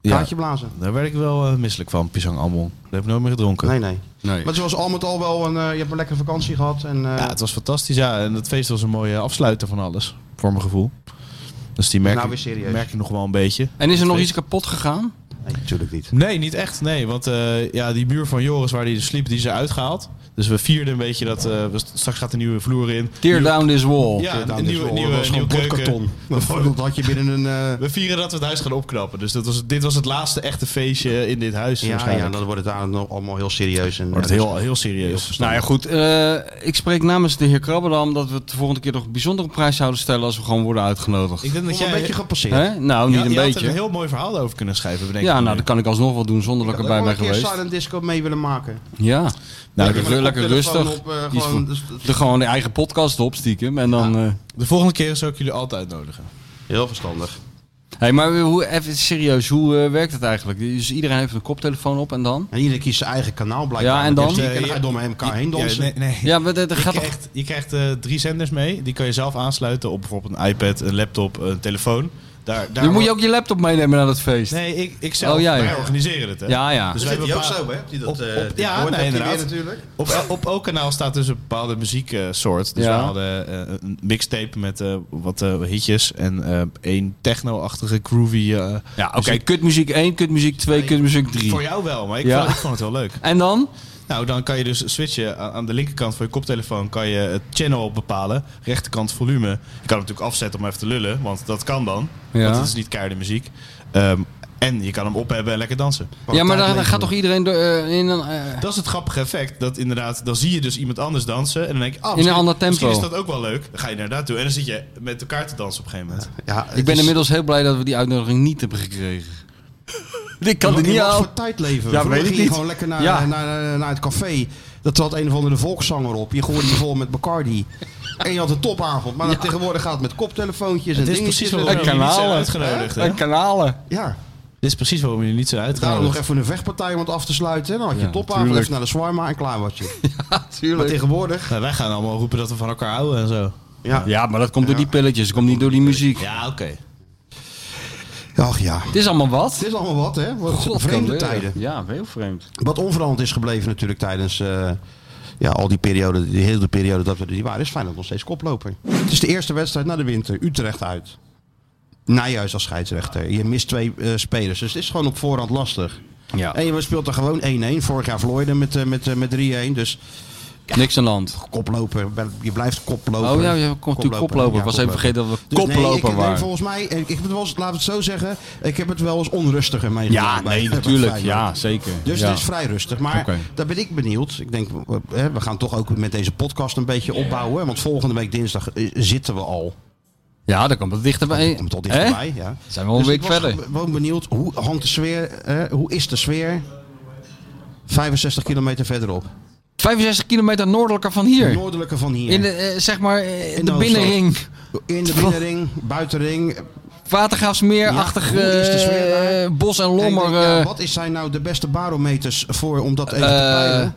S4: Ja.
S2: Kaartje blazen.
S4: Daar werd ik wel eh, misselijk van, Pisang Ambon. Dat heb ik nooit meer gedronken.
S2: Nee, nee.
S3: Nee.
S2: Maar zoals al met al wel, een, eh, je hebt een lekkere vakantie gehad. En, eh,
S4: Ja, het was fantastisch. Ja, en dat feest was een mooie afsluiter van alles. Voor mijn gevoel. Dus die merk,
S2: Nou, weer
S4: ik-
S2: serieus.
S4: merk ik nog wel een beetje.
S3: En is er nog
S4: Feest.
S3: iets kapot gegaan?
S2: Nee, natuurlijk niet.
S4: Nee, niet echt. Nee, want eh, ja, die muur van Joris waar hij sliep, die is eruit gehaald. Dus we vierden een beetje dat... eh, we, straks gaat de nieuwe vloer in.
S3: Tear
S4: Nieuwe-
S3: down this wall.
S4: Ja,
S2: Tear down
S4: een
S2: this
S4: nieuwe,
S2: wall.
S4: nieuwe,
S2: Dat was
S4: nieuwe
S2: gewoon
S4: keuken.
S2: bordkarton. Dat had je binnen een... eh,
S4: We vieren dat we het huis gaan opknappen. Dus dat was, dit was het laatste echte feestje in dit huis.
S2: Ja, ja, dan wordt het daar nog allemaal heel serieus. En,
S4: Wordt
S2: en-
S4: het heel, heel serieus.
S3: Nou ja, goed. eh, ik spreek namens de heer Krabbedam dat we het de volgende keer toch bijzonder op prijs zouden stellen als we gewoon worden uitgenodigd.
S4: ik denk dat
S2: Om
S4: jij
S2: een beetje gepasseerd.
S3: Hè? Nou, niet
S4: Ja,
S3: een
S4: je had er
S3: beetje.
S4: een heel mooi verhaal over kunnen schrijven. Bedenk
S3: Ja,
S4: ik
S3: nou,
S4: nu.
S3: dat kan ik alsnog wel doen zonder dat ik
S2: Ik
S3: erbij
S2: had
S3: ben
S2: ook wel een
S3: geweest.
S2: keer silent disco mee willen maken.
S3: Ja, nou,
S2: maar
S3: lekker,
S2: dan
S3: lekker
S2: komt er gewoon
S3: rustig.
S2: op, eh,
S3: Die is
S2: gewoon-
S3: voor-
S2: dus-
S3: de, gewoon de eigen podcast op, stiekem. En dan, eh,
S4: De volgende keer zou ik jullie altijd uitnodigen.
S2: Heel verstandig.
S3: hey, maar hoe, even serieus, hoe eh, werkt het eigenlijk? Dus iedereen heeft een koptelefoon op en dan?
S2: En iedereen kiest zijn eigen kanaal blijkbaar.
S3: Ja, en
S2: Met
S3: dan?
S2: muziek, en
S4: Eh,
S2: dan ga je door elkaar heen dansen.
S4: Ja, nee, nee.
S3: Ja, maar dat, dat
S4: Je
S3: gaat toch...
S4: krijgt, je krijgt eh, drie zenders mee. Die kan je zelf aansluiten op bijvoorbeeld een iPad, een laptop, een telefoon. Daar, daar
S3: Dan moet je ook je laptop meenemen naar dat feest.
S4: Nee, ik, ik zelf.
S3: Oh, jij.
S4: Wij organiseren het, hè?
S3: Ja, ja.
S4: Dus
S2: Dat
S4: wij
S2: zit hij ook zo,
S4: bepa-
S2: hè? Die dat,
S4: op-
S2: eh,
S4: op-
S2: dit
S4: ja,
S2: woord
S4: nee,
S2: heb je
S4: inderdaad.
S2: weer natuurlijk.
S4: Op, el- op elk kanaal staat dus een bepaalde muzieksoort. Dus
S3: Ja.
S4: we hadden eh, een mixtape met eh, wat eh, hitjes en eh één techno-achtige groovy... eh,
S3: Ja, oké,
S4: muziek.
S3: kutmuziek 1, kutmuziek 2, kutmuziek 3.
S4: Voor jou wel, maar ik,
S3: Ja.
S4: vond, ik vond het Oh, wel leuk.
S3: En dan?
S4: Nou, dan kan je dus switchen. A- Aan de linkerkant van je koptelefoon kan je het channel bepalen. Rechterkant volume. Je kan hem natuurlijk afzetten om even te lullen, want dat kan dan.
S3: Ja.
S4: Want het is niet keiharde muziek. Ehm, en je kan hem ophebben en lekker dansen.
S3: Ja, maar dan, dan gaat toch iedereen door, eh, in een... eh,
S4: Dat is het grappige effect. Dat inderdaad, dan zie je dus iemand anders dansen. En dan denk je, ah,
S3: een
S4: misschien-
S3: ander tempo.
S4: Misschien is dat ook wel leuk. Dan ga je naar daartoe. En dan zit je met elkaar te dansen op een gegeven moment.
S2: Ja, het
S3: ik ben
S2: is-
S3: inmiddels heel blij dat we die uitnodiging niet hebben gekregen. ik kan die
S2: in
S3: niet
S2: wat
S3: aan.
S2: voor tijd leven we?
S3: Ja,
S2: Vroeger
S3: weet
S2: ging
S3: ik
S2: je
S3: niet.
S2: gewoon lekker naar,
S3: Ja.
S2: naar, naar, naar het café. Dat trad een of andere volkszanger op. Je gooide je vol met Bacardi. En je had een topavond. Maar dan tegenwoordig gaat het met koptelefoontjes en
S4: Dit is
S2: dingetjes.
S4: precies waarom
S2: en-
S3: En
S4: jullie niet zijn
S3: kanalen.
S4: uitgenodigd. hè?
S3: En kanalen.
S2: Ja,
S4: Dit is precies waarom jullie niet zijn
S2: daarom nog
S4: uitgenodigd.
S2: even een vechtpartij om het af te sluiten. Dan had je
S3: Ja,
S2: een topavond,
S3: tuurlijk.
S2: even naar de shawarma en klaar was je.
S3: Ah,
S2: Maar
S3: Natuurlijk.
S2: tegenwoordig...
S4: Nou, wij gaan allemaal roepen dat we van elkaar houden en zo.
S2: Ja.
S3: Ja, maar dat komt door die pilletjes. Dat komt niet door die muziek.
S4: Ja, oké.
S2: Ach ja.
S3: Het is allemaal wat.
S2: Het is allemaal wat, hè? Wat
S3: God,
S2: vreemde
S3: kan
S2: tijden.
S3: weer. Ja, heel vreemd.
S2: Wat onveranderd is gebleven natuurlijk tijdens eh, ja, al die periode, die hele periode dat we er niet waren, is Feyenoord nog steeds koploper. Het is de eerste wedstrijd na de winter, Utrecht uit. Nijhuis als scheidsrechter. Je mist twee eh, spelers, dus het is gewoon op voorhand lastig.
S3: Ja.
S2: En je speelt er gewoon 1-1. Vorig jaar verloor je er met, eh, met, eh, met 3-1, dus
S3: Niks aan de hand.
S2: koploper. ben- Je blijft koploper.
S3: Oh ja, je komt natuurlijk koploper. Ik was even vergeten dat we
S2: Dus nee,
S3: koploper
S2: ik,
S3: waren.
S2: Nee, volgens mij, ik, ik heb het wel eens, laat ik het zo zeggen, ik heb het wel eens onrustiger meegemaakt.
S3: ja,
S2: bij-
S3: nee,
S2: bij
S3: natuurlijk.
S2: Feyenoord.
S3: Ja, zeker.
S2: Dus
S3: ja.
S2: het is vrij rustig. Maar
S3: Oké.
S2: daar ben ik benieuwd. Ik denk, we- hè, we gaan toch ook met deze podcast een beetje opbouwen. Want volgende week dinsdag eh, zitten we al.
S3: ja, dan komt het dichterbij.
S2: Dat komt al
S3: Hè?
S2: dichterbij. Ja.
S3: Zijn we al een
S2: Dus
S3: week
S2: ik was
S3: verder.
S2: gewoon benieuwd, hoe hangt de sfeer? hè, hoe is de sfeer? 65 kilometer verderop.
S3: 65 kilometer noordelijker van hier.
S2: Noordelijker van hier.
S3: In de, eh, zeg maar, eh, de,
S2: de
S3: binnenring.
S2: In de binnenring, buitenring.
S3: Watergraafsmeer-achtig
S2: Ja, hoe is de sfeer
S3: eh, bos en
S2: En ik
S3: lommer.
S2: denk, ja,
S3: eh,
S2: wat is zijn nou de beste barometers voor om dat even te
S3: Eh,
S2: peilen?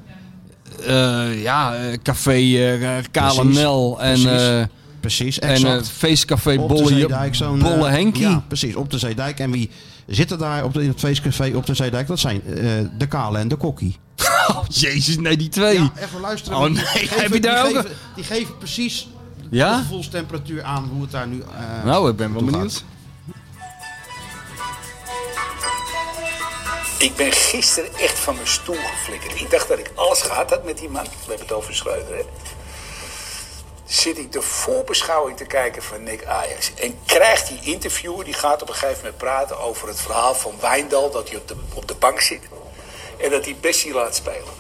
S3: eh, ja, eh, café eh Kale
S2: Precies,
S3: Nel en
S2: precies.
S3: eh,
S2: precies.
S3: En,
S2: Exact.
S3: eh, feestcafé
S2: Op de
S3: Bolle-
S2: Zeedijk, zo'n, eh,
S3: Bolle Henkie.
S2: Ja, precies. Op de Zeedijk. En wie zitten daar op de, in het feestcafé op de Zeedijk? Dat zijn eh, de Kale en de Kokkie.
S3: Jezus, nee, die eh, twee.
S2: Ja, even luisteren.
S3: Oh
S2: Die
S3: nee,
S2: geven-
S3: heb je daar
S2: die
S3: ook...
S2: Geven, die geven precies
S3: Ja?
S2: de gevoelstemperatuur aan hoe het daar nu... eh,
S3: Nou, ik ben wel
S2: toe gaat.
S3: benieuwd.
S14: Ik ben gisteren echt van mijn stoel geflikkerd. Ik dacht dat ik alles gehad had met die man. We hebben het over Schreuder, hè. Zit ik de voorbeschouwing te kijken van Nick Ajax. En krijgt die interviewer, die gaat op een gegeven moment praten over het verhaal van Wijndal... dat hij op de, op de bank zit en dat hij Bessie laat spelen.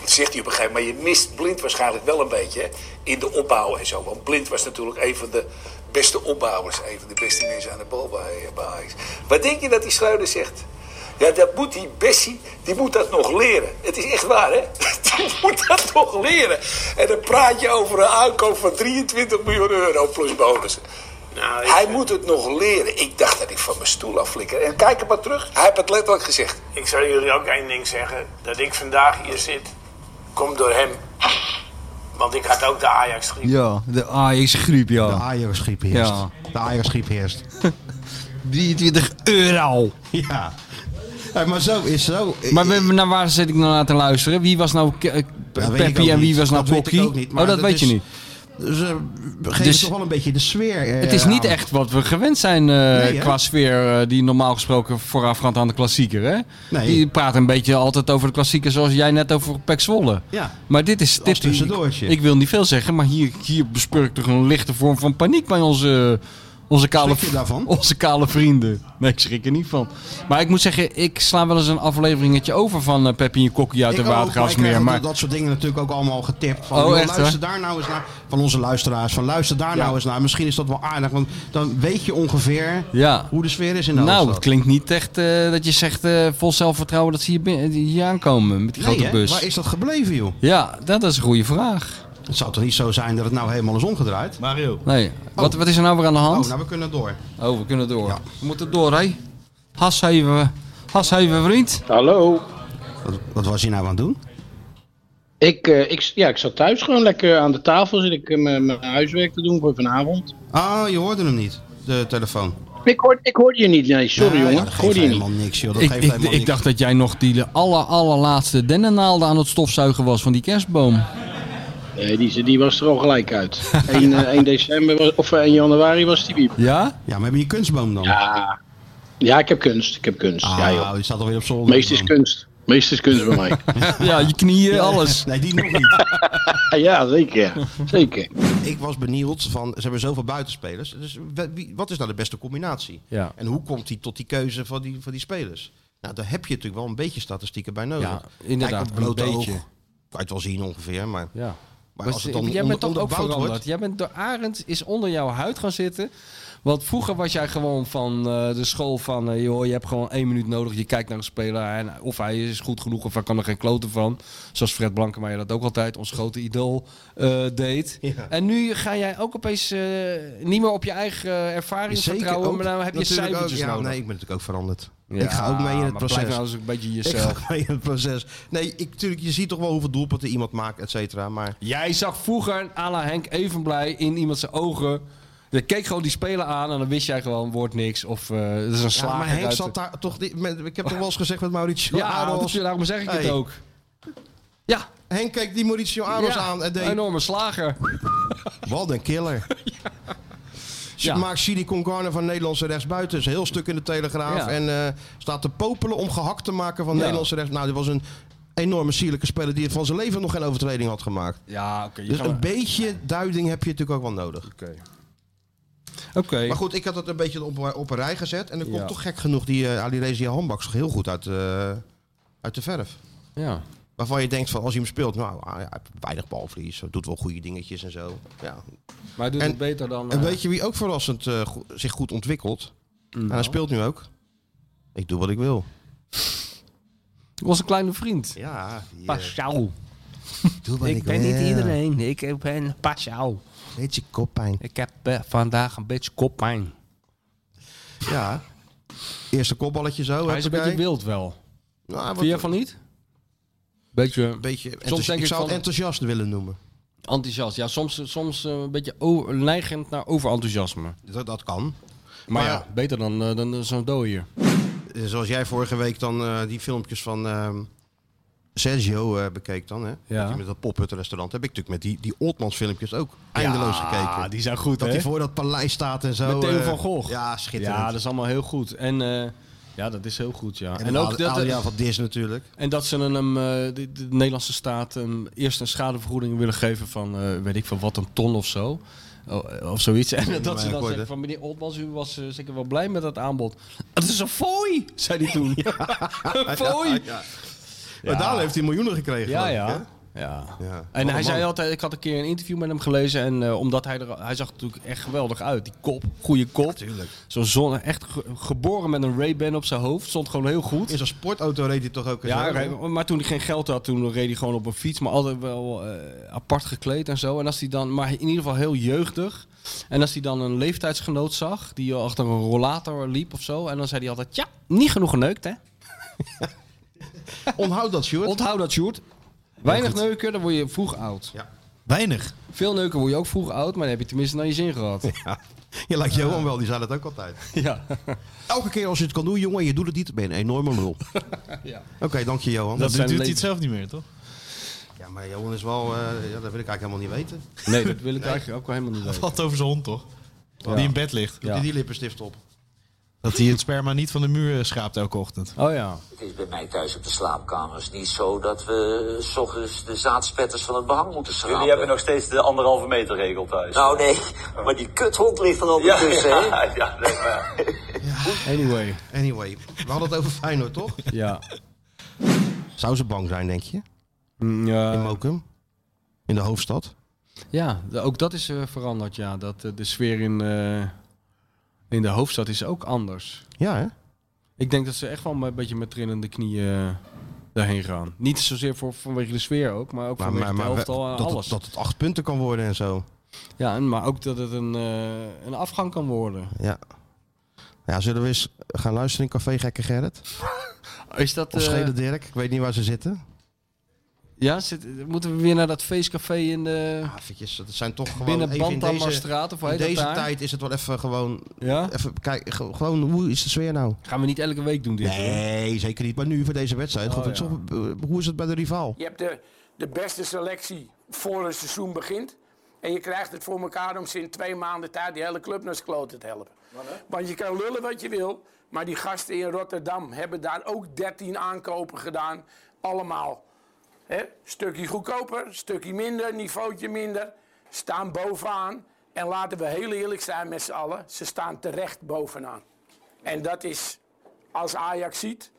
S14: Dat zegt hij op een gegeven moment, maar je mist Blind waarschijnlijk wel een beetje hè, in de opbouw en zo. Want Blind was natuurlijk een van de beste opbouwers, een van de beste mensen aan de bal bij, bij Ajax. Wat denk je dat die Schreuder zegt? Ja, dat moet die Bessie, die moet dat nog leren. Het is echt waar, hè? Die moet dat nog leren. En dan praat je over een aankoop van 23 miljoen euro plus bonussen.
S5: Nou,
S14: Hij moet het nog leren. Ik dacht dat ik van mijn stoel afflikker. En kijk het maar terug. Hij heeft het letterlijk gezegd.
S10: Ik zou jullie ook één ding zeggen. Dat ik vandaag hier zit, komt door hem. Want ik had ook de Ajax griep.
S3: Ja, de Ajax-griep, ja.
S2: De Ajax-griep heerst.
S3: Ja.
S2: De Ajax-griep heerst.
S3: 23 euro.
S2: Ja. Hé, maar zo is zo.
S3: Maar we- naar waar zit ik nou naar te luisteren? Wie was nou Ke- eh,
S2: Eh, Dat weet ik
S3: Peppy
S2: ook
S3: en wie
S2: niet.
S3: was nou
S2: Dat weet ik
S3: Kokkie?
S2: ook niet, maar
S3: Oh, dat
S2: dat
S3: weet je
S2: is-
S3: niet.
S2: Dus eh, we geven
S3: Dus-
S2: toch wel een beetje de sfeer. eh,
S3: Het is niet
S2: aan.
S3: echt wat we gewend zijn eh,
S2: Nee, hè?
S3: qua sfeer eh, die normaal gesproken voorafgaand aan de klassieker. Hè?
S2: Nee.
S3: Die praat een beetje altijd over de klassieker zoals jij net over Pek Zwolle.
S2: Ja.
S3: Maar dit is... Dit,
S2: tussendoortje.
S3: Ik, ik wil niet veel zeggen, maar hier, hier bespeur ik toch een lichte vorm van paniek bij onze, onze, kale,
S2: Schrik je daarvan?
S3: onze kale vrienden. Nee, ik schrik er niet van. Maar ik moet zeggen, ik sla wel eens een afleveringetje over van eh Peppy en Kokkie
S2: Ik
S3: uit de
S2: ook, maar ik
S3: Watergraafsmeer.
S2: krijg
S3: Maar
S2: dat soort dingen natuurlijk ook allemaal getipt. Van,
S3: Oh,
S2: joh,
S3: echt,
S2: luister
S3: hè?
S2: daar nou eens naar. Van onze luisteraars. Van luister daar nou eens naar. Misschien is dat wel aardig. Want dan weet je ongeveer
S3: ja.
S2: hoe de sfeer is in de
S3: Nou,
S2: hoofdstad.
S3: het klinkt niet echt eh, dat je zegt eh, vol zelfvertrouwen dat ze hier, bin- hier aankomen met die
S2: Nee,
S3: grote
S2: hè?
S3: bus.
S2: Waar is dat gebleven, joh?
S3: Ja, dat is een goede vraag.
S2: Het zou toch niet zo zijn dat het nou helemaal is omgedraaid?
S15: Mario.
S3: Nee. Wat, wat is er nou weer aan de hand?
S2: Oh, nou, we kunnen door.
S3: Oh, we kunnen door. We moeten door, hè? Has even, has even vriend.
S12: Hallo.
S2: Wat, wat was je nou aan het doen?
S12: Ik, eh, ik, ja, ik zat thuis gewoon lekker aan de tafel. Zit ik eh, mijn mijn huiswerk te doen voor vanavond.
S2: Ah, je hoorde hem niet. De telefoon.
S12: Ik hoorde, ik hoorde je niet. Nee, sorry
S2: Ja, ja,
S12: jongen.
S2: dat
S12: Ik
S2: geeft
S12: hoorde je niet.
S2: helemaal niks, joh. Dat
S3: Ik,
S2: geeft
S3: ik,
S2: helemaal
S3: ik
S2: niks.
S3: dacht dat jij nog die aller, allerlaatste dennennaalden aan het stofzuigen was van die kerstboom.
S12: Nee, die, die was er al gelijk uit. 1, eh, 1 december was- of 1 januari was die weer.
S3: Ja?
S2: Ja, maar heb je een kunstboom dan?
S12: Ja. Ja, ik heb kunst. Ik heb kunst. ja, joh.
S2: Ah, die staat alweer op zolder.
S12: Meest is kunst. Meest is kunst bij mij.
S3: ja, je knieën, alles.
S2: Nee, die nog niet.
S12: ja, zeker. ja. Zeker.
S2: Ik was benieuwd van, ze hebben zoveel buitenspelers. Dus we- wie- wat is nou de beste combinatie?
S3: Ja.
S2: En hoe komt die tot die keuze van die, van die spelers? Nou, daar heb je natuurlijk wel een beetje statistieken bij nodig.
S3: Ja, inderdaad,
S2: Kijk, op blote
S3: een
S2: oog
S3: beetje.
S2: kan je het wel zien ongeveer, maar...
S3: Ja.
S2: Maar als het dan
S3: jij
S2: onder-
S3: bent toch ook
S2: onderbouwd wordt-
S3: veranderd. Jij bent door Arend is onder jouw huid gaan zitten. Want vroeger was jij gewoon van eh, de school van... eh, joh, je hebt gewoon één minuut nodig. Je kijkt naar een speler. En of hij is goed genoeg of hij kan er geen kloten van. Zoals Fred Blankenmeijer dat ook altijd. Ons grote idool eh, deed. En nu ga jij ook opeens eh, niet meer op je eigen eh, ervaring vertrouwen. maar nou heb je
S2: natuurlijk
S3: cijfertjes
S2: ook, ja,
S3: nodig.
S2: Nee, ik ben natuurlijk ook veranderd.
S3: Ja,
S2: ik ga ook mee in
S3: maar
S2: het
S3: blijf
S2: proces.
S3: nou eens een beetje
S2: Ik
S3: jezelf.
S2: ga mee in het proces. Nee, ik, tuurlijk, je ziet toch wel hoeveel doelpunten iemand maakt, et cetera. Maar
S3: Jij zag vroeger à la Henk even blij in iemand zijn ogen. Je keek gewoon die speler aan en dan wist jij gewoon, wordt niks. Of eh het is een
S2: Ja,
S3: slager.
S2: maar Henk
S3: uit
S2: zat
S3: de-
S2: daar toch niet. Met, ik heb toch wel eens gezegd met Mauricio
S3: Ja,
S2: Aros.
S3: dat- daarom zeg ik het
S2: Hey,
S3: ook. Ja.
S2: Henk keek die Mauricio Aros
S3: Ja,
S2: aan en deed.
S3: een enorme slager.
S2: Wat een killer.
S3: Ja.
S2: Ja. Maakt Sidi Concarne van Nederlandse rechtsbuiten. Is een heel stuk in de Telegraaf.
S3: Ja.
S2: En eh, staat te popelen om gehakt te maken van
S3: Ja.
S2: Nederlandse rechts. Nou, dit was een enorme sierlijke speler die van zijn leven nog geen overtreding had gemaakt.
S3: Ja, oké. je
S2: Dus
S3: gaat
S2: een
S3: maar-
S2: beetje duiding heb je natuurlijk ook wel nodig. Oké.
S3: Oké.
S2: Maar goed, ik had het een beetje op, op een rij gezet. En er komt
S3: Ja.
S2: toch gek genoeg die eh Ali Rezia handbak toch heel goed uit, eh, uit de verf.
S3: Ja.
S2: Waarvan je denkt van als hij hem speelt, nou, ah, ja, hij heeft weinig balverlies, doet wel goede dingetjes en zo. Ja.
S3: Maar hij doet
S2: En-
S3: het beter dan...
S2: En
S3: eh,
S2: weet je wie ook verrassend eh, go- zich goed ontwikkelt? En hij
S3: Nou.
S2: speelt nu ook. Ik doe wat ik wil.
S3: was een kleine vriend.
S2: Ja. die, eh,
S3: Pascal.
S2: Doe wat
S3: ik
S2: ik
S3: ben
S2: wil.
S3: niet iedereen. Ik ben Pascal.
S2: Beetje koppijn.
S3: Ik heb eh, vandaag een beetje koppijn.
S2: Ja. Eerste kopballetje zo.
S3: Hij is een
S2: huppakee.
S3: beetje wild wel.
S2: Nou, wat-
S3: Vind jij van niet? Beetje...
S2: beetje
S3: denk
S2: enthousi- ik
S3: ik
S2: zou het
S3: van-
S2: enthousiast willen noemen.
S3: Enthousiast, ja, soms, soms eh, een beetje o- neigend naar overenthousiasme.
S2: Dat, dat kan.
S3: Maar,
S2: Maar-
S3: ja, beter dan, eh, dan eh, zo'n dode hier.
S2: Eh, Zoals jij vorige week dan eh, die filmpjes van ehm, Sergio eh, bekeek dan, hè?
S3: Ja.
S2: Dat hij met dat pophuttenrestaurant. Heb ik natuurlijk met die, die Oltmans filmpjes ook eindeloos
S3: Ja,
S2: gekeken.
S3: die zijn goed,
S2: Dat
S3: hè?
S2: hij voor dat paleis staat en zo.
S3: Met Theo
S2: eh,
S3: van Gogh.
S2: Ja, schitterend.
S3: Ja, dat is allemaal heel goed. En eh, ja, dat is heel goed, ja.
S2: en, ook dat... Adriaan van Dis natuurlijk.
S3: En dat ze hem, eh, de, de Nederlandse staat hem eerst een schadevergoeding willen geven van, eh, weet ik van wat, een ton of zo. O- Of zoiets. En
S2: Ja,
S3: dat ze dan
S2: akkoord,
S3: zeggen
S2: hè?
S3: van meneer Oltmans, u was eh, zeker wel blij met dat aanbod. Het is een fooi, zei hij toen. Een fooi.
S2: Ja, ja. Maar daar heeft hij miljoenen gekregen.
S3: Ja,
S2: geloof ik,
S3: ja.
S2: hè?
S3: Ja.
S2: Ja. Wat
S3: En
S2: een
S3: hij zei
S2: man.
S3: altijd, ik had een keer een interview met hem gelezen en eh, omdat hij er, hij zag er natuurlijk echt geweldig uit, die kop, goede kop, zo'n zon, echt ge- geboren met een Ray-Ban op zijn hoofd, stond gewoon heel goed.
S2: In zo'n sportauto reed hij toch ook? eens,
S3: Ja,
S2: hè?
S3: hij- maar toen hij geen geld had, toen reed hij gewoon op een fiets, maar altijd wel eh, apart gekleed en zo. En als hij dan, maar in ieder geval heel jeugdig. En als hij dan een leeftijdsgenoot zag, die achter een rollator liep of zo, en dan zei hij altijd, ja, niet genoeg geneukt, hè?
S2: Onthoud dat, Sjoerd.
S3: Onthoud dat, Sjoerd. Weinig neuken, dan word je vroeg oud.
S16: Weinig.
S3: Veel neuken word je ook vroeg oud, maar dan heb je tenminste naar je zin gehad.
S2: Ja. Je lijkt Johan wel, die zei dat ook altijd.
S3: Ja.
S2: Elke keer als je het kan doen, jongen, en je doet het niet, ben je een enorme lul.
S3: Ja.
S2: Oké, dank je Johan.
S3: Dat zijn
S2: doet
S3: leven.
S2: hij het zelf niet meer, toch? Ja, maar Johan is wel... eh, ja, dat wil ik eigenlijk helemaal niet weten.
S3: Nee, dat wil ik eigenlijk ook wel helemaal niet
S2: Dat
S3: weten.
S2: valt over zijn hond, toch?
S3: Ja.
S4: Die in bed ligt.
S2: Doet hij die lippenstift op?
S4: Dat hij het sperma niet van de muur eh, schraapt elke ochtend.
S3: Oh ja.
S14: Het is bij mij thuis op de slaapkamer is niet zo dat we s ochtends de zaadspetters van het behang moeten schrapen.
S5: Jullie hebben nog steeds de anderhalve meter regel thuis.
S14: Nou nee, maar die kuthond ligt er altijd tussen, hè?
S5: ja, ja, nee, maar ja.
S3: Anyway.
S2: Anyway, we hadden het over Feyenoord, toch?
S3: Ja.
S2: Zou ze bang zijn, denk je?
S3: Mm, Ja.
S2: In Mokum? In de hoofdstad?
S3: Ja, de- ook dat is eh, veranderd, ja. Dat, eh, de sfeer in, eh, in de hoofdstad is ook anders.
S2: Ja, hè?
S3: Ik denk dat ze echt wel een beetje met trillende knieën eh, daarheen gaan. Niet zozeer voor, vanwege de sfeer ook, maar ook
S2: Maar,
S3: vanwege
S2: maar, maar
S3: de helft
S2: we-
S3: al en
S2: dat,
S3: eh, alles.
S2: het, dat het acht punten kan worden en zo.
S3: Ja, en, maar ook dat het een, eh, een afgang kan worden.
S2: Ja. Ja, zullen we eens gaan luisteren in Café Gekke Gerrit?
S3: Is dat...
S2: Of
S3: eh,
S2: Schede Dirk? Ik weet niet waar ze zitten.
S3: ja, zit, moeten we weer naar dat feestcafé in de...
S2: Eventjes, dat zijn toch gewoon
S3: Binnen
S2: even in deze,
S3: Bandammerstraat of hoe
S2: in
S3: heet dat
S2: deze
S3: daar?
S2: tijd is het wel even gewoon...
S3: Ja?
S2: Even kijken, ge- gewoon hoe is de sfeer nou?
S3: Gaan we niet elke week doen dit?
S2: Nee, zeker niet. Maar nu voor deze wedstrijd.
S3: Oh,
S2: God, het is
S3: ja.
S2: toch- eh, hoe is het bij de rivaal?
S10: Je hebt de, de beste selectie voor een seizoen begint. En je krijgt het voor elkaar om ze in twee maanden tijd die hele club naar z'n kloten te helpen. Want je kan lullen wat je wil, maar die gasten in Rotterdam hebben daar ook 13 aankopen gedaan. Allemaal. Hè? Stukje goedkoper, stukje minder, niveautje minder. Staan bovenaan. En laten we heel eerlijk zijn met z'n allen, ze staan terecht bovenaan. En dat is, als Ajax ziet,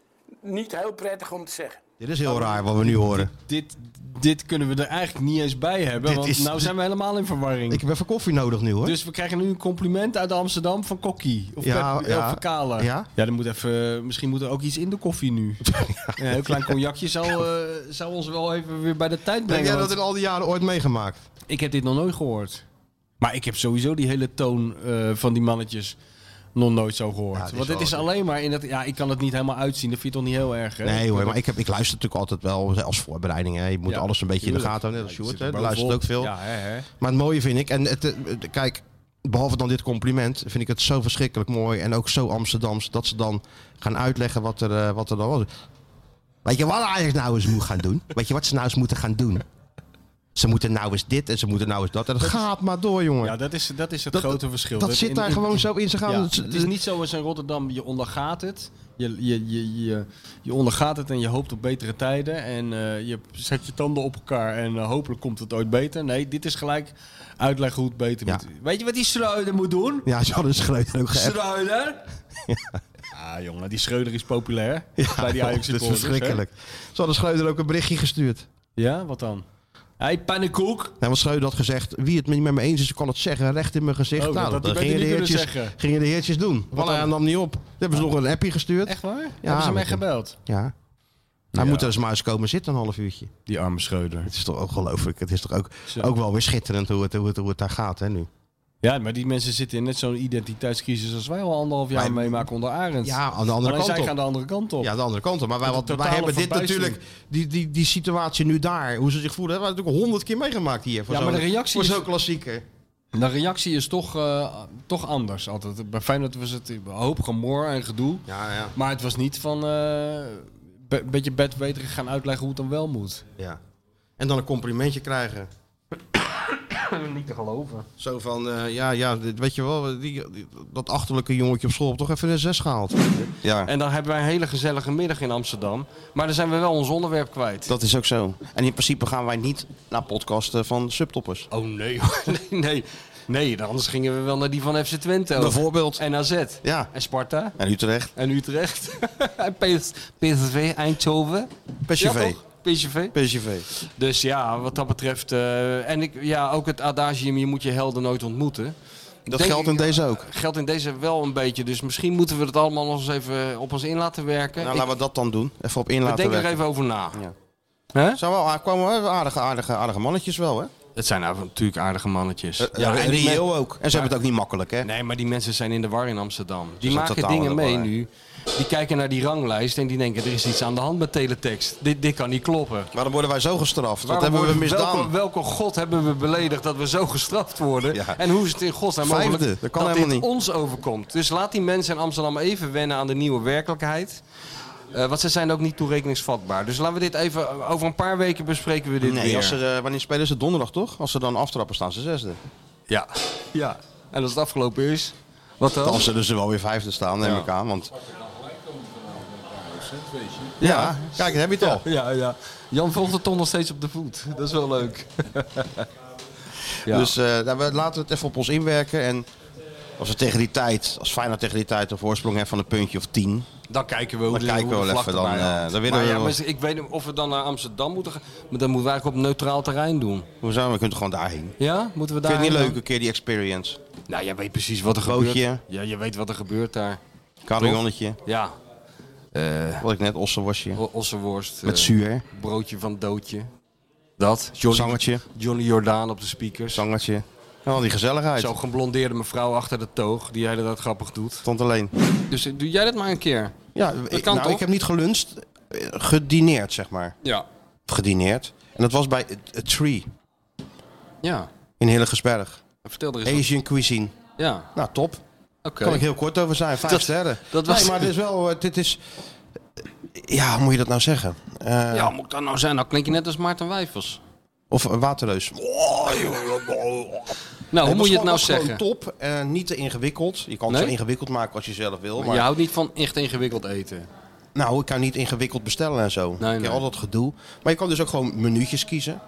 S10: niet heel prettig om te zeggen.
S2: Dit is heel raar wat we nu horen.
S3: Dit, dit kunnen we er eigenlijk niet eens bij hebben,
S2: Dit
S3: want
S2: is-
S3: nou zijn we helemaal in verwarring.
S2: Ik heb even koffie nodig nu hoor.
S3: Dus we krijgen nu een compliment uit Amsterdam van Kokkie. Of
S2: Ja,
S3: Pep,
S2: ja.
S3: of Verkalen.
S2: Ja?
S3: dan moet even, misschien moet er ook iets in de koffie nu. Een heel klein cognacje zou, eh, zou ons wel even weer bij de tijd brengen.
S2: heb jij dat
S3: want
S2: in al die jaren ooit meegemaakt?
S3: Ik heb dit nog nooit gehoord. Maar ik heb sowieso die hele toon eh, van die mannetjes nog nooit zo gehoord.
S2: is
S3: Want het
S2: wel-
S3: is alleen maar in dat... Ja, ik kan het niet helemaal uitzien. Dat vind je toch niet heel erg, hè?
S2: Nee hoor, maar ik, heb, ik luister natuurlijk altijd wel als voorbereiding. Hè. Je moet
S3: Ja,
S2: alles een beetje in de
S3: tuurlijk.
S2: gaten houden. Net
S3: Ja,
S2: als
S3: je
S2: Sjoerd,
S3: zit er
S2: hè. die luistert ook veel.
S3: bovenop. Ja, hè, hè.
S2: Maar het mooie vind ik, en het, eh, kijk, behalve dan dit compliment, vind ik het zo verschrikkelijk mooi en ook zo Amsterdams dat ze dan gaan uitleggen wat er, eh, wat er dan was. Weet je wat Ajax nou eens moet gaan doen? Weet je wat ze nou eens moeten gaan doen? Ze moeten nou eens dit en ze moeten nou eens dat. En dat gaat maar door, jongen.
S3: Ja, dat is, dat is het grote verschil.
S2: dat zit daar gewoon zo in. Ze gaan-
S3: Ja,
S2: ze-
S3: het is niet zo als in Rotterdam, je ondergaat het. Je, je, je, je, je ondergaat het en je hoopt op betere tijden. En eh, je zet je tanden op elkaar en eh, hopelijk komt het ooit beter. Nee, dit is gelijk uitleggen hoe het beter moet. Weet je wat die Schreuder moet doen?
S2: Ja, ze hadden Schreuder ook geëft.
S3: Schreuder? Ah jongen, die Schreuder is populair bij die Ajax
S2: dat is verschrikkelijk. Ze hadden Schreuder ook een berichtje gestuurd.
S3: Ja, wat dan? Hey, pannenkoek.
S2: Nou, want Schreuder had gezegd, wie het niet met me eens is, kan het zeggen, recht in mijn gezicht.
S3: Oh,
S2: nou,
S3: dat
S2: dat,
S3: had hij
S2: gingen, de
S3: beter niet
S2: heertjes,
S3: kunnen zeggen.
S2: gingen de heertjes doen. Want hij nam niet op. Toen hebben ze nog een appje gestuurd.
S3: Echt waar? Hebben ze hem
S2: met
S3: echt gebeld?
S2: Ja. Hij moet er eens maar eens komen zitten, een half uurtje.
S3: Die arme Schreuder.
S2: Het is toch ook geloof ik. Het is toch ook,
S3: Zo.
S2: ook wel weer schitterend hoe het, hoe het, hoe het daar gaat hè, nu.
S3: Ja, maar die mensen zitten in net zo'n identiteitscrisis als wij al anderhalf jaar meemaken onder Arend.
S2: Ja, aan de andere
S3: Alleen
S2: kant
S3: zij
S2: op.
S3: gaan de andere kant op.
S2: Ja, de andere kant op. Maar wij,
S3: Met een
S2: wat, wij
S3: totale
S2: hebben dit
S3: verbijstering.
S2: natuurlijk, die, die, die situatie nu daar, hoe ze zich voelen, hebben we natuurlijk honderd keer meegemaakt hier. Voor
S3: Ja, maar
S2: zo'n-
S3: de reactie
S2: Voor
S3: is-
S2: zo'n klassieker.
S3: De reactie is toch, eh, toch anders altijd. Bij Feyenoord was het een hoop gemor en gedoe. Maar het was niet van eh, be- een beetje bedweterig gaan uitleggen hoe het dan wel moet.
S2: Ja. En dan een complimentje krijgen.
S3: niet te geloven.
S2: Zo van, eh, ja, ja, dit- weet je wel, die, die- dat achterlijke jongetje op school heeft toch even een zes gehaald. Ja.
S3: En dan hebben wij een hele gezellige middag in Amsterdam. Maar dan zijn we wel ons onderwerp kwijt.
S2: Dat is ook zo. En in principe gaan wij niet naar podcasten van subtoppers.
S3: Oh nee, hoor. nee, nee. Nee, dan anders gingen we wel naar die van FC Twente. ook.
S2: Bijvoorbeeld.
S3: En AZ.
S2: Ja.
S3: En Sparta.
S2: En Utrecht.
S3: En Utrecht. en PS PSV, Eindhoven.
S2: PSV.
S3: Ja, toch? PSV.
S2: PSV.
S3: Dus ja, wat dat betreft. eh, en ik, ja, ook het adagium, je moet je helden nooit ontmoeten.
S2: Dat
S3: Denk
S2: geldt
S3: ik-
S2: in deze ook.
S3: Geldt in deze wel een beetje. Dus misschien moeten we het allemaal nog eens even op ons in laten werken.
S2: Nou,
S3: Ik-
S2: laten we dat dan doen. Even op in
S3: we
S2: laten
S3: denken er
S2: werken.
S3: even over na.
S2: Zijn wel, er kwamen wel aardige, aardige, aardige mannetjes wel, hè?
S3: Het zijn nou natuurlijk aardige mannetjes.
S2: Dus ja, en
S3: die
S2: reëel
S3: men-
S2: Eh, ook. En ze hebben het ook niet makkelijk, hè?
S3: Nee, maar die mensen zijn in de war in Amsterdam. Die
S2: zijn
S3: maken
S2: totaal
S3: dingen
S2: in de
S3: mee
S2: war.
S3: nu. Die kijken naar die ranglijst en die denken, er is iets aan de hand met teletext. Dit, dit kan niet kloppen.
S2: Maar dan worden wij zo gestraft. Wat
S3: Waarom
S2: hebben we
S3: worden-
S2: misdaan?
S3: Welke, welke god hebben we beledigd dat we zo gestraft worden? En hoe is het in godsnaam mogelijk
S2: Vijfde, dat kan
S3: dit
S2: helemaal niet.
S3: ons overkomt? Dus laat die mensen in Amsterdam even wennen aan de nieuwe werkelijkheid. Eh want ze zijn ook niet toerekeningsvatbaar. Dus laten we dit even, over een paar weken bespreken we dit
S2: nee,
S3: weer.
S2: als ze, eh, wanneer spelen ze donderdag toch? Als ze dan aftrappen, staan ze zesde.
S3: Ja. ja, en als het afgelopen is, wat dan?
S2: Dan zullen ze wel weer vijfde staan, neem
S3: Ja.
S2: ik aan. Want... Ja, kijk, daar heb je het al.
S3: Ja, ja. Jan volgt het toch nog steeds op de voet. Dat is wel leuk. Ja.
S2: Dus eh, nou, we laten we het even op ons inwerken. En als we tegen die tijd, als Feyenoord tegen die tijd een voorsprong heeft van een puntje of tien.
S3: Dan kijken we hoe
S2: Dan
S3: de,
S2: kijken
S3: hoe de
S2: we wel
S3: vlag
S2: even, dan,
S3: erbij
S2: eh,
S3: hangt.
S2: dan willen
S3: maar
S2: we
S3: ja,
S2: wel-
S3: maar ik weet niet of we dan naar Amsterdam moeten gaan. Maar dan moeten we eigenlijk op neutraal terrein doen.
S2: Hoezo? We kunnen toch gewoon daarheen.
S3: Ja? Moeten we
S2: Vind
S3: daar
S2: je het niet leuk, een keer die experience?
S3: Nou, jij weet precies wat er
S2: Bootje,
S3: gebeurt. Ja, je weet wat er gebeurt daar.
S2: carillonnetje.
S3: Ja. Eh.
S2: Wat ik net, ossenworstje.
S3: O- Ossenworst.
S2: Met
S3: eh,
S2: zuur.
S3: Broodje van doodje. Dat. Johnny,
S2: Zangertje.
S3: Johnny Jordaan op de speakers.
S2: Zangertje. En al die gezelligheid.
S3: Zo'n geblondeerde mevrouw achter de toog die de hele tijd grappig doet.
S2: Stond alleen.
S3: Dus eh, doe jij dat maar een keer.
S2: Ja,
S3: dat
S2: ik,
S3: kan
S2: nou,
S3: toch?
S2: ik heb niet geluncht. eh, Gedineerd, zeg maar.
S3: Ja.
S2: Of gedineerd. En dat was bij A- A Tree
S3: Ja.
S2: in Hilligersberg.
S3: Vertel er eens. wat.
S2: Asian cuisine.
S3: Ja.
S2: Nou, top.
S3: Oké.
S2: Kan ik heel kort over zijn. Vijf
S3: Dat-
S2: sterren.
S3: dat was-
S2: Nee, maar dit is wel... eh, Dit is... Ja, hoe moet je dat nou zeggen? Eh,
S3: Ja, moet ik dat nou zijn? Nou klink je net als Maarten Wijfels.
S2: Of eh, Waterleus.
S3: Nou, hoe
S2: was
S3: moet je het
S2: gewoon-
S3: nou
S2: was gewoon
S3: zeggen?
S2: top en niet te ingewikkeld. Je kan het
S3: Nee?
S2: zo ingewikkeld maken als je zelf wil.
S3: Je
S2: Maar
S3: houdt niet van echt ingewikkeld eten.
S2: nou, ik kan niet ingewikkeld bestellen en zo. ik heb
S3: nee.
S2: al dat gedoe. Maar je kan dus ook gewoon menu'tjes kiezen.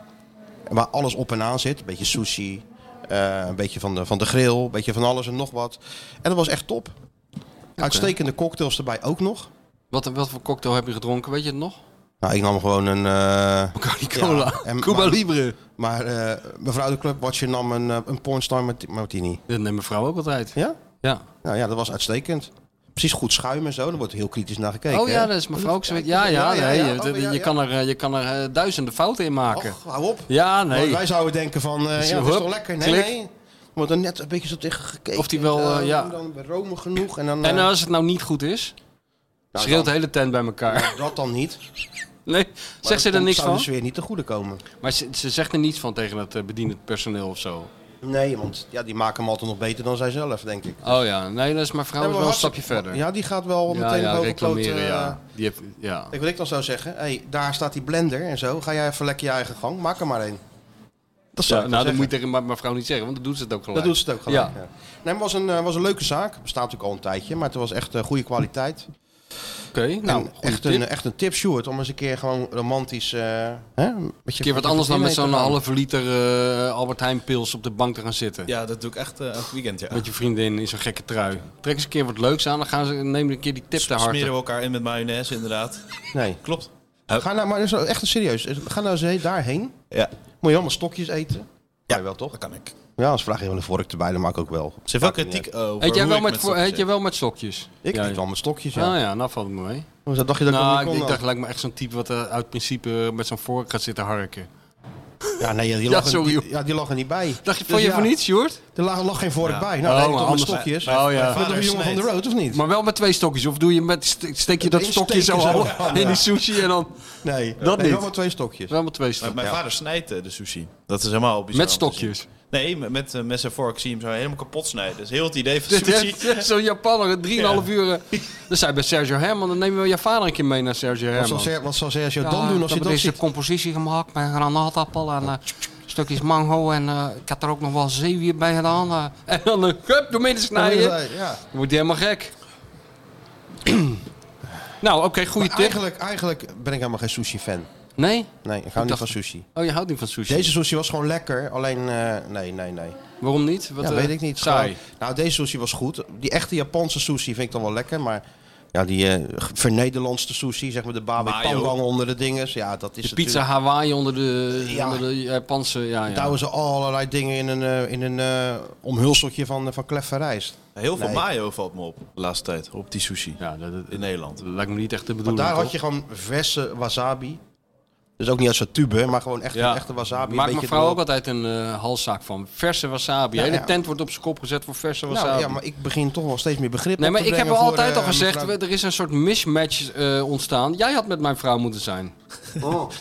S2: Waar alles op en aan zit. Een beetje sushi. eh, een beetje van de, van de grill. Een beetje van alles en nog wat. En dat was echt top. Uitstekende cocktails erbij ook nog.
S3: Wat, wat voor cocktail heb je gedronken? Weet je het nog?
S2: Nou, ik nam gewoon een... eh
S3: Bacardi Cola. Cuba
S2: maar-
S3: Libre.
S2: Maar eh, mevrouw de clubwatcher nam een, eh, een pornstar Mart- martini.
S3: Dat neemt mevrouw ook altijd.
S2: Ja?
S3: Ja.
S2: Nou ja, dat was uitstekend. Precies goed schuim en zo. Daar wordt heel kritisch naar gekeken.
S3: oh ja,
S2: hè?
S3: dat is mevrouw ook zo. Ja, ja,
S2: Ja, ja,
S3: nee.
S2: ja.
S3: je-
S2: Oh,
S3: Je,
S2: ja,
S3: je
S2: ja.
S3: Kan er, eh, je kan er eh, duiizenden fouten in maken.
S2: Och, hou op.
S3: ja, nee.
S2: Want wij zouden denken van, eh,
S3: Dus
S2: ja, dat is
S3: hup,
S2: toch lekker. Nee,
S3: klik.
S2: nee. Er wordt er net een beetje zo tegen gekeken.
S3: Of die wel,
S2: En,
S3: eh, ja.
S2: Dan bij Rome genoeg. En dan,
S3: En
S2: eh,
S3: als het nou niet goed is,
S2: Nou,
S3: schreeuwt de
S2: dan-
S3: hele tent bij elkaar.
S2: dat dan niet.
S3: Nee,
S2: Maar
S3: zegt ze
S2: dat
S3: er
S2: komt-
S3: niks
S2: zou
S3: van?
S2: dus weer niet te goede komen.
S3: Maar ze, ze zegt er niets van tegen het eh, bedienend personeel of zo.
S2: Nee, want ja, die maken hem altijd nog beter dan zijzelf, denk ik.
S3: Oh ja, nee, dat is mijn vrouw
S2: Ja,
S3: is
S2: maar
S3: wel een
S2: hartstikke-
S3: stapje verder.
S2: Ja, die gaat wel
S3: Ja,
S2: meteen
S3: ja,
S2: boven kloot,
S3: reclameren,
S2: eh,
S3: ja. Die heeft, ja.
S2: Kijk, wat ik dan zou zeggen, hey, daar staat die blender en zo. Ga jij even lekker je eigen gang, maak er maar één. Dat zou
S3: Ja,
S2: ik
S3: nou, dat
S2: zeggen.
S3: moet je tegen mijn mijn vrouw niet zeggen, want dan doet ze het ook gelijk.
S2: Dat doet ze het ook gelijk.
S3: Ja.
S2: Ja. Nee, maar was een, eh, was een leuke zaak. Bestaat natuurlijk al een tijdje, maar het was echt eh, goede kwaliteit.
S3: Oké, nou,
S2: En
S3: goede
S2: echt,
S3: tip.
S2: Een, echt een tip, Sjoerd, om eens een keer gewoon romantisch... eh, hè, een beetje-
S3: Een keer wat anders dan
S2: mee
S3: met
S2: te
S3: zo'n
S2: gaan.
S3: halve liter eh, Albert Heijn pils op de bank te gaan zitten.
S4: Ja, dat doe ik echt eh, elk weekend, ja.
S3: Met je vriendin in zo'n gekke trui. Trek eens een keer wat leuks aan, dan gaan ze, neem een keer die tip te harte.
S4: Smeren we elkaar in met mayonaise, inderdaad.
S2: Nee.
S4: Klopt.
S3: Oh.
S2: Ga nou, maar dat is echt een serieus. Ga nou eens daarheen.
S4: Ja.
S2: Moet je allemaal stokjes eten? Ja, wel toch? Dat
S4: kan ik.
S2: Ja, als vraag je wel een vork erbij, dan maak ik ook wel.
S4: Ze heeft wel kritiek over
S3: Eet jij
S4: hoe
S3: wel
S4: ik
S3: met,
S4: met
S3: voor-
S4: stokjes
S3: eet jij wel met stokjes?
S2: Ik
S3: Ja,
S2: eet wel met stokjes, ja.
S3: Ah ja, nou valt het me mee.
S2: Hoezo dacht je dat ik
S3: nou,
S2: dat niet
S3: ik,
S2: kon
S3: ik dacht
S2: dan?
S3: lijkt me echt zo'n type wat eh, uit principe met zo'n vork gaat zitten harken.
S2: Ja, nee, die
S17: Ja,
S2: lag, er-
S17: sorry,
S2: die, ja, die lag er niet bij.
S17: Dacht je,
S2: van
S17: vond je van niet,
S3: Sjoerd?
S2: Er lag, lag geen vork
S3: Ja.
S2: bij.
S3: Oh,
S2: Nou,
S3: maar
S2: oh, mijn
S3: anders-
S2: stokjes.
S3: Oh, ja.
S2: Met een jongen van de road, of niet?
S3: Maar wel met twee stokjes. Of doe je met, st- steek je dat
S2: Eén
S3: stokje zo
S2: steek je zo
S3: half
S2: van,
S3: in
S2: ja.
S3: die sushi en dan...
S2: Nee,
S3: dat
S2: nee,
S3: niet.
S2: wel met twee stokjes.
S3: Wel met twee stokjes.
S4: Mijn
S3: Ja.
S4: vader snijdt eh, de sushi. Dat is helemaal bizar.
S3: Met
S4: om te
S3: stokjes?
S4: zien. Nee, met, met eh, mes en vork zie je hem zo helemaal kapot snijden. Dat is heel het idee van
S3: Dit
S4: sushi.
S3: heeft, eh, Zo'n Japaner, 3,5 uur. eh, Dan zei bij Sergio Herman, dan nemen we je vader een keer mee naar Sergio
S2: Wat
S3: Herman.
S2: zou Ser- Wat zou Sergio dan doen als je dat
S3: is
S2: ziet?
S3: een compositie gemaakt met granaatappel en eh, stukjes mango. En eh, ik had er ook nog wel zeewier bij gedaan. eh. en dan eh, hup, door midden snijden.
S2: Ja, ja.
S3: Dan wordt hij helemaal gek. nou, oké, goede
S2: Maar
S3: tip.
S2: Eigenlijk, eigenlijk ben ik helemaal geen sushi-fan.
S3: Nee?
S2: Nee, ik
S3: dacht-
S2: hou niet van sushi.
S3: Oh, je houdt niet van sushi?
S2: Deze sushi was gewoon lekker, alleen eh, nee, nee, nee.
S3: Waarom niet? Wat,
S2: ja,
S3: eh,
S2: weet ik niet.
S3: saai.
S2: Gewoon- nou, deze sushi was goed. Die echte Japanse sushi vind ik dan wel lekker, maar ja, die eh, vernederlandste sushi, zeg maar de babi
S3: Mayo.
S2: pangang onder de dinges, ja, dat is
S3: De pizza
S2: natuurlijk- Eh,
S3: Hawaii onder de,
S2: Ja.
S3: onder de Japanse... Ja, ja.
S2: Daar Douwen ze allerlei dingen in een, eh, in een eh, omhulseltje van, eh, van kleffe rijst.
S4: Heel veel
S2: Nee.
S4: mayo valt me op de laatste tijd. Op die sushi. in Nederland. Dat
S3: lijkt me niet echt te
S2: Maar
S3: bedoelen.
S2: daar had je gewoon verse wasabi. Dus ook niet uit zo'n tube, maar gewoon echt
S3: Ja.
S2: een echte wasabi.
S3: Maakt
S2: een
S3: mijn
S2: beetje
S3: vrouw
S2: erop.
S3: ook altijd een eh, halszaak van. Verse wasabi.
S2: Ja,
S3: De hele
S2: ja.
S3: tent wordt op zijn kop gezet voor verse wasabi.
S2: Nou, ja, maar ik begin toch wel steeds meer begrip
S3: Nee,
S2: op
S3: maar
S2: te
S3: ik heb
S2: brengen voor,
S3: altijd al
S2: eh,
S3: gezegd,
S2: mevrouw-
S3: we- er is een soort mismatch eh, ontstaan. Jij had met mijn vrouw moeten zijn.
S2: Oh.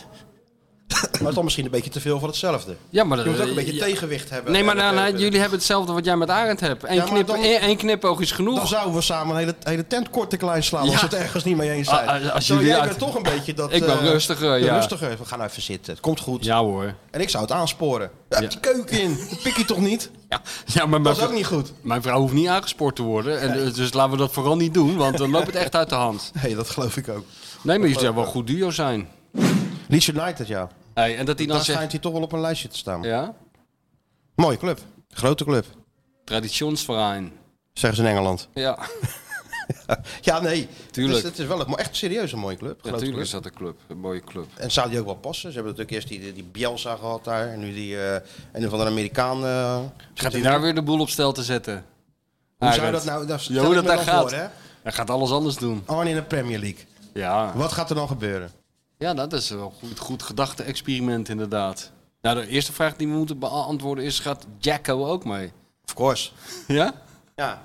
S2: Maar dan misschien een beetje te veel van hetzelfde.
S3: Ja, maar
S2: je
S3: dat-
S2: moet ook een beetje
S3: ja.
S2: tegenwicht hebben.
S3: Nee, maar
S2: Eh,
S3: nou, nou,
S2: eh,
S3: jullie hebben hetzelfde wat jij met Arend hebt. Eén
S2: Ja, maar
S3: knip,
S2: dan-
S3: één- één knipoog is genoeg.
S2: Dan zouden we samen een hele, hele tent kort en klein slaan
S3: Ja.
S2: als we het ergens niet mee eens
S3: Ah,
S2: zijn.
S3: ah, als
S2: Zo,
S3: jullie
S2: jij
S3: uit-
S2: bent toch een beetje dat...
S3: Ik ben
S2: eh,
S3: rustiger, ja.
S2: Rustiger, we gaan nou even zitten. Het komt goed.
S3: Ja hoor.
S2: En ik zou het aansporen. Ja,
S3: Ja.
S2: Die keuken in, dat pik je toch niet?
S3: Ja,
S2: Dat
S3: maar mijn
S2: is ook niet goed.
S3: Mijn vrouw hoeft niet aangespoord te worden. En, eh, Dus laten we dat vooral niet doen, want dan loopt het echt uit de hand.
S2: Nee, dat geloof ik ook.
S3: Nee, maar jullie zijn wel een goed duo zijn.
S2: Leeds United, ja.
S3: Hey, en dat hij dan
S2: Daar
S3: zegt,
S2: schijnt hij toch wel op een lijstje te staan.
S3: ja,
S2: Mooie club. Grote club,
S3: traditionsverein.
S2: zeggen ze in Engeland.
S3: Ja,
S2: Ja, nee.
S3: Tuurlijk.
S2: Dus het is wel een, maar echt serieus een mooie club. Grote
S3: natuurlijk
S2: club.
S3: is dat een club. Een mooie club.
S2: En zou die ook wel passen? Ze hebben natuurlijk eerst die, die Bielsa gehad daar. En nu die eh een of andere Amerikaan. eh,
S3: Gaat
S2: zit
S3: hij
S2: in.
S3: daar weer de boel op stel te zetten?
S2: Hoe zou
S3: Arend.
S2: dat nou... Dat
S3: Ja,
S2: stel
S3: hoe
S2: ik
S3: dat
S2: me dan
S3: daar gaat.
S2: voor, hè?
S3: Hij gaat alles anders doen.
S2: Arne in de Premier League.
S3: Ja.
S2: Wat gaat er dan gebeuren?
S3: Ja, dat is wel een goed, goed gedachte-experiment inderdaad. Nou, de eerste vraag die we moeten beantwoorden is, gaat Jacko ook mee?
S2: Of course.
S3: Ja?
S2: Ja.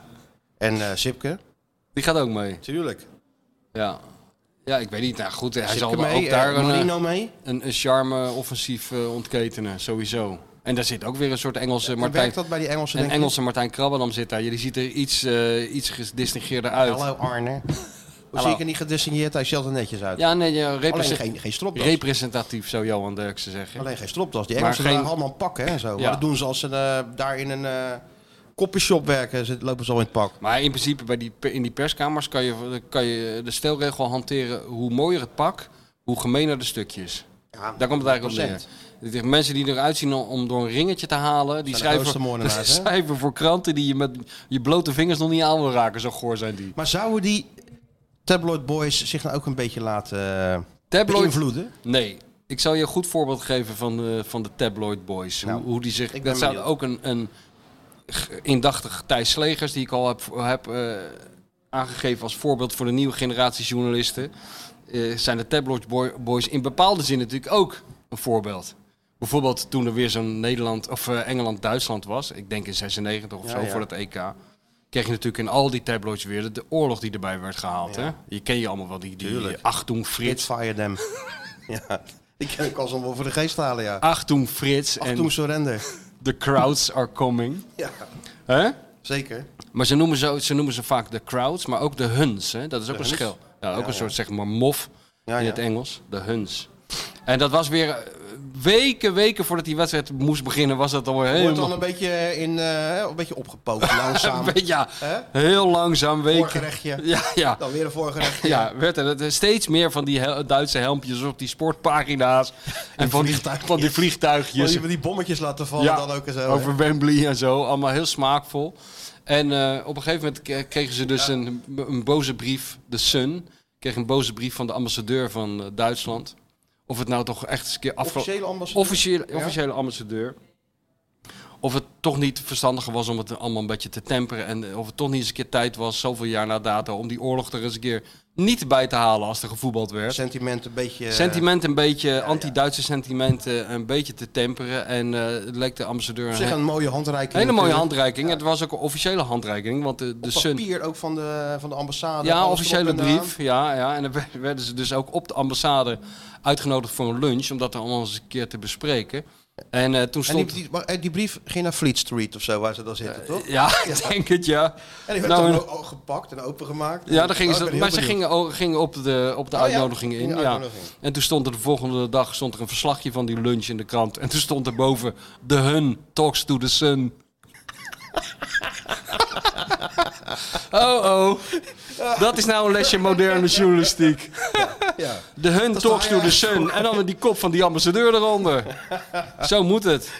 S2: En eh, Sipke?
S3: Die gaat ook mee.
S2: Tuurlijk.
S3: Ja. Ja, ik weet niet. Nou goed, hij
S2: Sipke
S3: zal
S2: mee,
S3: ook
S2: eh,
S3: daar een,
S2: Marino mee?
S3: een, een charme-offensief eh, ontketenen, sowieso. En daar zit ook weer een soort Engelse
S2: Hoe
S3: Martijn...
S2: werkt dat bij die Engelsen?
S3: Een
S2: denk je?
S3: Engelse Martijn Krabbenam zit daar. Jullie ziet er iets, eh iets gedistingeerder uit.
S2: Hallo Arne. Hoe zie
S3: Hallo.
S2: ik er niet gedissigneerd? Hij ziet er netjes uit.
S3: Ja, nee, ja,
S2: Alleen
S3: represen-
S2: geen, geen stropdas.
S3: representatief zou Johan Derksen zeggen.
S2: Alleen geen stropdas. Die
S3: Maar
S2: Engelsen
S3: geen-
S2: dragen allemaal een pak hè, en zo.
S3: Ja.
S2: Maar dat doen ze als ze eh, daar in een eh koffieshop werken. Ze lopen ze al in het pak.
S3: Maar in principe bij die, in die perskamers kan je, kan je de stelregel hanteren... hoe mooier het pak, hoe gemener de stukjes. Daar komt het eigenlijk op neer.
S2: 100%.
S3: Ik zeg, Mensen die eruit zien om- om door een ringetje te halen... die
S2: de
S3: schrijven,
S2: grootste
S3: voor,
S2: moordenaars, hè?
S3: schrijven voor kranten die je met je blote vingers nog niet aan wil raken. Zo goor zijn die.
S2: Maar zouden die tabloid boys zich nou ook een beetje laten eh,
S3: Tabloid-
S2: beïnvloeden?
S3: Nee. Ik zal je een goed voorbeeld geven van de, van de Tabloid Boys. Hoe- hoe, die zich.
S2: Nou, ik ben
S3: Dat zou
S2: benieuwd.
S3: ook een, een g- indachtig Thijs Slegers, die ik al heb, heb eh, aangegeven als voorbeeld voor de nieuwe generatie journalisten. eh, zijn de Tabloid boy- Boys in bepaalde zin natuurlijk ook een voorbeeld. Bijvoorbeeld toen er weer zo'n Nederland of eh, Engeland-Duitsland was, ik denk in 96 of
S2: Ja,
S3: zo
S2: ja.
S3: voor het EK. Kreeg je natuurlijk in al die tabloids weer de, de oorlog die erbij werd gehaald.
S2: Ja.
S3: Hè? Je ken je allemaal wel, die, die
S2: Tuurlijk.
S3: Achtung Frits.
S2: Fire them. ja, die kan ik als een wel voor de geest halen, ja.
S3: Achtung Frits
S2: Achtung surrender.
S3: en The Crowds Are Coming.
S2: Ja,
S3: Hè?
S2: zeker.
S3: Maar ze noemen ze, ze noemen ze vaak de crowds, maar ook de huns. Hè? Dat is ook
S2: De
S3: een
S2: Huns?
S3: schil. Ja, ook
S2: Ja,
S3: een
S2: ja.
S3: soort zeg maar mof
S2: Ja,
S3: in
S2: ja.
S3: het Engels. De huns. En dat was weer eh, weken, weken voordat die wedstrijd moest beginnen, was dat alweer
S2: Wordt
S3: helemaal...
S2: dan een beetje, in, eh, een beetje opgepookt, langzaam.
S3: Een beetje- ja,
S2: Hè?
S3: heel langzaam, weken.
S2: Voorgerechtje.
S3: Ja, ja.
S2: Dan weer een voorgerechtje.
S3: Ja, werd er er steeds meer van die hel- Duitse helmpjes op die sportpagina's. En van die, van die
S2: Wil
S3: vliegtuigjes.
S2: je die bommetjes laten vallen dan ook en zo. hè?
S3: Over Wembley en zo. Allemaal heel smaakvol. En eh, op een gegeven moment k- kregen ze dus een, een boze brief. De Sun kreeg een boze brief van de ambassadeur van eh, Duitsland. Of het nou toch echt eens een keer afloopt.
S2: Officiële ambassadeur?
S3: Officiële,
S2: Ja.
S3: officiële ambassadeur. Of het toch niet verstandiger was om het allemaal een beetje te temperen. En eh, of het toch niet eens een keer tijd was, zoveel jaar na data, om die oorlog er eens een keer niet bij te halen als er gevoetbald werd.
S2: Sentiment een beetje... eh,
S3: Sentiment een beetje, anti-Duitse sentimenten een beetje te temperen. En eh, het leek de ambassadeur...
S2: Op zich een mooie handreiking
S3: Hele mooie
S2: natuurlijk.
S3: handreiking. Het was ook een officiële handreiking, want de, de
S2: Op
S3: Sun...
S2: papier ook van de, van de ambassade.
S3: Ja,
S2: alles
S3: officiële
S2: erop en eraan.
S3: brief. Ja, ja. En dan werd- werden ze dus ook op de ambassade uitgenodigd voor een lunch. Om dat dan allemaal eens een keer te bespreken. En eh, toen
S2: En die,
S3: stond... Eh,
S2: die, maar, eh, die brief ging naar Fleet Street of zo, waar ze dan zitten, toch?
S3: Ja, ik denk het, ja.
S2: En die werd
S3: Nou,
S2: dan
S3: en-
S2: ook gepakt en opengemaakt.
S3: Ja, dan gingen
S2: Oh, ik
S3: ze,
S2: ben
S3: maar
S2: heel
S3: ze
S2: benieuwd.
S3: gingen, o- gingen op de, op de
S2: Oh ja,
S3: uitnodiging in.
S2: in de
S3: ja.
S2: uitnodiging.
S3: En toen stond er de volgende dag stond er een verslagje van die lunch in de krant. En toen stond er boven: The Hun talks to the sun. oh oh, dat is nou een lesje moderne journalistiek. De Hun
S2: Dat is
S3: talks
S2: de
S3: to the
S2: highlight.
S3: sun. En dan met die kop van die ambassadeur eronder. Zo moet het.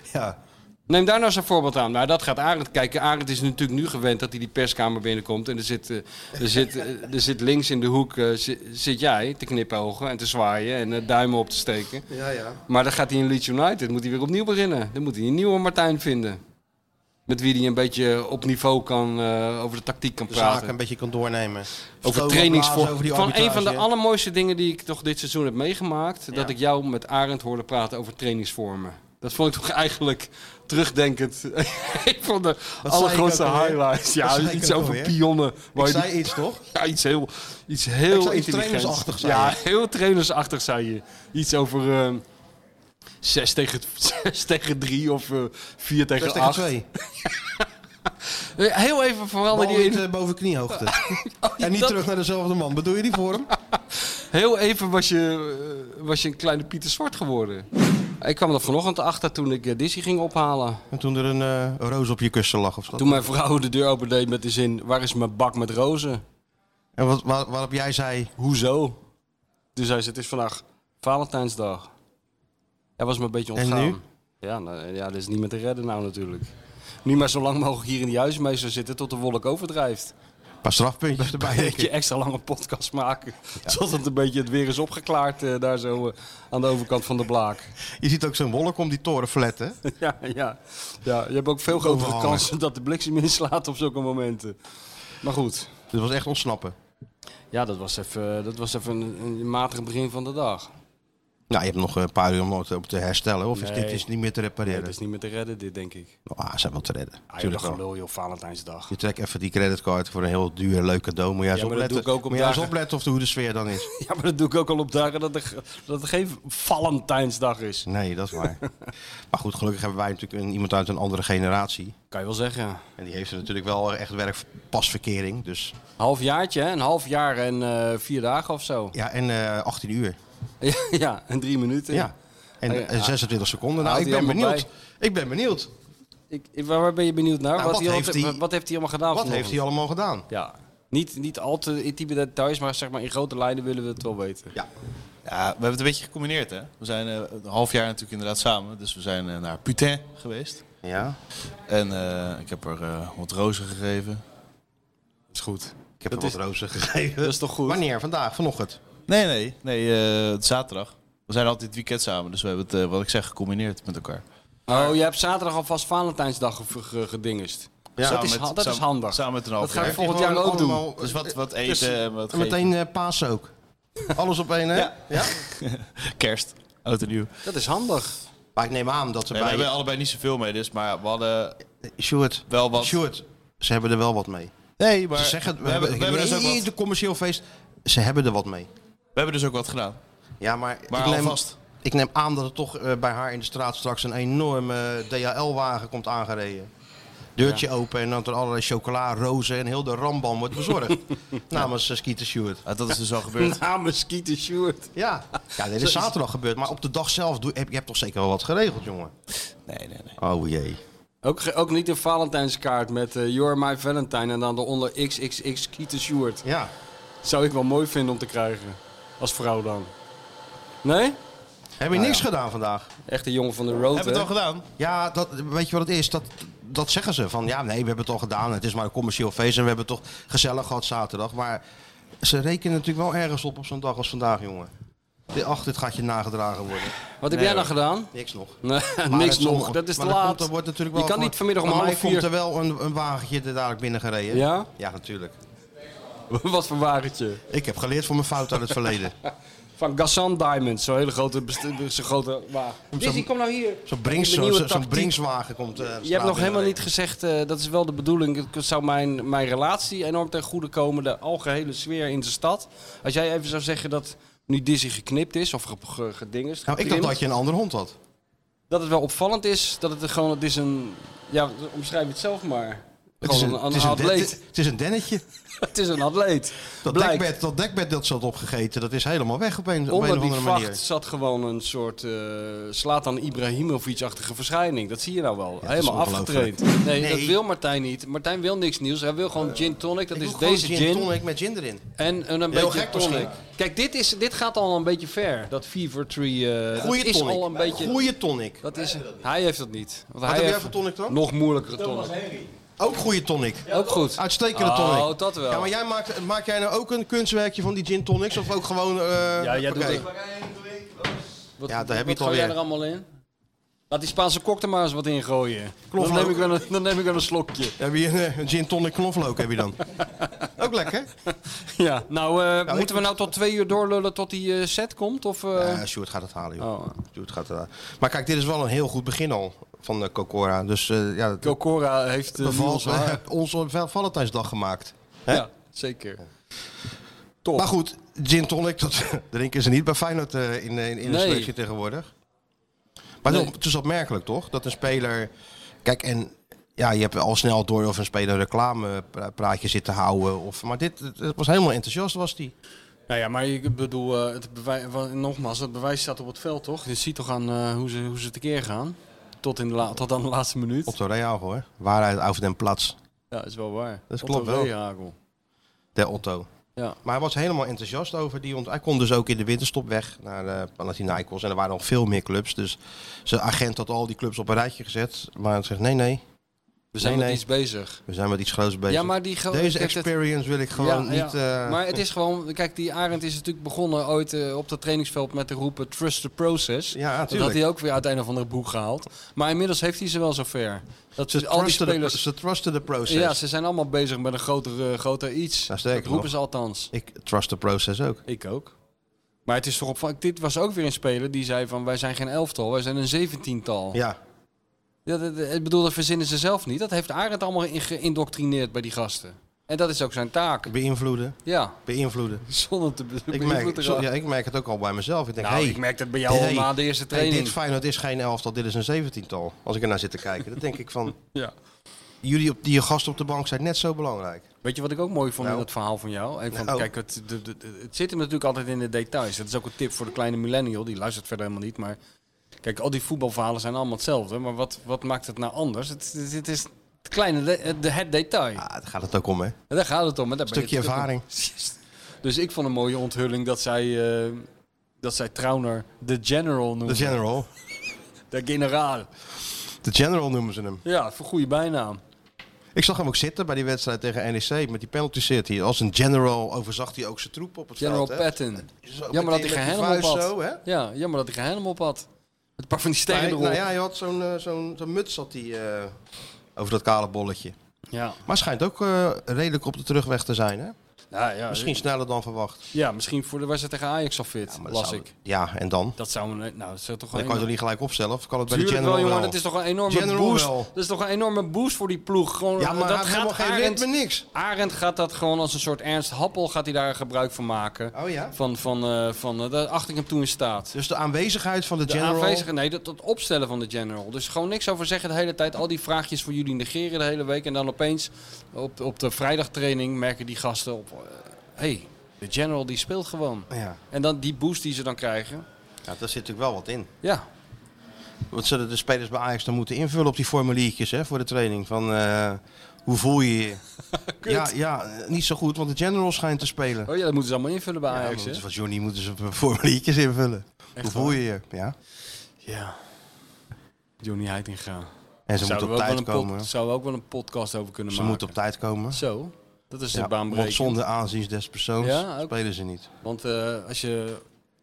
S3: Neem daar nou eens een voorbeeld aan. Nou, dat gaat Arend kijken. Arend is natuurlijk nu gewend dat hij die perskamer binnenkomt. En er zit, eh, er zit, eh, er zit links in de hoek eh, zi- zit jij te knipogen en te zwaaien en eh, duimen op te steken.
S2: Ja, ja.
S3: Maar dan gaat hij in Leeds United. moet hij weer opnieuw beginnen. Dan moet hij een nieuwe Martijn vinden. Met wie hij een beetje op niveau kan, eh, over de tactiek kan
S2: De
S3: praten.
S2: zaken een beetje kan doornemen.
S3: Over
S2: Stomen, blazen, over die
S3: trainingsvormen. Van een
S2: arbitrage,
S3: van de
S2: hè?
S3: allermooiste dingen die ik toch dit seizoen heb meegemaakt. Dat ik jou met Arend hoorde praten over trainingsvormen. Dat vond ik toch eigenlijk terugdenkend. een van de
S2: Wat
S3: allergrootste
S2: zei ik ook alweer? Wat
S3: highlights. Ja,
S2: zei ik
S3: iets
S2: ook
S3: over
S2: alweer?
S3: pionnen. waar
S2: Ik
S3: je
S2: zei iets, toch?
S3: Ja, iets heel, iets
S2: Ik
S3: heel
S2: zei iets
S3: intelligents.
S2: trainersachtigs, zei
S3: Ja,
S2: je.
S3: heel trainersachtig zei je. Iets over... ehm 6 tegen, 6 tegen 3 of eh, 4 tegen 8.
S2: Zes tegen twee.
S3: Heel even veranderde
S2: Bal
S3: die
S2: niet,
S3: in-
S2: eh, boven kniehoogte.
S3: ja,
S2: en niet
S3: dat-
S2: terug naar dezelfde man. Bedoel je die voor hem?
S3: Heel even was je, eh, was je een kleine Pieter Zwart geworden. Ik kwam er vanochtend achter toen ik eh, Dizzy ging ophalen.
S2: En toen er een eh, roos op je kussen lag of zo.
S3: Toen mijn vrouw de deur opendeed met de zin, waar is mijn bak met rozen?
S2: En wat, waar, waarop jij zei...
S3: Hoezo? Toen zei ze, het is vandaag Valentijnsdag. Dat was me een beetje
S2: En
S3: ontgaan.
S2: nu?
S3: Ja, nou, ja, dat is niet meer te redden nou natuurlijk. Nu maar zo lang mogelijk hier in die huismeester zitten tot de wolk overdrijft.
S2: Een paar strafpuntjes
S3: Een
S2: erbij. denk
S3: beetje
S2: ik.
S3: extra lange podcast maken. Tot het een beetje het weer is opgeklaard eh, daar zo eh, aan de overkant van de blaak.
S2: Je ziet ook zo'n wolk om die toren flatten. Oh.
S3: Ja, ja. ja, je hebt ook veel grotere
S2: Overhangen.
S3: kansen dat de bliksem inslaat op zulke momenten. Maar goed.
S2: Dus was echt ontsnappen.
S3: Ja, dat was even, eh, dat was even een, een matig begin van de dag.
S2: Nou, je hebt nog een paar uur om het op te herstellen. Oh, Of is dit
S3: Nee.
S2: is niet meer te
S3: Nee,
S2: repareren?
S3: dat is niet meer te redden, dit denk ik.
S2: Ah, ze zijn wel te redden.
S3: Ah, joh,
S2: Tuurlijk
S3: dat
S2: wel.
S3: gelul, joh, Valentijnsdag.
S2: Je trekt even die creditcard voor een heel duur, leuk cadeau. Moet jij eens
S3: Ja, maar dat
S2: opletten,
S3: doe ik ook op
S2: Moet jij eens
S3: dagen.
S2: opletten of de, hoe de sfeer dan is.
S3: Ja, maar dat doe ik ook al op dagen dat er, ge- dat er geen Valentijnsdag is.
S2: Nee, dat is waar. maar goed, gelukkig hebben wij natuurlijk een, iemand uit een andere generatie.
S3: Kan je wel zeggen, ja.
S2: En die heeft er natuurlijk wel echt werk pasverkering. Dus
S3: Halfjaartje, hè? een half jaar en eh, vier dagen of zo.
S2: ja, en eh, 18 uur.
S3: ja, en drie minuten.
S2: Ja. En,
S3: Ah, ja.
S2: en 26 seconden. Nou,
S3: Houdt
S2: ik
S3: hij
S2: ben
S3: allemaal
S2: benieuwd. Ik ben benieuwd.
S3: Ik, ik- waar waar ben je benieuwd naar?
S2: Nou,
S3: wat,
S2: wat
S3: hij
S2: heeft
S3: heeft
S2: hij-
S3: wat heeft hij allemaal gedaan?
S2: Wat heeft hij allemaal gedaan?
S3: Ja. Niet, niet al te intieme details, maar zeg maar in grote lijnen willen we het wel weten.
S2: Ja.
S4: Ja, we hebben het een beetje gecombineerd, hè? We zijn eh, een half jaar natuurlijk inderdaad samen. Dus we zijn eh, naar Putain geweest.
S2: Ja.
S4: En eh, ik heb er eh, wat rozen gegeven.
S3: Dat is goed.
S2: Ik heb
S4: Dat
S2: hem
S4: is-
S2: wat rozen gegeven.
S3: Dat is toch goed?
S2: Wanneer? Vandaag? Vanochtend?
S4: Nee, nee. Nee, eh, het is zaterdag. We zijn altijd het weekend samen. Dus we hebben het, eh, wat ik zeg, gecombineerd met elkaar.
S3: Oh, je hebt zaterdag alvast Valentijnsdag ge- ge- gedingest.
S4: Ja,
S3: dat is,
S4: met-
S3: ha- dat is
S4: samen-
S3: handig.
S4: samen met een half
S3: dat ga ik
S4: jaar.
S3: volgend
S2: Gewoon
S3: jaar ook doen.
S2: allemaal-
S4: Dus wat, wat eten
S2: Dus-
S4: en wat
S2: en
S4: geven.
S2: meteen eh paas ook. Alles op één, hè? Ja.
S4: Kerst, oud en nieuw.
S3: Dat is handig.
S2: Maar ik neem aan dat ze
S4: Nee, we
S2: bij...
S4: hebben allebei niet zoveel mee, dus, maar we hadden
S2: Sjoerd,
S4: wel wat...
S2: Sjoerd, ze hebben er wel wat mee.
S4: Nee, maar
S2: ze zeggen,
S4: we, hebben, we, hebben dus ook
S2: nee,
S4: wat,
S2: de commercieel feest. Ze hebben er wat mee.
S4: we hebben dus ook wat gedaan.
S2: Ja, maar,
S4: Maar
S2: ik, neem,
S4: alvast.
S2: ik neem aan dat er toch eh, bij haar in de straat straks een enorme eh, DHL-wagen komt aangereden. Deurtje open en dan er allerlei chocola, rozen en heel de rambam wordt bezorgd. Namens uh, Skeeter Sjoerd.
S4: Ah, dat is dus al gebeurd.
S3: Namens Skeeter Sjoerd.
S2: Ja. ja, dit
S3: Zo
S2: is
S3: is-
S2: zaterdag gebeurd. Maar op de dag zelf doe, heb je hebt toch zeker wel wat geregeld, jongen?
S4: Nee, nee, nee.
S2: Oh jee.
S3: Ook, ge- ook niet een Valentijnskaart met eh You're My Valentine en dan eronder XXX Skeeter Sjoerd.
S2: Ja.
S3: Zou ik wel mooi vinden om te krijgen. Als vrouw dan. Nee?
S2: Heb
S3: Ah,
S2: je niks gedaan vandaag?
S3: Echt een jongen van de road,
S4: Hebben we
S3: hè?
S4: het al gedaan?
S2: Ja, dat, weet je wat het is? Dat, dat zeggen ze. Van ja, nee, we hebben het al gedaan. Het is maar een commercieel feest en we hebben het toch gezellig gehad zaterdag. Maar ze rekenen natuurlijk wel ergens op op zo'n dag als vandaag, jongen. Dit- Ach, dit gaat je nagedragen worden.
S3: Wat heb
S2: Nee,
S3: jij nou
S2: hoor.
S3: gedaan?
S2: Niks nog.
S3: Nee,
S2: Maar
S3: niks
S2: het zal
S3: nog. Dat is te
S2: maar er
S3: laat.
S2: komt- er wordt natuurlijk
S3: je
S2: wel
S3: kan
S2: van-
S3: niet vanmiddag om
S2: van
S3: half
S2: half komt
S3: vier...
S2: er wel een, een wagentje er dadelijk binnen gereden.
S3: Ja?
S2: Ja, natuurlijk.
S3: Wat voor wagentje?
S2: Ik heb geleerd van mijn fout uit het verleden.
S3: Van Gassan Diamonds, zo'n hele grote, best- zo'n grote wagen. Lizzie, kom nou hier.
S2: Zo'n
S3: Ik
S2: brings,
S3: heb een nieuwe
S2: zo, zo'n
S3: tactiek.
S2: bringswagen komt. eh, de
S3: Je hebt
S2: straat
S3: nog helemaal
S2: in.
S3: niet gezegd, eh, dat is wel de bedoeling. Het zou mijn, mijn relatie enorm ten goede komen, de algehele sfeer in de stad. Als jij even zou zeggen dat nu Dizzy geknipt is of ge- ge- gedingest.
S2: Nou, ik dacht
S3: getrimd,
S2: dat je een andere hond had.
S3: dat het wel opvallend is, dat het gewoon, het is een, ja, omschrijf het zelf maar.
S2: Het is
S3: Gewoon
S2: een,
S3: een,
S2: het
S3: een
S2: is een, den-
S3: atleet.
S2: het is een dennetje.
S3: Het is een atleet.
S2: Dat
S3: Blijkt.
S2: dekbed, dat dekbed dat ze had opgegeten, dat is helemaal weg op een, op een
S3: Onder
S2: of
S3: die
S2: andere
S3: vacht
S2: manier.
S3: zat gewoon een soort eh Slatan Ibrahimovic-achtige verschijning. Dat zie je nou wel. Helemaal
S2: ongelooflijk.
S3: afgetraind. Nee,
S2: Nee. Eh,
S3: dat wil Martijn niet. Martijn wil niks nieuws. Hij wil gewoon gin tonic. Dat
S2: Ik
S3: is
S2: doe gewoon
S3: deze
S2: gin
S3: gin.
S2: tonic met gin erin.
S3: En, en een
S2: Heel
S3: beetje
S2: gek
S3: tonic.
S2: misschien.
S3: Kijk, dit, is, dit gaat al een beetje ver. Dat Fever Tree. eh
S2: Goeie
S3: dat is
S2: tonic.
S3: al een beetje.
S2: Goeie tonic.
S3: Dat is, hij heeft dat niet. Want
S2: Wat
S3: hij
S2: heb jij
S3: heeft
S2: voor tonic dan?
S3: Nog moeilijkere tonic.
S2: Ook goede tonic.
S3: Ook goed.
S2: Uitstekende
S3: Oh,
S2: tonic.
S3: dat wel.
S2: Ja, maar jij maakt, maak jij nou ook een kunstwerkje van die gin tonics? Of ook gewoon... eh,
S3: Ja, jij doet
S2: oké.
S3: het. Wat,
S2: Ja, daar heb je
S3: wat
S2: het
S3: gooi jij
S2: alweer.
S3: er allemaal in? Laat die Spaanse kok er maar eens wat in gooien. Dan
S2: Knoflook.
S3: neem, ik wel een, dan neem ik wel een slokje.
S2: Heb je een, eh, een gin tonic knoflook heb je dan? ook lekker.
S3: Ja, nou, eh,
S2: ik
S3: moeten we nou tot twee uur doorlullen tot die eh, set komt? Of, eh? Oh,
S2: Ja, Sjoerd gaat het halen, joh. Sjoerd gaat het halen. Maar kijk, dit is wel een heel goed begin al van eh, Cocora. Dus eh, ja, dat
S3: Cocora heeft eh,
S2: bevalt-
S3: nu ons haar.
S2: ons op Val- Valentijnsdag gemaakt. Hè?
S3: Ja, zeker. Top.
S2: Maar goed, gin tonic, dat drinken ze niet bij Feyenoord eh, in, in, in de
S3: Nee.
S2: selectie tegenwoordig. Maar
S3: Nee.
S2: toch, het is opmerkelijk, toch? Dat een speler... Kijk, en ja, je hebt al snel door of een speler reclamepraatje zit te houden. Of, maar dit het- het was helemaal enthousiast, was die.
S3: Nou ja, maar ik bedoel, eh, het bewij- wa- nogmaals, het bewijs staat op het veld, toch? Je ziet toch aan eh, hoe, ze, hoe ze tekeer gaan. Tot, in de la- tot aan de laatste minuut.
S2: Op de Real, hoor. Waarheid over den plaats.
S3: Ja, is wel waar.
S2: Dat
S3: Otto
S2: klopt wel.
S3: Rehagel.
S2: De Otto.
S3: Ja.
S2: Maar hij was helemaal enthousiast over die ont- Hij kon dus ook in de winterstop weg naar eh Panathinaikos. En er waren nog veel meer clubs. Dus zijn agent had al die clubs op een rijtje gezet. Maar hij zegt, nee, nee.
S3: We zijn met iets bezig.
S2: We zijn met iets groots bezig.
S3: Ja, maar die gro-
S2: Deze
S3: kijk, dat-
S2: experience wil ik gewoon
S3: Ja, ja.
S2: niet... eh,
S3: Maar het is gewoon, kijk, die Arend is natuurlijk begonnen ooit eh, op dat trainingsveld met de roepen Trust the Process.
S2: Ja,
S3: dat
S2: natuurlijk.
S3: had hij ook weer uit een of andere boek gehaald. Maar inmiddels heeft hij ze wel zover. Dat
S2: Ze
S3: al die
S2: trusten de-
S3: spelers.
S2: ze trusten de process.
S3: Ja, ze zijn allemaal bezig met een groter, eh, groter iets.
S2: Nou, sterker
S3: dat roepen
S2: nog.
S3: ze althans.
S2: Ik trust the process ook.
S3: Ik ook. Maar het is toch opvallend. Dit was ook weer een speler die zei van wij zijn geen elftal, wij zijn een zeventiental.
S2: Ja.
S3: Ja, dat- dat- ik bedoel, dat verzinnen ze zelf niet. Dat heeft Arend allemaal in- geïndoctrineerd bij die gasten. En dat is ook zijn taak.
S2: Beïnvloeden.
S3: Ja.
S2: Beïnvloeden.
S3: Zonder te be-
S2: Ik
S3: beïnvloeden
S2: merk, zo-
S3: raken.
S2: ja, ik merk het ook al bij mezelf. Ik denk,
S3: Nou,
S2: hey,
S3: ik merk dat bij jou al na de eerste
S2: hey,
S3: training.
S2: dit Feyenoord is geen elftal, dit is een zeventiental. Als ik ernaar zit te kijken, dan denk ik van...
S3: Ja.
S2: Jullie op, die je gast op de bank zijn net zo belangrijk.
S3: Weet je wat ik ook mooi vond
S2: Nou.
S3: in het verhaal van jou? Een van,
S2: Nou.
S3: Kijk, het, de- de- de- het zit hem natuurlijk altijd in de details. Dat is ook een tip voor de kleine millennial. Die luistert verder helemaal niet. Maar kijk, al die voetbalverhalen zijn allemaal hetzelfde. Maar wat, wat maakt het nou anders? Het, het, het is het kleine, de- het, het detail.
S2: Daar gaat Ah, het ook om, hè?
S3: Daar gaat het om. hè. Daar ben je
S2: Stukje
S3: natuurlijk
S2: ervaring.
S3: ook- Dus ik vond een mooie onthulling dat zij, eh, dat zij Trauner de General noemde.
S2: De general.
S3: De generaal.
S2: De general noemen ze hem.
S3: Ja, voor goede bijnaam.
S2: Ik zag hem ook zitten bij die wedstrijd tegen NEC met die penalty zit hij. Als een general overzag hij ook zijn troepen op het
S3: General
S2: veld. hè.
S3: Patton.
S2: Zo met
S3: Jammer dat
S2: die-
S3: hij geen
S2: met die
S3: helm op
S2: vuist
S3: had.
S2: zo, hè?
S3: ja, jammer dat hij geen helm op had. Met een paar van die sterren
S2: Nee,
S3: erop.
S2: nou ja, hij had zo'n eh, zo'n zo'n muts had hij, eh, over dat kale bolletje.
S3: Ja.
S2: Maar schijnt ook eh, redelijk op de terugweg te zijn, hè?
S3: Ja, ja,
S2: Misschien sneller dan verwacht.
S3: Ja, misschien voor de wedstrijd tegen Ajax al fit,
S2: maar dat
S3: las
S2: zou-
S3: ik.
S2: Ja, Ah, en dan?
S3: Dat zou, een- nou, dat zou toch
S2: Dan kan je toch niet gelijk opstellen? Of kan het bij de
S3: Tuurlijk
S2: general
S3: wel, jongen.
S2: wel?
S3: Dat is toch een enorme
S2: General
S3: boost.
S2: wel.
S3: Dat is toch een enorme boost voor die ploeg. Gewoon, eh,
S2: Ja, maar
S3: dat
S2: hij heeft helemaal geen ritme, niks.
S3: Arend gaat dat gewoon als een soort Ernst Happel gaat hij daar gebruik van maken.
S2: Oh ja?
S3: Van, van, eh, van eh, daar acht ik hem toe in staat.
S2: Dus de aanwezigheid van de,
S3: De
S2: general...
S3: aanwezige, nee, dat, dat opstellen van de general. Dus gewoon niks over zeggen de hele tijd. Al die vraagjes voor jullie negeren de hele week. En dan opeens op, op de vrijdagtraining merken die gasten op... eh, hey, de general die speelt gewoon.
S2: Ja.
S3: En dan die boost die ze dan krijgen.
S2: ja, daar zit natuurlijk wel wat in.
S3: Ja.
S2: Wat zullen de spelers bij Ajax dan moeten invullen op die formuliertjes hè, voor de training? Van, eh, hoe voel je je? ja, ja, eh, niet zo goed, want de general schijnt te spelen.
S3: Oh ja, dat moeten ze allemaal invullen bij Ajax,
S2: Ja,
S3: hè?
S2: maar van Johnny moeten ze formuliertjes invullen.
S3: Echt
S2: Hoe voel
S3: waar?
S2: je je? Ja.
S3: Ja. Johnny Heitinga.
S2: En ze moeten
S3: Zouden
S2: op
S3: we ook
S2: tijd
S3: wel een pod-
S2: komen.
S3: Zouden we ook wel een podcast over kunnen
S2: Ze
S3: maken.
S2: moeten op tijd komen.
S3: Zo, dat is de
S2: Ja,
S3: baan
S2: Want zonder aanzien des persoons
S3: Ja, ook.
S2: spelen ze niet.
S3: Want eh, als je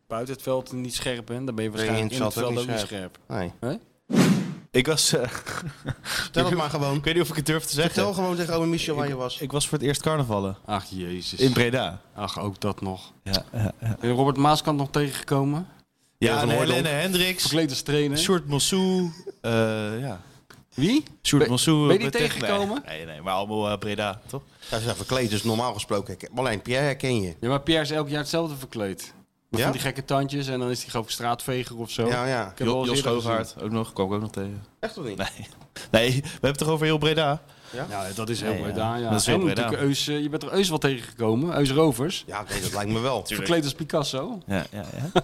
S3: buiten het veld niet scherp bent, dan ben je
S2: Ben je
S3: waarschijnlijk in het veld ook niet scherp.
S2: Nee.
S3: Hè?
S4: Ik was... eh,
S2: Vertel het maar gewoon. Ik
S4: weet niet of ik het durf te zeggen.
S2: Vertel gewoon tegen ome Michel waar je was.
S4: Ik was voor het eerst carnavallen.
S3: Ach jezus.
S4: In Breda.
S3: Ach, ook dat nog.
S4: Ja, ja, ja.
S3: Ben je Robert Maaskant nog tegengekomen?
S4: Ja, en Helene Hendricks.
S3: Verkleed als trainer.
S4: Sjoerd Mossou. eh, ja.
S3: Wie?
S4: Sjoerd
S3: Ben-
S4: Mossou.
S3: ben je die
S4: eh, tegen-
S3: tegengekomen?
S4: Nee, nee, nee, maar allemaal eh, Breda, toch?
S2: Hij is daar verkleed, dus normaal gesproken. herken- Alleen Pierre herken je.
S3: Ja, maar Pierre is elk jaar hetzelfde verkleed. Met
S2: Ja?
S3: van die gekke tandjes en dan is hij gewoon straatveger of zo.
S2: Ja, ja.
S3: Ik heb wel eens
S4: Jos
S3: eerder
S4: Schoogaard
S3: gezien.
S4: ook nog. Kom ik ook nog tegen.
S2: Echt of niet?
S4: Nee. Nee, we hebben het toch over heel Breda?
S3: Ja? dat is heel
S4: Nee, ja.
S3: Breda, ja.
S4: Dat is heel
S3: En
S4: Breda.
S3: natuurlijk Eus, eh, je bent er Eus wel tegengekomen, Eus Rovers.
S2: Ja, nee, dat lijkt me wel.
S3: Verkleed als Picasso.
S4: Ja, ja, ja.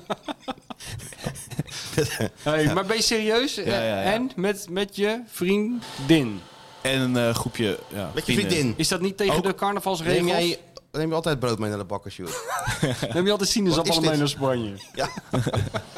S3: Hey, Maar ben je serieus? Eh,
S4: ja, ja.
S3: En met, met je vriendin?
S4: En een eh, groepje. Ja,
S2: Met je vriendin.
S3: Is dat niet tegen de carnavalsregels?
S2: Neem, jij, neem je altijd brood mee naar de bakker, Sjoerd?
S3: Neem je altijd sinaasappelen
S2: Wat is
S3: mee
S2: dit?
S3: naar Spanje?
S2: Ja.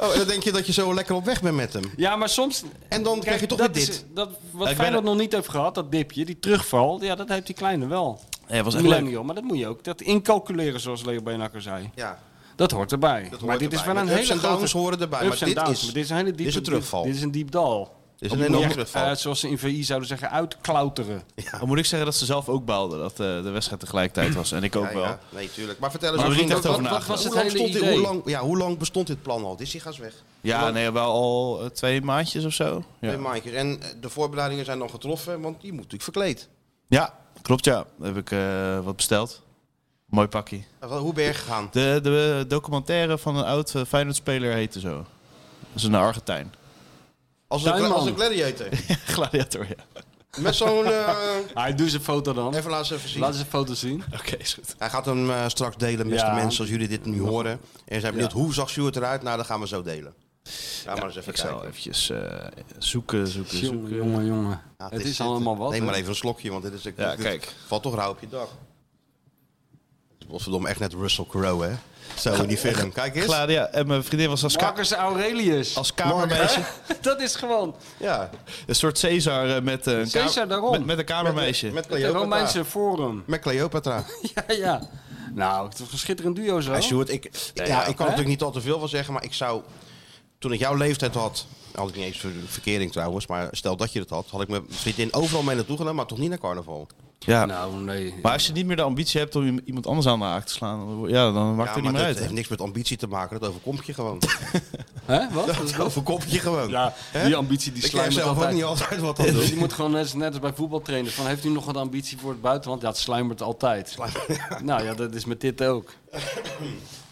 S2: Oh, en dan denk je dat je zo lekker op weg bent met hem.
S3: Ja, maar soms...
S2: En dan krijg je toch
S3: dat
S2: weer
S3: is-
S2: dit.
S3: dat, wat
S2: Ik ben
S3: Feyenoord
S2: er-
S3: nog niet heeft gehad, dat dipje, die terugval, ja, dat heeft die kleine wel.
S4: Ja, was echt
S3: Millennium,
S4: leuk.
S3: Maar dat moet je ook dat incalculeren, zoals Leo Beenakker zei.
S2: Ja.
S3: Dat hoort erbij. maar dit
S2: erbij.
S3: is wel een
S2: Ups
S3: hele
S2: en
S3: grote...
S2: downs horen erbij,
S3: Ups
S2: maar
S3: en
S2: dit
S3: downs,
S2: is-
S3: maar dit is een hele
S2: dit is
S3: diepe...
S2: een terugval.
S3: Dit, is een diep dal.
S2: is
S3: Dan
S2: een
S3: moet je
S2: enorme
S3: echt,
S2: terugval.
S3: eh, zoals ze in VI zouden zeggen, uitklauteren.
S4: Dan moet ik zeggen dat ze zelf ook baalden dat eh, de wedstrijd tegelijkertijd was. En ik ook
S2: Ja,
S4: wel.
S2: ja. Nee, tuurlijk. Maar vertel eens,
S4: Maar er
S2: hoe
S4: niet
S2: ging
S4: echt
S2: dat-
S4: over
S2: wat-
S4: nagedacht.
S2: wat-
S4: Was
S2: hoe
S4: het
S2: lang
S4: hele
S2: stond dit- hoe
S4: idee?
S2: lang- Ja, hoe lang bestond dit plan al? Is die gas weg?
S4: Ja, nee, wel al eh, twee maandjes of zo. Ja,
S2: Twee maandjes. En eh, de voorbereidingen zijn dan getroffen, want die moet natuurlijk verkleed.
S4: ja klopt ja. Dan heb ik eh, wat besteld. Mooi pakje.
S2: Nou, wel, Hoe ben je gegaan?
S4: De, de documentaire van een oud eh, Feyenoord-speler heette zo. Dat is een Argentijn.
S2: Als een,
S4: Tuinman.
S2: als een gladiator.
S4: Gladiator, ja.
S2: Met zo'n... eh,
S3: Hij doet zijn foto dan.
S2: Even laat ze even zien.
S3: Laat eens een foto zien.
S4: Oké, is goed.
S2: Hij gaat hem eh, straks delen met
S3: Ja.
S2: de mensen als jullie dit nu horen. En zijn benieuwd, hoe zag Sjoerd eruit? Nou, dat gaan we zo delen. Ja, maar eens even
S4: Ik zal
S2: kijken.
S4: eventjes eh, zoeken, zoeken,
S3: Jongen,
S4: zoeken.
S3: jongen, jongen.
S2: Ja,
S3: het
S2: dit
S3: is allemaal wat.
S2: Neem maar
S3: hè?
S2: even een slokje, want dit is...
S4: Ja,
S2: dit
S4: kijk.
S2: Valt toch rauw op je dag. Godverdomme, echt net Russell Crowe, hè? Zo in die film. Kijk eens.
S4: Gladia. En mijn vriendin was als, ka-
S3: Marcus Aurelius.
S4: als kamermeisje.
S3: Dat is gewoon
S2: Ja.
S4: Een soort Caesar eh, met, eh, een ka-
S3: Caesar, daarom.
S4: met, met een kamermeisje.
S2: Met
S3: het
S2: Cleopatra.
S3: Romeinse Forum.
S2: Met Cleopatra.
S3: Ja, ja. Nou, het was een schitterend duo zo.
S2: Ja, Sjoerd, ik, ja,
S4: ja,
S2: ik kan er
S3: hè?
S2: natuurlijk niet al te veel van zeggen, maar ik zou... Toen ik jouw leeftijd had, had ik niet eens ver- verkering trouwens, maar stel dat je dat had, had ik mijn vriendin overal mee naartoe genomen, maar toch niet naar carnaval.
S4: ja.
S3: Nou, nee.
S4: Maar als je niet meer de ambitie hebt om iemand anders aan de haak te slaan, dan- ja, dan maakt
S2: ja, maar
S4: het niet meer
S2: dat
S4: uit. hè?
S2: heeft niks met ambitie te maken, dat overkomt je gewoon.
S3: Hè? Wat? Wat is
S2: dat
S3: dat?
S2: overkomt je gewoon.
S3: Ja,
S2: Hè?
S3: die ambitie die
S2: ik krijg
S3: slijmt
S2: zelf ook
S3: altijd.
S2: niet altijd wat aan
S3: Dus
S2: doen.
S3: je moet gewoon net, als- net als bij voetbaltrainers. Van, heeft u nog wat ambitie voor het buitenland? Ja, het sluimert altijd. Nou ja, dat is met dit ook.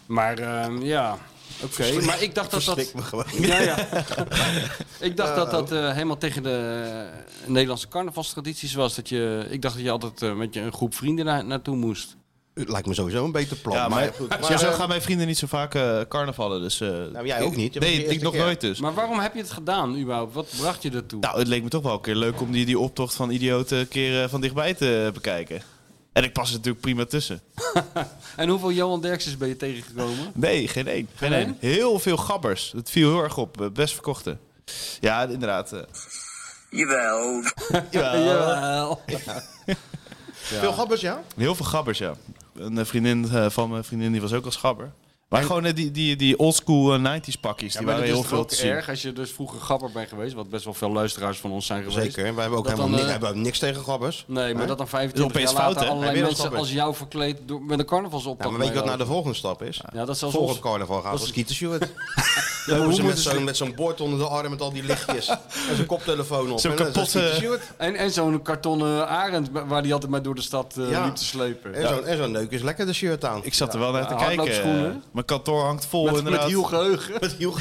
S3: Maar ehm, ja, oké. Maar ik dacht dat dat...
S2: Schrik me gewoon.
S3: Ja, ja. ik dacht dat dat eh, helemaal tegen de eh, Nederlandse carnavalstradities was. Dat je, ik dacht dat je altijd eh, met je een groep vrienden na- naartoe moest.
S2: Het lijkt me sowieso een beter plan.
S4: Ja,
S2: maar,
S4: maar,
S2: goed, maar,
S4: zo, zo
S2: eh,
S4: gaan mijn vrienden niet zo vaak eh, carnavallen. Dus, eh,
S2: nou, jij ook niet. hè, want
S4: nee,
S2: de
S4: ik
S2: eerste
S4: nog
S2: keer.
S4: nooit dus.
S3: Maar waarom heb je het gedaan überhaupt? Wat bracht je ertoe?
S4: Nou, het leek me toch wel een keer leuk om die, die optocht van idioten een keer eh, van dichtbij te bekijken. En ik pas er natuurlijk prima tussen.
S3: En hoeveel Johan Derksens ben je tegengekomen?
S4: Nee, geen één. Geen
S3: Geen
S4: één. Heel veel gabbers. Het viel heel erg op. eh, Best verkochte. Ja, inderdaad. eh.
S1: Jawel.
S3: Jawel.
S2: Veel gabbers, ja?
S4: Heel veel gabbers, ja. Een eh, vriendin eh, van mijn vriendin die was ook als gabber. Maar gewoon eh, die, die, die oldschool eh, 90s pakjes, die
S3: maar
S4: waren
S3: dat is
S4: heel
S3: toch
S4: veel
S3: ook
S4: te zien.
S3: erg als je dus vroeger gabber bent geweest, wat best wel veel luisteraars van ons zijn geweest.
S2: Zeker. Wij hebben ook
S3: Dat
S2: helemaal
S3: dan,
S2: niks,
S3: eh,
S2: hebben ook niks tegen gabbers.
S3: Nee, maar
S2: Hè?
S3: dat dan
S4: Dat is
S3: 25 jaar
S4: opeens
S3: later
S4: fout, hè?
S3: allerlei
S2: Hij wil
S3: mensen
S2: dat
S3: als jou verkleed door, met een carnavalsoptocht.
S2: Ja, maar weet je wat nou de
S3: meelopen.
S2: volgende stap is?
S3: Ja, dat is als
S2: Volgend
S3: ons-
S2: carnaval gaan
S3: dat
S2: we
S3: is-
S2: skieten, Sjoerd. Dan
S3: hoe
S2: moeten ze nou met
S3: moeten ze-
S2: zo'n met zo'n bord onder de arm met al die lichtjes. en zijn koptelefoon op.
S4: Zo'n
S2: En dan is het
S4: kapotte-
S2: skieten, Sjoerd.
S3: En, en zo'n kartonnen arend ba- waar die altijd maar door de stad eh,
S2: Ja.
S3: liep te slepen.
S2: En zo'n en zo'n neuk is lekker de shirt aan.
S4: Ik zat er wel naar te
S3: Ja,
S4: kijken. eh,
S3: hardloopschoenen.
S4: Mijn kantoor hangt vol
S3: Met, met
S4: inderdaad.
S3: heel geheugen.
S2: Met heel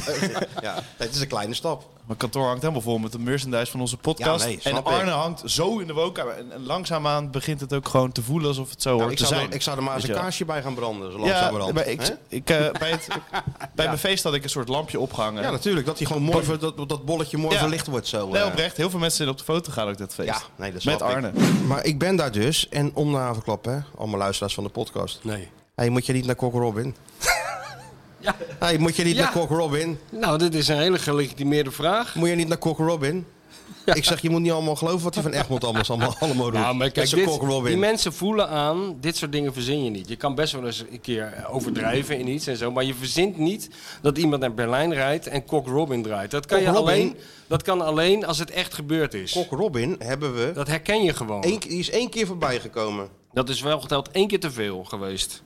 S2: Ja, het is een kleine stap.
S4: Mijn kantoor hangt helemaal vol met de merchandise van onze podcast.
S2: Ja, nee,
S4: en
S2: snap
S4: Arne
S2: ik.
S4: hangt zo in de woonkamer. En, en langzaamaan begint het ook gewoon te voelen alsof het zo
S2: Nou,
S4: hoort
S2: ik,
S4: te
S2: zou
S4: zijn.
S2: er, ik zou er maar eens
S4: Weet
S2: een
S4: je wel.
S2: kaarsje bij gaan branden. Zo
S4: Ja,
S2: langzamerhand.
S4: maar ik,
S2: Hè?
S4: ik, eh, bij, het, bij mijn feest had ik een soort lampje opgehangen.
S2: Ja, natuurlijk. Dat, die gewoon mooi ver- dat, dat bolletje mooi
S4: Ja.
S2: verlicht wordt zo.
S4: Nee,
S2: eh.
S4: oprecht. Heel veel mensen zijn op de foto gaan ook dat feest.
S2: Ja, nee, dat
S4: Met
S2: snap ik.
S4: Arne.
S2: Maar ik ben daar dus. En om na te verklappen, hè, allemaal luisteraars van de podcast.
S3: Nee.
S2: hey, moet je niet naar Cock Robin?
S3: Ja.
S2: hey, moet je niet
S3: Ja.
S2: naar Cock Robin?
S3: Nou, dit is een hele gelegitimeerde vraag.
S2: Moet je niet naar Cock Robin? Ik zeg, je moet niet allemaal geloven wat hij van Egmond allemaal, allemaal, allemaal doet.
S3: Ja, maar
S2: Met
S3: kijk,
S2: zijn
S3: dit,
S2: cock Robin.
S3: die mensen voelen aan, dit soort dingen verzin je niet. Je kan best wel eens een keer overdrijven in iets en zo, maar je verzint niet dat iemand naar Berlijn rijdt en Cock Robin draait. Dat kan,
S2: Cock
S3: je
S2: Robin?
S3: alleen, dat kan alleen als het echt gebeurd is. Cock
S2: Robin hebben we...
S3: Dat herken je gewoon.
S2: Eén- die is één keer voorbij gekomen.
S3: Dat is wel geteld één keer te veel geweest.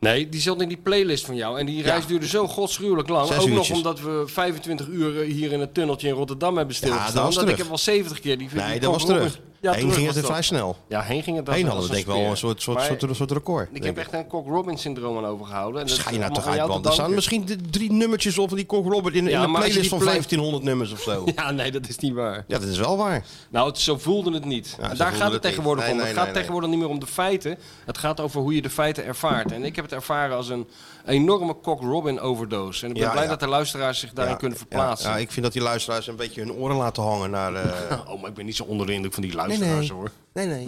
S3: Nee, die zat in die playlist van jou. En die reis duurde zo godsgruwelijk lang.
S2: Zes
S3: ook
S2: uurtjes.
S3: nog omdat we 25 uur eh, hier in het tunneltje in Rotterdam hebben
S2: Ja,
S3: stilgestaan.
S2: dat was
S3: ik
S2: terug.
S3: heb wel 70 keer die
S2: Nee,
S3: die
S2: dat was
S3: Cock Robin-
S2: terug. Ja, heen
S3: terug
S2: ging
S3: was
S2: het er
S3: dat.
S2: vrij snel.
S3: Ja, heen ging het
S2: Heen hadden we
S3: dat
S2: denk ik
S3: was
S2: wel een soort, soort,
S3: Maar
S2: soort, soort, record.
S3: Ik
S2: denk
S3: heb echt een Cock Robin syndroom aan overgehouden. En dat
S2: Schijn nou
S3: allemaal
S2: toch
S3: aan
S2: uit,
S3: jou te
S2: man. Er staan
S3: danken.
S2: misschien d- drie nummertjes op van die Cock Robin in, in
S3: Ja,
S2: een
S3: maar als je
S2: playlist
S3: die
S2: van
S3: play-
S2: 1500 nummers of zo.
S3: Ja, nee, dat is niet waar.
S2: Oh. Ja, dat is wel waar.
S3: Nou, het, zo voelde het niet. En daar
S2: voelde
S3: gaat
S2: het
S3: het tegenwoordig
S2: niet.
S3: om.
S2: Nee,
S3: het
S2: nee,
S3: gaat
S2: nee,
S3: tegenwoordig niet meer om de feiten. Het gaat over hoe je de feiten ervaart. En ik heb het ervaren als een enorme Cock Robin overdoos. En ik ben
S2: Ja,
S3: blij
S2: ja.
S3: dat de luisteraars zich daarin kunnen
S2: Ja,
S3: verplaatsen.
S2: ja, ik vind dat die luisteraars een beetje hun oren laten hangen naar... eh,
S3: Oh, maar ik ben niet zo onder de indruk van die luisteraars
S2: Nee, nee.
S3: hoor.
S2: Nee, nee.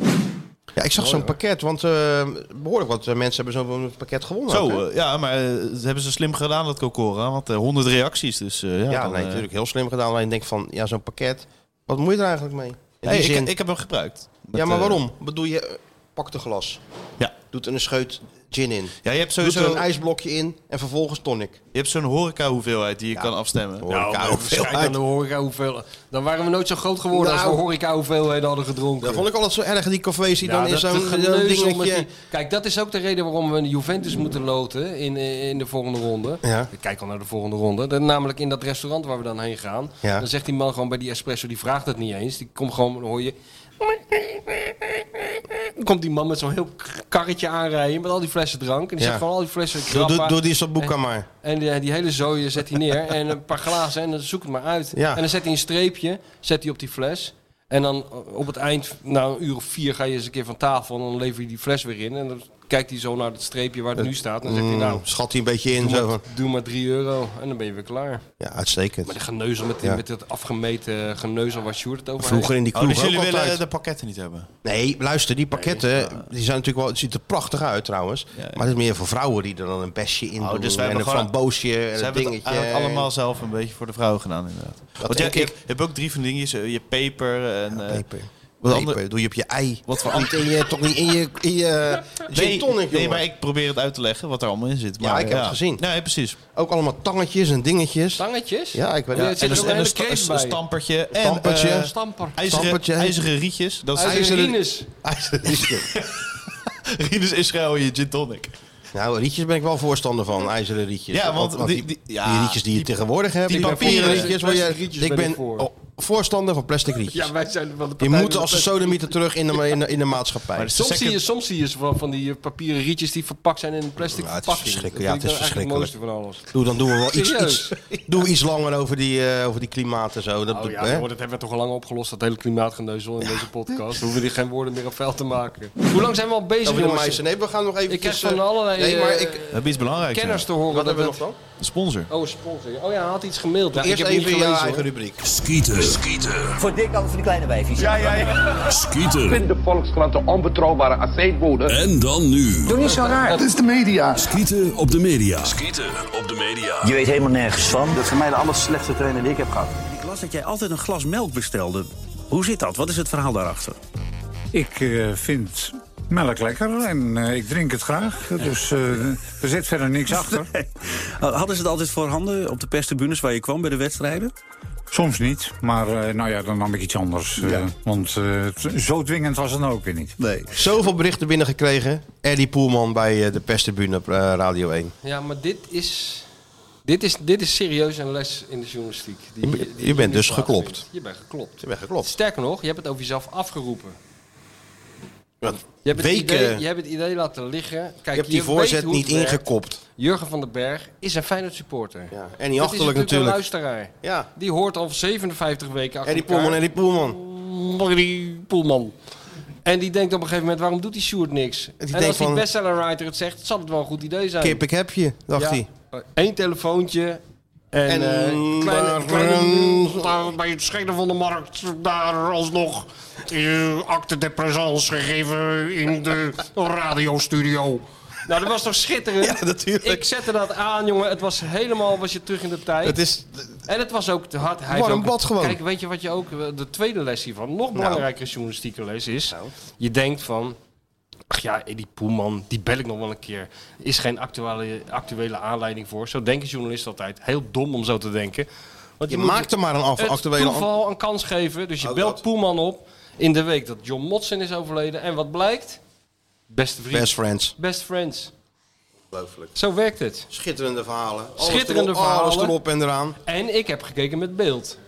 S2: Ja, ik zag
S3: Mooi,
S2: zo'n
S3: hoor.
S2: pakket, want eh, behoorlijk wat eh, mensen hebben zo'n pakket gewonnen. ook, hè?
S4: Zo, eh, ja, maar eh, dat hebben ze slim gedaan, dat Cocora. Want eh, 100 reacties, dus eh, ja.
S2: ja,
S4: dan,
S2: nee,
S4: eh,
S2: natuurlijk heel slim gedaan. Alleen ik denk van, ja, zo'n pakket, wat moet je er eigenlijk mee? In
S4: nee,
S2: die zin-
S4: ik, ik heb hem gebruikt.
S2: ja,
S4: Met,
S2: maar
S4: eh,
S2: waarom? Bedoel je, eh, pak de glas.
S4: Ja.
S2: Doet er een scheut gin in.
S4: Ja, je hebt
S2: Doet
S4: sowieso...
S2: er een ijsblokje in en vervolgens tonic.
S4: Je hebt zo'n horeca hoeveelheid die je kan afstemmen.
S2: Horeca
S3: Nou,
S2: hoeveelheid.
S3: waarschijnlijk aan de horeca hoeveel. Dan waren we nooit zo groot geworden als
S2: Nou.
S3: we horeca hoeveelheden hadden gedronken.
S2: Dat vond ik altijd zo erg, die cafés die
S3: Ja,
S2: dan in
S3: dat- dat
S2: zo'n
S3: geneuzel
S2: zo'n
S3: met
S2: dingetje...
S3: die- Kijk, dat is ook de reden waarom we Juventus moeten loten in, in de volgende ronde.
S2: Ja.
S3: Ik kijk al naar de volgende ronde. Dat, namelijk in dat restaurant waar we dan heen gaan.
S2: Ja.
S3: Dan zegt die man gewoon bij die espresso, die vraagt het niet eens. Die komt gewoon, dan hoor je... Dan komt die man met zo'n heel k- karretje aanrijden met al die flessen drank. En die
S2: Ja.
S3: zegt gewoon al die flessen
S2: Doe,
S3: grappa.
S2: doe, doe die Sambuca maar.
S3: En die, die hele zooi zet hij neer. en een paar glazen en dan zoek het maar uit.
S2: Ja.
S3: En dan zet hij een streepje zet hij op die fles. En dan eh, op het eind, na een uur of vier, ga je eens een keer van tafel. En dan lever je die fles weer in. En dan kijkt hij zo naar het streepje waar het nu staat. En dan zegt hij,
S2: Mm,
S3: nou,
S2: Schat hij een beetje in,
S3: doe
S2: zo
S3: maar,
S2: van...
S3: doe maar drie euro. En dan ben je weer klaar.
S2: Ja, uitstekend.
S3: Maar de geneuzel met, die-
S2: Ja.
S3: met dat afgemeten eh, geneuzel waar Sjoerd het over
S2: Vroeger
S3: heeft.
S2: in die kroeg ook
S4: Oh, dus jullie willen
S2: altijd.
S4: de pakketten niet hebben?
S2: Nee, luister, die pakketten, die zijn natuurlijk wel, het ziet er prachtig uit trouwens. Maar het is meer voor vrouwen die er dan een besje
S4: Oh,
S2: in doen.
S4: dus
S2: en een framboosje
S4: Ze
S2: en een
S4: hebben het
S2: dingetje.
S4: eigenlijk allemaal zelf een beetje voor de vrouwen gedaan, inderdaad. Want jij,
S2: denk
S4: ik, je hebt ook drie van die dingetjes. eh, Je peper en... eh,
S2: Wat
S4: Peper
S2: andere, doe je op je ei.
S4: Wat voor
S2: Niet in je, toch niet in je, in je gin
S4: Nee,
S2: tonic,
S4: nee,
S2: jongen.
S4: maar ik probeer het uit te leggen wat er allemaal in zit.
S2: Ja,
S4: Maar,
S2: ik heb het gezien.
S4: Nee, precies.
S2: Ook allemaal tangetjes en dingetjes.
S3: Tangetjes?
S2: Ja, ik weet
S4: Ja,
S2: het. En
S4: en een,
S2: dus-
S4: en
S2: en
S4: een
S2: dus-
S4: sta- een
S2: dus-
S4: stampertje. En,
S2: Stampertje.
S4: eh,
S3: Stamper.
S4: IJzeren,
S2: Stampertje.
S4: IJzeren rietjes. Dat is
S3: IJzeren Rienes.
S2: IJzeren rietjes.
S4: Rietjes Israël in je gin tonic.
S2: Nou, rietjes ben ik wel voorstander van, ijzeren rietjes.
S4: Ja, want
S2: die,
S4: die-
S2: die,
S4: die- ja,
S2: rietjes die je
S4: die-
S2: tegenwoordig hebt.
S4: die
S2: papieren
S4: papieren
S2: rietjes. waar je-
S3: plastic rietjes
S2: ik
S3: ben ik
S2: ben
S3: voor.
S2: oh, voorstander van plastic rietjes.
S3: Ja, wij zijn van de
S2: Je
S3: partij
S2: moet
S3: van de
S2: als een
S3: pers.
S2: sodemieter terug in de, in de, in de maatschappij.
S3: Soms, zie je, soms zie je ze van, van die eh, papieren rietjes die verpakt zijn in een plastic
S2: Ja, het is
S3: verpakking.
S2: verschrikkelijk. Ja,
S3: Dat
S2: het is
S3: vind ik dan
S2: verschrikkelijk.
S3: eigenlijk het mooiste van alles.
S2: Doe, dan doen we wel iets,
S3: Serieus?
S2: iets, doen we iets langer over die, eh, over die klimaat en zo. Dat,
S3: Oh ja,
S2: hè?
S3: hoor, dat hebben we toch al lang opgelost, dat hele klimaatgeneuzel in deze podcast. We hoeven die geen woorden meer aan vuil te maken. Hoe lang zijn we al bezig,
S2: Over de
S3: jongens?
S2: meisjes. Nee, we gaan nog even...
S3: Ik krijg van allerlei,
S2: Nee, maar
S3: eh,
S2: ik...
S4: We hebben iets belangrijks.
S3: Kenners te horen.
S2: Wat
S3: dat
S2: hebben we
S3: het-
S2: nog Nou,
S4: Sponsor.
S3: Oh, sponsor. Oh ja, hij had iets gemaild. Ja,
S2: Eerst
S3: ik heb
S2: even
S3: niet
S2: je
S3: gelezen,
S2: eigen
S3: hoor.
S2: rubriek.
S14: Skieten. Skieten. Voor dik altijd voor die kleine wijfjes. Ja, ja, ja. Skieten.
S18: Ik vind de Volkskrant de onbetrouwbare aceetbode.
S14: En dan nu.
S18: Doe niet zo raar. Het is de media.
S14: Skieten op de media.
S18: Skieten op de media.
S14: Je weet helemaal nergens van.
S18: Dat is voor mij de aller slechtste trainer die ik heb gehad.
S19: Ik las dat jij altijd een glas melk bestelde. Hoe zit dat? Wat is het verhaal daarachter?
S12: Ik eh, vind melk lekker en eh, ik drink het graag. Dus eh, er zit verder niks achter.
S14: Hadden ze het altijd voorhanden op de perstribunes waar je kwam bij de wedstrijden?
S12: Soms niet, maar eh, nou ja, dan nam ik iets anders. eh, want eh, t- zo dwingend was het nou ook weer niet.
S2: Nee. Zoveel berichten binnengekregen. Eddie Poelman bij eh, de perstribune op eh, Radio 1.
S3: Ja, maar dit is... Dit is, dit is serieus een les in de journalistiek. die-
S2: Je-
S3: die
S2: je
S3: hier
S2: bent dus
S3: plaatsvindt.
S2: geklopt.
S3: Je bent geklopt.
S2: Je bent geklopt.
S3: Sterker nog, je hebt het over jezelf afgeroepen. Je hebt, het
S2: Weken.
S3: idee, je hebt het idee laten liggen. Kijk,
S2: je hebt die
S3: weet
S2: voorzet
S3: hoe het
S2: niet
S3: werkt.
S2: ingekopt.
S3: Jurgen van den Berg is een Feyenoord supporter. Ja.
S2: en die achterlijk
S3: dat is
S2: natuurlijk.
S3: Een luisteraar.
S2: Ja.
S3: Die hoort al 57 weken achter
S2: Eddie Poelman, Eddie Poelman.
S12: nou-
S3: Poelman. Die Poelman. En die denkt op een gegeven moment, waarom doet die Sjoerd niks? en
S2: denkt
S3: als die
S2: van-
S3: bestsellerwriter het zegt, zal het wel een goed idee zijn. Oh,
S2: Kip, ik heb je, dacht hij.
S3: Eén telefoontje. En,
S2: En,
S3: eh,
S2: mm,
S3: kleine,
S2: daar-
S3: kleine- daar bij het schenen van de markt, daar alsnog eh, acte de présence gegeven in de radiostudio. Nou, dat was toch schitterend? Ja, natuurlijk. Ik zette dat aan, jongen. Het was helemaal, was je terug in de tijd.
S4: Het is-
S3: en het was ook te hard. Hij
S4: Warm
S3: heeft ook-
S4: bad gewoon.
S3: Kijk, weet je wat je ook... eh, De tweede les hiervan,
S2: Nou.
S3: nog belangrijkere journalistieke les is... Je denkt van... Ach ja, die Poelman, die bel ik nog wel een keer. Is geen actuele, actuele aanleiding voor. Zo denken journalisten altijd. Heel dom om zo te denken. Want
S2: Je
S3: moet
S2: maakt er maar een af-
S3: het
S2: actuele Oh, aan-
S3: toeval een kans geven. Dus je belt Poelman op in de week dat John Motsen is overleden. En wat blijkt? Beste vriend.
S2: Best friends.
S3: Best friends.
S2: Ongelooflijk.
S3: Zo werkt het.
S2: Schitterende verhalen. Alles
S3: Schitterende
S2: erop, Alles
S3: verhalen.
S2: erop en eraan.
S3: En ik heb gekeken met beeld.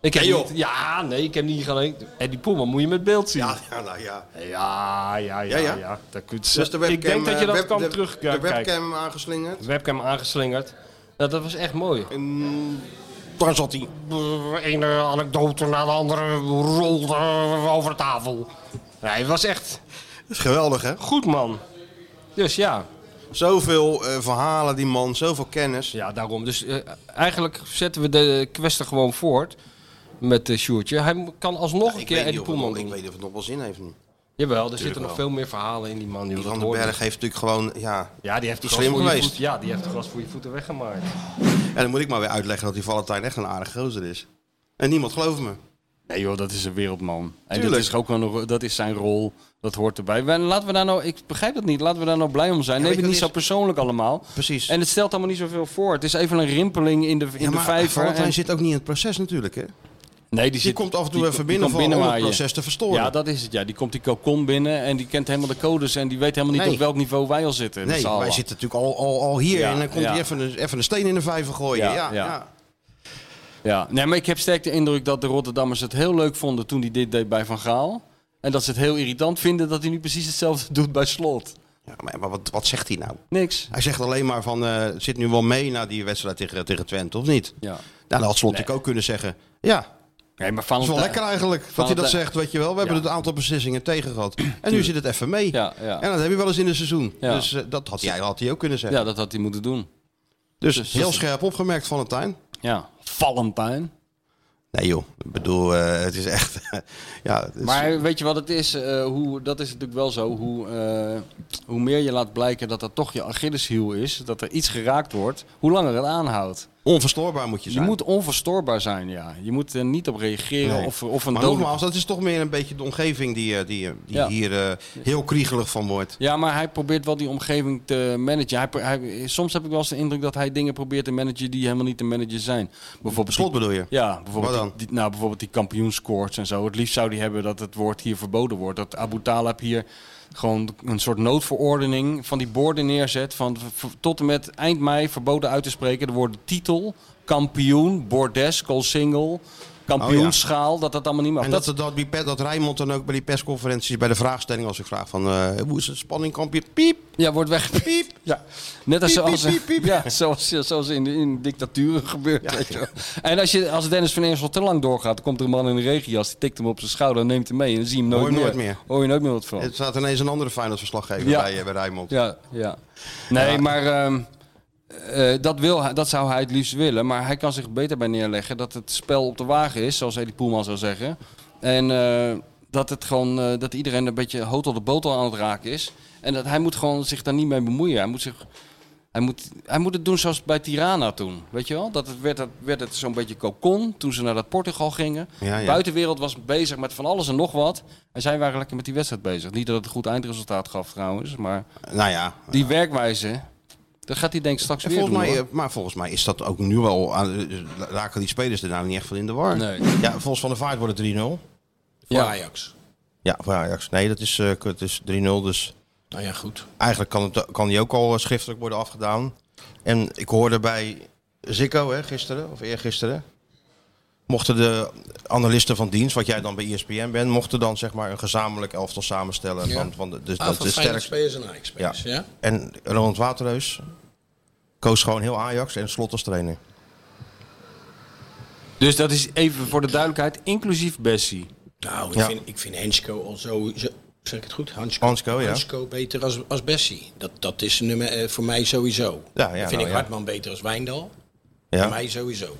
S3: Ik heb
S2: Nee, joh.
S3: niet- ja, nee, ik heb niet gelijk. En die Poelman moet je met beeld zien. Ja,
S2: Ja, nou ja.
S3: ja, ja. ja,
S2: Ja, ja.
S3: Dat kun je-
S2: Dus de webcam,
S3: ik denk dat je dat
S2: eh, web-
S3: kan
S2: de-
S3: terugkijken.
S2: De webcam aangeslingerd.
S3: Webcam aangeslingerd. Nou, dat was echt mooi.
S2: Daar zat hij.
S3: De ene anekdote na de andere rolde over tafel. Nee, het was echt...
S2: geweldig, hè?
S3: Goed, man. Dus ja.
S2: Zoveel eh, verhalen, die man. Zoveel kennis.
S3: Ja, daarom. Dus eh, eigenlijk zetten we de kwestie gewoon voort met eh Sjoertje. Hij mo- kan alsnog een
S2: ik,
S3: keer
S2: weet niet
S3: Eddie
S2: of het
S3: Poelman
S2: nog,
S3: doen.
S2: ik weet niet of het nog wel zin heeft nu.
S3: Jawel, er
S2: Tuurlijk
S3: zitten nog
S2: wel.
S3: veel meer verhalen in die man.
S2: Die
S3: joh,
S2: Van
S3: dat
S2: den
S3: hoort
S2: Berg
S3: niet.
S2: heeft natuurlijk gewoon, ja,
S3: Ja, die heeft
S2: is
S3: gras
S2: slim
S3: voor je
S2: geweest.
S3: voet- ja, die heeft het gras voor je voeten weggemaakt.
S2: En dan moet ik maar weer uitleggen dat die Valentijn echt een aardig gozer is. En niemand gelooft me.
S3: Nee joh, dat is een wereldman. En dat
S2: Tuurlijk.
S3: is, ook wel een ro- dat is zijn rol. Dat hoort erbij. We- Laten we daar nou, ik begrijp dat niet. Laten we daar nou blij om zijn.
S2: Ja,
S3: Neem
S2: weet
S3: het
S2: je,
S3: niet zo
S2: dat
S3: persoonlijk allemaal.
S2: Precies.
S3: En het stelt allemaal niet zoveel voor. Het is even een rimpeling in de, in
S2: Ja,
S3: de
S2: maar
S3: vijver.
S2: Valentijn
S3: en-
S2: zit ook niet in het proces natuurlijk, hè?
S3: Nee, die,
S2: Die
S3: zit-
S2: komt af en toe even
S3: die
S2: binnen
S3: komt
S2: om- om het
S3: binnenwaaien.
S2: proces te verstoren.
S3: Ja, dat is het. Ja. Die komt die cocon binnen en die kent helemaal de codes. En die weet helemaal niet
S2: Nee.
S3: op welk niveau wij al zitten. met
S2: Nee,
S3: z'n allen.
S2: wij zitten natuurlijk al, al, al hier
S3: Ja,
S2: en dan komt
S3: ja.
S2: hij even een, even een steen in de vijver gooien.
S3: Ja,
S2: Ja, ja,
S3: ja. Ja. Nee, maar ik heb sterk de indruk dat de Rotterdammers het heel leuk vonden toen hij dit deed bij Van Gaal. En dat ze het heel irritant vinden dat hij nu precies hetzelfde doet bij Slot.
S2: Ja, maar, maar wat, wat zegt hij nou?
S3: Niks.
S2: Hij zegt alleen maar van, eh, het zit nu wel mee na die wedstrijd tegen, tegen Twente, of niet?
S3: Ja.
S2: Nou, dat had Slot natuurlijk ook kunnen zeggen. Ja,
S3: Nee, maar
S2: dat is wel
S3: Valentijn-
S2: lekker eigenlijk wat hij dat
S3: Valentijn-
S2: zegt, weet je wel. We hebben een aantal beslissingen tegen gehad. En nu zit het even mee.
S3: Ja, ja.
S2: En dat heb je wel eens in een seizoen.
S3: Ja.
S2: Dus eh, dat had hij, had hij ook kunnen zeggen.
S3: ja, dat had hij moeten doen.
S2: dus,
S3: dus-
S2: heel scherp opgemerkt, Valentijn.
S3: Ja, Valentijn.
S2: Nee joh, ik bedoel, eh, het is echt... ja, het is-
S3: Maar weet je wat het is? Eh, hoe, dat is natuurlijk wel zo. Hoe, eh, hoe meer je laat blijken dat dat toch je Achilleshiel is, dat er iets geraakt wordt, hoe langer het aanhoudt.
S2: Onverstoorbaar moet je
S3: Je
S2: zijn.
S3: moet onverstoorbaar zijn, ja. Je moet er niet op reageren
S2: Nee.
S3: of, of een
S2: maar
S3: dodelijk-
S2: nogmaals, dat is toch meer een beetje de omgeving die, eh, die, eh, die
S3: Ja.
S2: hier eh, heel kriegelig van wordt.
S3: Ja, maar hij probeert wel die omgeving te managen. Hij, pro- hij- soms heb ik wel eens de indruk dat hij dingen probeert te managen die helemaal niet te managen zijn. Bijvoorbeeld
S2: Slot
S3: die-
S2: bedoel je?
S3: Ja, bijvoorbeeld,
S2: Wat dan?
S3: Die, die- nou, bijvoorbeeld die kampioenscoorts en zo. Het liefst zou die hebben dat het woord hier verboden wordt. Dat Abu Talib hier gewoon een soort noodverordening van die borden neerzet. Van v- v- tot en met eind mei verboden uit te spreken. De woorden titel, kampioen, bordes, single, kampioenschaal. Dat dat allemaal niet mag.
S2: Oh En dat, dat, dat, die pe- dat Rijnmond dan ook bij die persconferenties, bij de vraagstelling, als ik vraag van eh, hoe is het spanningkampje? Piep!
S3: Ja, wordt weg. Piep. Ja. Net als,
S2: Piep,
S3: zoals,
S2: piep, piep, piep.
S3: Ja, zoals, zoals in, in dictaturen gebeurt. weet je wel. En als, je, als Dennis van Eersel te lang doorgaat, dan komt er een man in een regenjas, die tikt hem op zijn schouder en neemt hem mee. En dan zie je hem nooit,
S2: Hoor je
S3: meer.
S2: nooit meer.
S3: Hoor je nooit meer wat van.
S2: Het staat ineens een andere Feyenoord-verslaggever
S3: Ja.
S2: bij, eh, bij Rijnmond.
S3: Ja, ja. Nee,
S2: Ja.
S3: maar ehm, eh, dat, wil, hij- dat zou hij het liefst willen. Maar hij kan zich beter bij neerleggen dat het spel op de wagen is, zoals Eddie Poelman zou zeggen. En eh, dat, het gewoon, eh, dat iedereen een beetje hotel de botel aan het raken is. En dat hij moet gewoon zich daar niet mee bemoeien. Hij moet, zich, hij moet, hij moet het doen zoals bij Tirana toen. Weet je wel? Dat het werd, dat werd het zo'n beetje cocon toen ze naar dat Portugal gingen.
S2: Ja, ja.
S3: De buitenwereld was bezig met van alles en nog wat. En zij waren lekker met die wedstrijd bezig. Niet dat het een goed eindresultaat gaf trouwens, maar...
S2: Nou ja,
S3: Die werkwijze, dat gaat hij denk ik straks
S2: en
S3: weer
S2: volgens
S3: doen.
S2: mij,
S3: hoor.
S2: eh, maar volgens mij is dat ook nu wel, aan- eh, raken die spelers er nou niet echt van in de war.
S3: Nee.
S2: Ja, volgens Van der Vaart wordt het 3-0.
S3: Ja.
S2: Ajax. Ja, voor Ajax. Nee, dat is, eh, het is 3-0, dus...
S20: Nou ja, goed.
S2: Eigenlijk kan, het, kan die ook al eh, schriftelijk worden afgedaan. En ik hoorde bij Zico hè, gisteren, of eergisteren. Mochten de analisten van dienst, wat jij dan bij E ESPN bent, mochten dan zeg maar een gezamenlijk elftal samenstellen.
S12: Ja.
S2: Van, van de, dus de,
S12: Ah,
S2: de-
S12: van
S2: de
S12: Feyenoord
S2: sterkste.
S12: spelers en Ajax spelers, ja.
S2: En Ronald Waterreus koos gewoon heel Ajax en slot als trainer. eh,
S3: Dus dat is even voor de duidelijkheid, inclusief Bessie.
S12: Nou, ik,
S3: Ja.
S12: vind, ik vind Hensko al zo... zo- Zeg ik het goed? Hansko,
S2: Hansko, ja.
S12: beter als, als Bessie. Dat, dat is nummer eh, voor mij sowieso.
S2: Ja, ja,
S12: Dan vind
S2: nou,
S12: ik
S2: ja.
S12: Hartman beter als Wijndal.
S2: Ja.
S12: Voor mij sowieso.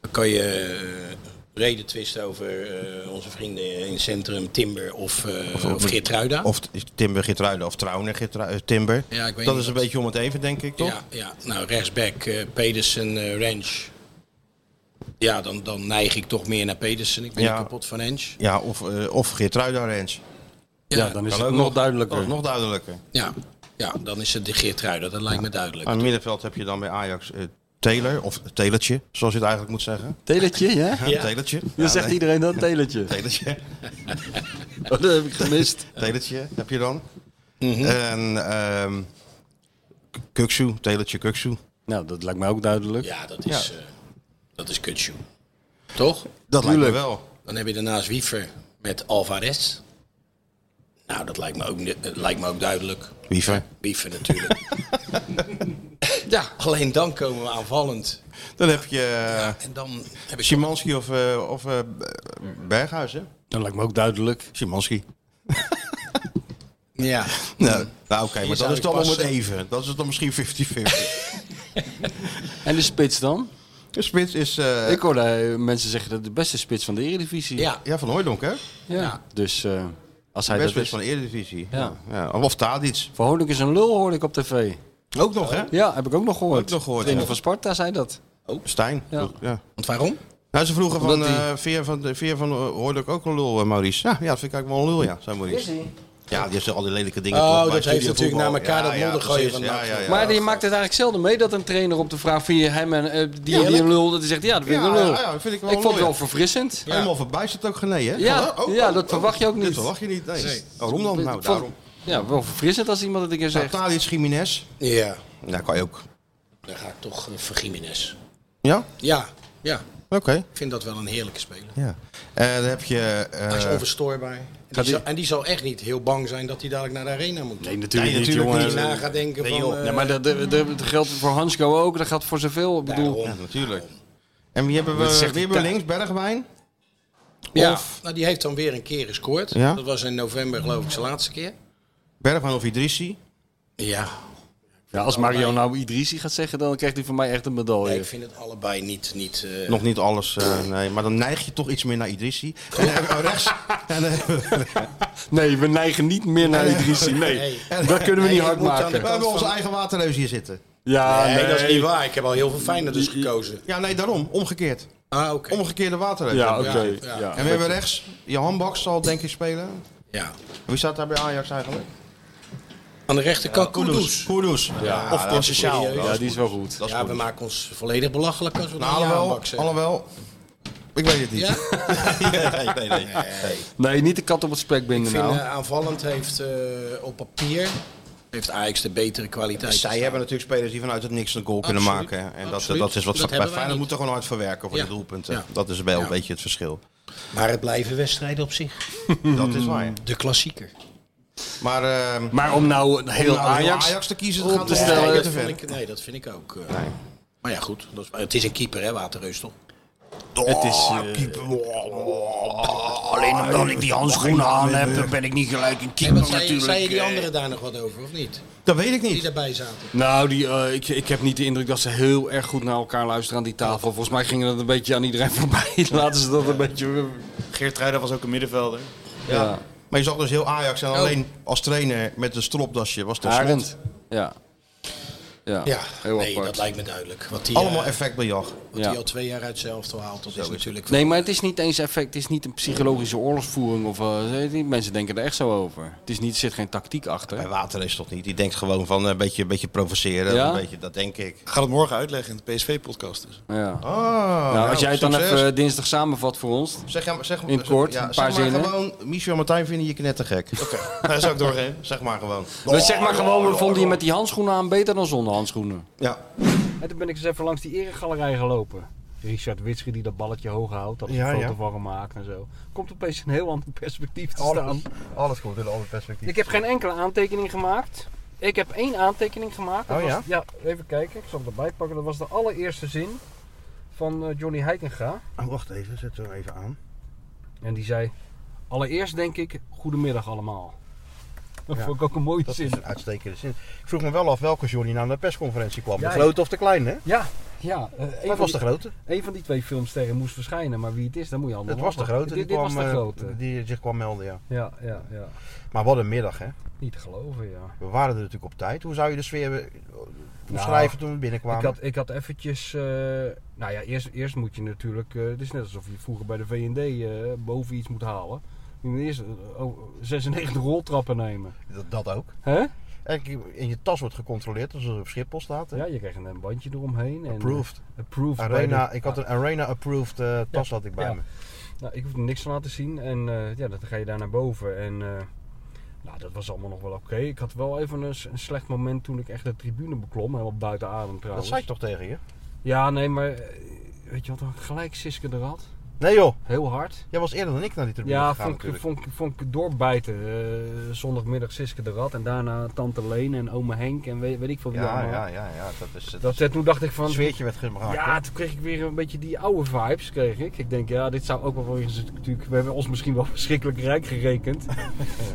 S12: Dan kan je eh, reden twisten over eh, onze vrienden in het centrum, Timber of, eh of,
S2: Geert
S12: Geertruida.
S2: Of Timber Geertruida of Trouwner Geertruida, eh, Timber.
S12: Ja, ik weet
S2: dat
S12: niet
S2: is een
S12: wat-
S2: beetje om het even, denk ik, toch?
S12: Ja, ja, nou rechtsback, eh, Pedersen, eh, Ranch. Ja, dan, dan neig ik toch meer naar Pedersen. Ik ben
S2: Ja.
S12: niet kapot van Ranch.
S2: Ja, of, eh of Geertruida Ranch.
S12: Ja, Ja, dan is
S2: Kan
S12: het
S2: ook
S12: nog duidelijker.
S2: kan ook nog duidelijker.
S12: Ja, ja dan is het de Geertruida, dat lijkt me duidelijk.
S2: Aan het middenveld heb je dan bij Ajax eh Taylor, of Telertje, zoals je het eigenlijk moet zeggen.
S3: Teletje, ja?
S2: Ja, teletje.
S3: Dan
S2: Ja,
S3: zegt
S2: nee.
S3: iedereen dan teletje.
S2: Teletje.
S3: Oh, dat heb ik gemist.
S2: Teletje heb je dan.
S12: Mhm.
S2: En ehm K- Kuksu, Teletje Kuksu.
S3: Nou, dat lijkt mij ook duidelijk.
S12: Ja, dat is, eh, dat is kutsjoe. Toch?
S2: Dat lijkt me wel.
S12: Dan heb je daarnaast Wiever met Alvarez. Nou, dat lijkt me ook, ni- eh, lijkt me ook duidelijk.
S2: Wiever.
S12: Wiever natuurlijk. ja, alleen dan komen we aanvallend.
S2: Dan heb je eh,
S12: En dan heb ik...
S2: Szymanski of, eh, of eh, Berghuis, hè?
S3: Dat lijkt me ook duidelijk.
S2: Szymanski.
S12: Ja.
S2: Nou, nou oké,
S12: Die
S2: maar dat
S12: zou
S2: is
S12: ik
S2: dan om het
S12: passen.
S2: even. Dat is dan misschien 50-50.
S3: En de spits dan?
S2: De spits is... eh,
S3: Ik hoorde eh, mensen zeggen dat het de beste spits van de Eredivisie is.
S12: Ja.
S2: ja, van Hooydonk, hè?
S3: Ja. Dus eh, als hij
S2: Best spits
S3: dat is...
S2: van de Eredivisie.
S3: Ja.
S2: Ja, of Tadic.
S3: Van Hoornik is een lul, hoorde ik op tv.
S2: Ook nog, hè?
S3: Ja, heb ik ook nog gehoord.
S2: Ook nog gehoord,
S3: Trainer
S2: ja. Oh,
S3: van Sparta zei dat.
S12: Ook?
S2: Stijn. Ja. ja.
S12: Want waarom? Oh,
S2: Nou, ze vroegen
S3: Omdat
S2: van,
S3: die-
S2: eh Veer van, de- Veer van eh, hoorde ik ook een lul, eh, Maurice. Ja, ja, dat vind ik eigenlijk wel een lul, ja, zei Maurice.
S3: Is hij?
S2: Ja, die heeft al die lelijke dingen.
S12: Oh,
S2: toch, bij
S12: dat heeft
S2: studio
S12: natuurlijk
S2: voetbal.
S12: naar elkaar dat moddergooien
S2: precies,
S12: vandaag.
S2: Ja, ja, ja.
S3: maar die maakt het eigenlijk zelden mee dat een trainer op de vraag vind je hem en, eh, die,
S2: Ja,
S3: die
S2: dat-
S3: een lul, dat hij zegt ja, dat vind ik
S2: Ja,
S3: een lul.
S2: ja, ja, dat vind ik wel
S3: vond het
S2: een lul,
S3: wel
S2: ja.
S3: verfrissend.
S2: Helemaal verbijsterd ook genee, hè?
S3: Ja,
S2: Van, oh,
S3: ja,
S2: oh,
S3: dat
S2: oh,
S3: verwacht je ook niet.
S2: Dit verwacht je niet, nee.
S3: Nee.
S2: Waarom dan? Nou,
S3: Vond-
S2: daarom.
S3: Ja, wel verfrissend als iemand het een keer
S2: Nou,
S3: zegt.
S2: Tadic, Jiménez.
S12: Ja,
S2: Ja, kan je ook.
S12: dan ga ik toch eh, voor Gimenez.
S2: Ja?
S12: Ja, ja.
S2: Oké.
S12: Ik vind dat wel een heerlijke speler.
S2: Ja. Eh, dan heb je... eh,
S12: Hij is onverstoorbaar. En die,
S2: gaat die-
S12: zal, en die zal echt niet heel bang zijn dat hij dadelijk naar de arena moet. Nee,
S3: natuurlijk niet,
S12: Die
S3: jongen.
S12: na gaat denken
S2: Nee,
S12: van...
S2: joh.
S12: eh,
S3: Ja, maar dat, dat, dat- dat geldt voor Hansco ook, dat geldt voor zoveel. Ik bedoel,
S2: Ja, natuurlijk. En wie hebben we,
S3: Dat zegt
S2: wie hebben we
S3: Ta-
S2: links? Bergwijn?
S12: Ja,
S2: Of
S12: nou, die heeft dan weer een keer gescoord.
S2: Ja.
S12: Dat was in november geloof ik zijn laatste keer.
S2: Bergwijn of Idrissi?
S12: Ja,
S3: ja, als Mario nou Idrisi gaat zeggen, dan krijgt hij van mij echt een medaille.
S12: nee, ik vind het allebei niet... niet eh,
S2: Nog niet alles, eh, nee. Maar dan neig je toch iets meer naar Idrissi. En dan
S12: nou,
S2: hebben we rechts... En, dan hebben we-
S3: Nee, we neigen niet meer naar Idrisi. Nee,
S12: Nee.
S3: dat kunnen we
S12: Nee,
S3: niet
S12: ik
S3: hard
S12: moet aan de
S2: we
S3: maken.
S2: hebben onze
S12: van-
S2: eigen waterreus hier zitten.
S3: Ja,
S12: nee,
S3: nee,
S12: dat is niet waar. Ik heb al heel veel Feyenoorders gekozen.
S2: Ja, nee, daarom. Omgekeerd.
S12: Ah, oké.
S2: Omgekeerde waterreus.
S3: Ja, oké.
S12: Ja,
S3: Ja,
S12: ja.
S2: En we hebben rechts... Johan Bak zal denk ik spelen.
S12: Ja.
S2: Wie staat daar bij Ajax eigenlijk?
S12: Aan de rechterkant Kudus.
S2: Kudus.
S12: Ja,
S2: of
S12: dat
S2: Provinciaal.
S12: serieus.
S3: Ja, die is wel goed.
S2: Dat is
S12: Ja, we
S2: goed.
S12: maken ons volledig belachelijk als we
S2: Nou,
S12: naar
S2: alhoewel,
S12: aanbak zeggen.
S2: alhoewel... Ik weet het niet.
S12: Ja?
S2: nee, nee, nee.
S3: Nee, niet de kat op het spek
S12: Ik
S3: binden
S12: vind
S3: nou.
S12: eh, aanvallend heeft eh, op papier heeft Ajax de betere kwaliteit.
S2: Zij hebben natuurlijk spelers die vanuit het niks een goal kunnen
S12: Absoluut.
S2: maken. En dat,
S12: Absoluut.
S2: dat is wat
S12: Dat
S2: bij
S12: hebben wij
S2: Feyenoord
S12: niet.
S2: moeten gewoon hard verwerken voor
S12: Ja.
S2: de doelpunten.
S12: Ja.
S2: Dat is wel
S12: Ja.
S2: een beetje het verschil.
S12: Maar het blijven wedstrijden op zich.
S2: Dat is waar.
S12: De klassieker.
S2: Maar, ehm,
S3: Maar om nou een heel
S2: nou heel
S3: Ajax...
S2: Ajax te kiezen,
S3: op
S2: dat gaat
S3: te
S2: dus
S3: stellen.
S2: stellen.
S12: dat
S2: te
S12: vind
S2: ver.
S12: ik, nee, dat vind ik ook. eh. Maar ja, goed. Dat is, het is een keeper, hè, Waterreus toch?
S3: Het is...
S2: Oh,
S3: eh,
S10: alleen omdat ik die handschoenen aan heb, dan ben ik niet gelijk een
S12: En
S10: keeper
S12: wat zei,
S10: natuurlijk.
S12: zei je die
S10: eh.
S12: anderen daar nog wat over, of niet?
S2: Dat weet ik
S12: Die
S2: niet.
S12: daarbij zaten.
S3: Nou, die, eh, ik, ik heb niet de indruk dat ze heel erg goed naar elkaar luisteren aan die tafel. Volgens mij ging dat een beetje aan iedereen voorbij. Laten ze dat een beetje...
S4: Geert was ook een middenvelder.
S3: Ja. Oh.
S2: Maar je zag dus heel Ajax en alleen als trainer met een stropdasje was dat slot.
S3: Arend. Ja. Ja,
S12: Ja,
S3: heel
S12: nee,
S3: apart.
S12: dat lijkt me duidelijk. Wat die,
S2: Allemaal
S12: eh,
S2: effectbejag.
S12: wat
S3: Ja.
S12: die al twee jaar uit zijn elftal haalt, dat is natuurlijk...
S3: Nee, maar het is niet eens effect. Het is niet een psychologische oorlogsvoering. Of, eh, die mensen denken er echt zo over. Het is niet, er zit geen tactiek achter.
S2: Bij Water is toch niet. Die denkt gewoon van eh, een beetje, een beetje provoceren.
S3: Ja?
S2: Een beetje, dat denk ik.
S4: Ik ga het morgen uitleggen in de PSV-podcast. Dus.
S3: Ja.
S2: Oh,
S3: nou,
S2: nou,
S3: als jij het dan
S2: succes.
S3: even dinsdag samenvat voor ons.
S2: Zeg, hem- zeg,
S3: In het kort,
S2: ja,
S3: een paar
S2: zeg maar
S3: zinnen.
S2: gewoon, Michel en Martijn vinden je knettergek. Oké, dat zou ik doorgeven. Zeg maar gewoon. Oh,
S3: Dus zeg maar gewoon, we vonden je met die handschoenen aan beter dan zonder handschoenen.
S2: Ja.
S21: En toen ben ik eens even langs die eregalerij gelopen. Richard Witsche die dat balletje hoog houdt, dat ik
S2: Ja,
S21: een foto
S2: ja.
S21: van gemaakt en zo. Komt opeens een heel ander perspectief te staan.
S2: Alles komt in een ander perspectief.
S21: Ik heb geen enkele aantekening gemaakt. Ik heb één aantekening gemaakt. Dat
S2: Oh, ja?
S21: Was, ja, even kijken. Ik zal het erbij pakken. Dat was de allereerste zin van eh, Johnny Heitinga.
S2: Oh, wacht even, zet hem even aan.
S21: En die zei, allereerst denk ik, goedemiddag allemaal. Dat
S2: Ja.
S21: vond ik ook een mooie
S2: Dat
S21: zin.
S2: is een uitstekende zin. Ik vroeg me wel af welke Johnny nou naar de persconferentie kwam.
S21: Ja,
S2: de grote of de kleine?
S21: Ja,
S3: Ja, eh, een
S2: het
S3: van
S2: was
S3: die-
S2: de grote.
S3: Een van die twee filmsterren moest verschijnen, maar wie het is, dat moet je allemaal
S2: Het was de
S3: afwachten.
S2: grote.
S3: Dit,
S2: die
S3: dit
S2: kwam,
S3: was de
S2: eh,
S3: grote.
S2: Die zich kwam melden, ja.
S3: Ja, ja, ja.
S2: Maar wat een middag, hè.
S3: Niet te geloven, ja.
S2: We waren er natuurlijk op tijd. Hoe zou je de sfeer eh,
S3: Nou,
S2: omschrijven toen we binnenkwamen?
S3: Ik had, ik had eventjes... eh, nou ja, eerst, eerst moet je natuurlijk... eh, het is net alsof je vroeger bij de V&D eh, boven iets moet halen. Je moet eerst eh, oh, 96 roltrappen nemen.
S2: Dat, dat ook.
S3: Hè?
S2: En in je tas wordt gecontroleerd als er op Schiphol staat. hè?
S3: Ja, je krijgt een bandje eromheen. En,
S2: Approved.
S3: eh, approved. bij
S2: Arena,
S3: de-
S2: ik had een Arena-approved eh, tas had ik bij
S3: Ja.
S2: me.
S3: Nou, ik hoefde niks van laten zien. En eh, ja, dan ga je daar naar boven. En eh, nou, dat was allemaal nog wel oké. Ik had wel even een, s- een slecht moment toen ik echt de tribune beklom. Helemaal buiten adem trouwens.
S2: zei ik toch tegen je?
S3: Ja, nee, maar eh, weet je wat dan gelijk Siske er had?
S2: Nee joh.
S3: Heel hard.
S2: Jij was eerder dan ik naar die tribune
S3: Ja,
S2: gegaan
S3: vond ik,
S2: natuurlijk.
S3: vond, ik- vond ik doorbijten. Eh, zondagmiddag Siske de Rad en daarna Tante Leen en ome Henk en weet, weet ik veel wie
S2: ja,
S3: allemaal.
S2: ja, ja, ja, dat is het.
S3: Dat, eh, toen dacht ik van...
S2: Het sfeertje werd gemaakt.
S3: Ja, toen kreeg ik weer een beetje die oude vibes. Kreeg ik. ik denk, ja, dit zou ook wel weer eens natuurlijk. We hebben ons misschien wel verschrikkelijk rijk gerekend.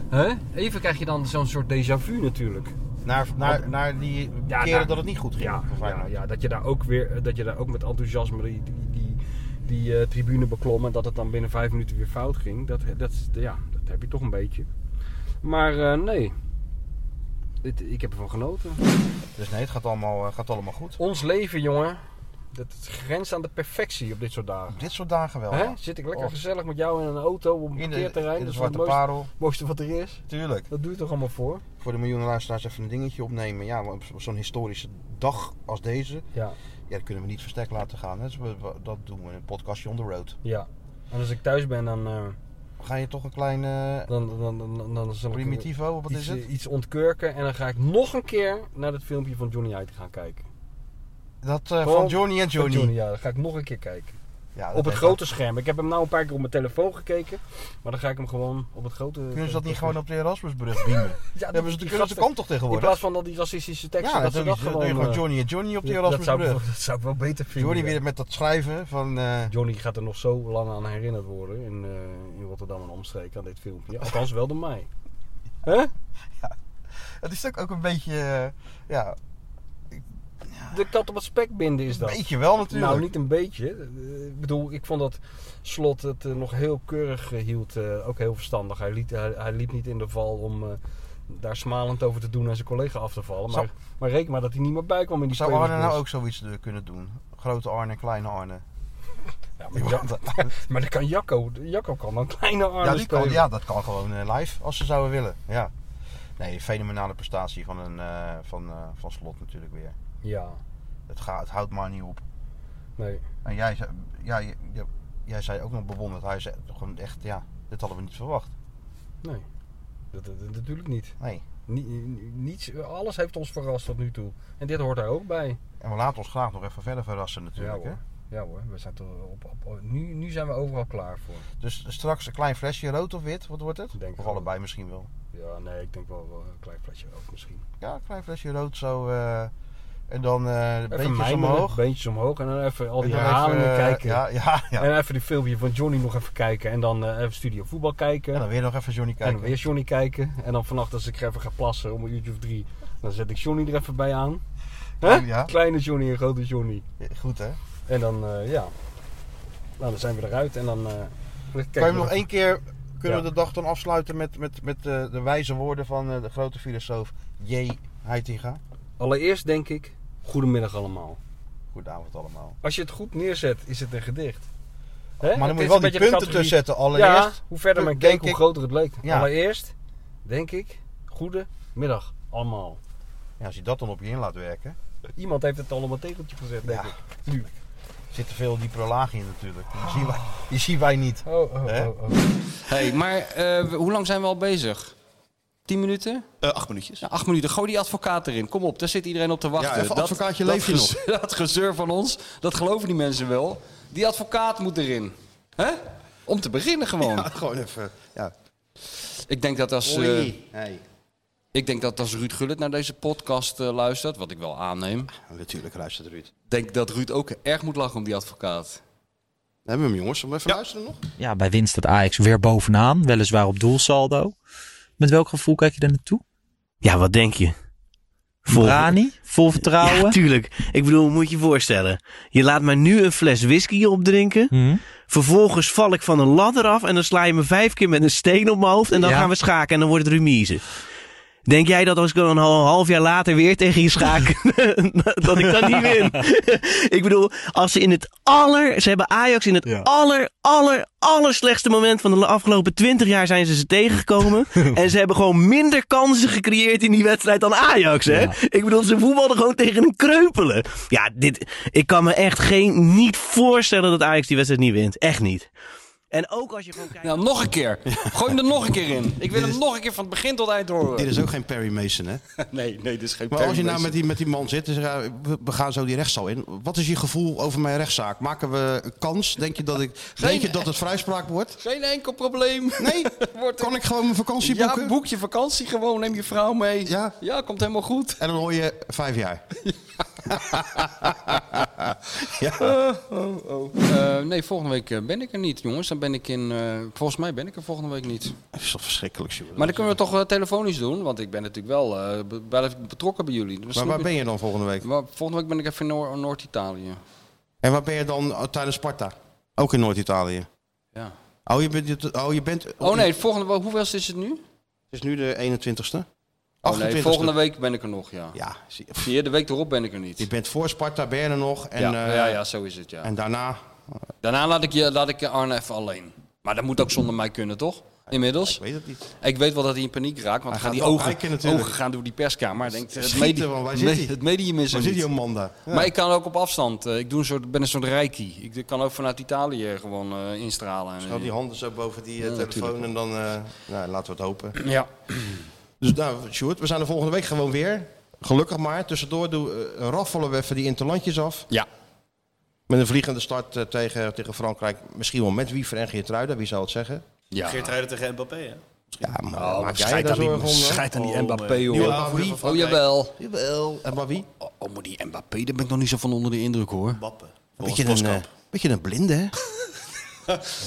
S3: Hè? Even krijg je dan zo'n soort déjà vu natuurlijk.
S2: Naar, naar, naar die keren
S3: naar-
S2: dat het niet goed ging.
S3: Ja,
S2: voor
S3: ja,
S2: Feyenoord.
S3: ja, dat je daar ook weer dat je daar ook met enthousiasme die, die, die, die eh, tribune beklom en dat het dan binnen vijf minuten weer fout ging. Dat, dat, ja, dat heb je toch een beetje. Maar eh, nee, Dit- ik heb ervan genoten.
S2: Dus nee, het gaat allemaal, eh, gaat allemaal goed.
S3: Ons leven, jongen, dat grenst aan de perfectie op dit soort dagen.
S2: Dit soort dagen wel,
S3: Hè?
S2: ja.
S3: Zit ik lekker
S2: Oh.
S3: gezellig met jou in een auto op
S2: In
S3: een
S2: de-
S3: parkeerterrein.
S2: in de
S3: dat is wel het
S2: Zwarte
S3: mooiste-
S2: Parel.
S3: mooiste wat er is.
S2: Tuurlijk.
S3: Dat duurt toch allemaal voor?
S2: Voor de miljoenen luisteraars even een dingetje opnemen. Ja, want op zo'n historische dag als deze,
S3: Ja.
S2: ja, dat kunnen we niet verstek laten gaan. Hè. Dus we- we- Dat doen we in een podcastje on the road.
S3: Ja. En als ik thuis ben, dan... eh,
S2: Ga je toch een klein... eh,
S3: dan, dan, dan, dan, dan zal ik
S2: Primitivo, wat
S3: iets,
S2: is het?
S3: eh, Iets ontkurken en dan ga ik nog een keer naar dat filmpje van Johnny Hyde gaan kijken.
S2: Dat eh,
S3: Gewoon
S2: van Johnny en
S3: van
S2: Johnny.
S3: ja, dan ga ik nog een keer kijken.
S2: Ja, dat
S3: op het
S2: weet
S3: grote scherm. Ik heb hem nou een paar keer op mijn telefoon gekeken, maar dan ga ik hem gewoon op het grote...
S2: Kunnen ze dat niet gewoon op de Erasmusbrug beamen? ja,
S3: die-
S2: hebben ze,
S3: die
S2: kunnen ze
S3: gasten-
S2: kan toch tegenwoordig?
S3: In plaats van al die racistische teksten,
S2: ja,
S3: dat ze
S2: doe
S3: dat
S2: je- doe
S3: gewoon...
S2: je gewoon
S3: eh,
S2: Johnny en Johnny op de
S3: dat- dat zou ik
S2: Erasmusbrug.
S3: wel- Dat zou ik wel beter vinden.
S2: Johnny
S3: ja.
S2: weer met dat schrijven van... eh,
S3: Johnny gaat er nog zo lang aan herinnerd worden in, eh, in Rotterdam en omstreken aan dit filmpje. Althans wel door mij. Hè?
S2: Het is ook, ook een beetje... eh, ja,
S3: De kat op het spek binden is dat.
S2: Een beetje wel natuurlijk.
S3: Nou, niet een beetje. Eh, Ik bedoel, ik vond dat Slot het eh, nog heel keurig eh, hield. eh, ook heel verstandig. Hij, liet, hij, hij liep niet in de val om eh, daar smalend over te doen en zijn collega af te vallen. Maar,
S2: Zou-
S3: maar reken maar dat hij niet meer bij kwam in die
S2: zou Arne nou
S3: spelersbus.
S2: ook zoiets eh, kunnen doen? Grote Arne, kleine Arne.
S3: Ja, maar, Ja, maar dat kan Jacco. Jacco kan dan kleine armen
S2: ja, die kan, ja, dat kan gewoon eh, live als ze zouden willen. Ja. Nee, fenomenale prestatie van, een, eh, van, eh, van Slot natuurlijk weer.
S3: Ja.
S2: Het, gaat, het houdt maar niet op.
S3: Nee.
S2: En jij, zei- ja, je- je- jij zei ook nog bewonderd. Hij zei gewoon echt, ja, dit hadden we niet verwacht.
S3: Nee. Dat, dat- dat- natuurlijk niet.
S2: Nee.
S3: Ni- niets, alles heeft ons verrast tot nu toe. En dit hoort daar ook bij.
S2: En we laten ons graag nog even verder verrassen natuurlijk.
S3: ja,
S2: hè?
S3: hoor. Ja hoor, we zijn toch op, op, op- nu, nu zijn we overal klaar voor.
S2: Dus straks een klein flesje rood of wit, wat wordt het? of allebei misschien wel.
S3: Ja, nee, ik denk wel, wel een klein flesje ook misschien.
S2: Ja, een klein flesje rood zo. eh, en dan eh beentjes
S3: mijmeren,
S2: omhoog.
S3: Beentjes omhoog en dan even al
S2: En
S3: die
S2: dan
S3: herhalingen
S2: even, eh,
S3: kijken.
S2: ja, ja, ja.
S3: En even die filmpje van Johnny nog even kijken. En dan eh, even studio voetbal kijken. En
S2: dan weer nog even Johnny
S3: En
S2: kijken.
S3: dan weer Johnny kijken. En dan vannacht als ik even ga plassen om een uurtje of drie, dan zet ik Johnny er even bij aan. Hè?
S2: Oh, Ja.
S3: Kleine Johnny en grote Johnny.
S2: Goed hè?
S3: En dan, eh, ja. Nou, dan zijn we eruit en dan... eh, dan kijken
S2: Kan je
S3: we
S2: hem nog één keer, kunnen we
S3: Ja.
S2: de dag dan afsluiten met, met, met eh, de wijze woorden van eh, de grote filosoof J. Heitinga?
S3: Allereerst denk ik, goedemiddag allemaal.
S2: Goedenavond allemaal.
S3: Als je het goed neerzet, is het een gedicht. Hè?
S2: Maar dan
S3: Het
S2: moet je
S3: is
S2: wel
S3: een
S2: die
S3: beetje de
S2: punten
S3: categorie-
S2: tussen zetten. Allereerst,
S3: Ja, hoe verder men
S2: denk
S3: keek, hoe
S2: ik-
S3: groter het leek.
S2: Ja.
S3: Allereerst, denk ik, goedemiddag allemaal.
S2: Ja, als je dat dan op je in laat werken.
S3: Iemand heeft het al op een tegeltje gezet, denk
S2: Ja.
S3: ik. Nu. Ah.
S2: Zit er veel die prolagie in natuurlijk. Die, zien wij, die zien wij niet.
S3: Oh, oh,
S2: Hè?
S3: oh,
S22: hey, maar eh, hoe lang zijn we al bezig? 10 minuten?
S2: Eh,
S23: acht minuutjes.
S22: Ja, acht minuten. Gooi die advocaat erin. Kom op, daar zit iedereen op te wachten.
S23: Ja, even advocaatje, leef je
S22: gez- Dat gezeur van ons, dat geloven die mensen wel. Die advocaat moet erin. Hè? Om te beginnen gewoon.
S2: gewoon even, ja.
S22: Ik denk dat als... eh,
S2: Oei. Nee.
S22: ik denk dat als Ruud Gullit naar deze podcast eh, luistert, wat ik wel aanneem...
S2: Natuurlijk luistert Ruud.
S22: denk dat Ruud ook erg moet lachen om die advocaat.
S2: Hebben we hem jongens, zullen we even luisteren nog?
S6: Ja, bij winst staat Ajax weer bovenaan, weliswaar op doelsaldo. Met welk gevoel kijk je daar naartoe? Ja, wat denk je? Vol,
S24: Brani? Vol vertrouwen?
S6: Ja, tuurlijk. Ik bedoel, moet je je voorstellen. Je laat mij nu een fles whisky opdrinken.
S24: Mhm.
S6: Vervolgens val ik van een ladder af en dan sla je me vijf keer met een steen op mijn hoofd. En dan
S24: Ja.
S6: gaan we schaken en dan wordt het remise. Denk jij dat als ik dan een hal- half jaar later weer tegen je schaak, dat ik dan niet win? ik bedoel, als ze in het aller, ze hebben Ajax in het aller, aller, aller slechtste moment van de afgelopen twintig jaar zijn ze ze tegengekomen. en ze hebben gewoon minder kansen gecreëerd in die wedstrijd dan Ajax, hè?
S24: Ja.
S6: Ik bedoel, ze voetbalden gewoon tegen een kreupelen. Ja, dit, ik kan me echt geen, niet voorstellen dat Ajax die wedstrijd niet wint. Echt niet. En ook als je gewoon kijkt...
S3: Nou, nog een keer. Gooi hem er nog een keer in. Ik wil hem nog een keer van het begin tot eind horen.
S2: Dit is ook geen Perry Mason, hè?
S3: Nee, nee, dit is geen
S2: Maar als je nou
S3: Perry
S2: met die, met die man zit, dus, ja, we- we gaan zo die rechtszaal in. Wat is je gevoel over mijn rechtszaak? Maken we een kans? Denk je dat, ik, denk je dat het vrijspraak wordt?
S3: Geen enkel probleem.
S2: Nee, kan ik gewoon mijn vakantie boeken?
S3: Ja, boek je vakantie gewoon. Neem je vrouw mee.
S2: Ja,
S3: ja komt helemaal goed.
S2: En dan hoor je vijf jaar. ja.
S3: oh, oh. Eh, nee, volgende week eh, ben ik er niet, jongens. Dan ben ik in. eh, volgens mij ben ik er volgende week niet.
S2: Dat is toch verschrikkelijk, Sjoerd?
S3: Maar dan kunnen we toch eh, telefonisch doen, want ik ben natuurlijk wel eh, be- blijf ik betrokken bij jullie. Dus
S2: Maar waar
S3: nu-
S2: ben je dan volgende week?
S3: Waar- volgende week ben ik even in Noor- Noord-Italië.
S2: En waar ben je dan eh, tijdens Sparta? Ook in Noord-Italië.
S3: Ja.
S2: Oh, je bent... Oh, je bent
S3: Oh nee, volgende week, hoeveel is het nu?
S2: Het is nu de 21ste.
S3: Oh, nee,
S2: 28e.
S3: volgende week ben ik er nog, ja.
S2: Ja,
S3: zie je, de week erop ben ik er niet.
S2: Je bent voor Sparta, ben je er nog. En,
S3: ja,
S2: eh,
S3: ja, ja, zo is het, ja.
S2: En daarna... eh,
S3: Daarna laat ik, je, laat ik Arne even alleen. Maar dat moet ook zonder mij kunnen, toch? Inmiddels. Ik
S2: weet het niet.
S3: Ik weet wel dat hij in paniek raakt, want
S2: Hij
S3: gaan
S2: gaat
S3: die
S2: wel
S3: ogen,
S2: kijken natuurlijk.
S3: ogen gaan door die perskamer. Hij denkt, het,
S2: Schieten,
S3: medi-
S2: man, waar zit
S3: me-
S2: hij?
S3: het medium is
S2: Waar
S3: er
S2: zit die
S3: niet.
S2: Amanda? Ja.
S3: Maar ik kan ook op afstand. eh, Ik doe een soort, ben een soort reiki. Ik kan ook vanuit Italië gewoon eh, instralen.
S2: Stel die handen zo boven die eh,
S3: Ja,
S2: telefoon
S3: natuurlijk.
S2: en dan... eh, nou, laten we het hopen.
S3: Ja.
S2: Dus nou, Sjoerd, we zijn er volgende week gewoon weer. Gelukkig maar. Tussendoor doen, eh, raffelen we even die interlandjes af.
S3: Ja.
S2: Met een vliegende start eh, tegen, tegen Frankrijk. Misschien wel met Wiever en Geertruida, wie zou het zeggen?
S3: Ja.
S4: Geertruiden tegen Mbappé, hè?
S2: Ja, maar maak jij
S4: schijt
S2: Nou, daar
S4: Oh, aan
S2: zorgen
S4: die-
S2: om? hè?
S4: schijt aan die Mbappé,
S2: Die
S4: hoor.
S2: Mbappé.
S4: Oh,
S3: Oh, jawel.
S2: Jawel. En maar wie?
S3: Oh, maar die Mbappé, daar ben ik nog niet zo van onder de indruk, hoor.
S4: Bappen.
S2: Beetje een, eh, beetje een blinde, hè?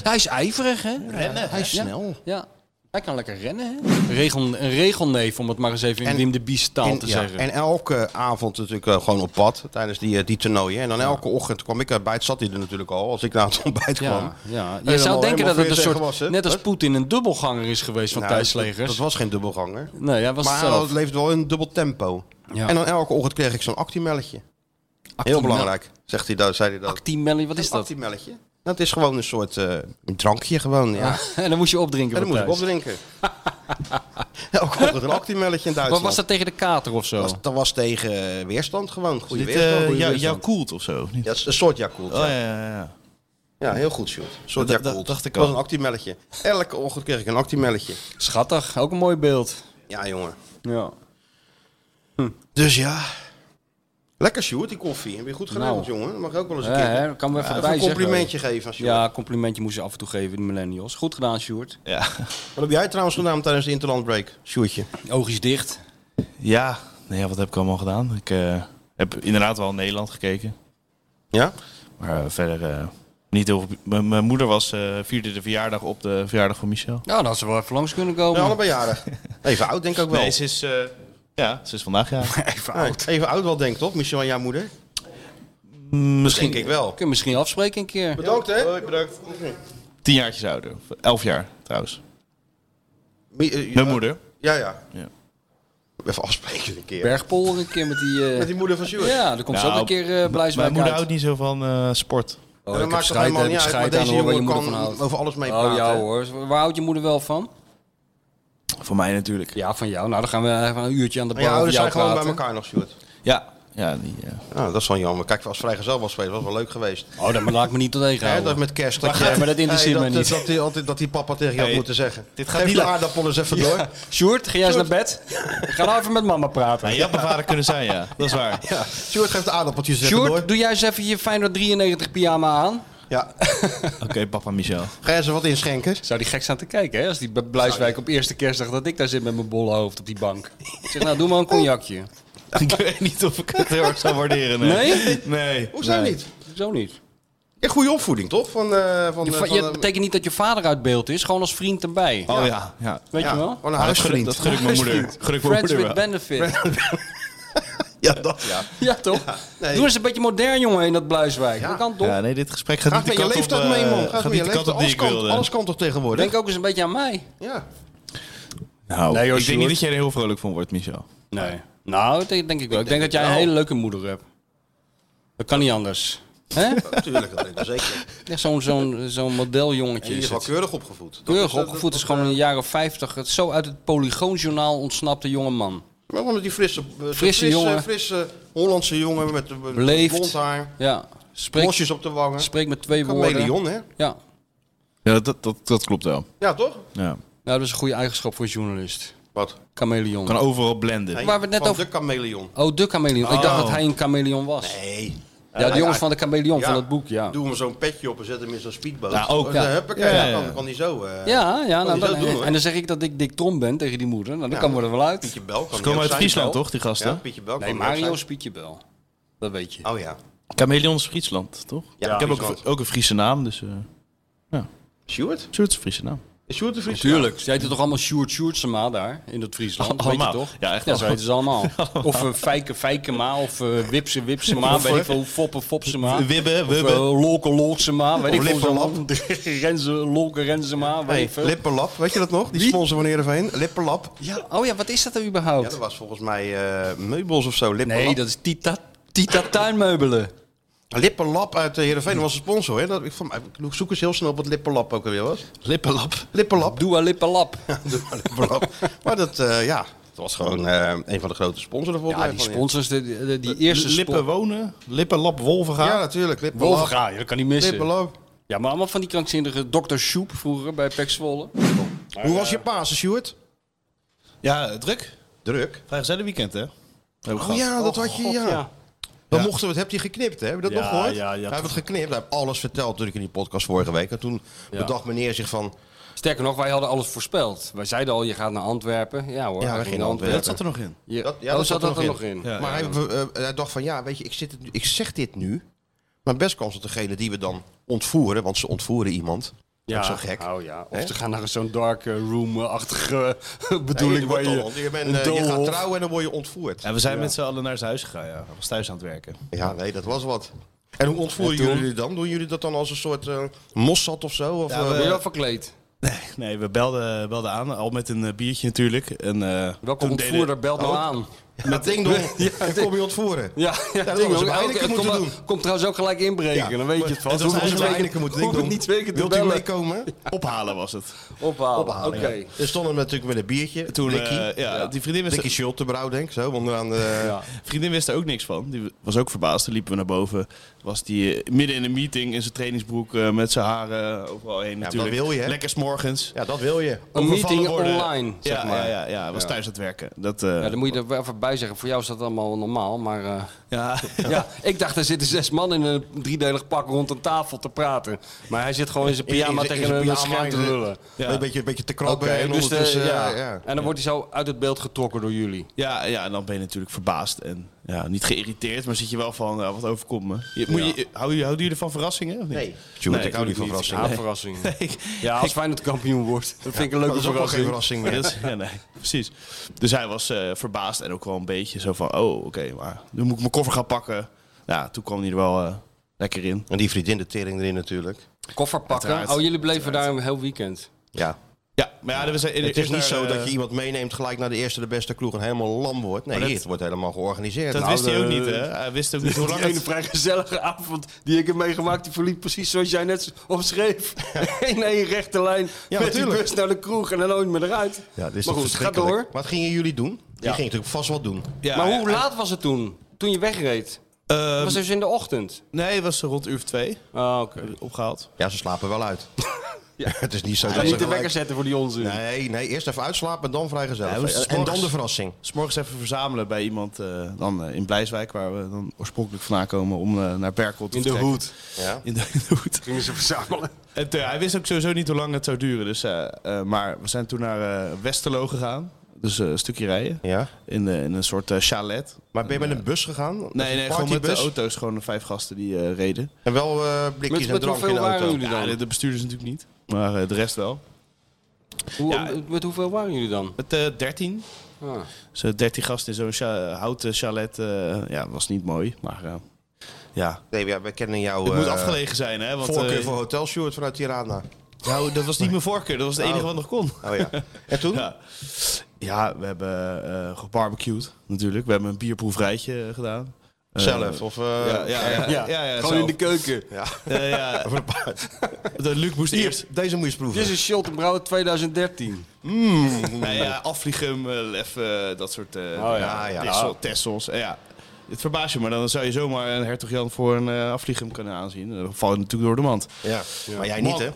S3: Hij is ijverig, hè?
S2: Rennen, Hij is
S3: Ja.
S2: snel.
S3: Ja. Hij kan lekker rennen, hè? Regel, een regelneef, om het maar eens even in Wim de Bies taal
S2: En-
S3: te
S2: ja,
S3: zeggen.
S2: En elke avond natuurlijk eh, gewoon op pad tijdens die, eh, die toernooien. En dan elke ochtend kwam ik eh, uit bijt, zat hij er natuurlijk al, als ik naar het ontbijt
S3: Ja,
S2: kwam.
S3: ja. Je
S2: Helemaal-
S3: zou denken
S2: helemaal
S3: dat het een
S2: verzeggen
S3: soort,
S2: was, hè?
S3: net als
S2: Wat?
S3: Poetin, een dubbelganger is geweest van
S2: Nou,
S3: thuislegers.
S2: Dat, dat was geen dubbelganger.
S3: Nee, hij was
S2: maar
S3: het zelf.
S2: het leeft wel in een dubbel tempo.
S3: Ja. nou.
S2: En dan elke ochtend kreeg ik zo'n actiemelletje. Heel belangrijk, zegt hij dat, zei hij dat.
S3: Actimelli, wat is dat?
S2: Actiemelletje. Dat is gewoon een soort eh, een drankje gewoon, ja.
S3: en dan moest je opdrinken.
S2: En dan moest ik
S3: thuis.
S2: opdrinken. Elke ochtend een actiemelletje in Duitsland.
S3: Maar was dat tegen de kater of zo?
S2: Dat was tegen eh, weerstand gewoon. Goede
S3: Dit,
S2: weerstand.
S3: eh,
S2: goede
S3: jou-
S2: weerstand.
S4: Koelt of zo.
S2: Ja, een soort Yakult.
S4: Oh, ja, ja, ja.
S2: Ja, heel goed, Sjoerd. Een soort
S4: Dat- dat-
S2: Yakult.
S4: dacht ik
S2: Dat was
S4: al.
S2: een actiemelletje. Elke ochtend kreeg ik een actiemelletje.
S3: Schattig, ook een mooi beeld.
S2: Ja, jongen.
S3: Ja.
S2: Dus ja. Lekker, Sjoerd, die koffie. Heb je goed gedaan,
S3: Nou.
S2: jongen? Dat mag ik ook wel eens een
S3: Ja,
S2: keer.
S3: hè, kan we even
S2: Ja,
S3: bij
S2: een
S3: zeggen.
S2: complimentje geven aan Sjoerd.
S3: Ja, complimentje moest je af en toe geven, die millennials. Goed gedaan, Sjoerd.
S4: Ja.
S2: Wat heb jij trouwens gedaan tijdens de Interland Break, Sjoerdje?
S3: Oogjes dicht.
S4: Ja, nee, ja, wat heb ik allemaal gedaan? Ik eh, heb inderdaad wel in Nederland gekeken.
S2: Ja?
S4: Maar eh, verder eh, niet heel veel. M- Mijn moeder was, eh, vierde de verjaardag op de verjaardag van Michel.
S3: Nou, dan had ze wel even langs kunnen komen.
S2: Ja, allebei jarig. Even oud, denk ik ook wel.
S4: Nee, ze is, eh, ja, ze is vandaag ja.
S3: Even
S2: Nee, Even oud wel, denk ik, toch? Michel en jouw moeder?
S4: Misschien
S2: Denk ik wel.
S3: Kun je misschien afspreken een keer.
S2: Bedankt, hè?
S4: bedankt. tien jaartjes ouder. Of Elf jaar trouwens.
S2: Mi- eh,
S4: Mijn
S2: ja.
S4: moeder.
S2: Ja, ja.
S4: Ja.
S2: Even afspreken een keer.
S3: Bergpol een keer met die... eh,
S2: Met die moeder van Sjoerd.
S3: Ja, daar komt ze ook
S4: Nou,
S3: een keer eh blij
S4: Mijn moeder
S3: uit.
S4: houdt niet zo van eh, sport.
S2: dat
S3: Oh, ik heb
S2: maakt toch
S3: scheid,
S2: helemaal
S3: heb ik
S2: niet uit,
S3: scheid
S2: maar
S3: aan
S2: deze
S3: hoor, waar je
S2: jongen
S3: moeder van
S2: kan
S3: houdt.
S2: over alles mee
S3: Oh
S2: praten,
S3: ja
S2: hè?
S3: hoor, waar houdt je moeder wel van?
S4: Van mij natuurlijk.
S3: Ja, van jou. Nou, dan gaan we even een uurtje aan de
S2: En
S3: bar
S2: je
S3: over
S2: ouders
S3: jou
S2: zijn gewoon bij
S3: praten.
S2: elkaar nog, Sjoerd.
S4: Ja. Ja, die, eh,
S2: Nou, dat is wel jammer. Kijk, als vrijgezel was geweest, was wel leuk geweest.
S3: Oh, dat maar laat ik me niet tot één
S2: Hè,
S3: houden.
S2: dat met kerst.
S3: Maar gaat- maar dat interesseert
S2: Hey,
S3: mij
S2: dat-
S3: niet.
S2: Dat, die, altijd, dat die papa tegen jou
S4: Hey,
S2: moeten zeggen.
S4: dit gaat
S2: Geef
S4: niet
S2: de
S4: leuk.
S2: aardappelen eens even
S3: Ja.
S2: door.
S3: Sjoerd, ga jij eens naar bed? Ga nou even met mama praten.
S4: Nou, je had mijn vader kunnen zijn, ja. Dat is waar.
S2: Ja. Sjoerd geeft de aardappeltjes even door.
S3: Sjoerd, doe jij eens even je Feyenoord 93 pyjama aan.
S2: Ja.
S4: Oké, papa Michel.
S2: Ga jij ze wat inschenken?
S3: Zou die gek staan te kijken, hè? Als die bij Bluiswijk op eerste kerstdag dat ik daar zit met mijn bolle hoofd op die bank. Ik zeg, nou, doe maar een cognacje.
S4: Ik weet niet of ik het heel erg zou waarderen.
S3: Nee?
S4: Nee.
S2: Hoezo
S3: Nee.
S2: niet?
S3: Zo niet.
S2: Een goede opvoeding, toch? Van, eh van,
S3: Je,
S2: eh,
S3: va-
S2: van,
S3: je-
S2: eh,
S3: het betekent niet dat je vader uit beeld is, gewoon als vriend erbij.
S4: Oh ja. ja.
S3: Weet
S2: ja,
S3: je wel?
S2: Van een
S4: Maar dat gun-
S2: huisvriend.
S4: Dat gun ik mijn moeder.
S2: Huisvriend.
S4: Gun ik mijn
S3: Friends
S4: moeder
S3: with
S4: wel.
S3: benefit. Ja, ja toch? Doe eens een beetje modern, jongen, in dat Bluiswijk. Dat kan toch?
S4: Ja, nee, dit gesprek gaat
S3: Graag
S4: niet
S3: met
S4: de
S3: je
S4: kant op,
S3: leeftijd mee,
S4: eh,
S3: man.
S4: gaat
S3: Graag met
S4: niet
S3: je
S4: de kant op
S3: leeftijd.
S4: die ik
S3: Alles kan-
S4: wilde.
S3: alles kan toch tegenwoordig? Denk ook eens een beetje aan mij. Ja.
S4: Nou,
S3: Nee, hoor,
S4: ik denk niet
S3: Sjoerd.
S4: dat jij er heel vrolijk van wordt, Michel.
S3: Nee. Nou, dat denk ik wel. Ik denk dat jij een hele leuke moeder hebt. Dat kan niet anders. Hè?
S2: Natuurlijk, dat denk ik zeker.
S3: Echt zo'n zo'n zo'n modeljongetje.
S2: In ieder
S3: is
S2: geval
S3: het.
S2: keurig opgevoed. eh,
S3: Keurig opgevoed is gewoon in de jaren 50. Het zo uit het Polygoonjournaal ontsnapte jonge man.
S2: Maar wel met die frisse, eh, zo'n
S3: Frisse jongen.
S2: frisse Hollandse jongen met eh,
S3: Beleefd.
S2: blond haar.
S3: Ja.
S2: Bosjes op de wangen.
S3: Spreek met twee woorden.
S2: Chameleon, hè?
S3: Ja.
S4: Ja, dat, dat, dat klopt wel.
S2: Ja, toch?
S4: Ja.
S3: Nou, dat is een goede eigenschap voor een journalist.
S2: Wat?
S3: Chameleon.
S4: Kan overal blenden.
S3: Waar we het net
S2: Van
S3: over...
S2: de chameleon.
S3: Oh, de chameleon. Ik
S2: Oh.
S3: dacht dat hij een chameleon was.
S2: Nee.
S3: Ja, de jongens van de chameleon
S2: Ja.
S3: van het boek, ja.
S2: Doe hem zo'n petje op en zet hem in zo'n speedboot.
S3: Ja, ook.
S2: Ja.
S3: Ja.
S2: Huppakee,
S3: Ja, ja, ja.
S2: Oh, dan kan- kan hij zo. eh,
S3: Ja, ja
S2: kan
S3: nou,
S2: hij
S3: dan-
S2: zo doen, hoor.
S3: en dan zeg ik dat ik Dick Trom ben tegen die moeder. Nou, dan
S2: Ja,
S3: kan we er wel uit.
S2: Pietje Bel kan
S4: Ze komen
S2: hij ook
S4: uit
S2: zijn.
S4: Friesland, toch, die gasten?
S2: Ja, Pietje Bel.
S3: Nee,
S2: kan hij ook
S3: Mario is
S2: zijn.
S3: Pietje Bel. Dat weet je.
S2: Oh ja.
S4: Chameleon is Friesland, toch?
S2: Ja,
S4: ik heb ook,
S2: Friesland.
S4: een- ook een Friese naam, dus... eh ja.
S2: Sjoerd?
S4: Sjoerd is een Friese naam.
S2: Is Sjoerd de Vries?
S3: Tuurlijk. Ze heten toch allemaal Sjoerd Sjoerdsema daar, in dat Friesland? Weet je
S4: Allemaal.
S3: toch?
S4: Ja, echt
S3: dat
S4: allemaal.
S3: weten ze allemaal. Of een Fijke Fijkema, of eh Wipse Wipsema,
S4: Of,
S3: weet
S4: eh,
S3: ik veel, Foppen Fopsema.
S4: Wibbe,
S3: Of
S4: Wibbe.
S3: eh, Lolke Lolsema, ah, weet
S2: Of
S3: ik veel.
S2: Lippenlap.
S3: Renze, Lolke Renzema, weet
S2: Hey,
S3: ik veel.
S2: Lipperlap, weet je dat nog? Die sponsor van Heerenveen. Lipperlap.
S3: Ja, oh ja, wat is dat er
S2: Ja,
S3: überhaupt?
S2: dat was volgens mij eh, meubels of zo. Lipperlap.
S3: nee, dat is Tita, Tita Tuinmeubelen.
S2: Lippenlap uit de Heerenveen, dat was een sponsor. Hè? Dat, ik, vond, ik zoek eens heel snel op wat Lippenlap ook alweer was.
S4: Lippenlap.
S2: Lippenlap.
S3: Doe aan Lippenlap.
S2: Doe maar Lippenlap. maar dat, eh, ja, dat was gewoon eh, een van de grote sponsors. volgens
S3: Ja,
S2: mij,
S3: die
S2: van
S3: sponsors, de, de- die eerste
S4: Lippen
S3: spon-
S4: wonen, Lippenlap Wolvenga.
S2: Ja, natuurlijk. Lippenlap.
S3: Wolverga, dat kan niet missen.
S2: Lippenlap.
S3: Ja, maar allemaal van die krankzinnige Dr. Shoep vroeger bij Pek Zwolle.
S2: Hoe was je Pasen, Sjoerd?
S4: Ja, druk.
S2: Druk.
S4: Vrijgezellig weekend, hè?
S2: Oh ja, dat had je, ja. Dan mochten we het, heb je geknipt, hè? Heb je dat
S4: Ja,
S2: nog gehoord?
S4: ja, ja,
S2: Hij heeft
S4: toch.
S2: het geknipt, hij heeft alles verteld natuurlijk in die podcast vorige week. En toen
S3: Ja.
S2: bedacht meneer zich van,
S3: Sterker nog, wij hadden alles voorspeld. Wij zeiden al, je gaat naar Antwerpen. Ja hoor,
S2: Ja,
S3: hij
S2: we
S3: ging
S2: gingen
S3: naar
S2: Antwerpen.
S4: Dat zat er nog in.
S3: Je-
S2: Dat, ja,
S3: oh,
S2: dat
S3: zat dat er nog in.
S4: Ja,
S2: maar Hij, eh, hij dacht van, ja, weet je, ik, zit het, nu- ik zeg dit nu. Maar best kans dat degene die we dan ontvoeren, want ze ontvoeren iemand.
S3: Ja,
S2: Ja, zo gek.
S3: Oh, ja. Of
S2: Hè?
S3: ze gaan naar zo'n dark eh, room-achtige eh,
S2: Nee,
S3: bedoeling.
S2: je,
S3: waar
S2: wordt
S3: je,
S2: dan- je, bent,
S3: een
S2: eh, je gaat
S3: doolhof-
S2: trouwen en dan word je ontvoerd.
S4: En we zijn met z'n allen naar zijn huis gegaan, ja. Hij was thuis aan het werken.
S2: Ja, nee, dat was wat. En hoe ontvoeren
S3: En toen?
S2: jullie dan? Doen jullie dat dan als een soort eh mossad of zo? Of,
S4: Ja,
S2: eh,
S3: Ben je wel verkleed?
S4: Nee, we belden, belden aan, al met een eh, biertje natuurlijk. En, eh
S3: Welke
S4: toen
S3: ontvoerder
S4: deden-
S3: belt me
S2: Oh.
S3: aan?
S2: met ding dong, dan kom je ontvoeren.
S3: Ja, ja,
S2: dat
S3: ding,
S2: was
S3: ook.
S2: ook Heineken
S3: Elke-
S2: moeten
S3: kom-
S2: doen.
S3: Komt trouwens ook gelijk inbreken,
S2: Ja,
S3: dan weet je het vast.
S2: Het was
S3: Hoef ik
S2: onze
S3: niet twee
S2: Heineken
S3: keer-
S2: moeten
S3: hoef
S2: ding
S3: ik
S2: dong.
S3: niet twee keer te
S2: Wilt u
S3: bellen.
S2: meekomen?
S4: Ophalen was het.
S3: Ophalen, oké.
S2: Er stond hem natuurlijk met een biertje.
S4: Toen, eh,
S2: Ricky.
S4: ja, die vriendin wist,
S2: Ricky Schultebrouw, denk ik. Zo, onderaan de...
S4: vriendin wist er ook niks van. Die was ook verbaasd. Toen liepen we naar boven. Was die eh, midden in een meeting in zijn trainingsbroek eh, met zijn haren overal heen natuurlijk.
S2: dat wil je, hè?
S4: Lekker smorgens.
S2: Ja, dat wil je.
S3: Een
S4: Overvallen
S3: meeting
S4: worden.
S3: online,
S4: Ja,
S3: zeg maar.
S4: ja, ja, ja, was
S3: Ja.
S4: thuis aan het werken. Dat, eh,
S3: Ja, dan moet je er wel even bij zeggen. Voor jou is dat allemaal normaal, maar... eh,
S4: ja.
S3: ja, ik dacht, er zitten zes man in een driedelig pak rond een tafel te praten. Maar hij zit gewoon in zijn pyjama
S2: In- in- in
S3: tegen
S2: zijn
S3: een
S2: pyjama
S3: scherm te
S2: en ze-
S3: lullen.
S4: Ja.
S2: Een, beetje, een beetje te krabben.
S3: Oké,
S2: en
S3: dus de-
S2: ondertussen,
S3: ja.
S2: eh, ja.
S3: En dan wordt hij zo uit het beeld getrokken door jullie.
S4: Ja, ja, en dan ben je natuurlijk verbaasd en ja, niet geïrriteerd, maar zit je wel van, nou, wat overkomt me. Je, moet je, hou je, houden jullie van verrassingen? Of niet?
S2: Nee. Sjoerd, ik hou niet van
S3: Ja,
S2: verrassingen.
S3: verrassing.
S4: Ik-
S3: Ja, als Feyenoord kampioen wordt. Dat vind ik een
S2: Dat
S3: leuke
S2: is ook wel geen
S3: verrassing.
S2: verrassing
S4: Ja,
S2: meer.
S4: dat is- ja, nee, precies. Dus hij was eh, verbaasd en ook wel een beetje zo van, oh, oké, maar nu moet ik mijn koffer gaan pakken. Ja, toen kwam hij er wel eh, lekker in.
S2: En die vriendin de tering erin natuurlijk.
S3: Koffer pakken.
S4: Uiteraard.
S3: Oh, jullie bleven daar een heel weekend.
S2: Ja.
S4: Ja, maar ja, we zijn,
S2: Het is niet
S4: eh,
S2: zo dat je iemand meeneemt gelijk naar de eerste de beste kroeg en helemaal lam wordt. Nee,
S4: Maar dat-
S2: het wordt helemaal georganiseerd.
S4: Dat
S2: Nou,
S4: wist hij ook
S2: eh,
S4: niet, hè? Hij wist ook niet hoe lang
S3: Die ene
S4: het...
S3: vrij gezellige avond die ik heb meegemaakt, die verliep precies zoals jij net omschreef. In één rechte lijn
S2: Ja,
S3: met die
S2: natuurlijk.
S3: bus naar de kroeg en dan nooit meer eruit.
S2: Ja, dit is
S3: maar
S2: toch
S3: goed, ga
S2: verschrikkelijk.
S3: door.
S2: Wat gingen jullie doen? Die gingen natuurlijk vast wat doen.
S4: Ja,
S3: maar
S4: ja,
S3: hoe laat was het toen? Toen je wegreed?
S4: ehm,
S3: Het was dus in de ochtend.
S4: nee, het was rond uur of twee
S3: Ah, oké.
S4: opgehaald.
S2: Ja, ze slapen wel uit. het is niet zo
S3: Ga
S2: dat ze
S3: niet de
S2: gelijk-
S3: wekker zetten voor die onzin.
S2: Nee, nee, eerst even uitslapen en dan
S4: Ja,
S2: vrijgezellig.
S4: hoe is het
S2: eh, en dan
S4: s'morgens?
S2: de verrassing.
S4: S'morgens even verzamelen bij iemand eh, dan, eh, in Blijswijk, waar we dan oorspronkelijk vandaan komen, om eh, naar Berkel te
S3: In de
S4: vertrekken.
S3: hoed.
S2: Ja.
S4: In de, in de hoed.
S3: Gingen ze verzamelen.
S4: En, eh, hij wist ook sowieso niet hoe lang het zou duren. Dus, eh, eh, maar we zijn toen naar eh, Westerlo gegaan. Dus eh, een stukje rijden.
S2: Ja.
S4: In, eh, in een soort eh, chalet. eh,
S2: Maar ben je met een bus gegaan? Met
S4: Nee,
S2: een
S4: nee gewoon met de
S2: partybus?
S4: auto's. Gewoon de vijf gasten die eh, reden.
S2: En wel eh,
S3: Met,
S2: blikjes en
S3: met
S2: drank in
S3: hoeveel
S2: de
S3: waren
S2: auto.
S3: jullie
S4: Ja,
S3: dan?
S4: de, de bestuurders natuurlijk niet. Maar eh, de rest wel.
S3: Hoe, Met hoeveel waren jullie dan?
S4: Met eh 13.
S3: Ah.
S4: Zo'n 13 gasten in zo'n cha- houten chalet. eh, ja, was niet mooi, maar eh, ja.
S2: Nee, ja, we kennen jou...
S4: Het moet
S2: eh,
S4: afgelegen zijn, hè? Want,
S2: voorkeur
S4: eh,
S2: voor Hotel Sjoerd vanuit Tirana.
S4: Nou, dat was niet mijn voorkeur. Dat was het enige
S2: Oh.
S4: wat nog kon.
S2: Oh ja. En toen?
S4: Ja, Ja, we hebben eh gebarbecued natuurlijk. We hebben een bierproefrijtje eh, gedaan. Eh,
S2: Zelf, of, eh,
S4: ja, ja, ja, ja, ja,
S3: Gewoon
S4: zelf.
S3: in de keuken.
S2: Ja.
S4: Eh, ja.
S2: Voor een paard.
S4: De Luc moest eerst.
S2: Deze moet je eens proeven.
S3: Dit is een Scholten Brouwer 2013.
S4: Nou ja, Afliegum, eh, Lef, eh, dat soort eh
S3: Oh, ja, ja.
S4: Tessel, Tessels. eh, ja. Het verbaast je, maar dan zou je zomaar een hertog Jan voor een eh Afliegum kunnen aanzien. Dan val je natuurlijk door de mand.
S2: Ja, maar jij niet,
S4: Man.
S2: hè?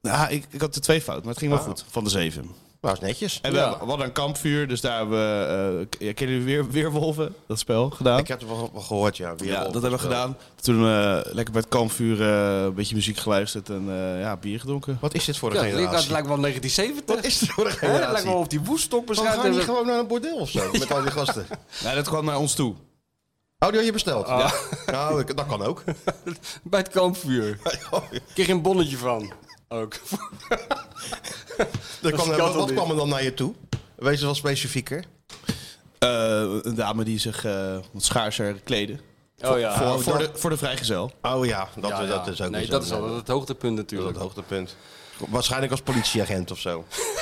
S4: Ja, ik, ik had de twee fout, maar het ging wel
S2: Ah.
S4: goed. Van de zeven.
S2: Nou, is netjes.
S4: En we hadden- we hadden een kampvuur, dus daar hebben we... eh, k- kennen jullie weer, Weerwolven, dat spel, gedaan?
S2: Ik heb het wel, wel gehoord, ja. Weer
S4: ja,
S2: al
S4: dat hebben we
S2: gespeeld.
S4: gedaan. Toen eh, lekker bij het kampvuur eh, een beetje muziek geluisterd en eh, ja, bier gedronken.
S2: Wat is dit voor
S3: Ja, het lijkt- het lijkt wel 1970. Wat
S2: is het voor een
S3: Het lijkt wel of die woestok
S2: Waarom
S3: beschrijft
S2: gaan we niet
S3: hebben.
S2: gewoon naar een bordeel of zo? Met al die gasten.
S4: Nee, dat kwam naar ons toe.
S2: Oh, die had je besteld? Ja. Nou, ik- dat kan ook.
S3: Bij het kampvuur. Ik kreeg een bonnetje van. Ook.
S2: Dat kwam,
S3: kan
S2: wat
S3: toch
S2: wat
S3: niet?
S2: kwam er dan naar je toe? Wees wel specifieker.
S4: Eh, een dame die zich eh, wat schaarser kleden.
S3: Oh ja.
S4: Voor,
S3: Oh,
S4: voor,
S3: dat-
S4: de, voor de vrijgezel.
S2: Oh ja, dat,
S3: Ja,
S2: dat
S3: ja.
S2: is ook
S3: Nee,
S2: weer
S3: dat
S2: zo.
S3: is altijd het hoogtepunt
S2: Dat is
S3: natuurlijk.
S2: het hoogtepunt. Waarschijnlijk als politieagent of zo.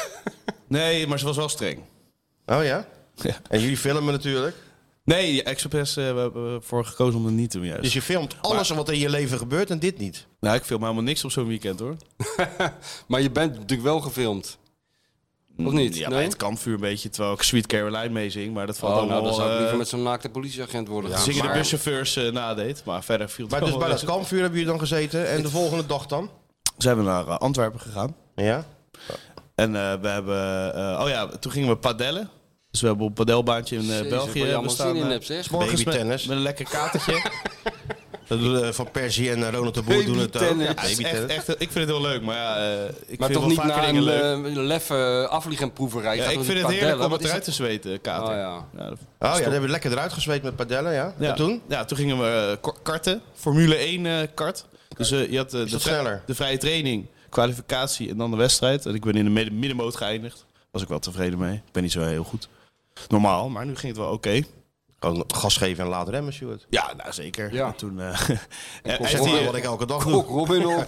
S4: Nee, maar ze was wel streng.
S2: Oh ja?
S4: Ja.
S2: En jullie filmen natuurlijk.
S4: Nee, Express eh we hebben ervoor gekozen om dat niet te doen juist.
S2: Dus je filmt alles wat in je leven gebeurt en dit niet.
S4: Nou, ik film helemaal niks op zo'n weekend hoor.
S3: Maar je bent natuurlijk wel gefilmd. Of niet?
S4: Mm, Ja,
S3: Nee?
S4: bij het kampvuur een beetje, terwijl ik Sweet Caroline meezing. Maar dat valt
S3: Oh,
S4: allemaal...
S3: nou, dan zou ik
S4: eh,
S3: liever met zo'n naakte politieagent worden.
S4: dat zingen de buschauffeurs eh, nadeed. Maar verder viel het
S2: Maar
S4: wel
S2: dus bij
S4: mee.
S2: dat kampvuur hebben jullie dan gezeten en de volgende dag dan?
S4: zijn we naar eh, Antwerpen gegaan.
S2: Ja?
S4: En eh, we hebben... eh, oh ja, toen gingen we padellen. Dus we hebben op een padelbaantje in eh,
S3: Jezus, wat je
S4: België
S3: allemaal
S4: bestaan.
S3: zin in
S4: eh,
S3: hebt, zeg.
S4: s morgens met-
S2: Babytennis.
S4: Met een lekker katertje.
S2: Dat doen, eh, van Persie en eh, Ronald de Boer doen het ook.
S3: Babytennis.
S2: Ja,
S4: Ja, het is echt,
S2: babytennis.
S4: echt, eh, ik vind het heel leuk, maar ja, eh, ik
S3: maar
S4: vind
S3: toch
S4: wel
S3: niet
S4: vaker
S3: naar
S4: dingen
S3: een
S4: leuk.
S3: eh, leffe afvliegenproeverij.
S4: Ja,
S3: Gaat
S4: ik
S3: met
S4: vind het
S3: padellen,
S4: heerlijk om
S3: wat
S4: het
S3: is
S4: eruit te zweten, kater.
S3: Oh ja.
S4: dat-
S2: Oh ja, daar hebben we lekker eruit gezweet met padellen, ja.
S4: Ja.
S2: En toen?
S4: Ja, toen gingen we eh, ko- karten. Formule 1 eh, kart. Dus eh, je had eh, de,
S2: dat
S4: vrij-
S2: sneller?
S4: de vrije training, kwalificatie en dan de wedstrijd. En ik ben in de midden- middenmoot geëindigd. Was ik wel tevreden mee. Ik ben niet zo heel goed. Normaal, maar nu ging het wel oké.
S2: Gewoon gas geven en laat remmen, Stuart.
S4: Ja, nou zeker.
S3: Ja.
S4: En Toen, eh, eh,
S3: Kok
S4: heeft
S2: Dat
S4: hij-
S2: is wat ik elke dag
S3: Kok
S2: doe.
S3: Robin op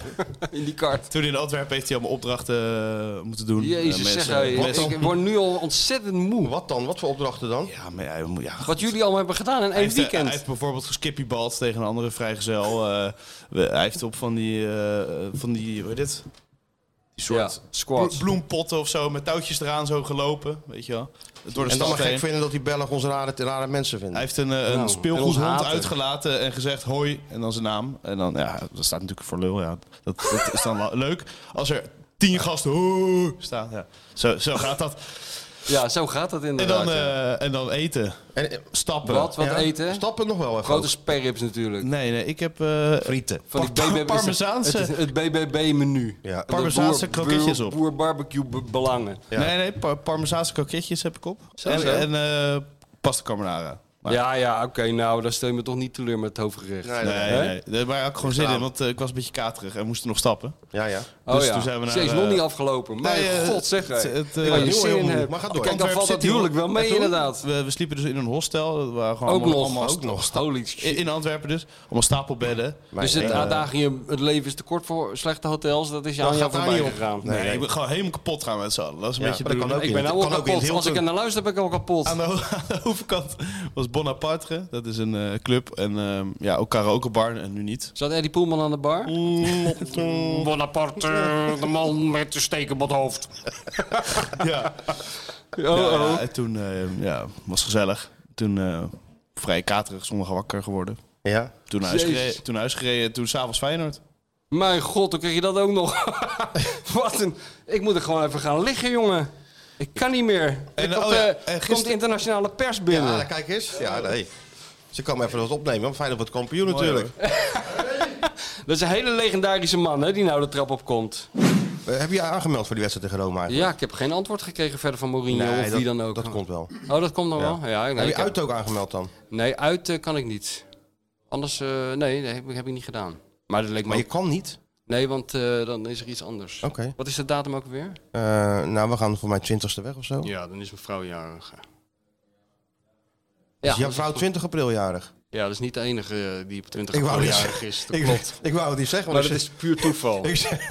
S3: in die kart.
S4: toen in Antwerpen heeft hij allemaal opdrachten eh, moeten doen. Eh,
S3: Jezus,
S4: mensen-
S3: zeg hij.
S4: mensen-
S3: Ik word nu al ontzettend moe.
S2: Wat dan? Wat voor opdrachten dan?
S4: Ja, maar hij moet- ja,
S3: Wat jullie allemaal hebben gedaan in
S4: Hij
S3: één
S4: heeft, eh,
S3: weekend.
S4: hij heeft bijvoorbeeld geskippybald tegen een andere vrijgezel. eh, we- hij heeft op van die, eh, van die hoe heet dit? Die
S3: ja,
S4: soort
S3: squats.
S4: blo- bloempotten of zo met touwtjes eraan zo gelopen, weet je wel. Door de
S2: En dan
S4: stad
S2: maar gek
S4: heen.
S2: vinden dat die Belgen ons rare, rare mensen
S4: Hij
S2: vinden.
S4: heeft een, eh, een
S3: Nou, en ons
S4: speelgoedhond
S3: haten.
S4: uitgelaten en gezegd hoi en dan zijn naam. En dan, ja, dat staat natuurlijk voor lul, ja. Dat, dat is dan wel leuk. Als er tien gasten hoi staan, ja. Zo, zo gaat dat.
S3: Ja, zo gaat dat
S4: En
S3: inderdaad.
S4: dan,
S3: ja.
S4: eh, en dan eten.
S2: En, eh,
S4: Stappen.
S3: Wat, wat eten?
S2: Stappen nog wel even.
S3: Grote
S2: ook.
S3: sperrips natuurlijk.
S4: Nee, nee, ik heb... eh,
S2: frieten.
S3: Van die
S4: Par-
S3: BBB
S4: Parmezaanse-
S3: Het, het BBB-menu.
S2: Ja.
S4: Parmezaanse kroketjes op.
S3: Boer barbecue be- belangen.
S2: Ja.
S4: Nee, nee, par parmezaanse kroketjes heb ik op. en
S3: zo.
S4: en eh, pasta carbonara. Maar-
S3: Ja, ja, oké. nou, daar stel je me toch niet teleur met het hoofdgerecht.
S2: Nee,
S4: Nee,
S3: Hè?
S4: nee, nee. Daar had ik gewoon zin in, want eh, ik was een beetje katerig en moest nog stappen.
S2: Ja, ja.
S3: Oh
S4: Dus
S3: ja.
S4: toen zijn we naar,
S3: Ze is
S4: eh,
S3: nog niet afgelopen. Maar
S4: nee, eh,
S3: god zeg.
S4: het-
S3: hè.
S4: het, eh,
S3: Waar je
S2: heel
S3: zin in
S2: moeilijk,
S3: hebt.
S2: maar ga door.
S3: Kijk, dan
S4: Antwerp
S3: valt dat
S4: City,
S3: huwelijk wel
S4: hoor.
S3: mee
S4: En toen-
S3: inderdaad.
S4: We, we sliepen dus in een hostel. We waren gewoon
S3: Ook
S4: allemaal,
S3: nog.
S4: allemaal
S3: Ook nog. Holy shit.
S4: In, in Antwerpen dus. Allemaal stapelbedden.
S3: Dus het
S4: eh,
S3: adagium, het leven is te kort voor slechte hotels, dat is jou
S2: Dat
S3: aan jou
S2: gaat daar niet
S3: voorbij
S2: op.
S3: gegaan.
S4: Nee, ik ben gewoon helemaal kapot gaan met z'n allen. Dat is een
S2: Ja,
S4: beetje
S2: maar dat
S4: de-
S2: kan ook
S3: Ik
S2: in-
S3: ben
S2: dat
S3: nou al
S2: kan ook in
S3: kapot. Als ik er
S2: Hilton.
S3: naar luister, ben ik al kapot.
S4: Aan de, ho- aan de overkant was Bonaparte. Dat is een eh, club. En ehm, ja, ook karaokebar. En nu niet.
S3: Zat Eddie Poelman aan de bar?
S25: Bonaparte, de man met de steek op het hoofd.
S4: ja. Ja,
S3: Oh, oh.
S4: ja, en toen eh, ja, was gezellig. Toen eh, vrij katerig, zondag wakker geworden.
S2: Ja.
S4: Toen naar huis
S3: Jezus.
S4: gereden, toen, naar huis gereden, toen s'avonds Feyenoord.
S3: Mijn god, dan krijg je dat ook nog. Wat een... Ik moet er gewoon even gaan liggen, jongen. Ik kan niet meer.
S4: En,
S3: En, komt,
S4: oh ja,
S3: eh,
S4: en gisteren-
S3: komt internationale pers binnen.
S2: Ja, kijk eens. Ja, nee. Ze kan me even wat opnemen, want Feyenoord wordt kampioen
S4: Mooi,
S2: natuurlijk.
S3: Dat is een hele legendarische man, hè, die nou de trap op komt.
S2: Eh, heb je je aangemeld voor die wedstrijd tegen Roma? eigenlijk?
S3: Ja, ik heb geen antwoord gekregen verder van Mourinho
S2: Nee,
S3: of
S2: dat,
S3: wie dan ook.
S2: Dat komt wel.
S3: Oh, dat komt nog wel? Ja, nee,
S2: heb
S3: ik
S2: je
S3: heb-
S2: uit ook aangemeld dan?
S3: nee, uit eh, kan ik niet. Anders, eh, nee, dat heb, heb ik niet gedaan. Maar dat leek me
S2: Maar je
S3: ook-
S2: kan niet.
S3: Nee, want eh, dan is er iets anders.
S2: Oké.
S3: Wat is de datum ook weer?
S2: Eh, nou, we gaan voor mijn twintigste weg of zo.
S3: Ja, dan is mijn vrouw jarig.
S2: Ja,
S3: dat
S2: Dus jouw
S3: is
S2: vrouw
S3: goed.
S2: 20 april jarig.
S3: Ja, dat is niet de enige eh, die op 20
S2: Ik wou
S3: april
S2: niet
S3: jarig
S2: zeggen.
S3: is. Dat
S2: Ik-
S3: klopt.
S2: ik wou het niet zeggen,
S3: Maar
S2: want
S3: dat
S2: ik
S3: is
S2: zeg-
S3: puur toeval.
S2: Ik zeg-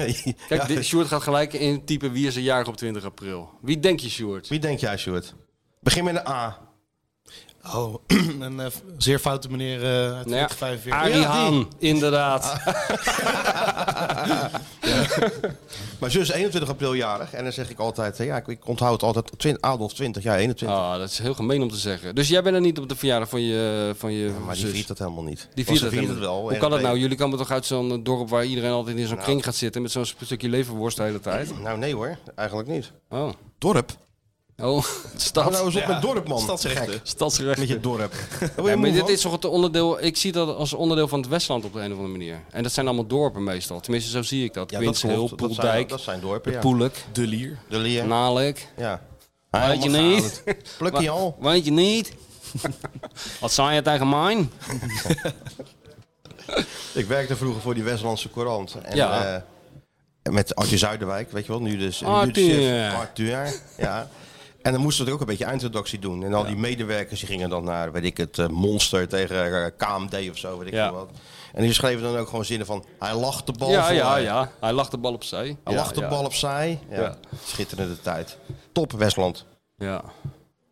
S3: Kijk,
S2: Ja.
S3: dit, Sjoerd gaat gelijk in typen wie is er jarig op 20 april. Wie denk je, Sjoerd?
S2: Wie denk jij, Sjoerd? Begin met een A.
S4: Oh, een eh, zeer foute meneer eh uit
S3: Nou ja,
S4: 1945.
S3: Arie Haan, inderdaad.
S2: Mijn zus is 21 april jarig en dan zeg ik altijd, eh, ja, ik, ik onthoud het altijd, 20, Adolf 20, ja, 21.
S3: Ah, dat is heel gemeen om te zeggen. Dus jij bent er niet op de verjaardag van je van je
S2: maar die
S3: zus?
S2: viert dat helemaal niet.
S3: Die
S2: Want
S3: viert
S2: ze viert
S3: dat helemaal
S2: het wel,
S3: niet. Hoe
S2: en
S3: kan dat
S2: dan-
S3: nou? Jullie komen toch uit zo'n dorp waar iedereen altijd in zo'n
S2: Nou.
S3: kring gaat zitten met zo'n stukje leverworst de hele tijd?
S2: Nou nee hoor, eigenlijk niet.
S3: Oh.
S2: Dorp?
S3: Oh, stad.
S2: Hou nou eens op met dorp, man. Gek.
S3: Stadsrechten.
S2: Met je dorp.
S3: Ja, maar dit is toch het onderdeel, ik zie dat als onderdeel van het Westland op de een of andere manier. En dat zijn allemaal dorpen meestal. Tenminste, zo zie ik dat.
S2: Ja,
S3: Ja,
S2: dat
S3: Winsheel,
S2: klopt. Dat zijn-
S3: Poeldijk,
S2: dat zijn dorpen,
S3: de
S2: ja.
S3: Poelik,
S2: De Lier. De Lier.
S3: Nalek.
S2: Ja.
S3: Weet je
S2: Allemaal
S3: niet?
S2: gehaald. Plukkie
S3: Wa-
S2: al.
S3: Weet je niet? Wat zei je tegen mij?
S2: Ik werkte vroeger voor die Westlandse Courant. En,
S3: Ja.
S2: eh, met Arthur Zuiderwijk, weet je wel, nu dus. nu de
S3: Arthur.
S2: chef. Arthur, ja. En dan moesten we er ook een beetje eindredactie doen. En al die medewerkers die gingen dan naar, weet ik het, eh, Monster tegen eh, KMD of zo, weet ik
S3: Ja.
S2: veel wat. En die schreven dan ook gewoon zinnen van, hij lacht de bal
S3: ja,
S2: voor
S3: ja,
S2: mij.
S3: ja. Hij lag de bal opzij.
S2: Hij
S3: Ja,
S2: lacht de
S3: ja.
S2: bal opzij. Ja.
S3: Ja.
S2: Schitterende tijd. Top Westland.
S3: Ja,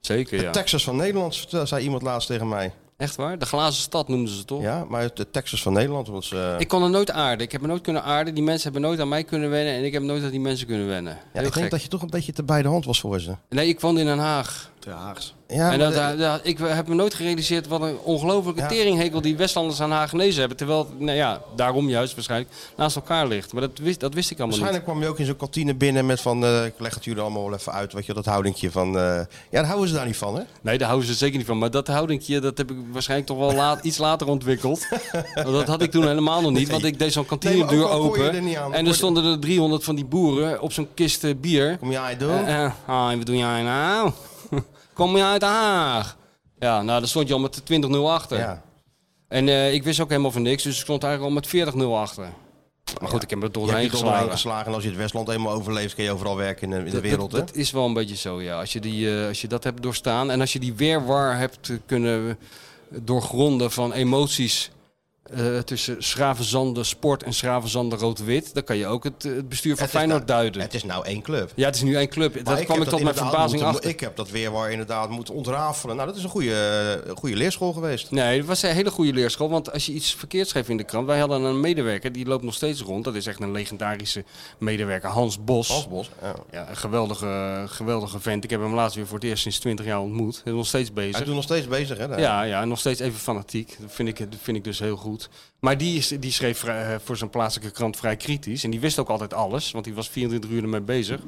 S3: zeker
S2: De
S3: ja.
S2: Texas van Nederland, vertel- zei iemand laatst tegen mij.
S3: Echt waar? De glazen stad noemden ze het toch?
S2: Ja, maar de Texas van Nederland was... eh,
S3: Ik kon er nooit aarden. Ik heb me nooit kunnen aarden. Die mensen hebben nooit aan mij kunnen wennen. En ik heb nooit aan die mensen kunnen wennen.
S2: ja,
S3: Heel
S2: ik denk
S3: gek.
S2: dat je toch een beetje te bij de hand was voor ze.
S3: Nee, ik woonde in Den Haag. Den Haag.
S2: Ja,
S3: en
S2: maar
S3: dat,
S2: de-
S3: dat- ik heb me nooit gerealiseerd wat een ongelofelijke teringhekel die Westlanders aan Hagenezen hebben. Terwijl, het, nou ja, daarom juist waarschijnlijk naast elkaar ligt. Maar dat wist, dat wist ik allemaal niet.
S2: Waarschijnlijk kwam je ook in zo'n kantine binnen met van... eh, ik leg het jullie allemaal wel even uit, weet je, dat houdingje van... eh, ja, daar houden ze daar niet van, hè?
S3: Nee, daar houden ze zeker niet van. Maar dat houdingje, dat heb ik waarschijnlijk toch wel laat, iets later ontwikkeld. Want dat had ik toen helemaal nog niet. Want ik deed zo'n kantinedeur
S2: Nee, maar ook al kon je
S3: open.
S2: er niet aan, dan
S3: en
S2: kon
S3: er
S2: je-
S3: stonden er 300 van die boeren op zo'n kist eh, bier.
S2: Kom jij doen?
S3: Eh, eh, hoi, wat doe jij nou? Kom je uit Den Haag? Ja, nou, daar stond je al met de 20-0 achter.
S2: Ja.
S3: En eh, ik wist ook helemaal van niks. Dus ik stond eigenlijk al met 40-0 achter. Maar goed, ik heb me er
S2: Je
S3: toch
S2: hebt je
S3: doorheen
S2: toch doorheen
S3: geslagen.
S2: geslagen. En als je het Westland eenmaal overleeft, kun je overal werken in de, in de
S3: Dat-
S2: wereld,
S3: dat,
S2: hè?
S3: dat is wel een beetje zo, ja. Als je, die, eh, als je dat hebt doorstaan en als je die weerwar hebt eh, kunnen doorgronden van emoties eh, tussen Schravenzande Sport en Schravenzande Rood-Wit, dan kan je ook het, eh, het bestuur van
S2: Het is
S3: Feyenoord
S2: nou-
S3: duiden.
S2: Het is nou één club.
S3: Ja, het is nu één club.
S2: Maar
S3: dat kwam
S2: heb
S3: ik tot mijn
S2: inderdaad
S3: verbazing
S2: moeten-
S3: achter.
S2: Ik heb dat weerwaar inderdaad moeten ontrafelen. Nou, dat is een goede, eh, goede leerschool geweest.
S3: Nee, dat was een hele goede leerschool. Want als je iets verkeerd schreef in de krant. Wij hadden een medewerker, die loopt nog steeds rond. Dat is echt een legendarische medewerker, Hans Bos.
S2: Hans Bos, ja.
S3: een geweldige, geweldige vent. Ik heb hem laatst weer voor het eerst sinds 20 jaar ontmoet. Hij is nog steeds bezig.
S2: Hij doet nog steeds bezig, hè? daar.
S3: Ja, ja, nog steeds even fanatiek. Dat vind ik, dat vind ik dus heel goed. Maar die, is, die schreef vrij- eh, voor zijn plaatselijke krant vrij kritisch. En die wist ook altijd alles, want die was 24 uur ermee bezig.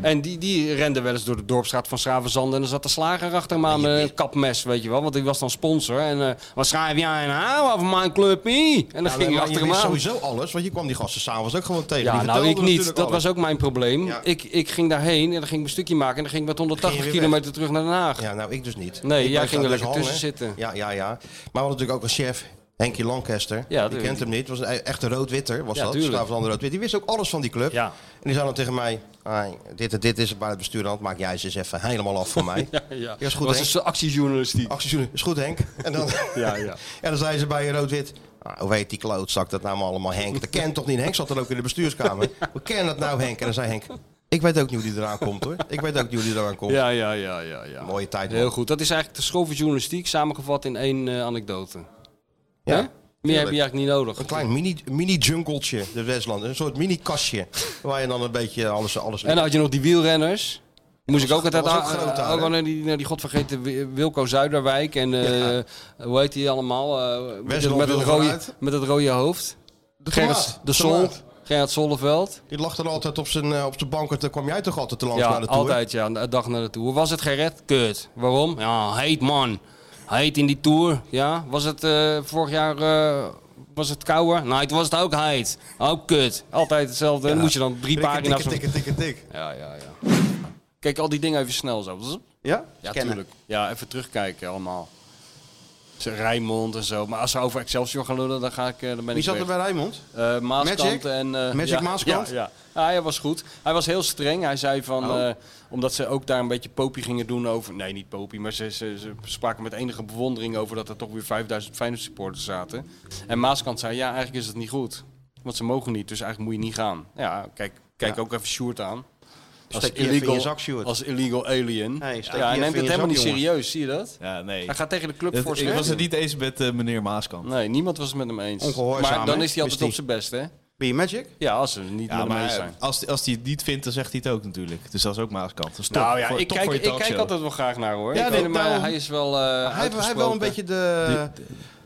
S3: En die, die rende wel eens door de dorpsstraat van Schravenzande. En dan zat de slager achter me aan met een kapmes, weet je wel. Want die was dan sponsor. En eh wat schrijf jij nou over mijn clubje? En dan
S2: Ja,
S3: ging
S2: maar
S3: je
S2: je
S3: achter hem
S2: wist
S3: aan.
S2: sowieso alles, want je kwam die gasten s'avonds ook gewoon tegen.
S3: Ja,
S2: Die
S3: nou
S2: vertelden
S3: ik niet.
S2: natuurlijk
S3: Dat
S2: alles.
S3: was ook mijn probleem. Ik, ik ging daarheen en dan ging ik mijn stukje maken. En dan ging ik met 180
S2: weer
S3: kilometer terug naar Den Haag.
S2: Ja, nou ik dus niet.
S3: Nee,
S2: Ik
S3: jij
S2: bleef
S3: ging er
S2: daar dus
S3: lekker
S2: hangen.
S3: tussen zitten.
S2: Ja, ja, ja. Maar we hadden natuurlijk ook een chef, Henkie Lancaster.
S3: Ja,
S2: die
S3: tuurlijk.
S2: kent hem niet. Was een e- echte rood-witter, was
S3: Ja,
S2: dat.
S3: tuurlijk.
S2: Slaaf van de rood-wit. Die wist ook alles van die club. En die zei dan tegen mij, "Ai, dit en dit is het bij het bestuur aan de hand. Maak jij ze eens even helemaal af voor mij.
S3: Ja, ja.
S2: is goed,
S3: was
S2: Henk.
S3: dus actiejournalistiek.
S2: Actiejournalistiek. Is goed, Henk. En dan,
S3: Ja, ja.
S2: en dan zeiden ze bij rood-wit... "Ah, hoe heet die klootzak dat nou allemaal, Henk? Dat kent toch niet? Henk zat er ook in de bestuurskamer. Hoe ken dat nou, Henk? En dan zei Henk... Ik weet ook niet hoe die eraan komt, hoor. Ik weet ook niet hoe die eraan komt.
S3: Ja, ja, ja, ja, ja.
S2: Mooie tijd, man.
S3: Heel goed. Dat is eigenlijk de school van journalistiek samengevat in één eh, anekdote.
S2: Ja,
S3: Hè? Meer heb je eigenlijk niet nodig.
S2: Een klein mini- mini-jungletje, de Westland. Een soort mini-kastje. Waar je dan een beetje alles... alles
S3: En dan had je nog die wielrenners. Moest ik
S2: was-
S3: ook altijd
S2: dat was
S3: aan-
S2: ook groot daar,
S3: ook
S2: hè?
S3: al naar die, naar die godvergeten Wi- Wilco Zuiderwijk en eh, hoe heet die allemaal? Eh, met, het,
S2: Westland
S3: met, het
S2: wil
S3: rode,
S2: vooruit.
S3: met het rode hoofd.
S2: De
S3: eh, Gerrit
S2: Laat,
S3: de
S2: De
S3: Sol,
S2: Laat.
S3: Gerrit Solleveld.
S2: Die lag dan altijd op zijn eh, op de bank. En dan kwam jij toch altijd te langs
S3: ja,
S2: naar de tour?
S3: altijd ja, een dag naar de Tour. Was het gered? Kut. Waarom? Ja, heet man. Heet in die Tour. Ja, was het eh, vorig jaar... eh, was het kouder? Nee, toen was het ook heet. Ook kut. Altijd hetzelfde. Dan moet je dan drie
S2: Tikken,
S3: pagina's...
S2: tikken, tikken, tikken, tikken.
S3: Ja, ja, ja. Kijk, al die dingen even snel zo.
S2: Ja?
S3: Ja,
S2: Kennen.
S3: tuurlijk. Ja, even terugkijken allemaal. Rijnmond en zo. Maar als ze over Excelsior gaan lullen, dan, ga ik, eh, dan ben ik
S2: Wie zat er
S3: weg.
S2: bij Rijnmond?
S3: Eh, Maaskant
S2: Magic?
S3: en... eh,
S2: Magic
S3: ja,
S2: Maaskant?
S3: Ja, ja. Ah, hij was goed. Hij was heel streng. Hij zei van...
S2: Oh.
S3: eh, omdat ze ook daar een beetje popie gingen doen over... Nee, niet popie, maar ze, ze, ze spraken met enige bewondering over dat er toch weer 5000 Feyenoord supporters zaten. En Maaskant zei, ja, eigenlijk is het niet goed. Want ze mogen niet, dus eigenlijk moet je niet gaan. Ja, kijk, kijk ook even Sjoerd aan.
S2: Steek je even in je zak, Sjoerd.
S3: als illegal alien.
S2: Nee, steek je
S3: ja, hij
S2: even
S3: neemt
S2: in
S3: het
S2: je
S3: helemaal
S2: zak,
S3: niet
S2: jongen.
S3: serieus, zie je dat?
S4: Ja, nee.
S3: Hij gaat tegen de club
S4: Dat-
S3: voor
S4: Ik was het niet eens met eh, meneer Maaskant.
S3: Nee, niemand was het met hem eens.
S4: Ongehoorzaam,
S3: maar dan
S4: hè?
S3: is hij altijd
S4: Is
S3: op zijn best, hè?
S2: Ben je Magic?
S3: Ja, als ze niet
S4: Ja,
S3: met hem
S4: maar
S3: eens zijn.
S4: als, als hij het niet vindt, dan zegt hij het ook natuurlijk. Dus dat is ook Maaskant. Dus
S3: nou ja, ik, kijk, ik kijk altijd wel graag naar hoor.
S2: Ja,
S3: Ik
S2: nee,
S3: vind hem,
S2: daarom-
S3: eh, hij is wel. eh,
S2: Hij heeft, hij heeft wel een
S3: uitgesproken.
S2: beetje de,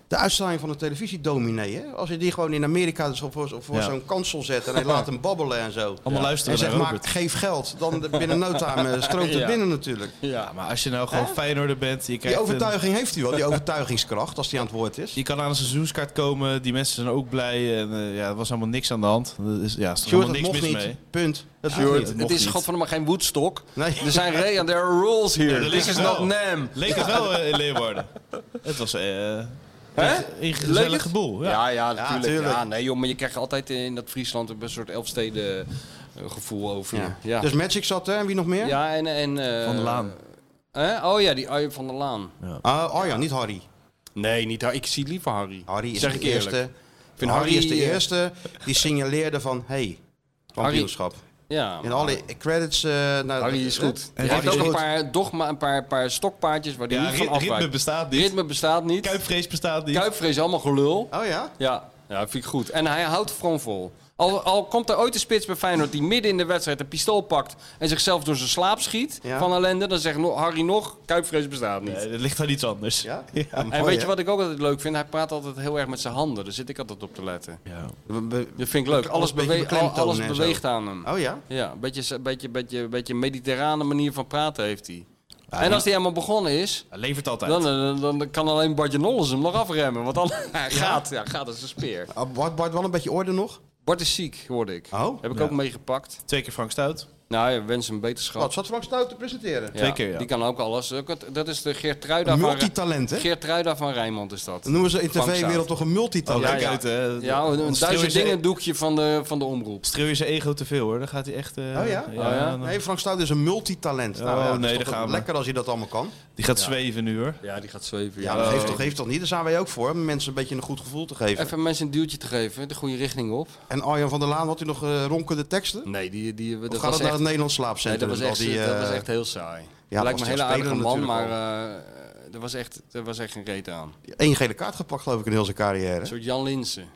S2: de uitstraling van een televisiedominee. Hè? Als je die gewoon in Amerika dus op- voor, voor
S4: Ja.
S2: zo'n kansel zet en hij laat hem babbelen en zo.
S4: Allemaal luisteren
S2: En zegt
S4: naar
S2: maar,
S4: Robert.
S2: geef geld. Dan de- binnen no time eh, stroomt het
S4: Ja.
S2: binnen natuurlijk.
S4: Ja, maar als je nou gewoon Feyenoorder bent... Je
S2: Die
S4: krijgt
S2: overtuiging
S4: een-
S2: heeft hij wel, die overtuigingskracht als die aan het woord is.
S4: Je kan aan een seizoenskaart komen, eh, die mensen zijn ook blij. En, eh, ja, er was helemaal niks aan de hand. Er is, ja, er is
S2: Sjoerd,
S4: helemaal
S2: dat
S4: niks
S2: mocht
S4: mis
S2: niet.
S4: mee.
S2: Punt. Dat
S4: Ja,
S2: mocht
S4: Sjoerd,
S2: niet.
S4: het
S3: Het
S4: mocht
S3: is
S4: niet.
S3: godverdomme geen Woodstock.
S2: Nee.
S3: Er zijn Ray en there are rules
S4: Ja,
S3: here.
S4: dat leek
S3: This
S4: het
S3: is
S4: wel.
S3: not NAM.
S4: Leek het wel eh, in Leeuwarden. Het was eh
S3: Hè?
S4: een
S3: Leuk
S4: gezellige
S3: het?
S4: boel. Ja.
S3: Ja, ja, natuurlijk. Ja,
S4: tuurlijk.
S3: nee, joh, maar je krijgt altijd in dat Friesland een soort elfsteden eh, gevoel over. je.
S2: Ja.
S3: Ja.
S2: Dus Magic zat er en wie nog meer?
S3: Ja, en... en eh,
S2: Van der Laan.
S3: Hè? Oh ja, die Arjen van der Laan.
S2: Ah, oh ja, niet Harry.
S3: Nee, niet Harry. Ik zie liever Harry.
S2: Harry is
S3: zeg
S2: de
S3: ik eerlijk.
S2: eerste.
S3: Ik vind
S2: Harry,
S3: Harry,
S2: is de
S3: eh,
S2: eerste die signaleerde van, hey, kampioenschap.
S3: Ja.
S2: En alle credits eh naar
S3: Ah, Harry is goed.
S2: hè?
S3: Hij
S2: Harry
S3: heeft
S2: is
S3: ook een
S2: goed.
S3: paar, dogma, een paar, paar stokpaardjes waar hij
S4: Ja,
S3: niet van
S4: rit- ritme
S3: afwijkt.
S4: bestaat niet.
S3: Ritme bestaat niet.
S4: Kuipvrees bestaat niet.
S3: Kuipvrees, allemaal gelul.
S2: Oh ja?
S3: Ja, ja dat vind ik goed. En hij houdt gewoon vol. Al, al komt er ooit een spits bij Feyenoord die midden in de wedstrijd een pistool pakt... en zichzelf door zijn slaap schiet
S4: Ja.
S3: van ellende... dan zegt no- Harry nog, kuipvrees bestaat niet.
S4: Nee, dat ligt aan iets anders.
S2: Ja?
S3: en weet je wat ik ook altijd leuk vind? Hij praat altijd heel erg met zijn handen. Daar zit ik altijd op te letten. Dat vind ik leuk. Alles,
S2: Alles een
S3: bewe-
S2: beetje
S3: al- alles
S2: beklemtonen en zo.
S3: beweegt aan hem.
S2: Oh ja?
S3: Ja, een beetje, een beetje, beetje, beetje mediterrane manier van praten heeft hij. en als hij helemaal begonnen is,
S4: Hij levert altijd.
S3: dan, dan, dan kan alleen Bartje Nolles hem nog afremmen. Want dan hij gaat, eh, ja, gaat als een speer.
S2: Ah, Bart, Bart, wel een beetje orde nog?
S3: Bart is ziek, hoorde ik.
S2: Oh?
S3: Heb ik
S2: Ja.
S3: ook meegepakt.
S4: Twee keer Frank Stout.
S3: Nou, ja, wens hem beterschap.
S2: Wat zat Frank Stout te presenteren?
S3: Ja, Die kan ook alles. Ook het- Dat is de Geert Truida
S2: Een
S3: van...
S2: multitalent, hè?
S3: Geert Truida van Rijnmond is dat.
S2: Dan noemen ze in
S3: Frank Stout.
S2: tv-wereld toch een multitalent.
S4: Oh, kijk uit, hè.
S3: Ja,
S4: Want
S3: een
S4: streel je
S3: duizend
S4: ze-
S3: dingen doekje van de, van de omroep.
S4: Streel je zijn ego te veel hoor, dan gaat hij echt... eh,
S2: Oh ja?
S4: dan-
S2: Nee, Frank Stout is een multitalent.
S4: Oh,
S2: nou, ja, dat
S4: nee,
S2: is
S4: daar
S2: toch
S4: gaan we.
S2: lekker als je dat allemaal kan.
S4: Die gaat
S2: Ja.
S4: zweven nu hoor.
S3: Ja, die gaat zweven.
S2: Ja,
S4: Ja,
S2: dat
S4: oh.
S2: heeft toch, heeft toch niet? Daar zijn wij ook voor, om mensen een beetje een goed gevoel te geven.
S3: Eh, Even mensen een duwtje te geven, de goede richting op.
S2: En Arjan van der Laan, had u nog eh, ronkende teksten?
S3: Nee, die... die dat
S2: of gaat het
S3: was
S2: naar
S3: echt-
S2: het Nederlands
S3: Nee, dat
S2: slaapcentrum?
S3: was, echt,
S2: al die,
S3: dat
S2: eh,
S3: was echt heel saai.
S2: dat
S3: Lijkt me
S2: was
S3: een hele
S2: tegen
S3: aardige
S2: Spelen
S3: man, maar
S2: natuurlijk
S3: eh, er, was echt, er was echt geen reet aan.
S2: Eén gele kaart gepakt, geloof ik, in heel zijn carrière.
S3: Een soort Jan Linsen.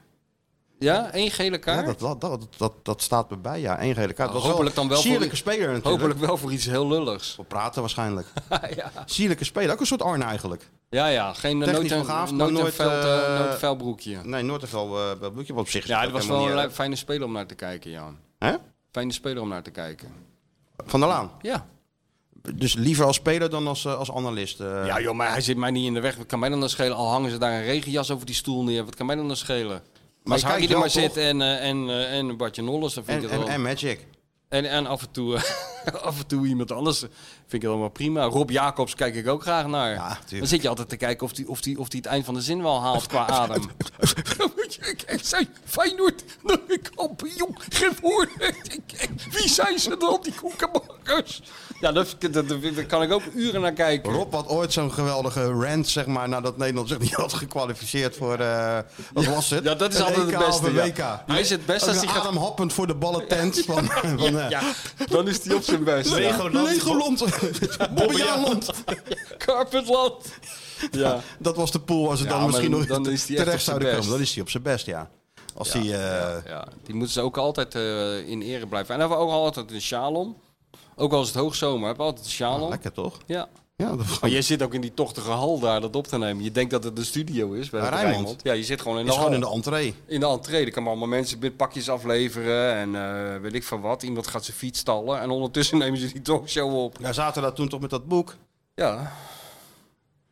S3: Ja, één gele
S2: Ja,
S3: kaart.
S2: dat, dat, dat, dat, dat staat me bij, ja. Eén gele kaart. Dat was
S3: hopelijk dan wel voor
S2: Sierlijke
S3: i-
S2: speler natuurlijk.
S3: hopelijk wel voor iets heel lulligs.
S2: We praten waarschijnlijk. Sierlijke speler, ook een soort Arne eigenlijk.
S3: Ja, ja, geen eh,
S2: Technisch
S3: nood en-
S2: begaafd, maar
S3: nood en
S2: nooit,
S3: veld, eh,
S2: eh,
S3: nood en vuil broekje.
S2: Nee, nooit te veel eh, bij Bloedje, want op zich is
S3: Ja,
S2: het
S3: het
S2: ook
S3: was
S2: helemaal
S3: wel
S2: niet
S3: een fijne speler om naar te kijken, Jan.
S2: erg.
S3: Fijne speler om naar te kijken.
S2: Hè? Van der Laan.
S3: Ja.
S2: Dus liever als speler dan als, eh, als analist. eh.
S3: Ja joh, maar hij zit mij niet in de weg. Wat kan mij dan dan schelen? Al hangen ze daar een regenjas over die stoel neer. Wat kan mij dan dan schelen?
S2: Maar
S3: Als
S2: je kijkt
S3: Harry er
S2: wel,
S3: maar
S2: toch?
S3: zit en, eh, en, eh, en Bartje Nolles, dan vind
S2: en,
S3: ik
S2: en,
S3: het wel...
S2: en Magic.
S3: En, en af, en toe, eh, af en toe iemand anders. Vind ik het allemaal prima. Rob Jacobs kijk ik ook graag naar. dan zit je altijd te kijken of hij of die, of die het eind van de zin wel haalt qua adem.
S26: Zijn Feyenoord nog een kampioen geworden? Wie zijn ze dan, die koekenbakkers?
S3: Ja, dat, dat, dat- daar kan ik ook uren naar kijken.
S2: Rob had ooit zo'n geweldige rant, zeg maar, nadat Nederland zich niet had gekwalificeerd voor, eh, wat was het?
S3: Ja, dat is
S2: Een
S3: altijd
S2: EK
S3: het
S2: of
S3: beste.
S2: een
S3: ja.
S2: WK.
S3: Hij is het best
S2: Ook
S3: als
S2: een
S3: hij gaat...
S2: ademhappend voor de ballentent van, van eh,
S3: Ja, dan is hij op zijn best. ja.
S4: Legoland.
S2: Legoland. Bobbejaanland.
S3: Carpetland. Ja.
S2: Dat was de pool waar ze
S3: Ja,
S2: dan
S3: maar
S2: misschien
S3: dan-
S2: nog
S3: dan is hij echt op
S2: terecht
S3: zijn
S2: zouden
S3: best.
S2: komen. Dan is hij op zijn best, ja. Als hij... eh,
S3: Ja, die moeten ze ook altijd eh, in ere blijven. En dan hebben we ook altijd een sjaal om. Ook al is het hoogzomer, hebben we altijd een sjaal om.
S2: Ah, Lekker toch?
S3: Ja.
S2: Ja, dat
S3: Maar jij zit ook in die tochtige hal daar dat op te nemen. Je denkt dat het een studio is bij
S2: Bij
S3: de
S2: Rijnmond.
S3: Rijnmond. Ja, je zit gewoon in de
S2: is gewoon
S3: hal.
S2: in de entree.
S3: in de entree. Er komen allemaal mensen met pakjes afleveren en eh, weet ik van wat. Iemand gaat zijn fiets stallen en ondertussen nemen ze die talkshow op.
S2: Ja, zaten daar toen toch met dat boek.
S3: Ja.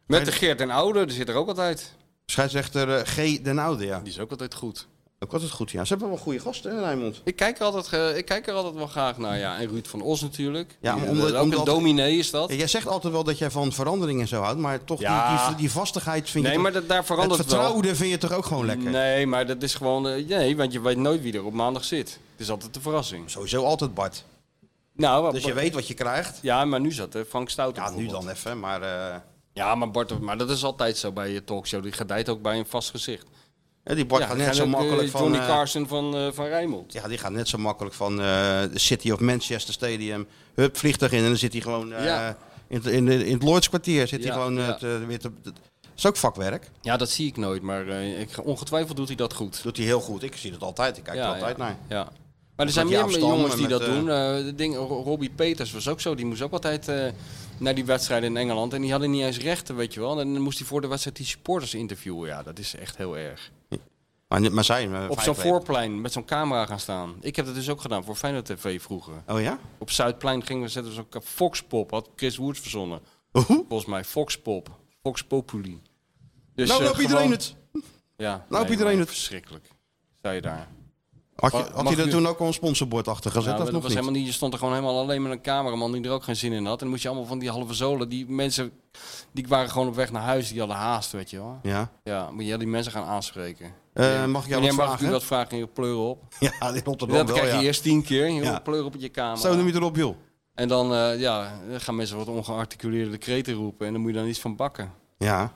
S3: Met de Geert en Oude, die zit er ook altijd.
S2: Scheidsrechter eh, G. Den Oude, ja.
S3: Die is ook altijd goed.
S27: Ook altijd goed, ja. Ze hebben wel goede gasten, hè, Rijmond.
S3: Ik kijk, er altijd, ge- ik kijk er altijd wel graag naar, ja. En Ruud van Os natuurlijk.
S2: Ja, maar
S3: Die,
S2: omdat-
S3: eh, ook
S2: omdat-
S3: een dominee is dat.
S2: Ja, jij zegt altijd wel dat jij van verandering en zo houdt, maar toch die-
S3: Ja.
S2: die, die, vastigheid vind je
S3: Nee,
S2: toch-
S3: maar dat- daar verandert
S2: Het
S3: het wel.
S2: vertrouwde vind je toch ook gewoon lekker?
S3: Nee, maar dat is gewoon... eh, nee, want je weet nooit wie er op maandag zit. Het is altijd een verrassing.
S2: Sowieso altijd Bart.
S3: Nou,
S2: Dus je weet wat je krijgt.
S3: Ja, maar nu zat eh, Frank Stout Ja, nu
S2: dan even, maar... eh,
S3: Ja, maar Bart, maar dat is altijd zo bij je talkshow. Die gedijt ook bij een vast gezicht.
S2: Ja, die Bart gaat net zo makkelijk van...
S3: Johnny
S2: eh,
S3: Carson van, eh van Rijnmond.
S2: Ja, die gaat net zo makkelijk van eh, de City of Manchester Stadium. Hup, vliegtuig in en dan zit hij gewoon eh,
S3: Ja.
S2: in, in, in het Lloyds kwartier. Zit
S3: Ja,
S2: hij gewoon eh,
S3: ja.
S2: te- weer te- dat is ook vakwerk.
S3: Ja, dat zie ik nooit, maar eh, ik, ongetwijfeld doet hij dat goed.
S2: Doet hij heel goed. Ik zie dat altijd. Ik kijk er altijd
S3: ja.
S2: naar.
S3: Ja. Maar er
S2: Met
S3: zijn meer
S2: Jaap Stam
S3: jongens
S2: en
S3: die
S2: met,
S3: dat
S2: eh,
S3: doen. Eh, de ding, Ro- Robbie Peters was ook zo. Die moest ook altijd eh, naar die wedstrijden in Engeland. En die hadden niet eens rechten, weet je wel. En dan moest hij voor de wedstrijd die supporters interviewen. Ja, dat is echt heel erg.
S2: Maar, maar zijn... eh,
S3: Op zo'n
S2: Vijfleven.
S3: voorplein met zo'n camera gaan staan. Ik heb dat dus ook gedaan voor Feyenoord TV vroeger.
S2: Oh ja?
S3: Op Zuidplein gingen we zetten we zo'n ka- Foxpop. Had Chris Woods verzonnen. Volgens mij Foxpop. Fox Populi. Dus,
S2: nou
S3: eh,
S2: loopt iedereen
S3: gewoon-
S2: het.
S3: Ja.
S2: Nou,
S3: nee,
S2: iedereen
S3: maar
S2: het.
S3: Verschrikkelijk. Zei je daar.
S2: Had je,
S3: Mag-
S2: had
S3: mag
S2: hij er
S3: nu-
S2: toen ook al een sponsorbord achter gezet?
S3: Nou,
S2: of
S3: dat
S2: nog
S3: was
S2: niet?
S3: helemaal niet. Je stond er gewoon helemaal alleen met een cameraman die er ook geen zin in had. En dan moest je allemaal van die halve zolen. Die mensen die waren gewoon op weg naar huis. Die hadden haast, weet je wel.
S2: Ja.
S3: Ja, moet je die mensen gaan aanspreken.
S2: Eh, mag ik jou
S3: Meneer,
S2: wat
S3: mag ik u
S2: vragen?
S3: wat vragen? Je pleur op.
S2: Ja, in Rotterdam
S3: dat
S2: wel,
S3: krijg je
S2: ja.
S3: eerst tien keer. Je
S2: Ja.
S3: pleur op in je kamer.
S2: Zo noem je het erop, joh.
S3: En dan eh, ja, dan gaan mensen wat ongearticuleerde kreten roepen. En dan moet je dan iets van bakken.
S2: Ja.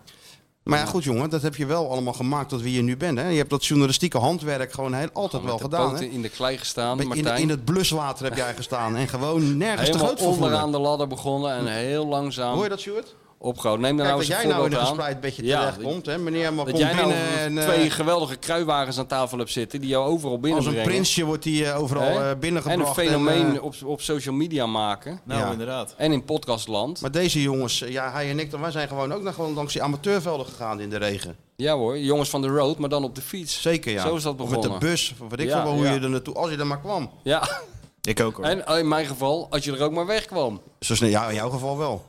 S2: Maar ja, goed jongen, dat heb je wel allemaal gemaakt tot wie je nu bent. Hè? Je hebt dat journalistieke handwerk gewoon heel, altijd wel
S3: Met de
S2: gedaan.
S3: poten
S2: Hè?
S3: in de klei gestaan,
S2: Beetje In,
S3: Martijn.
S2: in het bluswater heb jij gestaan en gewoon nergens te
S3: Helemaal
S2: groot voor voelen.
S3: onderaan de ladder begonnen en heel langzaam...
S2: Hoor je dat, Stuart?
S3: Opgehouden. Neem daar
S2: Kijk,
S3: nou
S2: dat
S3: eens een
S2: jij nou in
S3: voorbeeld
S2: een
S3: aan.
S2: gespreid bedje
S3: Ja,
S2: terechtkomt. hè? Meneer mag
S3: Dat
S2: komt
S3: jij
S2: binnen
S3: nou
S2: en eh,
S3: twee geweldige kruiwagens aan tafel hebt zitten die jou overal
S2: als
S3: binnenbrengen.
S2: een prinsje wordt hij eh, overal
S3: Hè?
S2: eh, binnengebracht.
S3: En een fenomeen
S2: eh,
S3: op, op social media maken.
S2: Nou, Ja.
S3: inderdaad. En in podcastland.
S2: maar deze jongens, eh, ja, hij en ik, dan, wij zijn gewoon ook nog gewoon langs die amateurvelden gegaan in de regen.
S3: Ja hoor, jongens van de road, maar dan op de fiets.
S2: Zeker ja.
S3: Zo is dat
S2: Of
S3: begonnen.
S2: Met de bus, of weet ik
S3: Ja,
S2: veel wel hoe
S3: ja.
S2: je er naartoe, als je er maar kwam.
S3: Ja.
S4: Ik ook hoor.
S3: En eh, in mijn geval, als je er ook maar wegkwam.
S2: Zo snel, ja, in jouw geval wel.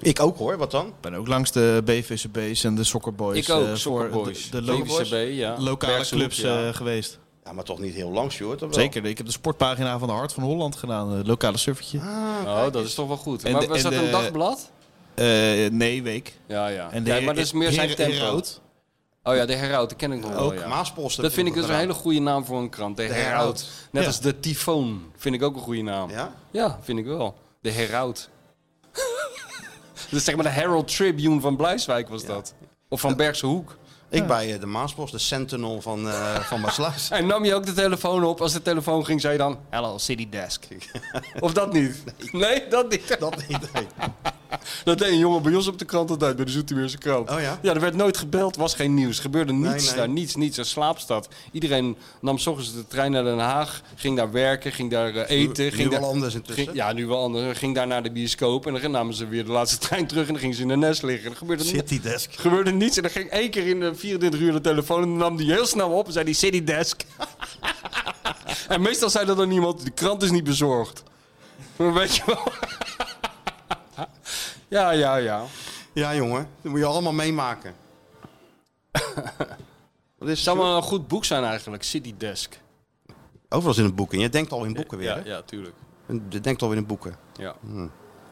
S2: Ik ook hoor, wat dan?
S4: Ik ben ook langs de BVCB's en de Soccerboys.
S3: Ik ook,
S4: eh,
S3: Soccerboys.
S4: De, de lo-
S3: BVCB, ja.
S4: lokale
S3: Bergshoek,
S4: clubs
S3: ja.
S4: eh, geweest.
S2: Ja, maar toch niet heel lang, Sjoerd, of wel?
S4: Zeker, ik heb de sportpagina van de Hart van Holland gedaan. Een lokale
S2: Ah,
S4: surfertje.
S3: Oh, dat is toch wel goed.
S4: En
S3: maar
S4: de-
S3: was
S4: en
S3: dat
S4: de-
S3: een dagblad?
S4: Eh, nee, week.
S3: Ja, ja.
S4: En de
S3: ja
S4: Her-
S3: maar dat is meer zijn
S4: Her-
S3: tempo.
S4: Herhout.
S3: Oh ja, de Herhout, dat ken ik nog wel.
S2: Ook
S3: Ja.
S2: Maaspost
S3: Dat
S2: heb
S3: vind
S2: je
S3: ik
S2: nog
S3: dus een hele
S2: gedaan.
S3: goede naam voor een krant. De
S2: De
S3: Herhout.
S2: Herald.
S3: Net
S2: Ja.
S3: als de Tyfoon. Vind ik ook een goede naam.
S2: Ja?
S3: Ja, vind ik wel. De Herhout. dat is zeg maar de Herald Tribune van Blijswijk was dat. Of van Bergse Hoek.
S2: Ik bij eh, de Maasbos, de Sentinel van, eh van Maasluis.
S3: En nam je ook de telefoon op? Als de telefoon ging, zei je dan... Hello, City Desk. of dat niet? Nee, dat niet.
S2: Dat niet, nee.
S3: Dat deed een jongen bij ons op de krant altijd, bij de Zoetermeerse krant.
S2: Oh ja?
S3: Ja, er werd nooit gebeld, was geen nieuws. Gebeurde niets
S2: nee.
S3: daar, niets, niets. Een slaapstad. Iedereen nam 's ochtends de trein naar Den Haag, ging daar werken, ging daar eh, eten.
S2: nu
S3: ging daar,
S2: wel anders intussen.
S3: ging- ja, nu wel anders. Ging daar naar de bioscoop en dan namen ze weer de laatste trein terug en dan gingen ze in de nest liggen. Er gebeurde, ni-
S2: City Desk.
S3: gebeurde niets en dan ging één keer in de 24 uur de telefoon en dan nam die heel snel op en zei die City Desk. en meestal zei dat dan iemand, de krant is niet bezorgd. Maar weet je wel. ja, ja, ja.
S2: Ja, jongen, dat moet je allemaal meemaken. Wat is
S3: Het zou maar een goed boek zijn eigenlijk, City Desk.
S2: Overal zit een boek in. Je denkt al in boeken weer.
S3: Ja,
S2: hè?
S3: ja, tuurlijk.
S2: Je denkt al in boeken.
S3: Ja.
S2: Hm.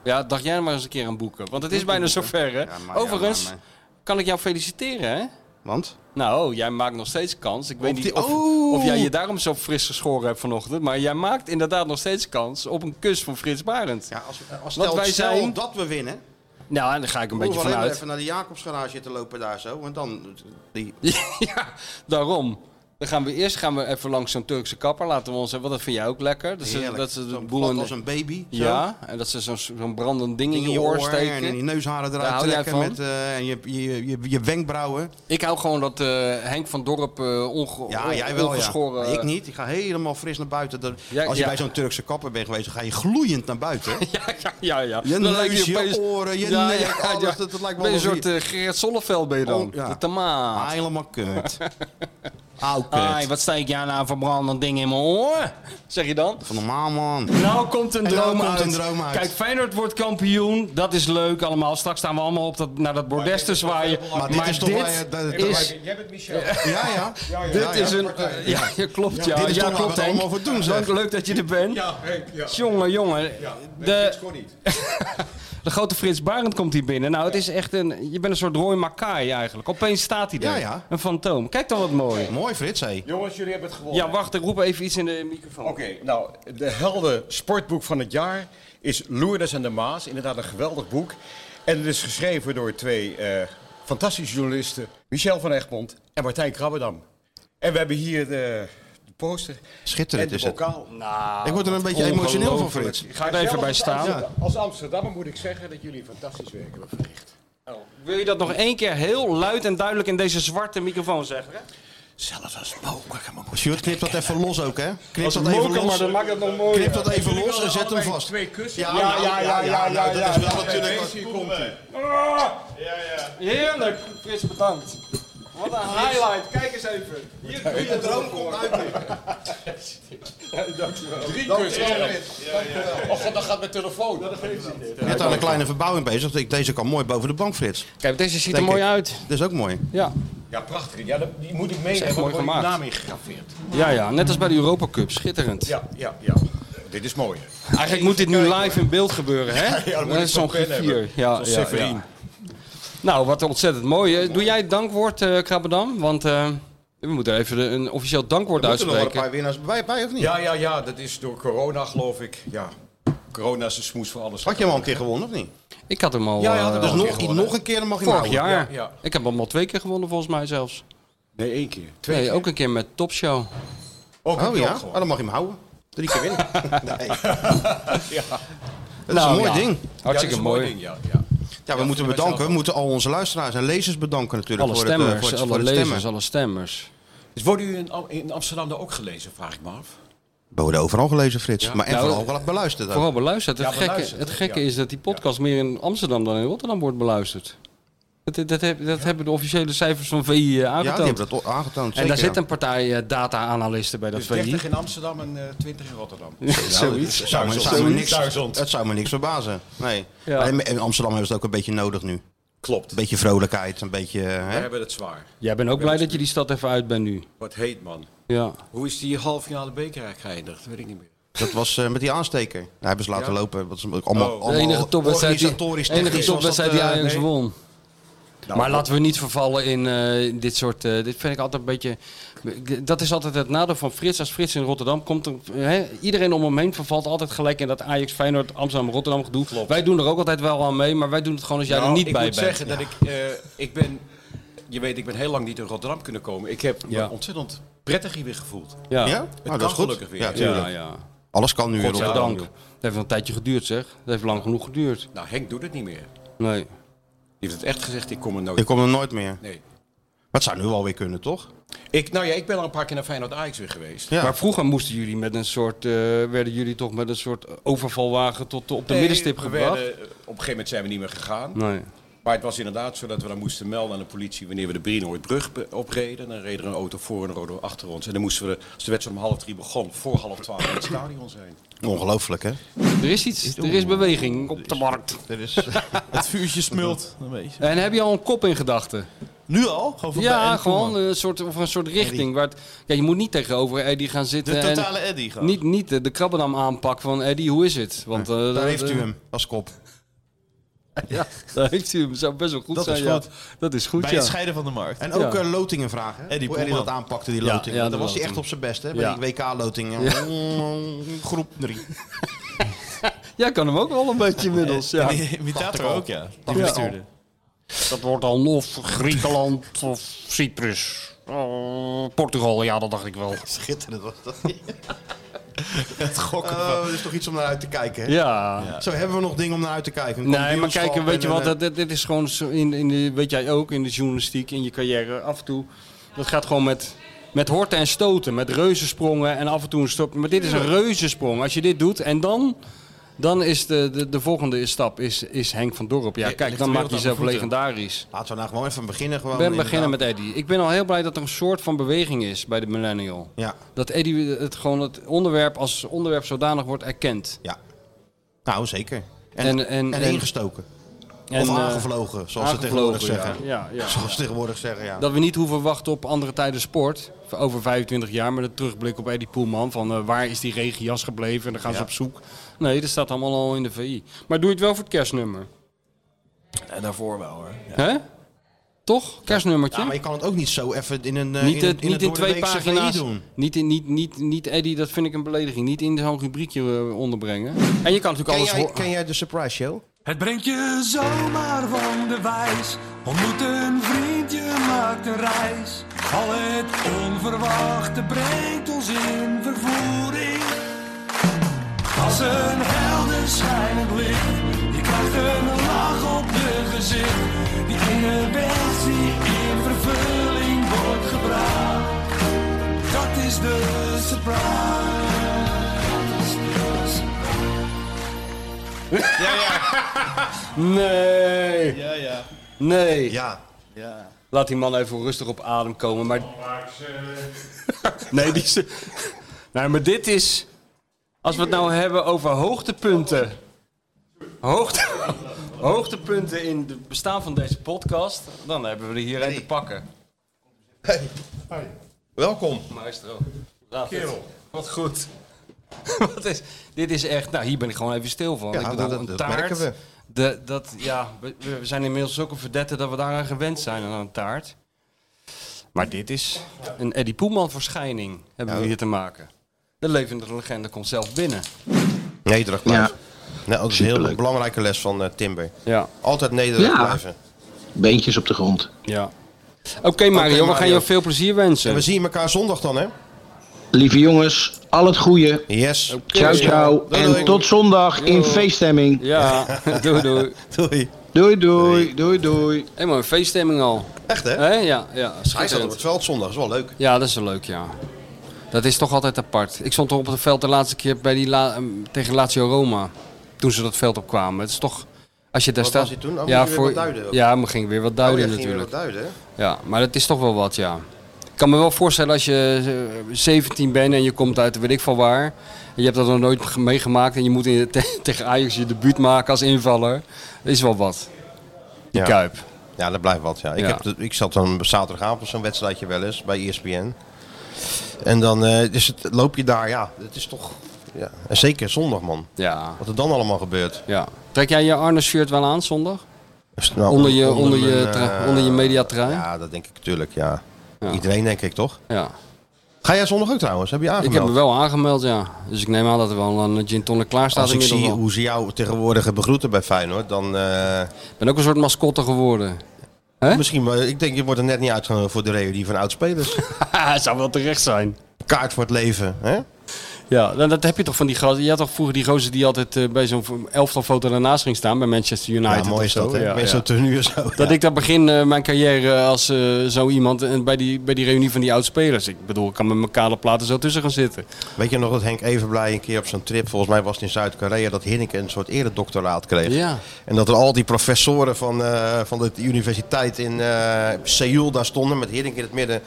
S3: ja, dacht jij maar eens een keer aan boeken. Want het is bijna zover, hè?
S2: Ja, maar- ja,
S3: Overigens,
S2: maar-
S3: kan ik jou feliciteren, hè?
S2: Want?
S3: Nou, jij maakt nog steeds kans. Ik weet
S2: die-
S3: niet of,
S2: Oh!
S3: of jij je daarom zo fris geschoren hebt vanochtend. Maar jij maakt inderdaad nog steeds kans op een kus van Frits Barend.
S2: Ja, als, als
S3: Want
S2: stel,
S3: wij
S2: stel
S3: zijn...
S2: dat we winnen.
S3: Nou, en daar ga ik een
S2: Een
S3: beetje
S2: hoeven alleen maar
S3: vanuit.
S2: even naar de Jacobsgarage te lopen daar zo. Want dan... Die...
S3: ja, daarom. Dan gaan we eerst gaan we even langs zo'n Turkse kapper. Laten we ons hebben. Dat vind jij ook lekker. Dat ze,
S2: Heerlijk.
S3: dat ze de
S2: Zo'n
S3: boel
S2: plat
S3: in de-
S2: als een baby, zo.
S3: Ja, en dat ze zo'n zo'n brandend ding in je, oor
S2: En
S3: steken.
S2: in je neusharen
S3: Daar
S2: eruit
S3: hou jij
S2: trekken.
S3: van?
S2: Met, eh, en je, je, je, je wenkbrauwen.
S3: Ik hou gewoon dat eh, Henk van Dorp eh onge
S2: Ja,
S3: on-
S2: jij wel,
S3: ongeschoren...
S2: ja. Ik niet. Ik ga helemaal fris naar buiten. Dat-
S3: Ja,
S2: als je
S3: ja.
S2: bij zo'n Turkse kapper bent geweest, dan ga je gloeiend naar buiten. hè?
S3: Ja, ja, ja.
S2: Je
S3: Dan lijkt
S2: neus, je
S3: opeens-
S2: oren, je nek, alles, dat- dat lijkt wel
S3: Ben je een
S2: alsof
S3: soort eh, Gerrit Zonneveld ben je dan.
S2: Oh, ja.
S3: De tomaat.
S2: Helemaal kut.
S3: Ai, wat steek jij nou voor brandend ding in mijn oor? Zeg je dan?
S2: Van normaal, man.
S3: Nou komt een
S2: En nou
S3: droom,
S2: komt
S3: uit.
S2: een droom uit.
S3: Kijk, Feyenoord wordt kampioen. Dat is leuk allemaal. Straks staan we allemaal op dat, naar dat bordes te zwaaien.
S2: Maar dit is toch wel, eh, dat- dat-
S9: Jij bent Michel.
S2: Ja, ja.
S3: Dit
S2: Ja, ja.
S3: is een. eh, Ja, ja, klopt. Ja,
S2: Dit is
S3: ja,
S2: toch waar we
S3: klopt,
S2: het
S3: Henk.
S2: allemaal voor doen, zeg.
S3: Dank, leuk dat je er bent.
S9: Ja, Henk, ja.
S3: Jongen, jongen. de, de grote Frits Barend komt hier binnen. Nou, het is echt een. Je bent een soort Roy Makai eigenlijk. Opeens staat hij er.
S9: Ja, ja.
S3: Een fantoom. Kijk dan wat mooi.
S2: Mooi, Frits, hé.
S9: Jongens, jullie hebben het gewonnen.
S3: Ja, wacht, ik roep even iets in de microfoon.
S9: Oké, nou, de helden sportboek van het jaar is Lourdes en de Maas. Inderdaad, een geweldig boek. En het is geschreven door twee eh, fantastische journalisten, Michel van Egmond en Martijn Krabbedam. En we hebben hier de, de poster.
S2: Schitterend
S9: en
S2: is
S9: de
S2: het.
S9: bokaal. Nou,
S2: Ik word er een beetje emotioneel van, Frits.
S9: ongelooflijk.
S3: Ga er even
S9: Zelfs
S3: bij
S9: als
S3: staan.
S9: Amster- Als Amsterdammer moet ik zeggen dat jullie fantastisch werk hebben verricht.
S3: Wil je dat nog één keer heel luid en duidelijk in deze zwarte microfoon zeggen?
S9: Zelfs als moker kan maar
S2: Sjoerd, knip dat even los ook, hè? Knip
S3: Als
S2: dat even
S3: moker, maar
S2: los.
S3: dan maakt het nog mooier.
S2: Knip dat even
S9: Jullie
S2: los en
S9: willen
S2: zet hem
S9: allebei
S2: vast.
S9: Twee kussen.
S2: Ja, ja, ja, ja, ja, ja, dat is wel natuurlijk wat-
S9: Hier komt hij.
S3: Ah! Heerlijk, Frits, bedankt. Wat een highlight, kijk eens even. Hier doe je droom komt
S9: Drie
S3: Dank
S9: kussen.
S3: je wel.
S9: Och, god, dan gaat mijn telefoon.
S2: Net aan een kleine verbouwing bezig. Ik- Deze kan mooi boven de bank, Frits.
S3: Kijk, deze ziet er
S2: Denk
S3: mooi
S2: ik.
S3: uit.
S2: Dit is ook mooi.
S3: Ja.
S9: Ja, prachtig. Ja, dat- die moet ik
S3: is echt
S9: meenemen.
S3: mooi
S9: want Dan wordt
S3: gemaakt.
S9: naam ingegraveerd.
S3: ja, ja, net als bij de Europa Cup, schitterend.
S9: Ja, ja, ja. Dit is mooi.
S3: Eigenlijk moet dit nu live in beeld gebeuren, hè?
S9: Ja, dan moet
S3: dat
S9: ik
S3: is
S9: zo'n
S3: zo'n
S9: pen
S3: griffier.
S9: hebben. Zo'n
S3: Ja, ja,
S9: Severin.
S3: ja. Nou, wat ontzettend mooi. hè. Doe jij het dankwoord, eh Krabbedam? Want eh, we moeten even de- een officieel dankwoord
S2: Er moeten nog wel een
S3: uitspreken.
S2: paar winnaars bij, bij of niet?
S9: Ja, ja, ja. Dat is door corona, geloof ik. Ja. Corona is de smoes voor alles.
S2: Had je hem al een keer gewonnen, of niet?
S3: Ik had hem al...
S9: Ja, je had hem
S3: eh,
S9: al een
S2: dus Nog,
S9: keer gewonnen.
S2: nog een keer dan mag je hem
S3: Vorig
S2: houden.
S3: jaar.
S9: Ja, ja.
S3: Ik heb hem al twee keer gewonnen, volgens mij zelfs.
S9: Nee, één keer. Twee
S3: Nee,
S9: keer.
S3: ook een keer met Top Show.
S9: Ook een
S2: Oh
S9: keer
S2: ja,
S9: ook
S2: Ah,
S9: gewoon.
S2: dan mag je hem houden. Drie keer winnen. Nee.
S9: Ja.
S2: Dat is een mooi
S3: Nou, ja.
S2: ding.
S9: Ja, dat
S3: Hartstikke
S9: is een
S3: mooi.
S9: mooi ding, ja. ja.
S2: Ja, we
S9: Ja, vinden
S2: moeten
S9: wij
S2: bedanken.
S9: zelf
S2: We moeten al onze luisteraars en lezers bedanken natuurlijk.
S3: Alle
S2: voor het, eh,
S3: stemmers,
S2: voor het,
S3: alle
S2: voor het
S3: lezers,
S2: stemmen.
S3: alle stemmers.
S9: Dus worden jullie in, Am- in Amsterdam daar ook gelezen, vraag ik me af?
S2: We worden overal gelezen, Frits.
S9: Ja.
S2: Maar en
S3: Nou,
S2: vooral wel beluisterd. ook.
S3: Vooral beluisterd. Het
S9: Ja,
S3: gekke,
S9: beluisterd,
S3: het
S9: hè?
S3: gekke
S9: Ja.
S3: is dat die podcast meer in Amsterdam dan in Rotterdam wordt beluisterd. Dat, dat, dat, heb- dat hebben de officiële cijfers van VI eh,
S2: Ja,
S3: aangetoond.
S2: die hebben dat o- aangetoond.
S3: en daar
S2: zeker,
S3: zit een partij eh, data-analisten bij dat
S9: Dus
S3: VI.
S9: 30 in Amsterdam en eh 20 in Rotterdam.
S2: ja.
S3: Zoiets.
S2: Het zou me, het zou me
S3: Zoiets.
S2: niks, het zou me niks verbazen. Nee.
S3: Ja.
S2: Maar in- in Amsterdam hebben ze het ook een beetje nodig nu.
S9: Klopt.
S2: Een beetje vrolijkheid, een beetje...
S9: We
S2: Hè?
S9: hebben het zwaar.
S3: Jij bent ook blij dat je die stad even uit bent nu.
S9: Wat heet, man.
S3: Ja.
S9: Hoe is die halffinale beker eigenlijk geëindigd? Dat weet ik niet meer.
S2: Dat was eh, met die aansteker. Daar hebben ze laten
S9: Ja.
S2: lopen. Dat is allemaal,
S9: Oh.
S2: allemaal
S3: de enige topwedstrijd die,
S2: organisatorisch
S3: enige
S2: technisch was
S3: topwedstrijd
S2: dat,
S3: die
S2: eh,
S3: Ajax
S2: nee. Nou,
S3: won. maar laten we niet vervallen in eh, dit soort. eh, dit vind ik altijd een beetje. Dat is altijd het nadeel van Frits. Als Frits in Rotterdam komt, er- hè, iedereen om hem heen vervalt altijd gelijk in dat Ajax, Feyenoord, Amsterdam, Rotterdam gedoe. Wij doen er ook altijd wel aan mee, maar wij doen het gewoon als jij
S9: Nou,
S3: er niet
S9: ik
S3: bij
S9: moet
S3: bent.
S9: zeggen dat ik, eh, ik ben, je weet, ik ben heel lang niet in Rotterdam kunnen komen. Ik heb
S3: Ja.
S9: me ontzettend prettig hier weer gevoeld.
S3: ja.
S2: Ja?
S9: Het
S2: Nou,
S9: kan
S2: dat is goed.
S9: gelukkig weer.
S2: Ja,
S3: ja,
S2: tuurlijk.
S3: ja.
S2: Alles kan nu. in Rotterdam.
S3: Godzijdank. Dat heeft een tijdje geduurd, zeg. Dat heeft lang genoeg geduurd.
S9: Nou, Henk doet het niet meer.
S3: Nee.
S9: Die heeft het echt gezegd, ik kom er nooit.
S2: Ik kom er nooit meer.
S9: Nee.
S2: Maar het zou nu alweer kunnen, toch?
S9: Ik, nou ja, ik ben al een paar keer naar Feyenoord Ajax weer geweest.
S2: Ja.
S3: Maar vroeger moesten jullie met een soort, eh, werden jullie toch met een soort overvalwagen tot op de
S9: Nee,
S3: middenstip
S9: we
S3: gebracht?
S9: werden- op een gegeven moment zijn we niet meer gegaan.
S3: Nee.
S9: Maar het was inderdaad zo dat we dan moesten melden aan de politie wanneer we de Brienhoortbrug be- opreden. Dan reed er een auto voor en een auto achter ons. En dan moesten we, als de wedstrijd om half drie begon, voor half twaalf in het stadion zijn.
S2: Ongelooflijk, hè?
S3: Er is iets, er is beweging op de markt.
S2: Er is...
S4: Het vuurtje smult een beetje.
S3: En heb je al een kop in gedachten?
S4: Nu al? Gewoon van bij
S3: Ja,
S4: Eddie
S3: gewoon
S4: Koeman.
S3: een soort, of een soort richting. Waar het, ja, je moet niet tegenover Eddie gaan zitten.
S4: De
S3: en
S4: totale Eddie gewoon.
S3: Niet, niet de, de krabbenam aanpak van Eddie, hoe is het? Want, eh,
S2: Daar
S3: dat-
S2: heeft u
S3: eh,
S2: hem als kop.
S3: Daar heeft u hem. Zou best wel goed
S4: Dat
S3: zijn.
S4: is
S3: ja.
S4: goed.
S3: Dat is goed,
S4: Bij
S3: ja.
S4: het scheiden van de markt.
S2: En ook
S3: Ja.
S2: eh, lotingen vragen. Hè?
S4: Eddie
S2: Hoe Eddie
S4: Poelman.
S2: dat aanpakte, die
S4: Ja,
S2: lotingen.
S3: ja, de
S2: Daar was hij echt
S3: loting.
S2: op zijn best, hè? Bij
S3: Ja.
S2: die WK-lotingen. mm, Groep 3.
S3: Jij kan hem ook wel een beetje inmiddels. Ja.
S4: Die imitator
S2: al.
S4: ook, ja. Die
S2: Ja.
S4: verstuurde.
S28: Dat wordt dan of Griekenland of Cyprus. Oh, Portugal, ja, dat dacht ik wel.
S2: Schitterend was dat.
S4: Het gokken van...
S2: Oh, dat is toch iets om naar uit te kijken, hè?
S3: ja.
S2: Zo hebben we nog dingen om naar uit te kijken. Een
S3: Nee, maar
S2: kampioenschap
S3: kijk, weet je
S2: en een, eh,
S3: wat, dat, dit, dit is gewoon, zo in, in de, weet jij ook, in de journalistiek, in je carrière, af en toe, dat gaat gewoon met, met horten en stoten, met reuzensprongen en af en toe een stop. Maar dit is een reuzensprong, als je dit doet en dan Dan is de, de, de volgende stap is, is Henk van Dorp. Ja,
S2: Ja,
S3: kijk,
S2: ligt
S3: dan
S2: de
S3: maak
S2: eh, wereld
S3: je
S2: aan
S3: jezelf
S2: mijn voeten.
S3: legendarisch.
S2: Laten we nou gewoon even beginnen. Gewoon nou,
S3: Ik ben beginnen met Eddy. Ik ben al heel blij dat er een soort van beweging is bij de millennial.
S2: Ja.
S3: Dat Eddy het, gewoon het onderwerp als onderwerp zodanig wordt erkend.
S2: Ja. Nou, zeker. En,
S3: En-
S2: en,
S3: en- en-
S2: ingestoken.
S3: En,
S2: of
S3: eh,
S2: aangevlogen, zoals ze
S3: aangevlogen,
S2: tegenwoordig zeggen.
S3: ja, ja, ja.
S2: zoals ze tegenwoordig zeggen, ja.
S3: Dat we niet hoeven wachten op andere tijden sport. Over 25 jaar met een terugblik op Eddie Poelman. Van eh, waar is die regenjas gebleven? En dan gaan ze
S2: Ja.
S3: op zoek. Nee, dat staat allemaal al in de VI. Maar doe je het wel voor het kerstnummer.
S2: En daarvoor wel, hoor.
S3: Hè? Toch? Kerstnummertje?
S2: Ja, maar je kan het ook niet zo even in een... eh,
S3: niet
S2: in,
S3: het-
S2: een
S3: niet in twee
S2: doordeweekse VI
S3: pagina's.
S2: doen.
S3: Niet, in, niet, niet, niet Eddie, dat vind ik een belediging. Niet in zo'n rubriekje eh, onderbrengen. En je kan natuurlijk
S2: Ken
S3: alles
S2: jij,
S3: horen.
S2: ken jij de Surprise Show?
S1: Het brengt je zomaar van de wijs. Ontmoet een vriend, je maakt een reis. Al het onverwachte brengt ons in vervoering. Als een helder schijnend licht. Je krijgt een lach op je gezicht. Die ene wens die in vervulling wordt gebracht. Dat is de surprise. De surprise.
S2: Ja, ja.
S3: Nee.
S2: Ja, ja.
S3: Nee.
S2: Ja.
S4: Ja.
S3: Laat die man even rustig op adem komen. Maar... nee, die is... Nee, maar dit is... Als we het nou hebben over hoogtepunten. Hoogte... hoogtepunten in het bestaan van deze podcast. Dan hebben we er hier een te pakken.
S2: Welkom.
S3: Maestro. Raad het. Wat goed. Wat is, dit is echt... Nou, hier ben ik gewoon even stil van.
S2: Ja,
S3: ik bedoel,
S2: nou, dat-
S3: een
S2: dat
S3: taart.
S2: merken we.
S3: De, dat, ja, we, we zijn inmiddels zulke verdetten dat we daaraan gewend zijn aan een taart. Maar dit is een Eddie Poelman verschijning hebben we hier te maken. De levende legende komt zelf binnen.
S2: Nederig blijven. Nou, dat is een heel belangrijke les van eh, Timber.
S3: Ja.
S2: Altijd nederig
S3: Ja.
S2: blijven.
S12: Beentjes op de grond.
S3: Ja. Oké Mario, we gaan je veel plezier wensen.
S2: En we zien elkaar zondag dan, hè?
S12: Lieve jongens, al het goede.
S2: Yes.
S12: Ciao, ciao.
S2: Doei,
S12: en
S2: doei.
S12: tot zondag in feeststemming.
S3: Ja, doei doei.
S2: Doei.
S12: Doei, doei, doei, doei.
S3: Helemaal een feeststemming al.
S2: Echt hè?
S3: Ja, ja.
S2: Hij staat op het veld zondag, is wel leuk.
S3: Ja, dat is wel leuk, ja. Dat is toch altijd apart. Ik stond er op het veld de laatste keer bij die la- ehm, tegen Lazio Roma. Toen ze dat veld opkwamen. Het is toch... Als je daar
S2: Wat
S3: staat...
S2: was hij toen? Oh, moest hij weer wat duiden ook?
S3: Ja, maar ging weer wat duiden
S2: Oh, ja, ging weer
S3: natuurlijk.
S2: wat duiden, hè?
S3: Ja, maar dat is toch wel wat, ja. Ik kan me wel voorstellen als je eh, 17 bent en je komt uit weet ik van waar. En je hebt dat nog nooit ge- meegemaakt en je moet in, te- tegen Ajax je debuut maken als invaller. Dat is wel wat. Die
S2: Ja.
S3: Kuip.
S2: Ja, dat blijft wat. Ja. Ik,
S3: Ja.
S2: Heb, de- ik zat dan zaterdagavond zo'n wedstrijdje wel eens bij E ESPN. En dan eh, dus het, loop je daar, ja, het is toch. Ja. En zeker zondag, man.
S3: Ja.
S2: Wat er dan allemaal gebeurt.
S3: Ja. Trek jij je Arne shirt wel aan zondag?
S2: Nou,
S3: onder je, onder,
S2: onder
S3: je,
S2: mijn,
S3: tra-
S2: eh,
S3: onder je mediatrui?
S2: Ja, dat denk ik natuurlijk, ja. Iedereen denk ik toch?
S3: Ja.
S2: Ga jij zondag ook trouwens? Heb je
S3: Ik heb
S2: aangemeld?
S3: me wel aangemeld, ja. Dus ik neem aan dat er wel een eh, gin tonic klaar staat
S2: Als ik
S3: inmiddels
S2: zie
S3: al.
S2: hoe ze jou tegenwoordig begroeten bij Feyenoord, dan... Ik
S3: ben ook een soort mascotte geworden.
S2: Misschien, maar ik denk je wordt er net niet uitgenodigd voor de reunie van oudspelers.
S3: Het zou wel terecht zijn.
S2: Kaart voor het leven, hè?
S3: Ja, dan, dat heb je toch van die gozer. Je had toch vroeger die gozer die altijd eh, bij zo'n v- elftal foto daarnaast ging staan bij Manchester United.
S2: ja, mooi
S3: of
S2: is
S3: zo.
S2: dat, hè?
S3: Ja,
S2: Met
S3: ja.
S2: zo'n tenue en zo.
S3: Dat ik dat begin eh, mijn carrière als eh, zo iemand en bij die, bij die reunie van die oud-spelers. Ik bedoel, ik kan met mijn kale platen zo tussen gaan zitten.
S2: Weet je nog dat Henk Evenblij een keer op zo'n trip, volgens mij was het in Zuid-Korea, dat Hinneken een soort eredoctoraat kreeg.
S3: Ja.
S2: En dat er al die professoren van, eh, van de universiteit in eh, Seoul daar stonden met Hinneken in het midden.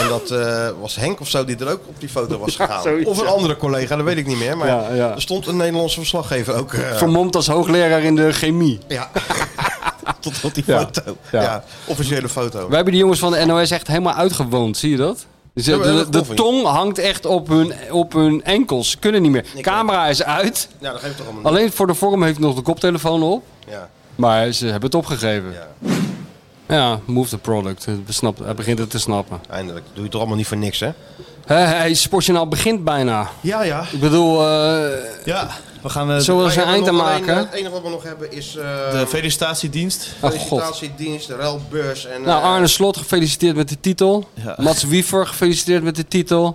S2: En dat eh, was Henk of zo die er ook op die foto was
S3: Ja,
S2: gegaan.
S3: zoiets,
S2: of een
S3: ja.
S2: andere collega, dat weet ik niet meer. Maar
S3: Ja, ja.
S2: er stond een Nederlandse verslaggever ook. eh,
S3: Vermomd als hoogleraar in de chemie.
S2: Ja. Tot op die foto. Ja.
S3: Ja.
S2: Ah. officiële foto.
S3: Wij hebben die jongens van de NOS echt helemaal uitgewoond, zie je dat? Dus
S2: Ja,
S3: De,
S2: maar dat
S3: de, de
S2: koffie.
S3: tong hangt echt op hun, op hun enkels. Ze kunnen niet meer. Camera is uit.
S2: Ja, dat geeft toch allemaal
S3: Alleen voor de vorm heeft nog de koptelefoon op.
S2: Ja.
S3: Maar ze hebben het opgegeven. Ja, move the product. Hij snapt- Hij begint het te snappen.
S2: Eindelijk. Doe je toch allemaal niet voor niks, hè?
S3: Hé, hey, Sportjournaal begint bijna.
S2: Ja, ja.
S3: Ik bedoel... eh
S2: Ja,
S3: we gaan... zullen we er
S2: Wij
S3: een
S2: hebben
S3: eind aan
S2: nog alleen, eh,
S3: maken? Oh,
S2: Het enige wat we nog hebben is... eh,
S29: De felicitatiedienst.
S2: Felicitatiedienst, de ruilbeurs en...
S3: Nou,
S2: eh,
S3: Arne Slot, gefeliciteerd met de titel. Mats Wiever, gefeliciteerd met de titel.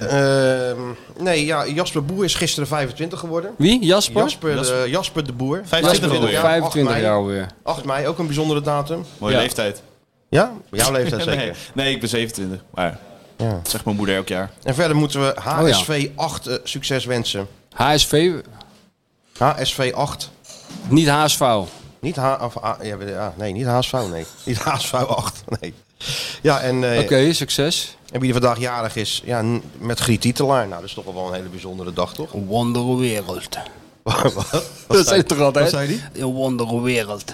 S2: Ehm, nee, ja, Jasper Boer is gisteren 25 geworden.
S3: Wie? Jasper?
S2: Jasper, eh, Jasper. de Boer.
S29: 25
S2: Jasper de
S29: alweer.
S2: Boer,
S29: 25
S2: 8 mei.
S29: jaar alweer.
S2: 8 mei, ook een bijzondere datum.
S4: Mooie
S2: Ja.
S4: leeftijd.
S2: Ja? Jouw leeftijd
S4: Nee.
S2: zeker.
S4: Nee, ik ben 27. Maar
S2: ja.
S4: dat zegt mijn moeder elk jaar.
S3: Oh
S2: En verder moeten we
S4: ja.
S2: HSV 8 eh, succes wensen.
S3: HSV...
S2: HSV 8.
S3: Niet HSV.
S2: Niet H of A- ja, ja, nee, niet HSV, nee. Niet HSV 8, nee. Ja, en... eh,
S3: Oké, succes.
S2: En wie er vandaag jarig is, ja, n- met Griet Titelaar. Nou, dat is toch wel een hele bijzondere dag, toch? Een wonderwereld. Wat? Wat
S3: Dat
S2: zei-
S3: zei toch altijd?
S2: Wat zei die?
S3: Een wonderwereld.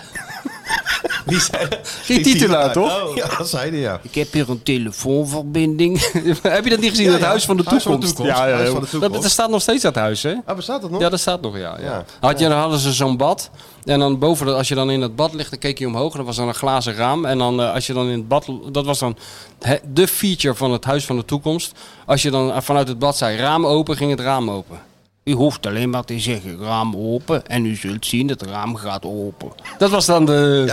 S2: Wie zei
S3: Geen titelaar, toch?
S2: Ja, dat zei hij, ja.
S3: Ik heb hier een telefoonverbinding. heb je dat niet gezien?
S2: Ja,
S3: dat
S2: ja.
S3: huis van de
S2: Huis
S3: toekomst.
S2: van de toekomst.
S3: Ja, ja,
S2: Huis
S3: ja.
S2: van de toekomst.
S3: Dat, dat staat nog steeds dat huis, hè?
S2: Ah, bestaat dat nog?
S3: Ja, dat staat nog, ja. ja.
S2: Ja.
S3: Had je, dan hadden ze zo'n bad. En dan boven, dat- als je dan in het bad ligt, dan keek je omhoog. En dan was dan een glazen raam. En dan, eh, als je dan in het bad... Dat was dan hè, de feature van het Huis van de Toekomst. Als je dan eh, vanuit het bad zei, raam open, ging het raam open. U hoeft alleen maar te zeggen, raam open. En u zult zien, het raam gaat open. Dat was dan de...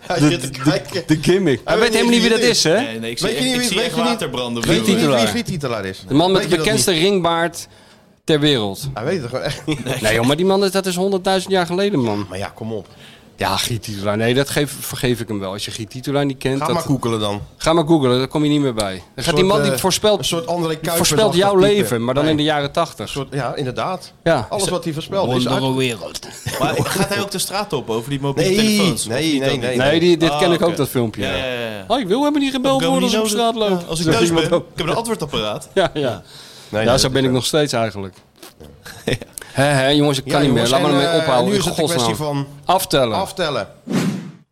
S2: Hij
S3: de,
S2: zit te kijken.
S3: de gimmick. Hij weet helemaal niet wie dat is, hè?
S2: Nee, nee, ik zie Weet je echt- niet ik wie- zie echt weet je niet- waterbranden
S3: Griet
S2: broeien.
S3: Titelaar.
S2: Wie Griet Titelaar is.
S3: De man met
S2: Weet
S3: de
S2: je dat
S3: bekendste ringbaard ter wereld.
S2: Hij weet het gewoon echt niet.
S3: Nee, joh, maar die man, is- dat is 100.000 jaar geleden, man.
S2: Maar ja, kom op.
S3: Ja, Giet Titulaar. Nee, dat geef, vergeef ik hem wel. Als je Giet Titulaar niet kent...
S2: Ga
S3: dat...
S2: maar googelen dan.
S3: Ga maar googelen, daar kom je niet meer bij. Dan gaat die man die voorspelt...
S2: eh, Een soort André Kuipers.
S3: voorspelt jouw leven, maar dan in de jaren 80.
S2: Ja, inderdaad.
S3: Ja.
S2: Alles wat hij voorspelt is uit...
S3: wereld.
S4: Maar gaat hij ook de straat op over die mobiele
S2: Nee,
S4: telefoons? Of
S2: nee,
S4: niet
S2: nee,
S4: dat
S2: nee,
S4: niet?
S3: Nee, die, dit
S4: Ah,
S3: ken ik
S4: oké.
S3: ook, dat filmpje.
S4: Ja,
S3: ja.
S4: ja, ja, ja.
S3: Oh, ik wil helemaal niet gebeld
S4: Heb ik
S3: worden als ik
S4: hem niet
S3: op straat
S4: nodig?
S3: loop.
S4: Ja, Als ik
S3: Zegt
S4: thuis ben,
S3: iemand
S4: ik
S3: ook.
S4: heb een antwoordapparaat.
S3: Ja, ja.
S2: Nee,
S3: ja,
S2: nee,
S3: zo
S2: dat
S3: ben ik nog steeds eigenlijk. Hé, hé, jongens, ik kan
S2: Ja,
S3: niet meer.
S2: jongens,
S3: Laat me
S2: en,
S3: ermee
S2: eh,
S3: ophouden.
S2: Nu
S3: in
S2: is het een
S3: godsnaam.
S2: kwestie van
S3: Aftellen.
S2: aftellen.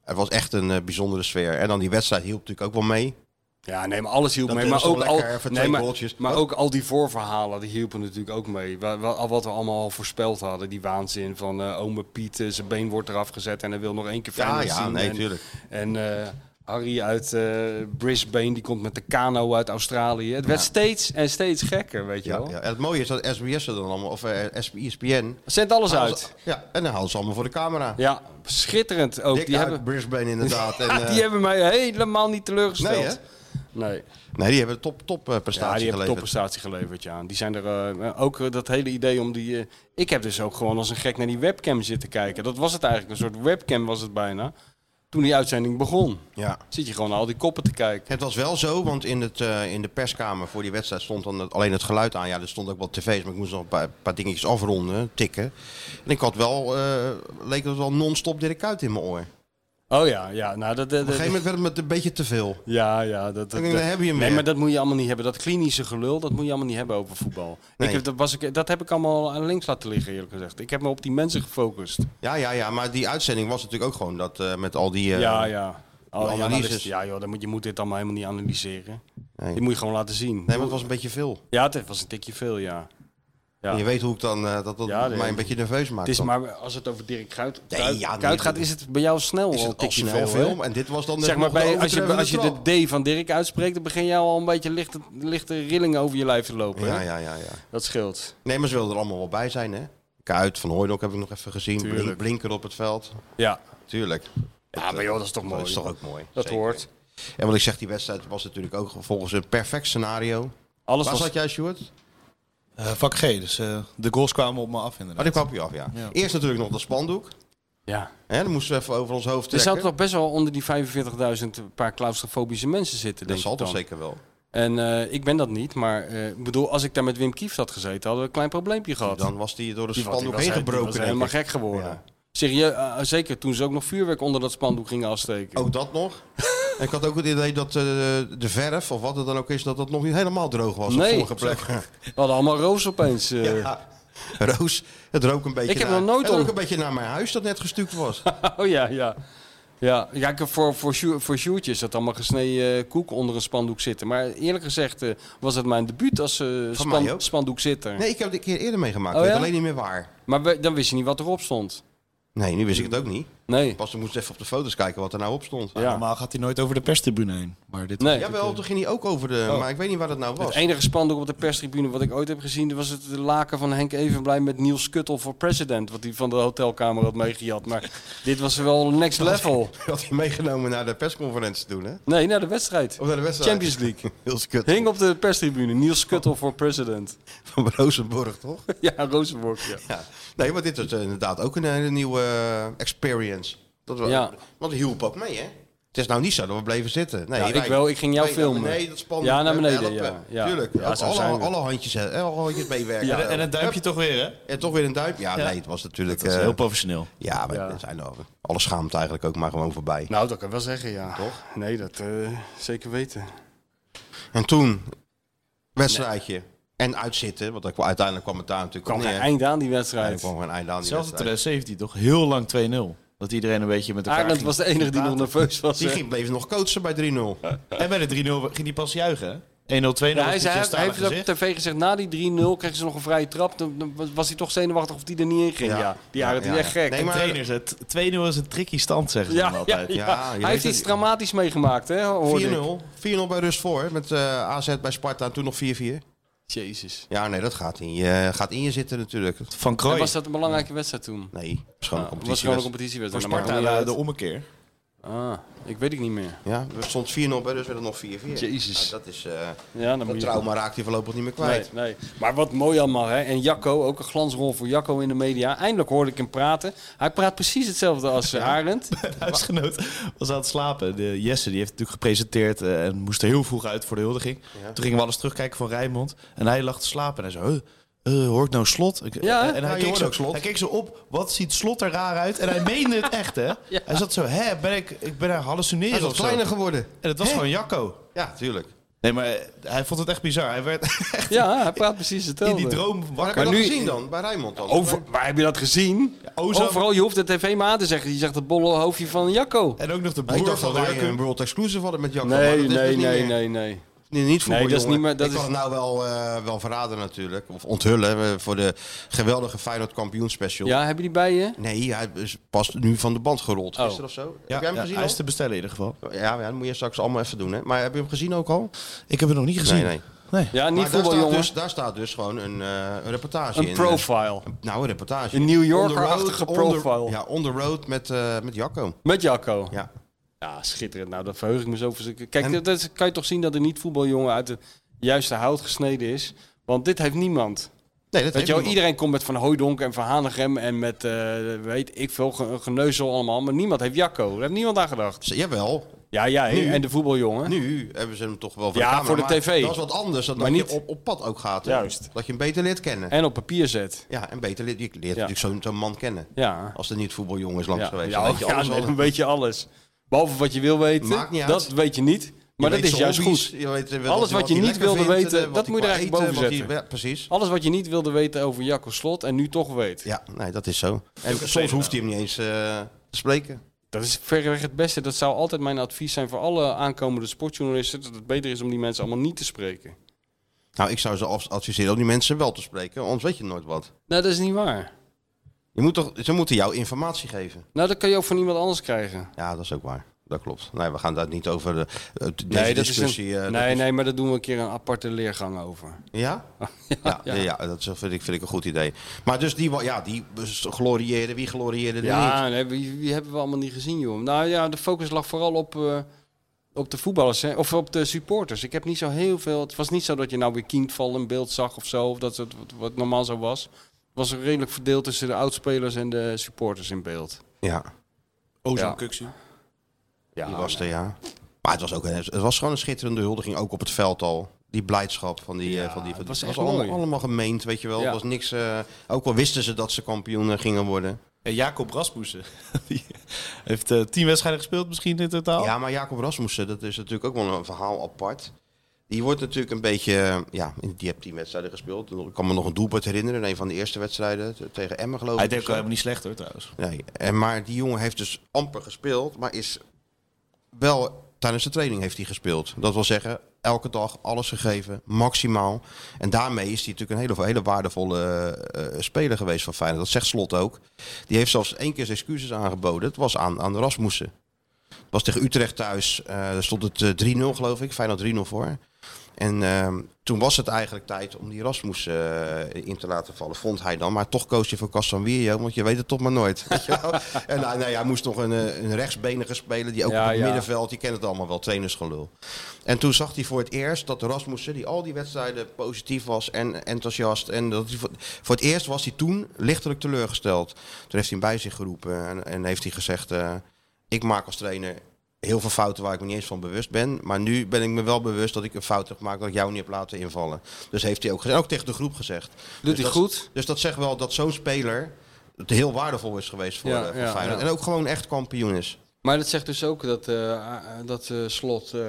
S2: Het was echt een eh, bijzondere sfeer. En dan die wedstrijd hielp natuurlijk ook wel mee.
S3: Ja, nee, maar alles hielp
S2: Dat
S3: mee.
S2: is
S3: Maar
S2: toch
S3: ook, al,
S2: lekker, even
S3: nee,
S2: twee
S3: maar,
S2: goaltjes.
S3: maar
S2: Wat?
S3: ook al die voorverhalen, die hielpen natuurlijk ook mee. Wa- wa- Wat, we allemaal al voorspeld hadden. Die waanzin van eh ome Piet, eh, zijn been wordt eraf gezet en hij wil nog één keer
S2: Ja,
S3: Feyenoord
S2: ja,
S3: zien.
S2: nee,
S3: en,
S2: tuurlijk.
S3: En eh, Harry uit eh, Brisbane, die komt met de kano uit Australië. Het werd
S2: Ja.
S3: steeds en steeds gekker, weet je
S2: Ja,
S3: wel.
S2: ja. En het mooie is dat SBS er dan allemaal, of eh, SP ESPN...
S3: Zend alles
S2: haalden ze-
S3: uit.
S2: Ja, en dan halen ze allemaal voor de camera.
S3: Ja, schitterend ook.
S2: Dik
S3: die,
S2: uit
S3: hebben,
S2: Brisbane inderdaad. En, eh,
S3: die hebben mij helemaal niet teleurgesteld.
S2: Nee, hè?
S3: Nee.
S2: Nee, die hebben een top, top eh, prestatie
S3: Ja, die hebben
S2: geleverd.
S3: topprestatie geleverd, ja. En Die zijn er eh, ook eh, dat hele idee om die... eh, ik heb dus ook gewoon als een gek naar die webcam zitten kijken. Dat was het eigenlijk, een soort webcam was het bijna. Toen die uitzending begon.
S2: Ja.
S3: Zit je gewoon naar al die koppen te kijken.
S2: Het was wel zo, want in, het, eh, in de perskamer voor die wedstrijd stond dan het- alleen het geluid aan. Ja, er stond ook wat tv's, maar ik moest nog een paar, paar dingetjes afronden, tikken. En ik had wel, eh, leek het wel non-stop Dirk Kuyt in mijn oor.
S3: Oh ja, ja. Nou, dat, dat,
S2: Op een gegeven moment werd het met een beetje te veel.
S3: Ja, ja. Dat, dat,
S2: Ik denk, daar heb je hem
S3: nee,
S2: weer.
S3: maar dat moet je allemaal niet hebben. Dat klinische gelul, dat moet je allemaal niet hebben over voetbal.
S2: Nee.
S3: Ik heb, dat, was, ik, dat heb ik allemaal aan links laten liggen, eerlijk gezegd. Ik heb me op die mensen gefocust.
S2: Ja, ja, ja, maar die uitzending was natuurlijk ook gewoon dat eh, met al die... eh,
S3: ja, ja. Oh, ja,
S2: analyses.
S3: analyses. Ja, joh, dan moet, je moet dit allemaal helemaal niet analyseren.
S2: Nee.
S3: Die moet je gewoon laten zien.
S2: Nee, maar het was een beetje veel.
S3: Ja, het was een tikje veel, ja. Ja.
S2: En je weet hoe ik dan, eh, dat dat
S3: Ja, nee.
S2: mij een beetje nerveus maakt.
S3: Het is
S2: dan.
S3: maar als het over Dirk Kuyt,
S2: Nee,
S3: Kuyt,
S2: ja, nee,
S3: Kuyt gaat, is het bij jou snel
S2: Is
S3: al
S2: het
S3: een
S2: al
S3: tikje
S2: snel
S3: veel, nou, hè?
S2: film en dit was dan
S3: zeg
S2: nog
S3: maar
S2: de
S3: bij, als je, als je
S2: overtreffende
S3: de D van Dirk uitspreekt, dan begin jij al een beetje lichte, lichte rillingen over je lijf te lopen.
S2: Ja,
S3: hè?
S2: ja, ja, ja.
S3: Dat scheelt.
S2: Nee, maar ze wilden er allemaal wel bij zijn, hè? Kuit, Van Hooydonk heb ik nog even gezien. Blin-
S3: Tuurlijk.
S2: Blinker op het veld.
S3: Ja.
S2: Tuurlijk.
S3: Ja, maar joh, dat is toch mooi.
S2: Dat is toch ook mooi.
S3: Dat
S2: Zeker.
S3: hoort.
S2: En wat ik zeg, die wedstrijd was natuurlijk ook volgens een perfect scenario.
S3: Alles
S2: Waar
S3: was-
S2: zat jij, Sjoerd?
S30: Eh, vak G, dus eh, de goals kwamen op me af
S2: Oh,
S30: inderdaad.
S2: die kwam je af, ja.
S30: Ja.
S2: Eerst natuurlijk nog dat spandoek.
S3: Ja.
S2: Hè, dat moesten we even over ons hoofd
S3: Er
S2: trekken.
S3: zouden toch best wel onder die 45.000 paar claustrofobische mensen zitten,
S2: dat
S3: denk
S2: zal
S3: ik dan.
S2: toch zeker wel.
S3: En eh, ik ben dat niet, maar eh, ik bedoel, als ik daar met Wim Kieft had gezeten, hadden we een klein probleempje gehad.
S2: Dan was die door de
S3: Die was- die
S2: spandoek
S3: was-
S2: heen
S3: die
S2: gebroken.
S3: was
S2: denk
S3: helemaal
S2: ik.
S3: gek geworden.
S2: Ja.
S3: Serieus, eh, zeker toen ze ook nog vuurwerk onder dat spandoek gingen afsteken.
S2: Ook Oh, dat nog. En ik had ook het idee dat eh, de verf, of wat het dan ook is, dat dat nog niet helemaal droog was
S3: Nee.
S2: op vorige plek.
S3: We hadden allemaal roos opeens. eh.
S2: Ja. Roos, het rook een beetje
S3: Ik heb
S2: naar,
S3: nog nooit
S2: het rook
S3: om-
S2: een beetje naar mijn huis dat net gestuukt was.
S3: Oh ja, ja. Ja, ja ik heb voor, voor, Sjoe- voor Sjoerdje is dat allemaal gesneden eh, koek onder een spandoek zitten. Maar eerlijk gezegd eh, was het mijn debuut als eh, span-
S2: mij ook.
S3: spandoek zitter.
S2: Nee, ik heb het een keer eerder meegemaakt.
S3: Oh
S2: ik weet
S3: ja?
S2: alleen niet meer waar.
S3: Maar we- dan wist je niet wat erop stond.
S2: Nee, nu wist ik het ook niet.
S3: Nee.
S2: Pas ik moest even op de foto's kijken wat er nou op stond.
S30: Maar Normaal gaat hij nooit over de perstribune heen. Maar dit
S3: Nee.
S2: Jawel, toen ging hij ook over de...
S30: Oh.
S2: Maar ik weet niet waar dat nou was.
S3: Het enige spandoek op de perstribune wat ik ooit heb gezien, was het laken van Henk Evenblij met Niels Kuttel voor president. Wat hij van de hotelkamer had meegejat. Maar dit was wel next level.
S2: Dat had hij meegenomen naar de persconferentie toen, hè?
S3: Nee, naar de wedstrijd.
S2: Of naar de wedstrijd.
S3: Champions League.
S2: Heel kut.
S3: Hing op de perstribune, Niels Kuttel voor president.
S2: Van Rozenborg, toch?
S3: Ja, Rozenborg, ja.
S2: Ja. Nee, maar dit was eh, inderdaad ook een hele nieuwe eh, experience. Dat we,
S3: Ja.
S2: Want het hielp ook mee, hè? Het Het is nou niet zo dat we bleven zitten. Nee,
S3: Ja, ik
S2: wij-
S3: wel. Ik ging jou
S2: wij-
S3: filmen.
S2: Nee, dat spannend.
S3: Ja, naar beneden,
S2: Helpen.
S3: ja. Ja.
S2: Tuurlijk.
S3: Ja, zo
S2: alle,
S3: zijn we.
S2: alle handjes, hè, alle handjes meewerken.
S3: Ja, en
S2: een duimpje toch weer, hè? En toch weer een duimpje. Ja, nee, het was natuurlijk...
S4: Dat is
S2: eh,
S4: heel professioneel.
S2: Ja, maar
S3: Ja.
S2: we zijn over. Alles schaamt eigenlijk ook maar gewoon voorbij.
S3: Nou, dat kan ik wel zeggen, ja. Toch? Nee, dat eh, zeker weten.
S2: En toen, wedstrijdje. En uitzitten, want daar- uiteindelijk kwam het daar natuurlijk
S3: Kwam
S2: op neer.
S3: geen eind aan die wedstrijd.
S2: Nee, er kwam geen eind aan die
S3: Zelfs
S2: wedstrijd.
S3: de
S4: Red 17 toch heel lang 2-0. Dat iedereen een beetje met elkaar
S3: Arend
S4: ging-
S3: Ah, was de enige die nog
S4: praten.
S3: nerveus was.
S2: Die
S3: hè?
S2: ging, bleef nog coachen bij 3-0.
S4: En bij de 3-0 ging hij pas juichen. hè? 1-0, 2-0.
S3: Ja, hij
S4: was
S3: zei,
S4: hij
S3: hij
S4: heeft,
S3: heeft op tv gezegd, na die 3-0 kregen ze nog een vrije trap. Dan, dan was hij toch zenuwachtig of die er niet in ging. Ja, die Arend die echt gek.
S4: Nee, maar trainers, het 2-0 is een tricky stand, zeggen ze
S3: Ja,
S4: dan
S3: ja,
S4: altijd.
S3: ja. hij heeft iets dramatisch meegemaakt, hè? hoorde ik.
S2: 4-0. 4-0 bij Rust voor. Met eh, AZ bij Sparta en toen nog 4-4.
S3: Jezus.
S2: Ja, nee, dat gaat in je, gaat in je zitten natuurlijk. Van
S3: En was dat een belangrijke wedstrijd toen?
S2: Nee, schoon
S3: Ah, was gewoon een competitiewedstrijd.
S2: Voor
S3: Dat maakt
S2: Sparta
S3: niet
S2: de-
S3: uit.
S2: de ommekeer.
S3: Ah, ik weet het niet meer.
S2: Ja, er stond 4-0 bij Rust, werd het nog 4-4.
S3: Jezus.
S2: Nou, dat is... eh
S3: Ja, dan moet
S2: dat
S3: je-
S2: trauma raakt hij voorlopig niet meer kwijt.
S3: Nee, nee. Maar wat mooi allemaal, hè. En Jacco, ook een glansrol voor Jacco in de media. Eindelijk hoorde ik hem praten. Hij praat precies hetzelfde als eh, Arend.
S4: huisgenoot was aan het slapen. De Jesse die heeft natuurlijk gepresenteerd eh, en moest er heel vroeg uit voor de huldiging. Toen gingen we alles terugkijken van Rijnmond. En hij lag te slapen en hij zei... "Huh, eh, hoor ik nou slot? Ik-
S3: Ja, hè?
S4: en
S3: Ja,
S4: hij,
S3: je
S4: keek
S3: hoorde
S4: zo,
S3: ook Slot.
S4: hij keek zo op, wat ziet slot er raar uit? En hij meende het echt, hè? Hij zat zo, hè, ben ik, ik ben aan het hallucineren
S2: Hij is wat
S4: of zo.
S2: kleiner geworden.
S4: En het was
S2: Hè?
S4: gewoon Jacco.
S2: Ja, tuurlijk.
S4: Nee, maar eh, hij vond het echt bizar. Hij werd echt
S3: Ja, hij praat precies hetzelfde.
S4: in die droom wakker.
S2: Maar heb je dat gezien dan? Bij Rijnmond dan?
S3: eh, Over, waar heb je dat gezien?
S4: Ozan-
S3: Overal, je hoeft de tv maar aan te zeggen. Je zegt het bolle hoofdje van Jacco.
S4: En ook nog de
S2: ik dacht dat wij een World Exclusive hadden met Jacco. maar
S3: Nee,
S2: dat is dus
S3: nee,
S2: niet
S3: nee,
S2: meer.
S3: nee, nee.
S2: Nee, niet voor
S3: Nee, dat is niet meer. Dat
S2: ik
S3: is...
S2: kan het nou wel, eh, wel verraden natuurlijk. Of onthullen eh, voor de geweldige Feyenoord kampioen special.
S3: Ja, heb je die bij je?
S2: Nee, hij is pas nu van de band gerold.
S3: Oh.
S2: Gisteren of zo. heb jij hem
S4: ja,
S2: gezien
S4: hij
S2: al?
S4: is te bestellen in ieder geval.
S2: Ja, ja, dat moet je straks allemaal even doen. Hè. Maar heb je hem gezien ook al?
S4: Ik heb het nog niet gezien.
S2: Nee, nee.
S3: Ja,
S2: Maar
S3: niet
S2: daar staat,
S3: voetbaljongen.
S2: dus, daar staat dus gewoon een, eh, een reportage
S3: Een
S2: in.
S3: profile.
S2: Nou, een reportage.
S3: Een New
S2: On the
S3: Yorker-achtige
S2: road, on the-
S3: profile.
S2: Ja, on the road met, eh, met Jacco.
S3: Met Jacco.
S2: Ja.
S3: Ja, schitterend. Nou, dat verheug ik me zo verschrikkelijk. Kijk, dat, dat kan je toch zien dat een niet-voetbaljongen uit het juiste hout gesneden is. Want dit heeft niemand.
S2: Nee, dat
S3: Weet
S2: heeft
S3: je wel,
S2: niemand.
S3: iedereen komt met Van Hooijdonk en Van Hanegem en met, eh, weet ik veel, ge- geneuzel allemaal. Maar niemand heeft Jacco. Daar heeft niemand aan gedacht.
S2: Z- Jawel.
S3: Ja, jij
S2: Nu-
S3: en de voetbaljongen.
S2: Nu hebben ze hem toch wel voor
S3: Ja,
S2: de camera,
S3: voor de
S2: maar
S3: tv.
S2: Dat is wat anders dan
S3: Maar
S2: dat
S3: niet-
S2: je op, op pad ook gaat. hè.
S3: Juist.
S2: Dat je een beter leert kennen.
S3: En op papier zet.
S2: Ja, en beter leert. Je leert natuurlijk zo'n zo'n man kennen.
S3: Ja.
S2: Als er niet voetbaljongen is langs
S3: Ja,
S2: geweest.
S3: ja,
S2: dan weet je
S3: ja,
S2: alles
S3: nee,
S2: al.
S3: dan weet je alles. Behalve wat je wil weten,
S2: Maakt niet uit.
S3: dat weet je niet. Maar
S2: Je
S3: dat
S2: weet
S3: is
S2: zijn
S3: juist
S2: hobby's,
S3: goed.
S2: je weet wel
S3: alles
S2: wat hij-
S3: wat je
S2: wat hij
S3: niet
S2: lekker
S3: wilde
S2: vindt, eh,
S3: weten,
S2: wat
S3: dat
S2: hij
S3: moet je er
S2: qua
S3: eigenlijk
S2: eten,
S3: boven
S2: wat hij-
S3: zetten.
S2: ja, precies.
S3: Alles wat je niet wilde weten over Jacco Slot en nu toch weet.
S2: Ja, nee, dat is zo. En soms hoeft hij hem niet eens eh, te spreken.
S3: Dat is verreweg het beste. Dat zou altijd mijn advies zijn voor alle aankomende sportjournalisten. Dat het beter is om die mensen allemaal niet te spreken.
S2: Nou, ik zou ze af- adviseren om die mensen wel te spreken, anders weet je nooit wat.
S3: Nou, dat is niet waar.
S2: Je moet toch, ze moeten jou informatie geven.
S3: Nou, dat kan je ook van iemand anders krijgen.
S2: Ja, dat is ook waar. Dat klopt. Nee, we gaan daar niet over de, eh, deze discussie.
S3: Is een-
S2: eh, dat
S3: nee,
S2: is-
S3: nee, maar daar doen we een keer een aparte leergang over.
S2: Ja? Ja, ja. dat is- vind ik, vind ik een goed idee. Maar dus die, wa- ja, die glorieerden, wie glorieerde er niet?
S3: Ja, nee, wie, wie hebben we allemaal niet gezien, joh. Nou ja, de focus lag vooral op, eh, op de voetballers hè? of op de supporters. Ik heb niet zo heel veel. Het was niet zo dat je nou weer Kindval in beeld zag of zo, of dat het wat, wat normaal zo was. Het was redelijk verdeeld tussen de oudspelers en de supporters in beeld.
S2: Ja. Oh,
S3: Ozan
S2: Ja, die was er, ja. Maar het was, ook een, het was gewoon een schitterende huldiging, ook op het veld al. Die blijdschap van die... eh, van die van
S3: was
S2: die-
S3: echt mooi.
S2: allemaal, allemaal gemeend, weet je wel.
S3: Ja.
S2: Er was niks... eh, ook al wisten ze dat ze kampioen eh, gingen worden.
S4: En Jacob Rasmussen.
S2: Oh,
S4: die heeft eh, tien wedstrijden gespeeld misschien in totaal.
S2: Ja, maar Jacob Rasmussen, dat is natuurlijk ook wel een verhaal apart. Die wordt natuurlijk een beetje... eh, Ja, die heeft tien wedstrijden gespeeld. Ik kan me nog een doelpunt herinneren. Een van de eerste wedstrijden t- tegen Emmen, geloof ik.
S4: Hij deed ook eh,
S2: of zo.
S4: helemaal niet slecht hoor trouwens.
S2: Nee, en maar die jongen heeft dus amper gespeeld, maar is wel tijdens de training heeft hij gespeeld. Dat wil zeggen, elke dag alles gegeven, maximaal. En daarmee is hij natuurlijk een hele, hele waardevolle eh, eh, speler geweest van Feyenoord. Dat zegt Slot ook. Die heeft zelfs één keer zijn excuses aangeboden. Het was aan, aan Rasmussen. Het was tegen Utrecht thuis. eh, Daar stond het eh, 3-0 geloof ik, Feyenoord 3-0 voor. En ehm, toen was het eigenlijk tijd om die Rasmus eh, in te laten vallen, vond hij dan. Maar toch koos je voor Casanvirio, want je weet het toch maar nooit. weet je wel? en nou, nou ja, hij moest nog een, eh, een rechtsbenige spelen, die ook
S3: Ja,
S2: op het
S3: ja.
S2: middenveld, je kent het allemaal wel, trainersgelul. En toen zag hij voor het eerst dat Rasmussen, die al die wedstrijden positief was en enthousiast. En dat hij voor, voor het eerst was hij toen lichtelijk teleurgesteld. Toen heeft hij hem bij zich geroepen en, en heeft hij gezegd, eh, ik maak als trainer heel veel fouten waar ik me niet eens van bewust ben. Maar nu ben ik me wel bewust dat ik een fout heb gemaakt dat ik jou niet heb laten invallen. Dus heeft hij ook gezegd, ook tegen de groep gezegd. dus
S3: hij
S2: dat-
S3: goed?
S2: Dus dat zegt wel dat zo'n speler het heel waardevol is geweest voor,
S3: Ja,
S2: eh, voor
S3: ja,
S2: Feyenoord.
S3: ja.
S2: En ook gewoon echt kampioen is.
S3: Maar dat zegt dus ook dat, eh, ah, dat eh, Slot eh,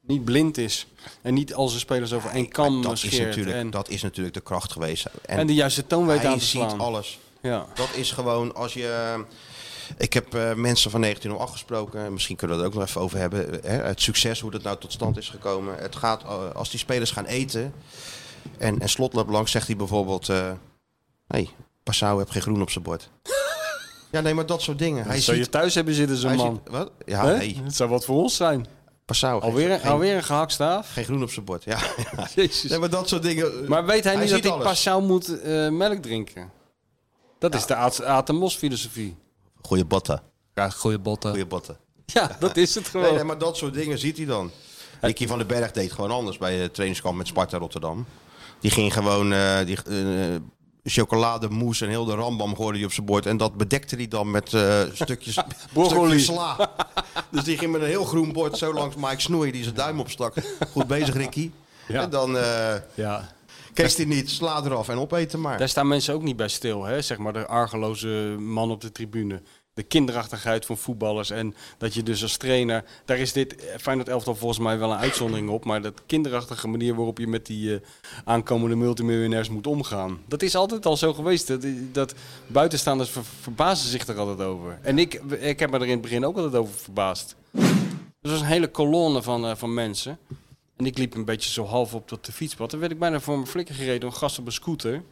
S3: niet blind is. En niet al zijn spelers over één kam
S2: Dat is,
S3: scheert.
S2: natuurlijk,
S3: en,
S2: dat is natuurlijk de kracht geweest.
S3: en de juiste toon weet
S2: hij
S3: aan te slaan.
S2: ziet alles.
S3: Ja.
S2: Dat is gewoon als je. eh, Ik heb eh, mensen van 1908 gesproken, misschien kunnen we dat ook nog even over hebben. Hè? Het succes, hoe dat nou tot stand is gekomen. Het gaat, eh, als die spelers gaan eten. En, en slot loopt langs, zegt hij bijvoorbeeld: eh hey, Passau heeft geen groen op zijn bord. ja, nee, maar dat soort dingen. Hij
S3: Dat zou
S2: ziet-
S3: je thuis hebben zitten, zo'n
S2: hij
S3: man.
S2: ziet- wat? Ja,
S3: Hè?
S2: nee.
S3: Het zou wat voor ons zijn.
S2: Passau. geen-
S3: Alweer,
S2: geen-
S3: alweer een gehaktstaaf.
S2: Geen groen op zijn bord, ja. ja. Nee, maar dat soort dingen. eh,
S3: Maar weet hij, niet
S2: ziet
S3: dat ik
S2: alles.
S3: Passau moet eh, melk drinken? Dat is de Aad- Aad en Mos filosofie.
S2: Goeie botten.
S3: Ja, goede botten.
S2: Goeie botten.
S3: Ja, dat is het gewoon.
S2: Nee, nee, maar dat soort dingen ziet hij dan. Ricky van den Berg deed gewoon anders bij de trainingskamp met Sparta Rotterdam. Die ging gewoon eh die, eh, chocolademousse en heel de rambam gooide hij op zijn bord. En dat bedekte hij dan met eh, stukjes,
S3: Broccoli.
S2: stukjes sla. dus die ging met een heel groen bord zo langs Mike Snoei die zijn duim opstak. Goed bezig Ricky. En dan eh
S3: Ja.
S2: kees hij niet, sla eraf en opeten maar.
S3: Daar staan mensen ook niet bij stil, hè? zeg maar de argeloze man op de tribune. De kinderachtigheid van voetballers en dat je dus als trainer... Daar is dit eh, Feyenoord elftal volgens mij wel een uitzondering op. Maar dat kinderachtige manier waarop je met die eh, aankomende multimiljonairs moet omgaan. Dat is altijd al zo geweest. Dat, eh, dat buitenstaanders ver- verbazen zich er altijd over. En ik, ik heb me er in het begin ook altijd over verbaasd. Dus er was een hele kolonne van, eh, van mensen. En ik liep een beetje zo half op tot de fietspad. Dan werd ik bijna voor mijn flikker gereden door een gast op een scooter.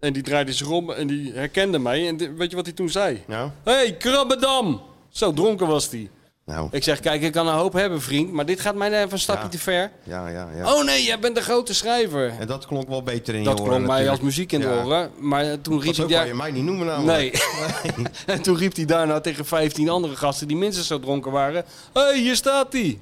S3: En die draaide zich om en die herkende mij. En di- weet je wat hij toen zei?
S2: Nou?
S3: Hé, hey, Krabbedam! Zo dronken was hij.
S2: Nou.
S3: Ik zeg, kijk, ik kan een hoop hebben, vriend. Maar dit gaat mij even een stapje te ver.
S2: Ja, ja, ja.
S3: Oh nee, jij bent de grote schrijver.
S2: En dat klonk wel beter in je
S3: Dat
S2: oren
S3: klonk mij
S2: natuurlijk.
S3: als muziek in de
S2: Ja.
S3: oren. Maar toen riep
S2: zo
S3: hij
S2: kan je mij niet noemen nou, namelijk.
S3: Nee. en toen riep hij daarna tegen 15 andere gasten die minstens zo dronken waren. Hé, hey, hier staat hij.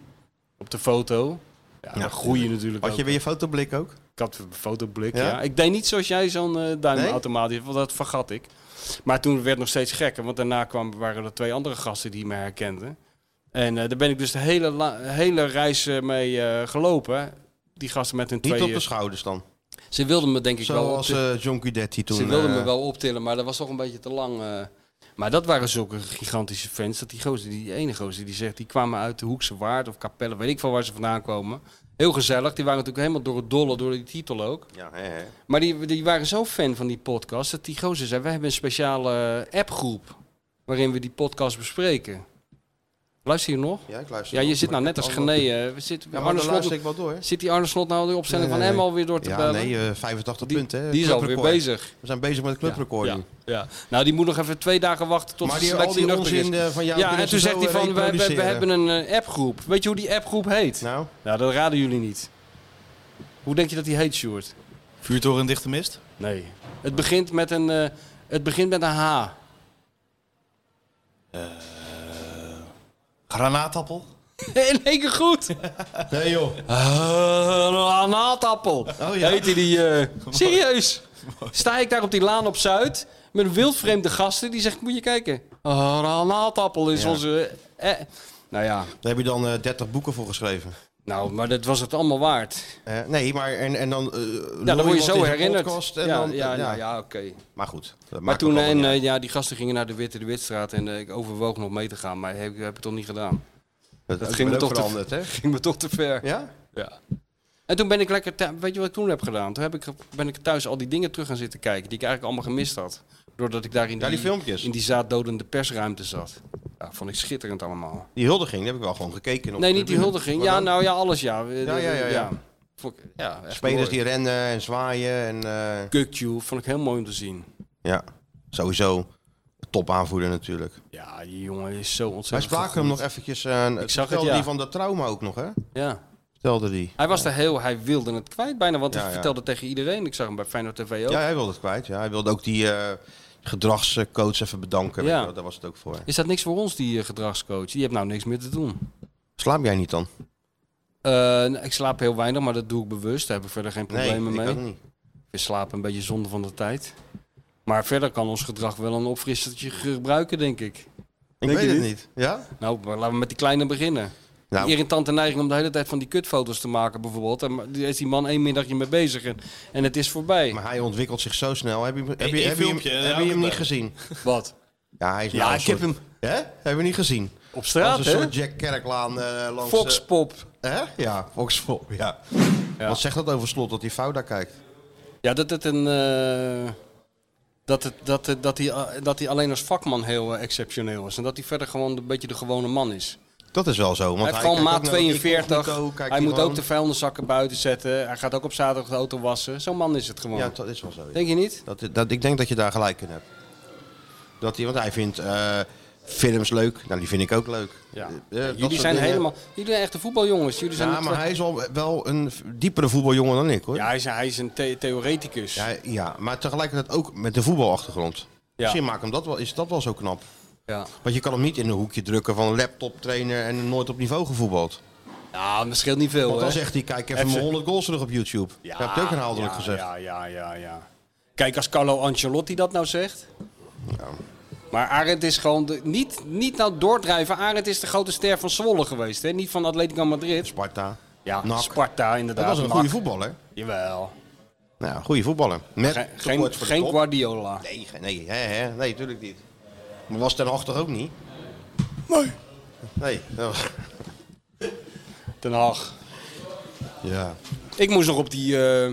S3: Op de foto. Ja, dan groei je natuurlijk
S2: Had je
S3: ook,
S2: weer je fotoblik ook?
S3: Ik had een fotoblik,
S2: Ja?
S3: ja. Ik deed niet zoals jij zo'n eh, duim
S2: Nee?
S3: automatisch, want dat vergat ik. Maar toen werd het nog steeds gekker, want daarna kwam, waren er twee andere gasten die me herkenden. En eh, daar ben ik dus de hele, la- hele reis eh, mee eh, gelopen. Die gasten met hun
S2: Niet
S3: twee...
S2: op de
S3: eh,
S2: schouders dan.
S3: ze wilden me denk ik wel...
S2: Zoals
S3: opti-
S2: eh, John Guidetti toen.
S3: ze wilden me
S2: eh,
S3: wel optillen, maar dat was toch een beetje te lang. eh. Maar dat waren zulke gigantische fans. Dat die gozer, die ene gozer die zegt, die kwamen uit de Hoekse Waard of Capelle, weet ik van waar ze vandaan komen. Heel gezellig. Die waren natuurlijk helemaal door het dolle, door die titel ook.
S2: Ja, hè, hè.
S3: Maar die, die waren zo fan van die podcast dat die gozer zei: We hebben een speciale eh, appgroep waarin we die podcast bespreken. Luister je nog?
S2: Ja, ik luister
S3: Ja, je
S2: nog,
S3: zit
S2: maar
S3: nou
S2: ik
S3: net
S2: heb
S3: als
S2: het allemaal-
S3: Gené. eh, We zitten,
S2: Ja, maar
S3: Arne
S2: dan luister
S3: Slot-
S2: ik wel door. hè?
S3: Zit die Arne Slot nou de opstelling
S2: Nee,
S3: van
S2: nee,
S3: hem
S2: nee.
S3: alweer door te
S2: ja,
S3: bellen?
S2: nee, eh, 85 punten. hè.
S3: die is alweer
S2: Clubrecord.
S3: bezig.
S2: We zijn bezig met de clubrecording.
S3: Ja, ja. Nou, die moet nog even twee dagen wachten tot
S2: Maar
S3: de
S2: die- al
S3: selectie
S2: die
S3: nuchter is.
S2: onzin, eh, van jou
S3: Ja,
S2: kunnen
S3: en
S2: ze
S3: toen
S2: zo,
S3: zegt hij
S2: eh,
S3: van, we, we, we
S2: reproduceren.
S3: hebben een eh, appgroep. Weet je hoe die appgroep heet?
S2: Nou?
S3: dat raden jullie niet. Hoe denk je dat die heet, Sjoerd?
S4: Vuurtoren dichte mist?
S3: Nee. Het begint met een, eh, het begint met een H.
S4: Eh, Granaatappel?
S3: In één keer goed.
S4: Nee joh.
S3: Eh, Een naatappel.
S2: Oh,
S3: Heette die. eh, serieus? Sta ik daar op die laan op Zuid met een wildvreemde gasten die zegt: Moet je kijken. Eh, Een naatappel is
S2: Ja.
S3: onze. eh, nou ja.
S2: Daar heb je dan eh 30 boeken voor geschreven.
S3: Nou, maar dat was het allemaal waard.
S2: Eh, nee, maar en, en dan. eh,
S3: Ja,
S2: lul
S3: dan word je
S2: iemand in
S3: zo
S2: zo'n
S3: herinnerd.
S2: podcast
S3: Ja,
S2: en
S3: ja,
S2: dan-
S3: ja, ja, oké.
S2: Maar goed. dat
S3: Maar
S2: maakt
S3: toen,
S2: ook allemaal
S3: en,
S2: niet uit.
S3: eh, ja, die gasten gingen naar de Witte de Witstraat en eh, ik overwoog nog mee te gaan, maar heb, heb ik toch niet gedaan.
S2: Dat,
S3: dat
S2: dat
S3: ging
S2: ging
S3: me
S2: ook
S3: toch te-
S2: veranderd, hè?
S3: Ging me toch te ver.
S2: Ja?
S3: Ja. En toen ben ik lekker, thu- weet je wat ik toen heb gedaan? Toen heb ik, ben ik thuis al die dingen terug gaan zitten kijken die ik eigenlijk allemaal gemist had. Doordat ik daar in
S2: Ja, die filmpjes.
S3: in die zaaddodende persruimte zat. Ja, vond ik schitterend allemaal.
S2: Die huldiging die heb ik wel gewoon gekeken. op
S3: nee,
S2: de
S3: niet die
S2: tribune.
S3: huldiging.
S2: Maar
S3: Ja,
S2: dan
S3: nou ja, alles ja.
S2: ja, ja, ja.
S3: Vond ik- ja echt
S2: Spelers
S3: mooi.
S2: die rennen en zwaaien. En, eh,
S3: Kukju, vond ik heel mooi om te zien.
S2: ja, sowieso. Top aanvoerder natuurlijk.
S3: Ja, die jongen is zo
S2: Wij
S3: ontzettend
S2: spraken hem
S3: goed.
S2: nog eventjes. aan.
S3: Ik zag het,
S2: vertelde
S3: ja.
S2: die van dat trauma ook nog, hè?
S3: Ja.
S2: Vertelde die.
S3: Hij was er heel, hij wilde het kwijt bijna, want
S2: Ja,
S3: hij
S2: ja.
S3: vertelde tegen iedereen. Ik zag hem bij Feyenoord TV ook.
S2: Ja, hij wilde het kwijt. Ja. Hij wilde ook die eh, gedragscoach even bedanken.
S3: Ja.
S2: weet je wel, Daar was het ook voor.
S3: Is dat niks voor ons, die eh, gedragscoach? Die hebt nou niks meer te doen.
S2: Slaap jij niet dan?
S3: Eh, nou, ik slaap heel weinig, maar dat doe ik bewust. Daar heb ik verder geen
S2: Nee,
S3: problemen
S2: ik
S3: mee.
S2: ook niet.
S3: Ik vind slapen een beetje zonde van de tijd. Maar verder kan ons gedrag wel een opfrissertje gebruiken, denk ik.
S2: Ik
S3: Denk
S2: weet
S3: je
S2: het niet. Ja?
S3: Nou, maar laten we met die kleine beginnen.
S2: Nou.
S3: Die irritante neiging om de hele tijd van die kutfoto's te maken bijvoorbeeld. En maar daar is die man één middagje mee bezig en, en het is voorbij.
S2: Maar hij ontwikkelt zich zo snel. Heb je, hem- heb je,
S3: Eén
S2: heb je hem,
S3: filmpje,
S2: heb je
S3: elke
S2: hem niet
S3: dag.
S2: gezien?
S3: Wat?
S2: Ja, hij is
S3: Ja,
S2: nou een
S3: ik heb
S2: soort- Hè? Hebben we niet gezien? Op
S3: straat,
S2: Als een
S3: hè?
S2: soort Jack Kerklaan eh langs...
S3: Foxpop.
S2: eh, hè? Ja, Foxpop, ja. Wat zegt dat over Slot, dat hij fout daar kijkt?
S3: Ja, dat het een... eh, dat, het, dat, het- dat, hij, eh, dat hij alleen als vakman heel eh, exceptioneel is. En dat hij verder gewoon een beetje de gewone man is.
S2: Dat is wel zo. Want
S3: hij heeft gewoon
S2: kijkt
S3: maat
S2: ook naar dat
S3: 42.
S2: incognito, kijkt
S3: Hij moet
S2: gewoon-
S3: ook de vuilniszakken buiten zetten. Hij gaat ook op zaterdag de auto wassen. Zo'n man is het gewoon.
S2: Ja, dat is wel zo. ja.
S3: Denk je niet?
S2: Dat, dat, ik denk dat je daar gelijk in hebt. Dat hij, want hij vindt eh, films leuk. Nou, die vind ik ook leuk. Eh,
S3: Ja.
S2: eh, dat soort
S3: jullie zijn
S2: dingen.
S3: helemaal... Jullie zijn echte voetbaljongens. Jullie zijn
S2: Ja,
S3: niet-
S2: maar hij is al wel een diepere voetbaljongen dan ik, hoor.
S3: Ja, hij is, hij is een the- theoreticus.
S2: Ja, ja, maar tegelijkertijd ook met de voetbalachtergrond. Misschien maakt hem dat wel, is dat wel zo knap.
S3: Ja.
S2: Want je kan hem niet in een hoekje drukken van een laptoptrainer en nooit op niveau gevoetbald.
S3: Ja, dat scheelt niet veel.
S2: Want dan
S3: hè?
S2: zegt hij, kijk even mijn 100 goals terug op YouTube. dat heb ik ook herhaaldelijk
S3: ja,
S2: gezegd.
S3: Ja, ja, ja, ja. Kijk, als Carlo Ancelotti dat nou zegt. Maar Arend is gewoon... de- niet, niet nou doordrijven. Arend is de grote ster van Zwolle geweest. Hè? Niet van Atletico Madrid.
S2: Sparta.
S3: Ja,
S2: NAC.
S3: Sparta inderdaad.
S2: Dat was een goede
S3: NAC.
S2: voetballer.
S3: Jawel.
S2: Nou, ja, goede voetballer. Met
S3: Geen-
S2: tekort
S3: geen
S2: voor de
S3: geen
S2: top.
S3: Guardiola.
S2: Nee, ge- nee, hè, hè, nee, tuurlijk niet. Maar was Ten Hag toch ook niet? Nee. Nee. dat was-
S3: Ten Hag.
S2: Ja.
S3: Ik moest nog op die, eh,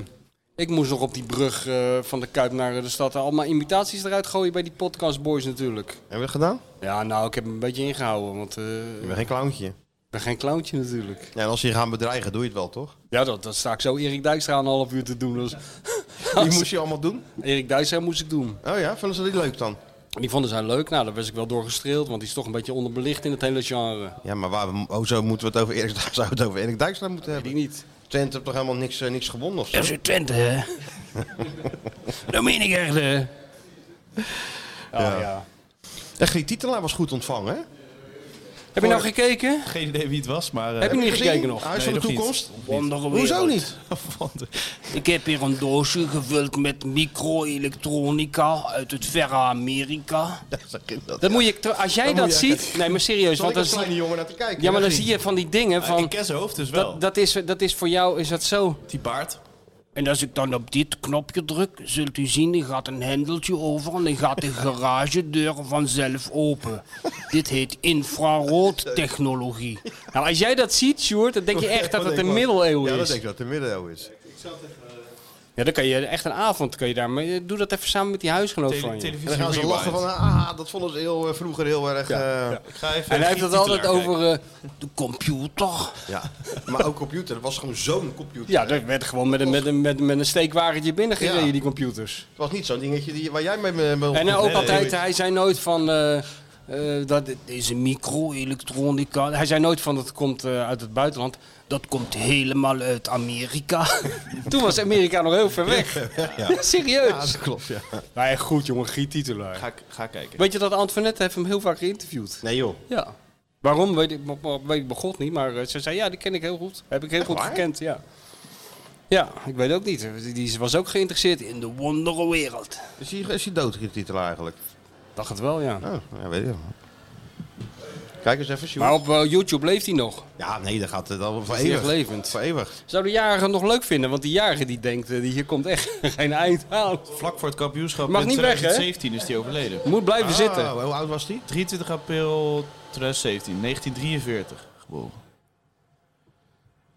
S3: ik moest nog op die brug eh, van de Kuip naar de stad. eh, Allemaal imitaties eruit gooien bij die podcast boys natuurlijk.
S2: Hebben we dat gedaan?
S3: Ja, nou, ik heb hem een beetje ingehouden. Want, eh,
S2: Ik ben geen clowntje.
S3: Ik ben geen clowntje natuurlijk.
S2: Ja, en als ze je gaan bedreigen, doe je het wel, toch?
S3: Ja, dat, dat sta ik zo Erik Dijkstra een half uur te doen. Dus...
S2: Die moest je allemaal doen?
S3: Erik Dijkstra moest ik doen.
S2: Oh ja, vonden ze die leuk dan?
S3: Die vonden zij leuk. Nou, daar was ik wel door gestreeld, want die is toch een beetje onderbelicht in het hele genre.
S2: Ja, maar waar, we- oh, zo moeten we het over Erik, Dijkstra- zou het over Erik Dijkstra moeten hebben.
S3: Die niet.
S2: Twente heeft toch helemaal niks, eh, niks gewonnen of zo?
S10: FC Twente, hè?
S2: dat
S10: meen ik echt, hè? Ja,
S2: ja.
S3: ja.
S2: Echt, die titelaar was goed ontvangen, hè?
S3: Heb je nou gekeken?
S31: Geen idee wie het was, maar... eh,
S3: Heb je niet
S31: gezien?
S3: gekeken nog?
S31: Nee,
S2: Huis van de
S31: nog niet.
S2: toekomst?
S10: Wondere
S2: Hoezo
S10: wereld.
S2: niet?
S10: Ik heb hier een doosje gevuld met micro-elektronica uit het verre Amerika.
S2: Dat,
S3: moet je, tr- als jij
S10: Dan
S3: dat
S10: moet je-
S3: ziet... Nee, maar serieus.
S10: Zal ik
S3: Want
S10: als
S3: dan
S10: kleine
S3: zie-
S10: jongen naar te kijken?
S3: Ja, maar dan
S10: Ja,
S3: zie je van die dingen
S31: Ah,
S10: Ja,
S3: van...
S10: ik ken zijn hoofd dus wel.
S3: Dat, dat, is, dat is voor jou, is dat zo?
S10: Die paard. En als ik dan op dit knopje druk, zult u zien, er gaat een hendeltje over en dan gaat de garagedeur vanzelf open. Dit heet infraroodtechnologie.
S3: Nou, als jij dat ziet, Sjoerd, dan denk je echt dat het een middeleeuw
S2: Ja, dat
S3: is.
S2: denk ik dat het een middeleeuw is.
S3: Ja, dan kan je echt een avond kan je daarmee... Doe dat even samen met die huisgenoot van je.
S2: En dan gaan ze lachen van, ah, dat vonden ze heel, eh, vroeger heel erg... eh,
S3: En hij heeft het altijd over... eh,
S10: De computer.
S2: Ja, maar ook computer. Dat was gewoon zo'n computer.
S3: ja,
S2: hè?
S3: dat werd gewoon met een, met een, met, met een steekwagentje binnengereden,
S2: Ja.
S3: die computers.
S2: Het was niet zo'n dingetje die, waar jij mee... mee, mee
S3: En eh, ook
S2: Nee,
S3: altijd,
S2: nee.
S3: hij zei nooit van... eh, eh, dat,
S10: Deze micro-elektronica. Hij zei nooit van dat komt eh, uit het buitenland. Dat komt helemaal uit Amerika.
S3: toen was Amerika nog heel ver weg. Serieus.
S2: Ja, dat klopt, ja.
S3: Nou, echt goed jongen, Giet Titelaar.
S4: Ga, ik- ga kijken.
S3: Weet je dat Antoinette heeft hem heel vaak geïnterviewd?
S2: Nee joh.
S3: Ja. Waarom, weet ik, maar- weet ik bij God niet. Maar eh, ze zei, ja, die ken ik heel goed. Heb ik heel goed gekend, ja. Ja, ik weet ook niet. Die- Die was ook geïnteresseerd in de wondere wereld.
S2: Is hij, is hij dood, die titel eigenlijk?
S3: Dacht het wel, ja.
S2: Oh, ja, weet ik wel. Kijk eens even, Sjoerd.
S3: Maar op eh, YouTube leeft hij nog.
S2: Ja, nee, dat gaat het al voor
S3: Is die
S2: eeuwig.
S3: echt levend?
S2: Voor eeuwig.
S3: Zou de jarige het nog leuk vinden? Want die jarige die denkt, eh, die hier komt echt geen eind aan.
S4: Vlak voor het kampioenschap
S3: Mag
S4: in
S3: niet weg, hè?
S4: 2017 is die overleden.
S3: Moet blijven
S4: Ah,
S2: Ah,
S3: zitten.
S2: Hoe oud was die?
S4: 23 april 2017, 1943 geboren.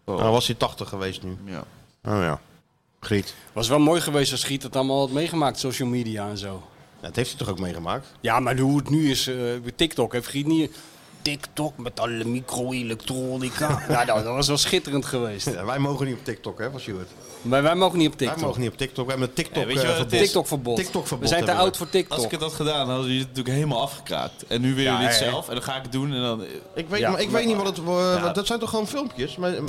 S2: Nou, was hij 80 geweest nu.
S4: Ja.
S2: Oh ja. Griet.
S3: Was wel mooi geweest als Giet dat allemaal had meegemaakt, social media en zo.
S2: Dat heeft hij toch ook meegemaakt?
S3: Ja, maar hoe het nu is, eh, TikTok heeft Giet niet... TikTok met alle micro-elektronica. ja, nou, dat was wel schitterend geweest.
S2: Ja, wij mogen niet op TikTok, hè, van Sjoerd?
S3: Maar wij mogen niet op TikTok.
S2: Wij mogen niet op TikTok. We hebben een Tiktok eh,
S4: Ja, weet je wat het
S2: verbod.
S4: is?
S3: eh, TikTok-verbod.
S2: TikTok-verbod
S3: We zijn te
S2: hebben
S3: oud voor TikTok.
S4: Als ik het had gedaan, dan hadden jullie het natuurlijk helemaal afgekraakt. En nu willen
S2: Ja,
S4: jullie het
S2: hè?
S4: zelf en dan ga ik het doen en dan... eh,
S2: Ik weet,
S4: Ja,
S2: maar ik
S4: maar-
S2: weet niet wat het... eh,
S4: Ja.
S2: Dat zijn toch gewoon filmpjes? Maar, eh,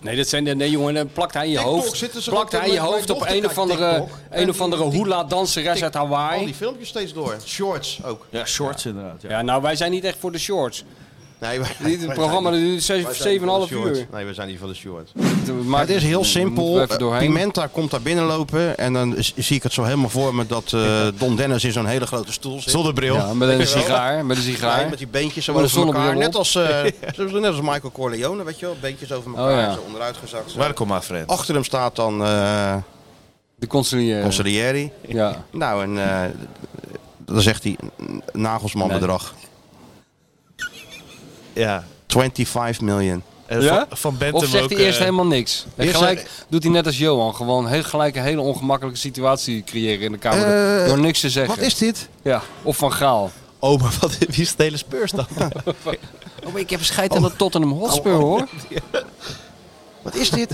S3: Nee, dat zijn de, nee jongen, dan plakt hij je
S2: TikTok zitten
S3: hoofd,
S2: ze
S3: plakt
S2: ook
S3: hij
S2: met
S3: je
S2: mijn
S3: hoofd op
S2: dochter
S3: een of
S2: kijkt
S3: andere,
S2: TikTok.
S3: een of andere hula danseres uit
S2: al
S3: Hawaii.
S2: die filmpjes steeds door. Shorts ook.
S4: Ja, shorts inderdaad.
S3: Ja, nou wij zijn niet echt voor de shorts.
S2: Nee, wij-
S3: Dit- het
S2: wij
S3: programma
S2: zijn niet-
S3: duurt zeven-
S2: wij zijn
S3: zeven en een
S2: niet van de
S3: half
S2: short.
S3: uur.
S2: Nee, we zijn niet van de short.
S3: Maar
S2: het is heel simpel.
S3: Even doorheen.
S2: Pimenta komt daar binnenlopen en dan s- zie ik het zo helemaal voor me dat eh, Don Dennis in zo'n hele grote stoel zit.
S3: Zonnebril. Ja, met een sigaar, met een sigaar.
S2: Nee, met die beentjes zo
S3: Met een
S2: over elkaar.
S3: zonnebril op.
S2: Net als, eh, zo- net als Michael Corleone, weet je wel. Beentjes over elkaar,
S3: Oh, ja.
S2: zo onderuit gezakt. zo.
S4: Welkom, my friend.
S2: Achter hem staat dan... eh,
S3: De consulier.
S2: Consulieri.
S3: Ja.
S2: Nou, en eh, dan zegt hij n- Nagelsman bedrag.
S4: Ja.
S2: 25 miljoen.
S3: Ja? of zegt hij
S4: eh,
S3: eerst helemaal niks? En
S2: eerst-
S3: gelijk doet hij net als Johan. Gewoon heel, gelijk een hele ongemakkelijke situatie creëren in de Kamer.
S4: Eh,
S3: door niks te zeggen.
S4: wat is dit?
S3: Ja, of Van Gaal.
S4: Oh, maar wat, wie is de hele Spurs dan?
S3: Oh, maar ik heb een scheid aan dat Tottenham Hotspur,
S2: Oh,
S3: hoor.
S2: Wat is dit?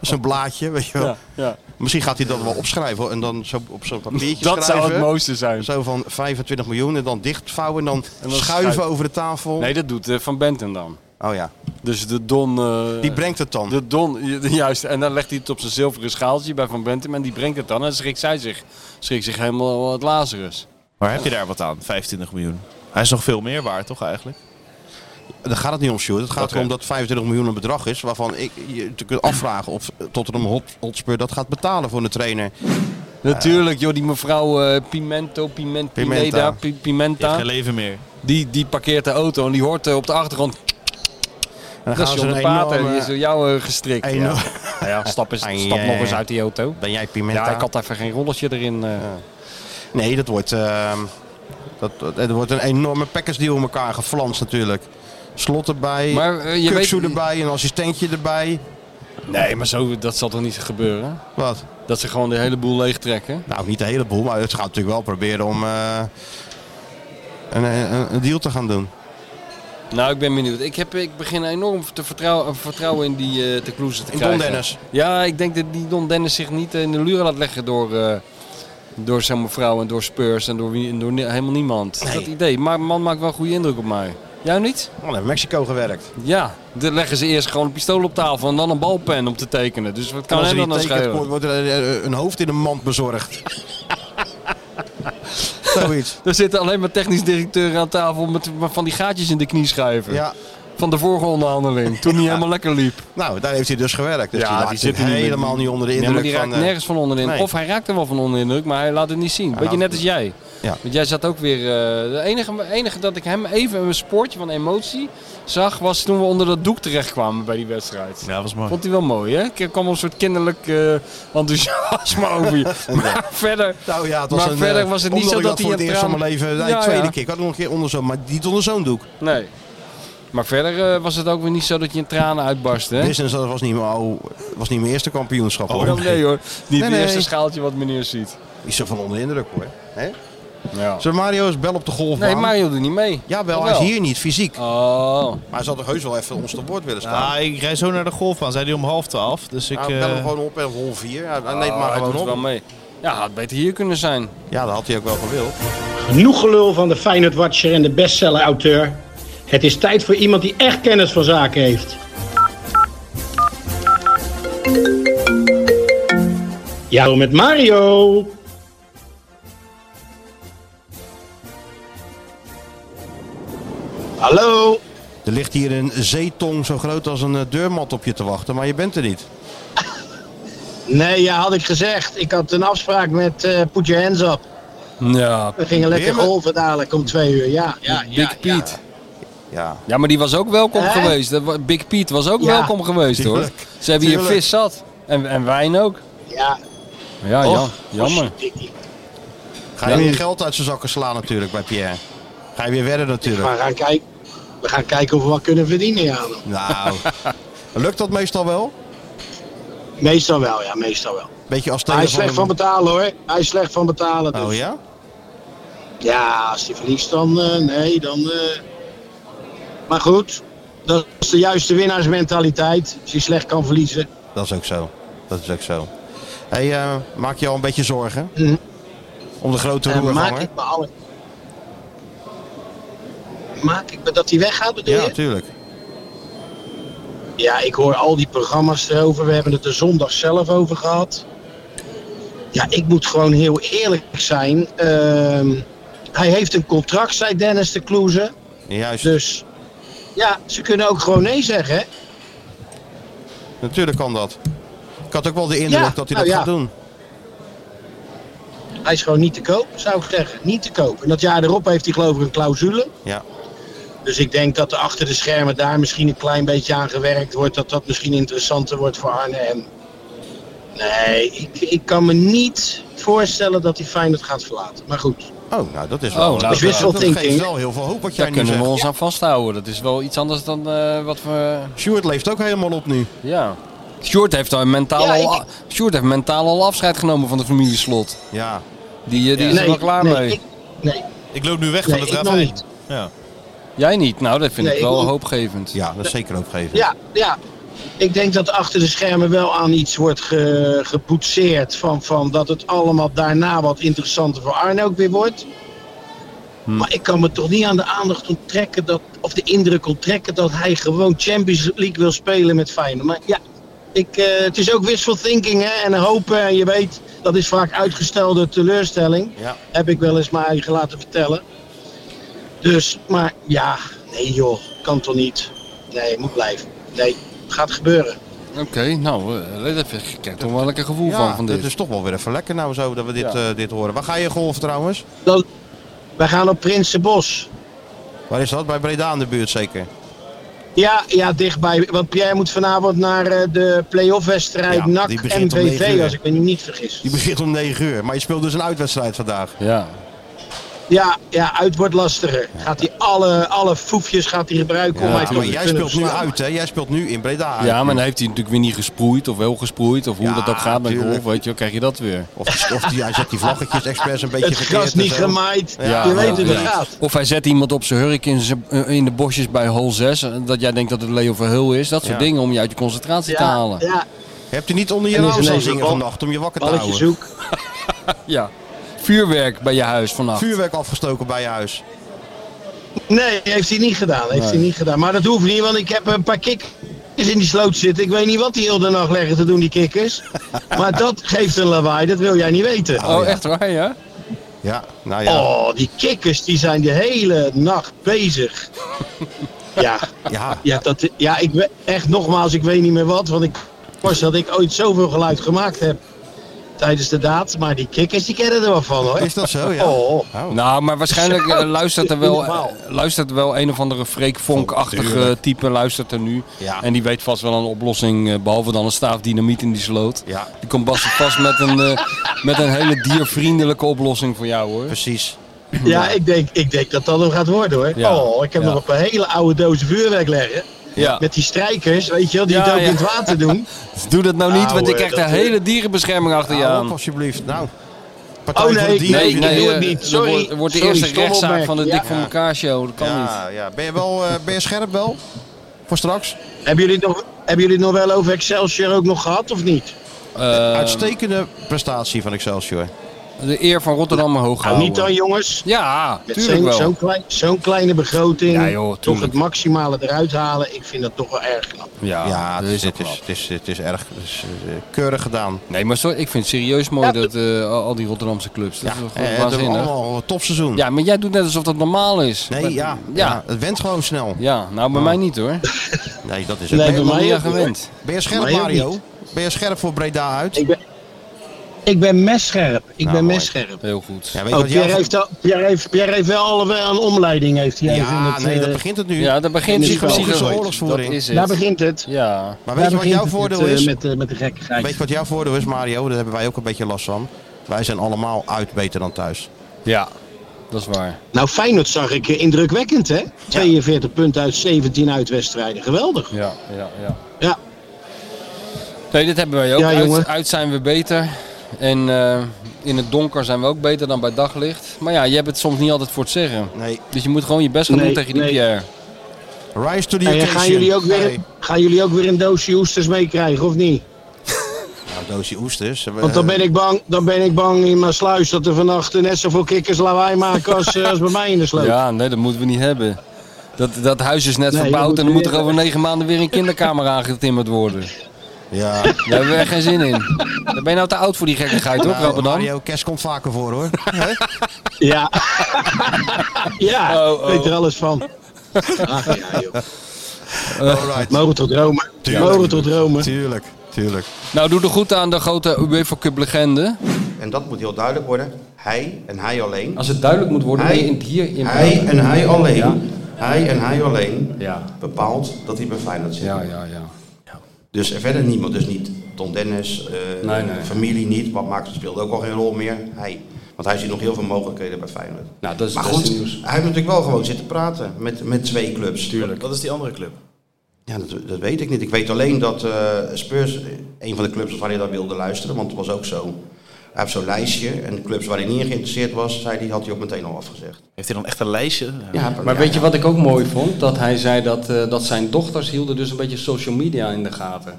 S2: Zo'n blaadje, weet je wel.
S3: Ja, ja.
S2: Misschien gaat hij dat wel opschrijven hoor, en dan zo op zo'n papiertje
S3: Dat zou
S2: schrijven.
S3: het mooiste zijn.
S2: Zo van 25 miljoen en dan dichtvouwen en dan,
S3: En dan
S2: schuiven
S3: schuif-
S2: over de tafel.
S3: Nee, dat doet eh, Van Benten dan.
S2: Oh ja.
S3: Dus de Don... eh,
S2: Die brengt het dan.
S3: De Don, ju- juist. En dan legt hij het op zijn zilveren schaaltje bij Van Benten. En die brengt het dan. En dan schrikt zij zich. Schrikt zich helemaal het Lazarus.
S4: Maar heb je daar wat aan? 25 miljoen. Hij is nog veel meer waard, toch eigenlijk?
S2: Daar gaat het niet om, Sjoerd. Het gaat
S4: Oké.
S2: erom dat 25 miljoen een bedrag is. Waarvan ik, je te kunt afvragen of Tottenham Hot- Hotspur dat gaat betalen voor een trainer.
S3: Natuurlijk, joh. Die mevrouw eh, Pimento, Piment,
S2: Pimenta.
S3: Pineda, Pi- Pimenta.
S2: Heeft geen
S4: leven meer.
S3: Die, die parkeert de auto en die hoort eh, op de achtergrond...
S2: dan
S3: dat is
S2: gaan ze
S3: John
S2: een
S3: de Pater,
S2: enorme-
S3: die is door jou eh, gestrikt.
S2: Enorm-
S3: Ja. Nou ja, stap, eens,
S2: Ai,
S3: stap
S2: eh,
S3: nog eens uit die auto.
S2: Ben jij Pimenta?
S3: Ja, ik had even geen rolletje erin. eh.
S2: Eh, Nee, dat wordt, ehm, dat, dat, dat wordt een enorme package deal om elkaar geflanst natuurlijk. Slot erbij,
S3: Maar,
S2: maar,
S3: eh, je weet-
S2: erbij, een assistentje erbij.
S3: Nee, maar zo, dat zal toch niet gebeuren?
S2: Wat?
S3: Dat ze gewoon de hele boel leegtrekken?
S2: Nou, niet de hele boel, maar het gaat natuurlijk wel proberen om eh, een, eh, een, een deal te gaan doen.
S3: Nou, ik ben benieuwd. Ik, heb, ik begin enorm te vertrouwen, vertrouwen in die eh te te
S2: In Don
S3: krijgen.
S2: Dennis.
S3: Ja, ik denk dat die Don Dennis zich niet eh, in de luren laat leggen door, eh, door zijn mevrouw en door Spurs en door, wie- en door ni- helemaal niemand. Dat idee. Maar man maakt wel een goede indruk op mij. Jij niet?
S2: Man, heeft Oh, Mexico gewerkt.
S3: Ja, dan leggen ze eerst gewoon een pistool op tafel en dan een balpen om te tekenen. Dus wat kan
S2: als
S3: hem
S2: er
S3: dan
S2: niet
S3: nou
S2: tekent,
S3: schelen?
S2: wordt- wordt er eh, een hoofd in een mand bezorgd. Zoiets.
S3: Er zitten alleen maar technisch directeuren aan tafel met met van die gaatjes in de knie schuiven.
S2: Ja.
S3: Van de vorige onderhandeling, toen niet helemaal lekker liep.
S2: Nou, daar heeft hij dus gewerkt. Dus die, laat
S3: zit
S2: zich
S3: er niet
S2: helemaal
S3: meer-
S2: niet onder de
S3: Nee,
S2: indruk
S3: maar die
S2: van...
S3: raakt
S2: eh,
S3: nergens van onder de indruk.
S2: nee.
S3: Of hij raakt er wel van onder de indruk, maar hij laat het niet zien. Weet je,
S2: laat
S3: net
S2: het
S3: als jij.
S2: Ja.
S3: Want jij zat ook weer... eh, de enige, enige dat ik hem even een spoortje van emotie zag... was toen we onder dat doek terechtkwamen bij die wedstrijd.
S4: Ja, was mooi.
S3: Vond hij wel mooi, hè? Er kwam een soort kinderlijk eh, enthousiasme over je. Maar verder,
S2: Nou ja, het was
S3: maar
S2: een,
S3: verder
S2: eh,
S3: was het niet
S2: omdat
S3: zo
S2: ik
S3: dat hij
S2: voor het
S3: een
S2: eerst van
S3: traan-
S2: mijn leven... Nee,
S3: Ja,
S2: tweede
S3: ja.
S2: keer. Ik had nog een keer onder zo'n... Maar niet onder zo'n doek.
S3: Nee. Maar verder eh, was het ook weer niet zo dat je in tranen uitbarstte, hè?
S2: Business dat was niet mijn, oh, was niet mijn eerste kampioenschap
S3: Oh,
S2: hoor.
S3: dan nee hoor. Niet
S2: Nee,
S3: het
S2: nee.
S3: eerste schaaltje wat meneer ziet.
S2: Is zo van onder de indruk hoor. Hè?
S3: Ja.
S2: Zo Mario is bel op de golf.
S3: Nee, Mario doet niet mee.
S2: Jawel,
S3: Of
S2: hij is
S3: wel?
S2: hier niet fysiek.
S3: Oh. Maar
S2: hij zal toch heus wel even ons te woord willen staan.
S32: Ah, ik rij zo naar de golfbaan. Zei die om half twaalf. Dus ik...
S2: Nou, bel hem
S32: eh,
S2: gewoon op en hol 4. Hij hij
S3: Oh,
S4: Ah,
S2: neemt maar
S3: hij
S2: gewoon
S3: doet
S2: op.
S3: wel mee. Ja, had beter hier kunnen zijn.
S2: Ja, dat had hij ook wel gewild.
S12: Genoeg gelul van de Feyenoord Watcher en de bestseller-auteur. Het is tijd voor iemand die echt kennis van zaken heeft. Ja, met Mario.
S2: Hallo. Er ligt hier een zeetong zo groot als een eh, deurmat op je te wachten, maar je bent er niet.
S12: Nee, ja, had ik gezegd. Ik had een afspraak met eh Put Your Hands Up.
S3: Ja.
S12: We gingen lekker golven dadelijk om twee uur. Ja, ja, ja.
S3: Big Piet.
S2: Ja.
S3: ja, maar die was ook welkom
S12: Hè?
S3: geweest. Dat wa- Big Piet was ook
S12: Ja.
S3: welkom geweest hoor.
S12: Tuurlijk.
S3: Ze hebben hier
S12: Tuurlijk.
S3: vis zat. En, en wijn ook.
S12: Ja,
S9: Ah,
S3: Ja,
S2: Och,
S3: ja jammer.
S2: Ga je
S12: Ja.
S2: weer geld uit zijn zakken slaan natuurlijk bij Pierre. Ga je weer wedden natuurlijk.
S12: we gaan, kijken, we gaan kijken of we wat kunnen verdienen, ja.
S2: Nou, lukt dat meestal wel?
S12: Meestal wel, ja, meestal wel.
S2: Beetje als
S12: Maar hij is
S2: telefoon-
S12: slecht van betalen hoor. Hij is slecht van betalen. Dus.
S2: Oh ja?
S12: Ja, als hij verliest dan eh, nee, dan. eh. Maar goed, dat is de juiste winnaarsmentaliteit. Als je slecht kan verliezen.
S2: Dat is ook zo. Dat is ook zo. Hey, eh, maak je al een beetje zorgen? Om de grote
S12: En Mhm. eh, maak
S2: roerganger?
S12: ik me alle. Maak ik me dat hij weggaat, bedoel
S2: Ja,
S12: je?
S2: natuurlijk.
S12: Ja, ik hoor al die programma's erover. We hebben het er zondag zelf over gehad. Ja, ik moet gewoon heel eerlijk zijn. Ehm, hij heeft een contract, zei Dennis de Kloeze.
S2: Juist.
S12: Dus Ja, ze kunnen ook gewoon nee zeggen. hè?
S2: Natuurlijk kan dat. Ik had ook wel de indruk
S12: Ja,
S2: dat hij
S12: nou
S2: dat
S12: ja.
S2: gaat doen.
S12: Hij is gewoon niet te koop, zou ik zeggen. Niet te koop. En dat jaar erop heeft hij geloof ik een clausule.
S2: Ja.
S12: Dus ik denk dat er achter de schermen daar misschien een klein beetje aan gewerkt wordt. Dat dat misschien interessanter wordt voor Arne. En nee, ik, ik kan me niet voorstellen dat hij Feyenoord gaat verlaten. Maar goed.
S2: Oh, nou dat
S12: is wel- dat is wishful thinking.
S3: Daar kunnen we ons aan vasthouden. Dat is wel iets anders dan eh, wat we...
S2: Stuart leeft ook helemaal op nu.
S3: Ja. Sjoerd heeft, al mentaal
S12: Ja,
S3: al,
S12: ik-
S3: a- Sjoerd heeft mentaal al afscheid genomen van de familie Slot.
S2: Ja.
S3: Die, eh, die
S2: Ja.
S3: is er
S2: Nee,
S3: wel klaar
S2: nee,
S3: mee.
S2: ik-
S12: nee.
S4: Ik loop nu weg
S12: Nee, ik nog niet.
S4: Ja.
S3: Jij niet? Nou, dat vind
S12: Nee,
S3: ik
S12: ik
S3: wel
S12: niet.
S3: hoopgevend.
S2: Ja, dat is zeker hoopgevend.
S12: Ja, ja. Ik denk dat achter de schermen wel aan iets wordt ge, geboetseerd. Van, van dat het allemaal daarna wat interessanter voor Arne ook weer wordt. Maar ik kan me toch niet aan de aandacht onttrekken dat, of de indruk onttrekken dat hij gewoon Champions League wil spelen met Feyenoord. Maar ja, ik, eh, het is ook wishful thinking hè, en hopen. En je weet, dat is vaak uitgestelde teleurstelling.
S2: Ja.
S12: Heb ik wel eens mijn eigen laten vertellen. Dus, maar ja, nee joh, kan toch niet. Nee, moet blijven. Nee, gaat gebeuren.
S3: Oké, nou, eh, dat vind ik, ik krijg toch wel lekker gevoel van, van dit.
S2: Het is toch wel weer even lekker nou zo dat we dit,
S3: Ja.
S2: eh, dit horen. Waar ga je golf trouwens?
S12: Dan, wij gaan op Prinsenbos.
S2: Waar is dat? Bij Breda in de buurt zeker.
S12: Ja, ja, dichtbij. Want Pierre moet vanavond naar eh, de play-off wedstrijd
S2: Ja,
S12: NAC
S2: die begint om negen
S12: MVV,
S2: uur.
S12: als ik me niet vergis.
S2: Die begint om 9 uur, maar je speelt dus een uitwedstrijd vandaag.
S3: Ja.
S12: Ja, ja, uit wordt lastiger. Gaat hij alle, alle foefjes gaat hij gebruiken om mij te
S2: maar
S12: kunnen
S2: jij speelt nu
S12: verslaan.
S2: uit, hè? Jij speelt nu in Breda. uit.
S3: Ja, maar dan heeft hij natuurlijk weer niet gesproeid of wel gesproeid. Of hoe
S2: Ja,
S3: dat ook gaat met
S2: tuurlijk.
S3: golf, weet je, wel, krijg je dat weer.
S2: Of, of die, hij zet die vlaggetjes expres een beetje
S12: Het
S2: gekeerd
S12: gras
S2: en
S12: niet
S2: zo.
S12: gemaaid.
S2: Ja.
S12: je weet hoe dat
S3: Ja.
S12: gaat.
S3: Of hij zet iemand op zijn hurk in, zijn- eh, in de bosjes bij hole 6. eh, Dat jij denkt dat het Leo Verheul is. Dat soort
S2: Ja.
S3: dingen om je uit je concentratie te halen.
S12: ja.
S2: Heb je niet onder je
S3: En is
S2: raam staan
S3: ineens
S2: zingen
S3: een bal-
S2: vannacht om je wakker te
S3: balletje
S2: houden?
S3: zoek. Ja. Vuurwerk bij je huis vannacht.
S2: Vuurwerk afgestoken bij je huis.
S12: Nee, heeft hij niet gedaan. Heeft
S2: Nee.
S12: hij niet gedaan. Maar dat hoeft niet, want ik heb een paar kikkers in die sloot zitten. Ik weet niet wat die heel de nacht leggen te doen, die kikkers. maar dat geeft een lawaai, dat wil jij niet weten.
S3: Oh, echt waar, ja?
S2: Ja, nou ja.
S12: Oh, die kikkers die zijn de hele nacht bezig. ja.
S2: Ja.
S12: Ja, dat, ja ik, we- echt nogmaals, ik weet niet meer wat. Want ik was dat ik ooit zoveel geluid gemaakt heb tijdens de daad. Maar die kikkers, die kennen er wel van hoor.
S2: Is dat zo, ja?
S12: Oh.
S3: Nou, maar waarschijnlijk eh, luistert er wel, eh,
S12: Normaal.
S3: luistert er wel een of andere Freek Vonk-achtige
S2: Tuurlijk.
S3: type luistert er nu.
S2: Ja.
S3: En die weet vast wel een oplossing, eh, behalve dan een staaf dynamiet in die sloot.
S2: Ja.
S3: Die komt vast, vast met, een, eh, met een hele diervriendelijke oplossing voor jou hoor.
S2: Precies.
S12: Ja, ik denk, ik denk dat dat hem gaat worden hoor.
S3: Ja.
S12: Oh, ik heb
S3: Ja.
S12: nog een hele oude dozen vuurwerk leggen.
S3: Ja.
S12: Met die strijkers, weet je wel, die het
S3: Ja,
S12: ook
S3: ja.
S12: in het water doen.
S3: Doe dat nou niet, want ik
S12: Ouwe,
S2: eh,
S3: krijg de
S12: dat-
S3: hele dierenbescherming achter je
S2: Hou op,
S3: aan.
S2: alsjeblieft. Nou.
S12: Oh nee,
S2: dieren
S12: nee,
S2: is-
S12: nee, doe het
S3: eh,
S12: niet.
S3: dat
S12: Sorry.
S3: wordt- wordt de
S12: Sorry,
S3: eerste
S12: stomme
S3: rechtszaak van de
S12: opmerking.
S3: Dik voor elkaar show. Dat kan
S2: ja,
S3: niet.
S2: ja. Ben je wel eh, ben je scherp wel? Voor straks?
S12: Hebben jullie, het nog, hebben jullie het nog wel over Excelsior ook nog gehad of niet?
S2: Uitstekende prestatie van Excelsior.
S3: Eh, De eer van Rotterdam hoog
S12: Nou,
S3: houden.
S12: niet dan jongens.
S3: eh. Ja,
S12: Met
S3: tuurlijk
S12: zo'n-
S3: wel.
S12: Zo'n klein- zo'n kleine begroting,
S3: Ja, joh,
S12: toch
S3: tuurlijk.
S12: het maximale eruit halen, ik vind dat toch wel erg knap.
S3: Ja,
S2: Ja,
S3: dat
S2: het,
S3: is
S2: het, is, het, is, het is erg het is, eh, keurig gedaan.
S3: Nee, maar zo, ik vind het serieus mooi dat eh, al al die Rotterdamse clubs. Dat
S2: Ja,
S3: is toch
S2: eh,
S3: gewoon
S2: het hebben
S3: waanzinnig.
S2: allemaal een topseizoen.
S3: Ja, maar jij doet net alsof dat normaal is.
S2: Nee,
S3: Maar-
S2: ja, ja.
S3: ja.
S2: Het went gewoon snel.
S3: Ja, nou bij mij niet hoor.
S2: Nee, dat is
S12: Nee,
S2: het.
S12: bij mij
S3: Maria
S12: ook niet, hoor.
S3: gewend.
S2: Ben je scherp,
S12: Bij mij ook
S2: Mario?
S12: niet.
S2: Ben je scherp voor Breda uit?
S12: Ik ben, ik ben messcherp. Ik
S2: Nou,
S12: ben
S2: mooi.
S12: messcherp.
S3: Heel goed.
S2: Ja, weet je
S12: Oh,
S2: wat jij-
S12: Pierre, heeft al, Pierre, heeft, Pierre heeft wel allebei een omleiding. Heeft hij even in
S2: Ja,
S12: het,
S2: nee, dat
S12: eh,
S2: begint het nu.
S3: Ja, daar
S12: in
S3: begint hij
S12: het spel.
S3: precies
S2: Psychologische
S3: Dat
S2: oorlogsvoering.
S3: is
S12: Daar
S3: het.
S12: begint het.
S3: Ja.
S2: Maar weet je
S12: Daar
S2: wat
S12: begint
S2: jouw
S12: het
S2: voordeel
S12: met, eh,
S2: is?
S12: Met, eh, met de gekkigheid.
S2: Weet je wat jouw voordeel is, Mario? Daar hebben wij ook een beetje last van. Wij zijn allemaal uit beter dan thuis.
S3: ja, dat is waar.
S12: Nou, Feyenoord zag ik eh, indrukwekkend, hè? 42 punten uit 17 uitwedstrijden. Geweldig.
S3: Ja, ja, ja.
S12: Ja,
S3: Nee, dit hebben wij ook.
S12: Ja,
S3: uit,
S12: jongen.
S3: uit zijn we beter. En eh, in het donker zijn we ook beter dan bij daglicht. Maar ja, je hebt het soms niet altijd voor het zeggen.
S2: Nee.
S3: Dus je moet gewoon je best gaan
S12: Nee,
S3: doen tegen die
S12: nee.
S3: Pierre.
S2: Rise to the
S12: en
S2: occasion.
S12: gaan jullie, ook weer,
S2: Nee.
S12: gaan jullie ook weer een doosje oesters meekrijgen, of niet?
S2: Nou, doosje oesters.
S12: Want dan ben ik bang, dan ben ik bang in mijn sluis dat er vannacht net zoveel kikkers lawaai maken als, eh, als bij mij in de sloot.
S3: Ja, nee, dat moeten we niet hebben. Dat, dat huis is net
S12: Nee,
S3: verbouwd
S12: dat
S3: en dan moet
S12: moeten
S3: er
S12: we
S3: over negen maanden weer een kinderkamer aangetimmerd worden.
S2: Ja.
S3: Daar hebben we echt geen zin in. Dan ben je nou te oud voor die gekkigheid, hoor,
S2: Nou,
S3: Rotterdam.
S2: Mario, Kes komt vaker voor hoor. Hè?
S12: Ja, ja
S3: Oh, oh.
S12: weet er alles van. Ach, ja, joh. Mogen Eh, tot dromen.
S3: Tuurlijk.
S12: Mogen tot dromen.
S2: Tuurlijk, tuurlijk.
S3: Nou, doe er goed aan de grote UEFA Cup legende.
S2: En dat moet heel duidelijk worden. Hij en hij alleen.
S3: Als het duidelijk moet worden,
S2: Hij-
S3: ben je in het hier in
S2: Hij en hij alleen.
S3: Ja.
S2: Hij en hij alleen bepaalt dat hij bij Feyenoord zit. Ja,
S3: ja, ja.
S2: Dus er verder niemand. Dus niet Don Dennis, eh,
S3: Nee, nee.
S2: familie niet. Wat maakt speelde ook al geen rol meer. Hij. Want hij ziet nog heel veel mogelijkheden bij Feyenoord.
S3: Nou, dat is
S2: maar
S3: het beste
S2: goed,
S3: nieuws.
S2: hij heeft natuurlijk wel gewoon zitten praten met, met twee clubs. Tuurlijk.
S4: Wat is die andere club?
S2: Ja, dat, dat weet ik niet. Ik weet alleen dat eh, Spurs een van de clubs was waar hij naar wilde luisteren, want het was ook zo. Hij heeft zo'n lijstje en de clubs waar hij niet in geïnteresseerd was, zei die had hij ook meteen al afgezegd.
S4: Heeft hij dan echt een lijstje?
S3: Maar weet je wat ik ook mooi vond? Dat hij zei dat, eh, dat zijn dochters hielden dus een beetje social media in de gaten.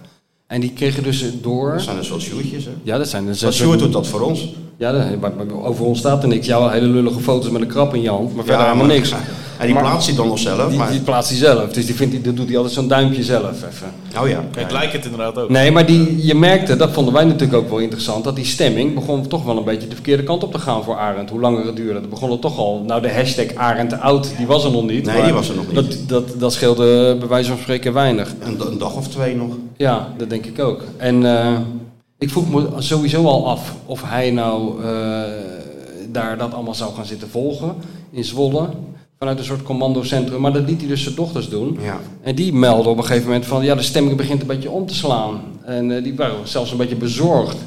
S3: En die kregen dus door... Dat
S2: zijn de socioetjes, hè?
S3: Ja, dat zijn de...
S2: Want Sjoerd doet dat voor ons.
S3: Ja, dat- maar- maar over ons staat er niks. Jouw hele lullige foto's met een krap in je hand, maar verder
S2: Ja,
S3: helemaal
S2: maar-
S3: niks.
S2: En die plaatst hij dan nog zelf,
S3: Die,
S2: maar-
S3: die plaatst hij zelf. Dus die vindt, hij- dat doet hij altijd zo'n duimpje zelf even.
S2: Oh ja.
S4: Ik lijk het inderdaad ook.
S3: Nee, maar die, je merkte, dat vonden wij natuurlijk ook wel interessant, dat die stemming begon toch wel een beetje de verkeerde kant op te gaan voor Arend. Hoe langer het duurde, dat begon het toch al. Nou, de hashtag Arend oud, die was er nog niet.
S2: Nee,
S3: maar
S2: die was er nog niet.
S3: Dat, dat, dat scheelde eh, bij wijze van spreken weinig.
S2: Een, een dag of twee nog.
S3: Ja, dat denk ik ook. En eh, ik vroeg me sowieso al af of hij nou eh, daar dat allemaal zou gaan zitten volgen in Zwolle. Vanuit een soort commandocentrum. Maar dat liet hij dus zijn dochters doen.
S2: Ja.
S3: En die melden op een gegeven moment van ja, de stemming begint een beetje om te slaan. En eh, die waren zelfs een beetje bezorgd,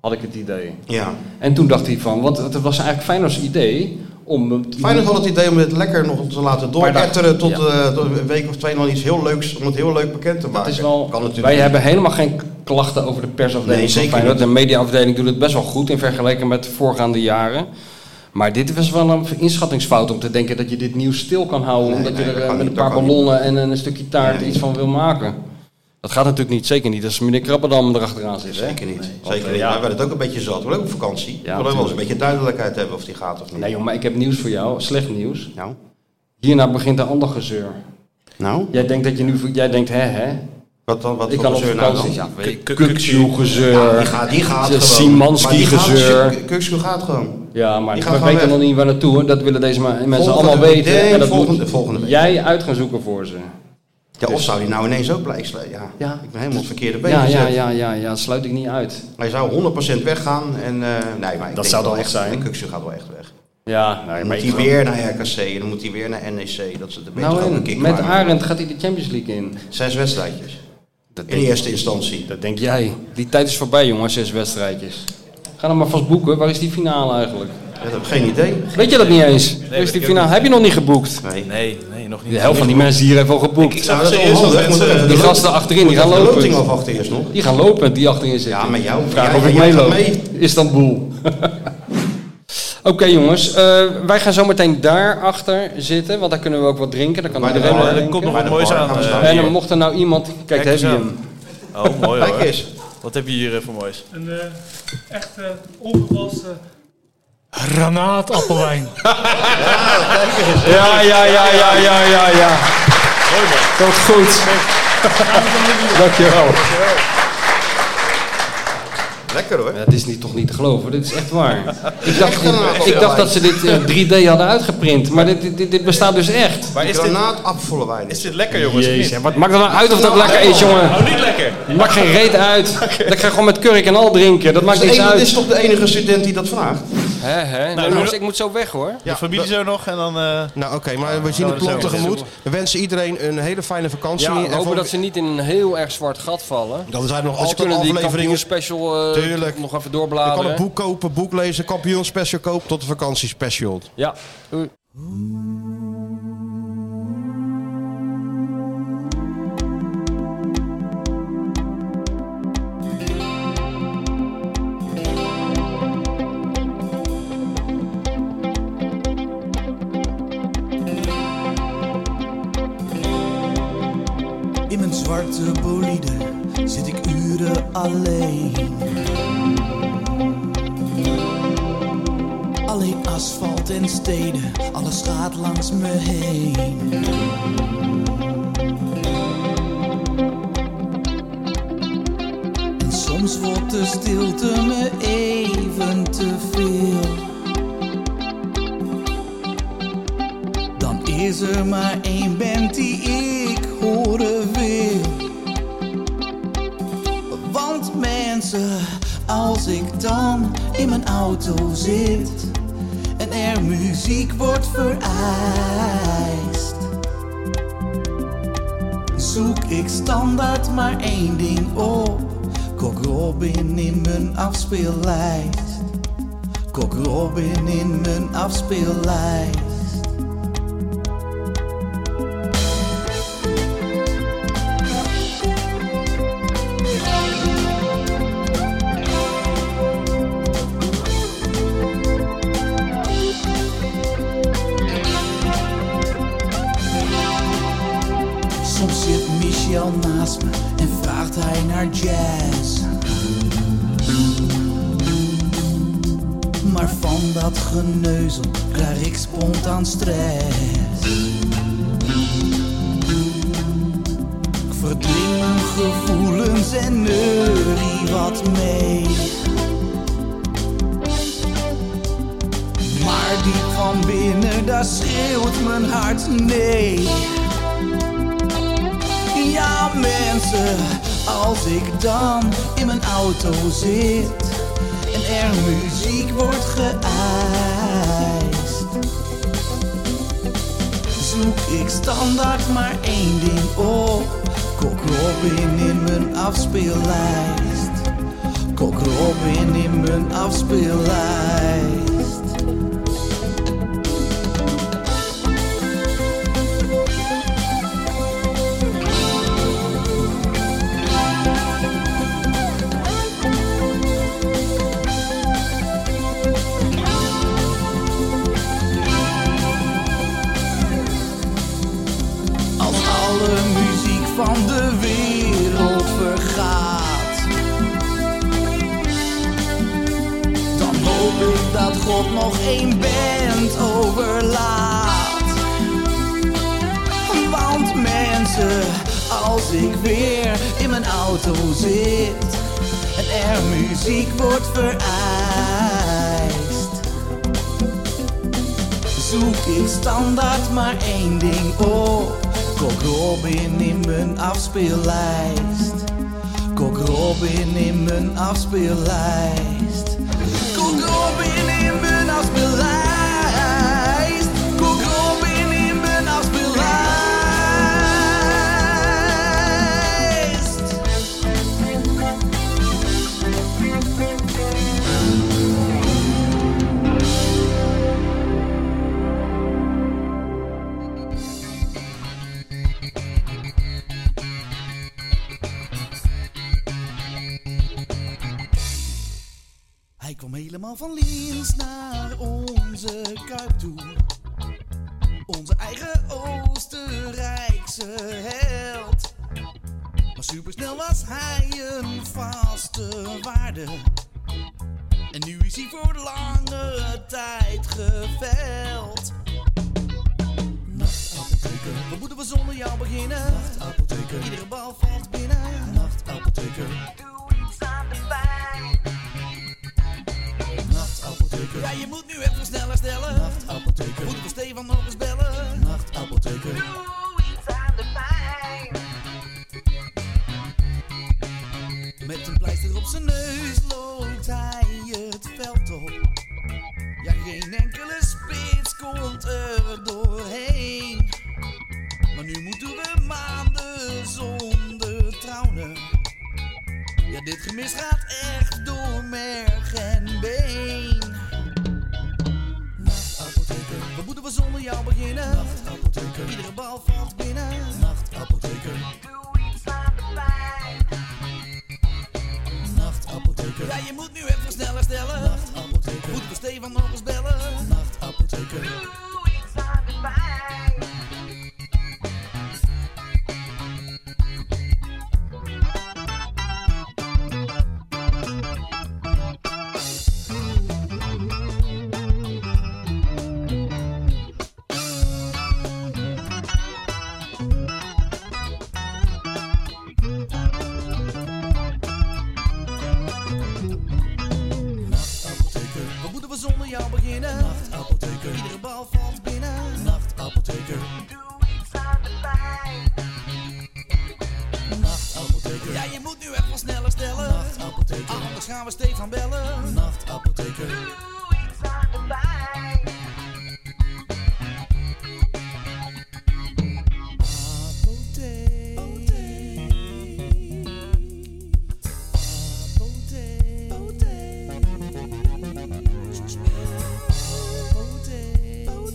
S3: had ik het idee.
S2: Ja.
S3: En toen dacht hij van, want het was eigenlijk Feyenoord's idee om...
S2: Feyenoord had het idee om dit lekker nog te laten
S3: Paar dagen.
S2: dooretteren tot,
S3: Ja.
S2: eh, tot een week of twee nog iets heel leuks, om het heel leuk bekend te maken.
S3: is wel-
S2: kan natuurlijk
S3: Wij
S2: niet.
S3: hebben helemaal geen klachten over de persafdeling
S2: Nee,
S3: van
S2: zeker
S3: Feyenoord.
S2: niet.
S3: De mediaafdeling doet het best wel goed in vergelijking met de voorgaande jaren. Maar dit was wel een inschattingsfout om te denken dat je dit nieuws stil kan houden. omdat
S2: nee,
S3: je er
S2: dat
S3: eh,
S2: kan
S3: met
S2: niet,
S3: een
S2: dat
S3: paar
S2: kan niet.
S3: ballonnen en een stukje taart
S2: Nee.
S3: iets van wil maken. Dat gaat natuurlijk niet. Zeker niet als meneer Krabberdam erachteraan zit.
S2: Zeker niet.
S3: Want,
S2: Zeker
S3: eh,
S2: niet.
S3: ja.
S2: Wij werden het ook een beetje zat. We hebben ook op vakantie. we willen wel eens een
S3: tuurlijk.
S2: beetje duidelijkheid hebben of die gaat of niet.
S3: Nee joh, maar ik heb nieuws voor jou. Slecht nieuws.
S2: Nou?
S3: Hierna begint een ander gezeur.
S2: Nou?
S3: Jij denkt dat je nu... Jij denkt, hè, hè?
S2: Wat dan? Wat
S3: ik
S2: voor
S3: kan op
S2: gezeur nou
S3: vakantie.
S2: dan?
S3: Ja, weet je,
S2: Kuk- Kuk-
S3: Kukçu-gezeur.
S2: Ja, die gaat, die gaat gewoon. Maar die gaat-
S3: Simanski-gezeur.
S2: Kukçu gaat gewoon.
S3: Ja, maar
S2: Die
S3: we
S2: gaan gewoon
S3: weten
S2: weg.
S3: nog niet waar naartoe. Dat willen deze ma- mensen
S2: Volgende
S3: allemaal
S2: week.
S3: weten.
S2: Nee,
S3: en dat
S2: volgende-
S3: moet
S2: volgende week.
S3: Jij uit gaan zoeken voor ze.
S2: Ja,
S3: Dus-
S2: of zou die nou ineens ook blijven slaan? Ja, Nou, ik ben helemaal op het verkeerde been
S3: Ja, ja,
S2: gezet.
S3: ja, ja, ja, sluit ik niet uit.
S2: Hij zou 100% weggaan. En, eh, nee, maar ik
S3: Dat
S2: denk
S3: zou dan
S2: wel
S3: wat
S2: echt
S3: zijn.
S2: En Kukçu gaat wel echt weg.
S3: Ja, nee,
S2: Dan
S3: maar
S2: moet
S3: ik
S2: hij
S3: geloof-
S2: weer nou naar RKC. Dan moet hij weer naar NEC. Dat ze de beter
S3: Nou
S2: ook een
S3: en,
S2: kick
S3: met
S2: maken.
S3: Arend gaat hij de Champions League in.
S2: Zes wedstrijdjes.
S3: Dat
S2: In
S3: denk-
S2: eerste instantie.
S3: Dat denk jij. Die tijd is voorbij, jongen, zes wedstrijdjes. Ga dan maar vast boeken. Waar is die finale eigenlijk?
S2: dat heb ik geen idee.
S3: Weet je dat niet eens? Waar
S4: weet
S3: is die
S4: ik ook
S3: finale?
S4: niet.
S3: Heb je nog niet geboekt?
S2: Nee.
S4: Nee, nee, nog niet.
S3: De helft van die mensen hier heeft al geboekt.
S4: Ik zag
S2: Nou, dat is
S4: ze eerst
S2: onhandig.
S4: dat
S2: Moet er even
S4: mensen...
S2: de
S3: Die
S2: loting-
S3: gasten achterin, die
S2: moet
S3: gaan
S2: even de
S3: lopen.
S2: loting afwachten eerst nog.
S3: Die gaan lopen, die achterin zitten.
S2: Ja, met jou.
S3: Vraag
S2: Jij-
S3: of ik
S2: jij gaat
S3: meeloop.
S2: mee.
S3: Istanbul. Oké jongens, eh, wij gaan zometeen daarachter zitten, want daar kunnen we ook wat drinken. Daar kan
S2: Bij de
S3: iedereen
S2: bar,
S3: wat
S2: er
S3: drinken.
S4: komt nog Bij wat de moois bar aan, gaan we eh, staan.
S3: en
S4: hier.
S3: mocht er nou iemand... Kijk, daar heb je
S4: eens
S3: hem.
S4: aan. Oh, mooi hoor.
S2: Kijk eens.
S4: Wat heb je hier eh, voor moois?
S14: Een eh, echt eh, ongewassen granaatappelwijn.
S3: Ja, ja, ja, ja, ja, ja, ja. Tot goed. Dankjewel.
S2: Lekker hoor.
S3: Het is niet, toch niet te geloven, dit is echt waar. Ik dacht,
S2: Echt een
S3: ik,
S2: appelwijn.
S3: dacht dat ze dit eh, 3D hadden uitgeprint, maar dit, dit, dit bestaat dus echt.
S2: Maar is granaatapfelen wijn.
S4: Is dit lekker jongens? of
S3: Jezus,
S4: niet?
S3: wat maakt het nou uit of dat lekker is, jongen?
S4: Nou, niet lekker.
S3: Maakt geen reet uit. Dat ga ik gewoon met kurk en al drinken. Dat maakt
S2: Dus de
S3: niks
S2: enige-
S3: uit.
S2: Dit is toch de enige student die dat vraagt?
S3: Hè, hè? Nou,
S2: Nou,
S3: jongens,
S2: nu-
S3: ik moet zo weg hoor.
S4: De familie zo nog en dan... eh,
S2: Nou oké, maar we zien het plan tegemoet. We wensen iedereen een hele fijne vakantie.
S3: Ja, we
S2: En voor-
S3: hopen dat ze niet in een heel erg zwart gat vallen.
S2: Dan zijn er nog
S3: Want ze
S2: altijd
S3: kunnen die
S2: afleveringen.
S3: kampioenspecial eh,
S2: Tuurlijk.
S3: nog even
S2: Je kan
S3: doorbladeren.
S2: een boek kopen, boek lezen, kampioen special kopen tot de vakantie special.
S3: Ja, doei.
S1: In mijn zwarte bolide zit ik uren alleen. Alleen asfalt en steden, alles gaat langs me heen. En soms wordt de stilte me even te veel. Dan is er maar één band die ik horen wil. Want mensen, als ik dan in mijn auto zit en er muziek wordt vereist, zoek ik standaard maar één ding op. Kok Robin in mijn afspeellijst. Kok Robin in mijn afspeellijst. Soms zit Michel naast me en vraagt hij naar jazz. Maar van dat geneuzel krijg ik spontaan stress. Ik verdring mijn gevoelens en neurie wat mee. Maar diep van binnen, daar schreeuwt mijn hart nee. Ja mensen, als ik dan in mijn auto zit en er muziek wordt geëist, zoek ik standaard maar één ding op. Kok Robin in mijn afspeellijst. Kok Robin in mijn afspeellijst. Als alle muziek van de wereld vergaat Dan hoop ik dat God nog één band overlaat Want mensen, als ik weer in mijn auto zit En er muziek wordt vereist zoek ik standaard maar één ding op. Kok Robin in mijn afspeellijst. Kok Robin in mijn afspeellijst. Kok Robin in mijn afspeellijst. Kok Robin in mijn afspeellijst. Hij kwam helemaal van links naar onze kuip toe. Onze eigen Oostenrijkse held. Maar supersnel was hij een vaste waarde. En nu is hij voor lange tijd geveld. Nachtapotheker, wat moeten we zonder jou beginnen? Nachtapotheker, iedere bal valt binnen. Nachtapotheker, doe iets aan de pijn. Nachtapotheker. Ja, je moet nu even sneller stellen. Nachtapotheker. Moeten we Stefan nog eens bellen? Nachtapotheker. Doe iets aan de pijn. Met een pleister op zijn neus loopt hij het veld op. Ja, geen enkele spits komt er doorheen. Maar nu moeten we maanden zonder trouwen. Ja, dit gemis gaat echt door merg en been. Nachtapotheker, wat moeten we zonder jou beginnen? Nachtapotheker, iedere bal valt binnen. Nachtapotheker, doe iets aan de pijn. Nachtapotheker, ja, je moet nu even sneller stellen. Nachtapotheker, moeten we Stefan nog eens bellen? Nachtapotheker, doe iets aan de pijn. Nachtapotheker, wat moeten we zonder jou beginnen? Ah, gaan we Stefan bellen. Nachtapotheker.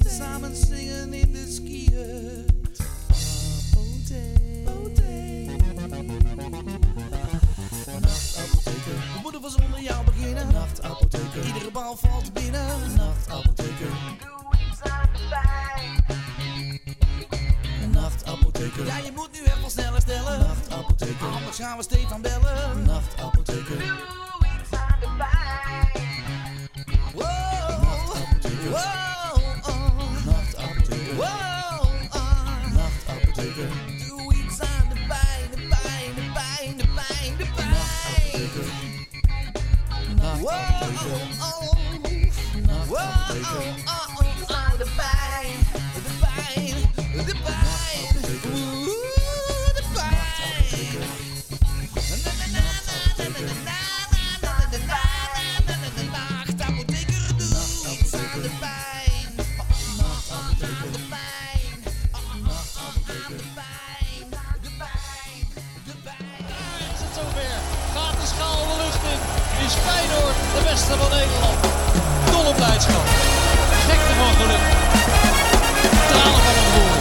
S1: Samen zingen in de skiën. Nachtapotheker. We moeten van zonder jou beginnen. Nachtapotheker. Iedere bal valt binnen. Nachtapotheker. Nachtapotheker. Ja, je moet nu echt wel sneller stellen. Nachtapotheker. Anders gaan we Stefan bellen. Nachtapotheker. Wow. Wow. oh. Wow. ah. Doe iets aan de pijn, de pijn, de pijn, de pijn, de pijn. Wow, oh, oh. Wow, oh, oh, oh, oh, de pijn, de pijn, de pijn. Oeh, de pijn. Na, na, na, na, na, na, na, na, na, na, na, na, na, na, na. Nachtapotheker, doe iets aan de pijn. Aan de pijn. Aan de pijn. De pijn. De pijn.
S33: Is het zover? Gaat de schaal de lucht in? Is Feyenoord de beste van Nederland? Dolle blijdschap. Gekte van geluk. Tranen van een boer.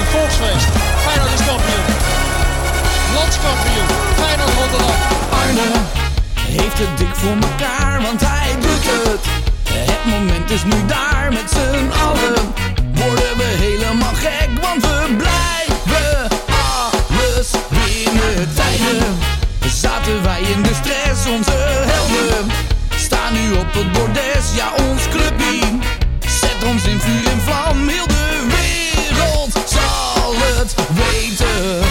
S33: Een volksfeest. Feyenoord is kampioen. Landskampioen. Feyenoord Rotterdam.
S1: Arne heeft het dik voor elkaar, want hij doet het. Het moment is nu daar met z'n allen. Worden we helemaal gek, want we blijven alles binnen tijden. Zaten wij in de stress, onze helden. Staan nu op het bordes, ja ons clubje. Zet ons in vuur en vlam, heel de wereld zal het weten.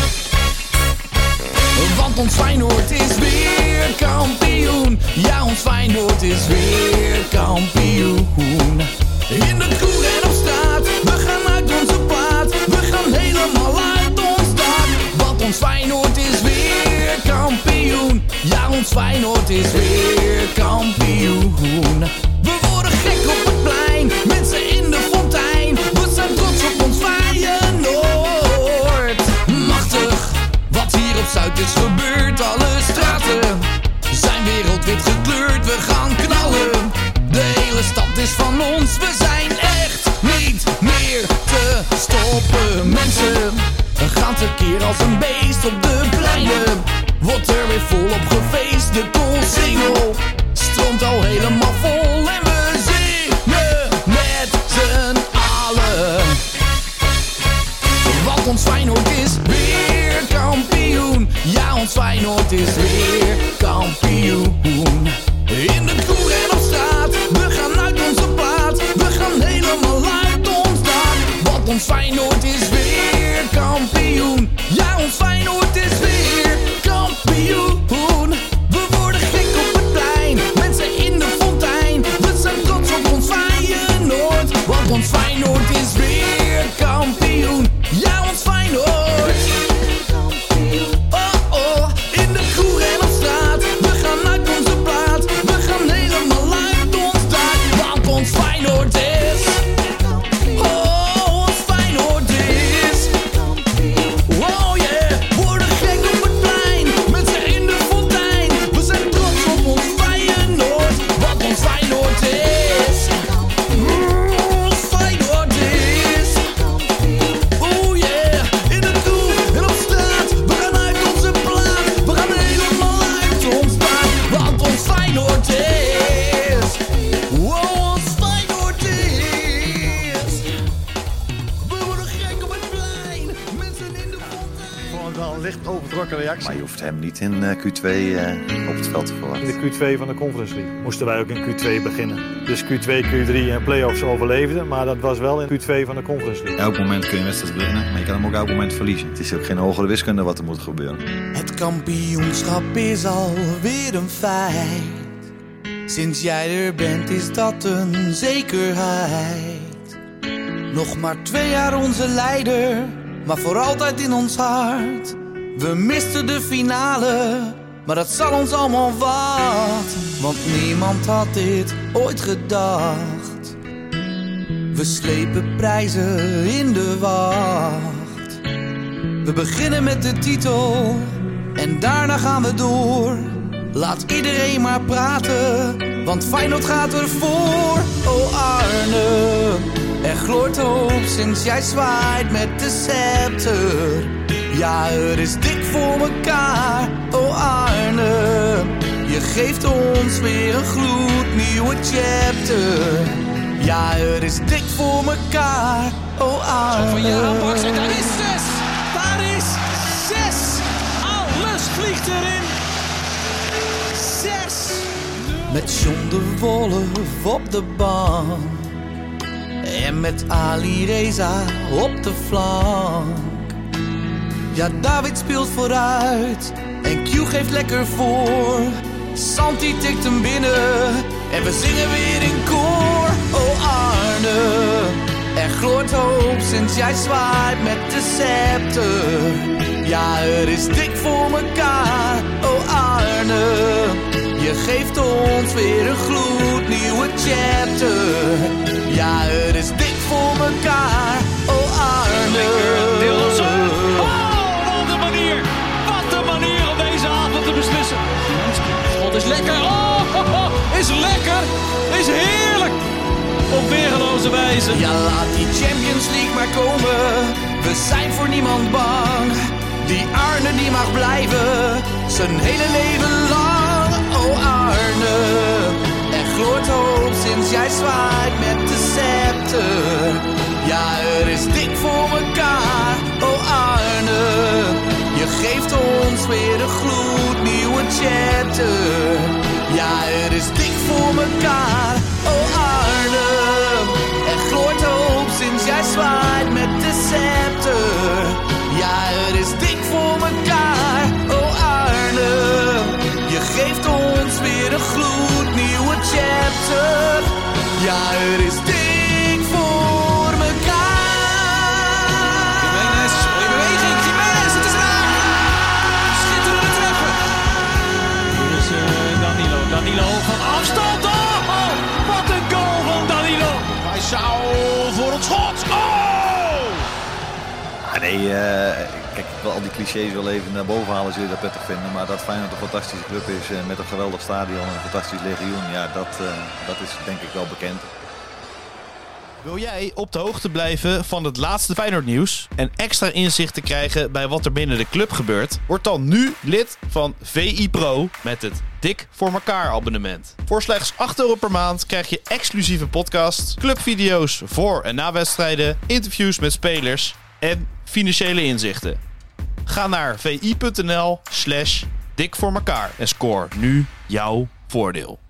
S1: Want ons Feyenoord is weer kampioen. Ja, ons Feyenoord is weer kampioen. In de koer en op straat, we gaan uit onze plaat. We gaan helemaal uit ons dak. Want ons Feyenoord is weer kampioen. Ja, ons Feyenoord is weer kampioen. We worden gek op het plein, mensen in de fontein. We zijn trots op ons Feyenoord. Machtig. Wat hier op Zuid is gebeurd, alle straten zijn wereldwit gekleurd. We gaan knallen, de hele stad is van ons. We zijn echt niet meer te stoppen. Mensen gaan tekeer als een beest op de pleinen. Wordt er weer volop gefeest, de koolsingel stroomt al helemaal vol. En we zingen met z'n allen. Want ons Feyenoord is weer kampioen. Ja, ons Feyenoord is weer kampioen. In de koer en op straat, we gaan uit onze plaat. We gaan helemaal uit ons dak. Want ons Feyenoord is weer kampioen. Ja, ons Feyenoord is weer kampioen. We worden gek op het plein, mensen in de fontein. We zijn trots op ons Feyenoord. Want ons Feyenoord is weer kampioen. Ja, ons Feyenoord. Oh oh, in de koer en op straat. We gaan uit onze plaat. We gaan helemaal uit ons dak. Want ons Feyenoord is. Oh, ons Feyenoord is. Oh yeah, worden gek op het plein. Met z'n in de fontein. We zijn trots op ons Feyenoord. Wat ons Feyenoord is. Mm, Ons Feyenoord is. Oh yeah, in de koe en op straat. We gaan uit onze plaat. We gaan helemaal uit ons dak. Want ons Feyenoord is. Oh, ons Feyenoord is. We worden gek op het plein. Mensen in de
S34: Gewoon wel licht overtrokken reactie.
S35: Maar je hoeft hem niet in eh, Q2 eh, op het veld te
S34: In
S35: verwachten.
S34: de Q2 van de Conference League moesten wij ook in Q2 beginnen. Dus Q2, Q3 en playoffs overleefden, maar dat was wel in Q2 van de Conference League.
S35: Elk moment kun je wedstrijd beginnen, maar je kan hem ook elk moment verliezen. Het is ook geen hogere wiskunde wat er moet gebeuren.
S1: Het kampioenschap is alweer een feit. Sinds jij er bent is dat een zekerheid. Nog maar twee jaar onze leider, maar voor altijd in ons hart. We misten de finale, Maar dat zal ons allemaal wat, want niemand had dit ooit gedacht. We slepen prijzen in de wacht. We beginnen met de titel en daarna gaan we door. Laat iedereen maar praten, want Feyenoord gaat ervoor. Oh Arne, er gloort hoop sinds jij zwaait met de scepter. Ja, er is dik voor mekaar, oh Arne. Je geeft ons weer een gloednieuwe chapter. Ja, er is dik voor mekaar, oh Arne.
S14: Van je aanpak en daar is zes! Daar is zes! Alles vliegt erin! Zes!
S1: Met John de Wolf op de bank. En met Ali Reza op de flank. Ja, David speelt vooruit. En Q geeft lekker voor. Santi tikt hem binnen. En we zingen weer in koor. Oh Arne, er gloort hoop sinds jij zwaait met de scepter. Ja, er is dik voor mekaar. Oh Arne. Je geeft ons weer een gloednieuwe chapter. Ja, het is dik voor mekaar. Oh Arne.
S14: Nielsen. Oh, wat een manier! Wat een manier om deze avond te beslissen. God is lekker. Oh, ho, ho, is lekker. Is heerlijk.
S1: Op weergeloze wijze. Ja, laat die Champions League maar komen. We zijn voor niemand bang. Die Arne die mag blijven. Zijn hele leven lang. Oh Arne. Er gloort hoop sinds jij zwaait met de scepter. Ja, er is dik voor elkaar. Oh Arne. Je geeft ons weer een gloednieuwe chapter. Ja, er is dik voor elkaar. Oh Arne. Er gloort hoop sinds jij zwaait met de scepter. Ja, het is dik voor mekaar, oh Arne. Je geeft ons weer een gloednieuwe chapter. Ja, het is dik voor mekaar.
S14: Jiménez, in beweging. Jiménez, het is raak. Schitterende treffer. Hier is eh, Danilo. Danilo van afstand. Oh, oh, wat een goal van Danilo. Hij zou voor het schot. Oh!
S5: Ah, nee, eh, kijk, ik wil al die clichés wel even naar boven halen, zul je dat prettig vinden. Maar dat Feyenoord een fantastische club is eh, met een geweldig stadion en een fantastisch legioen, ja, dat, eh, dat is denk ik wel bekend.
S4: Wil jij op de hoogte blijven van het laatste Feyenoord nieuws en extra inzicht te krijgen bij wat er binnen de club gebeurt? Word dan nu lid van VI Pro met het Dik voor elkaar abonnement. Voor slechts 8 euro per maand krijg je exclusieve podcasts, clubvideo's voor en na wedstrijden, interviews met spelers en financiële inzichten. Ga naar vi.nl slash dik voor elkaar en score nu jouw voordeel.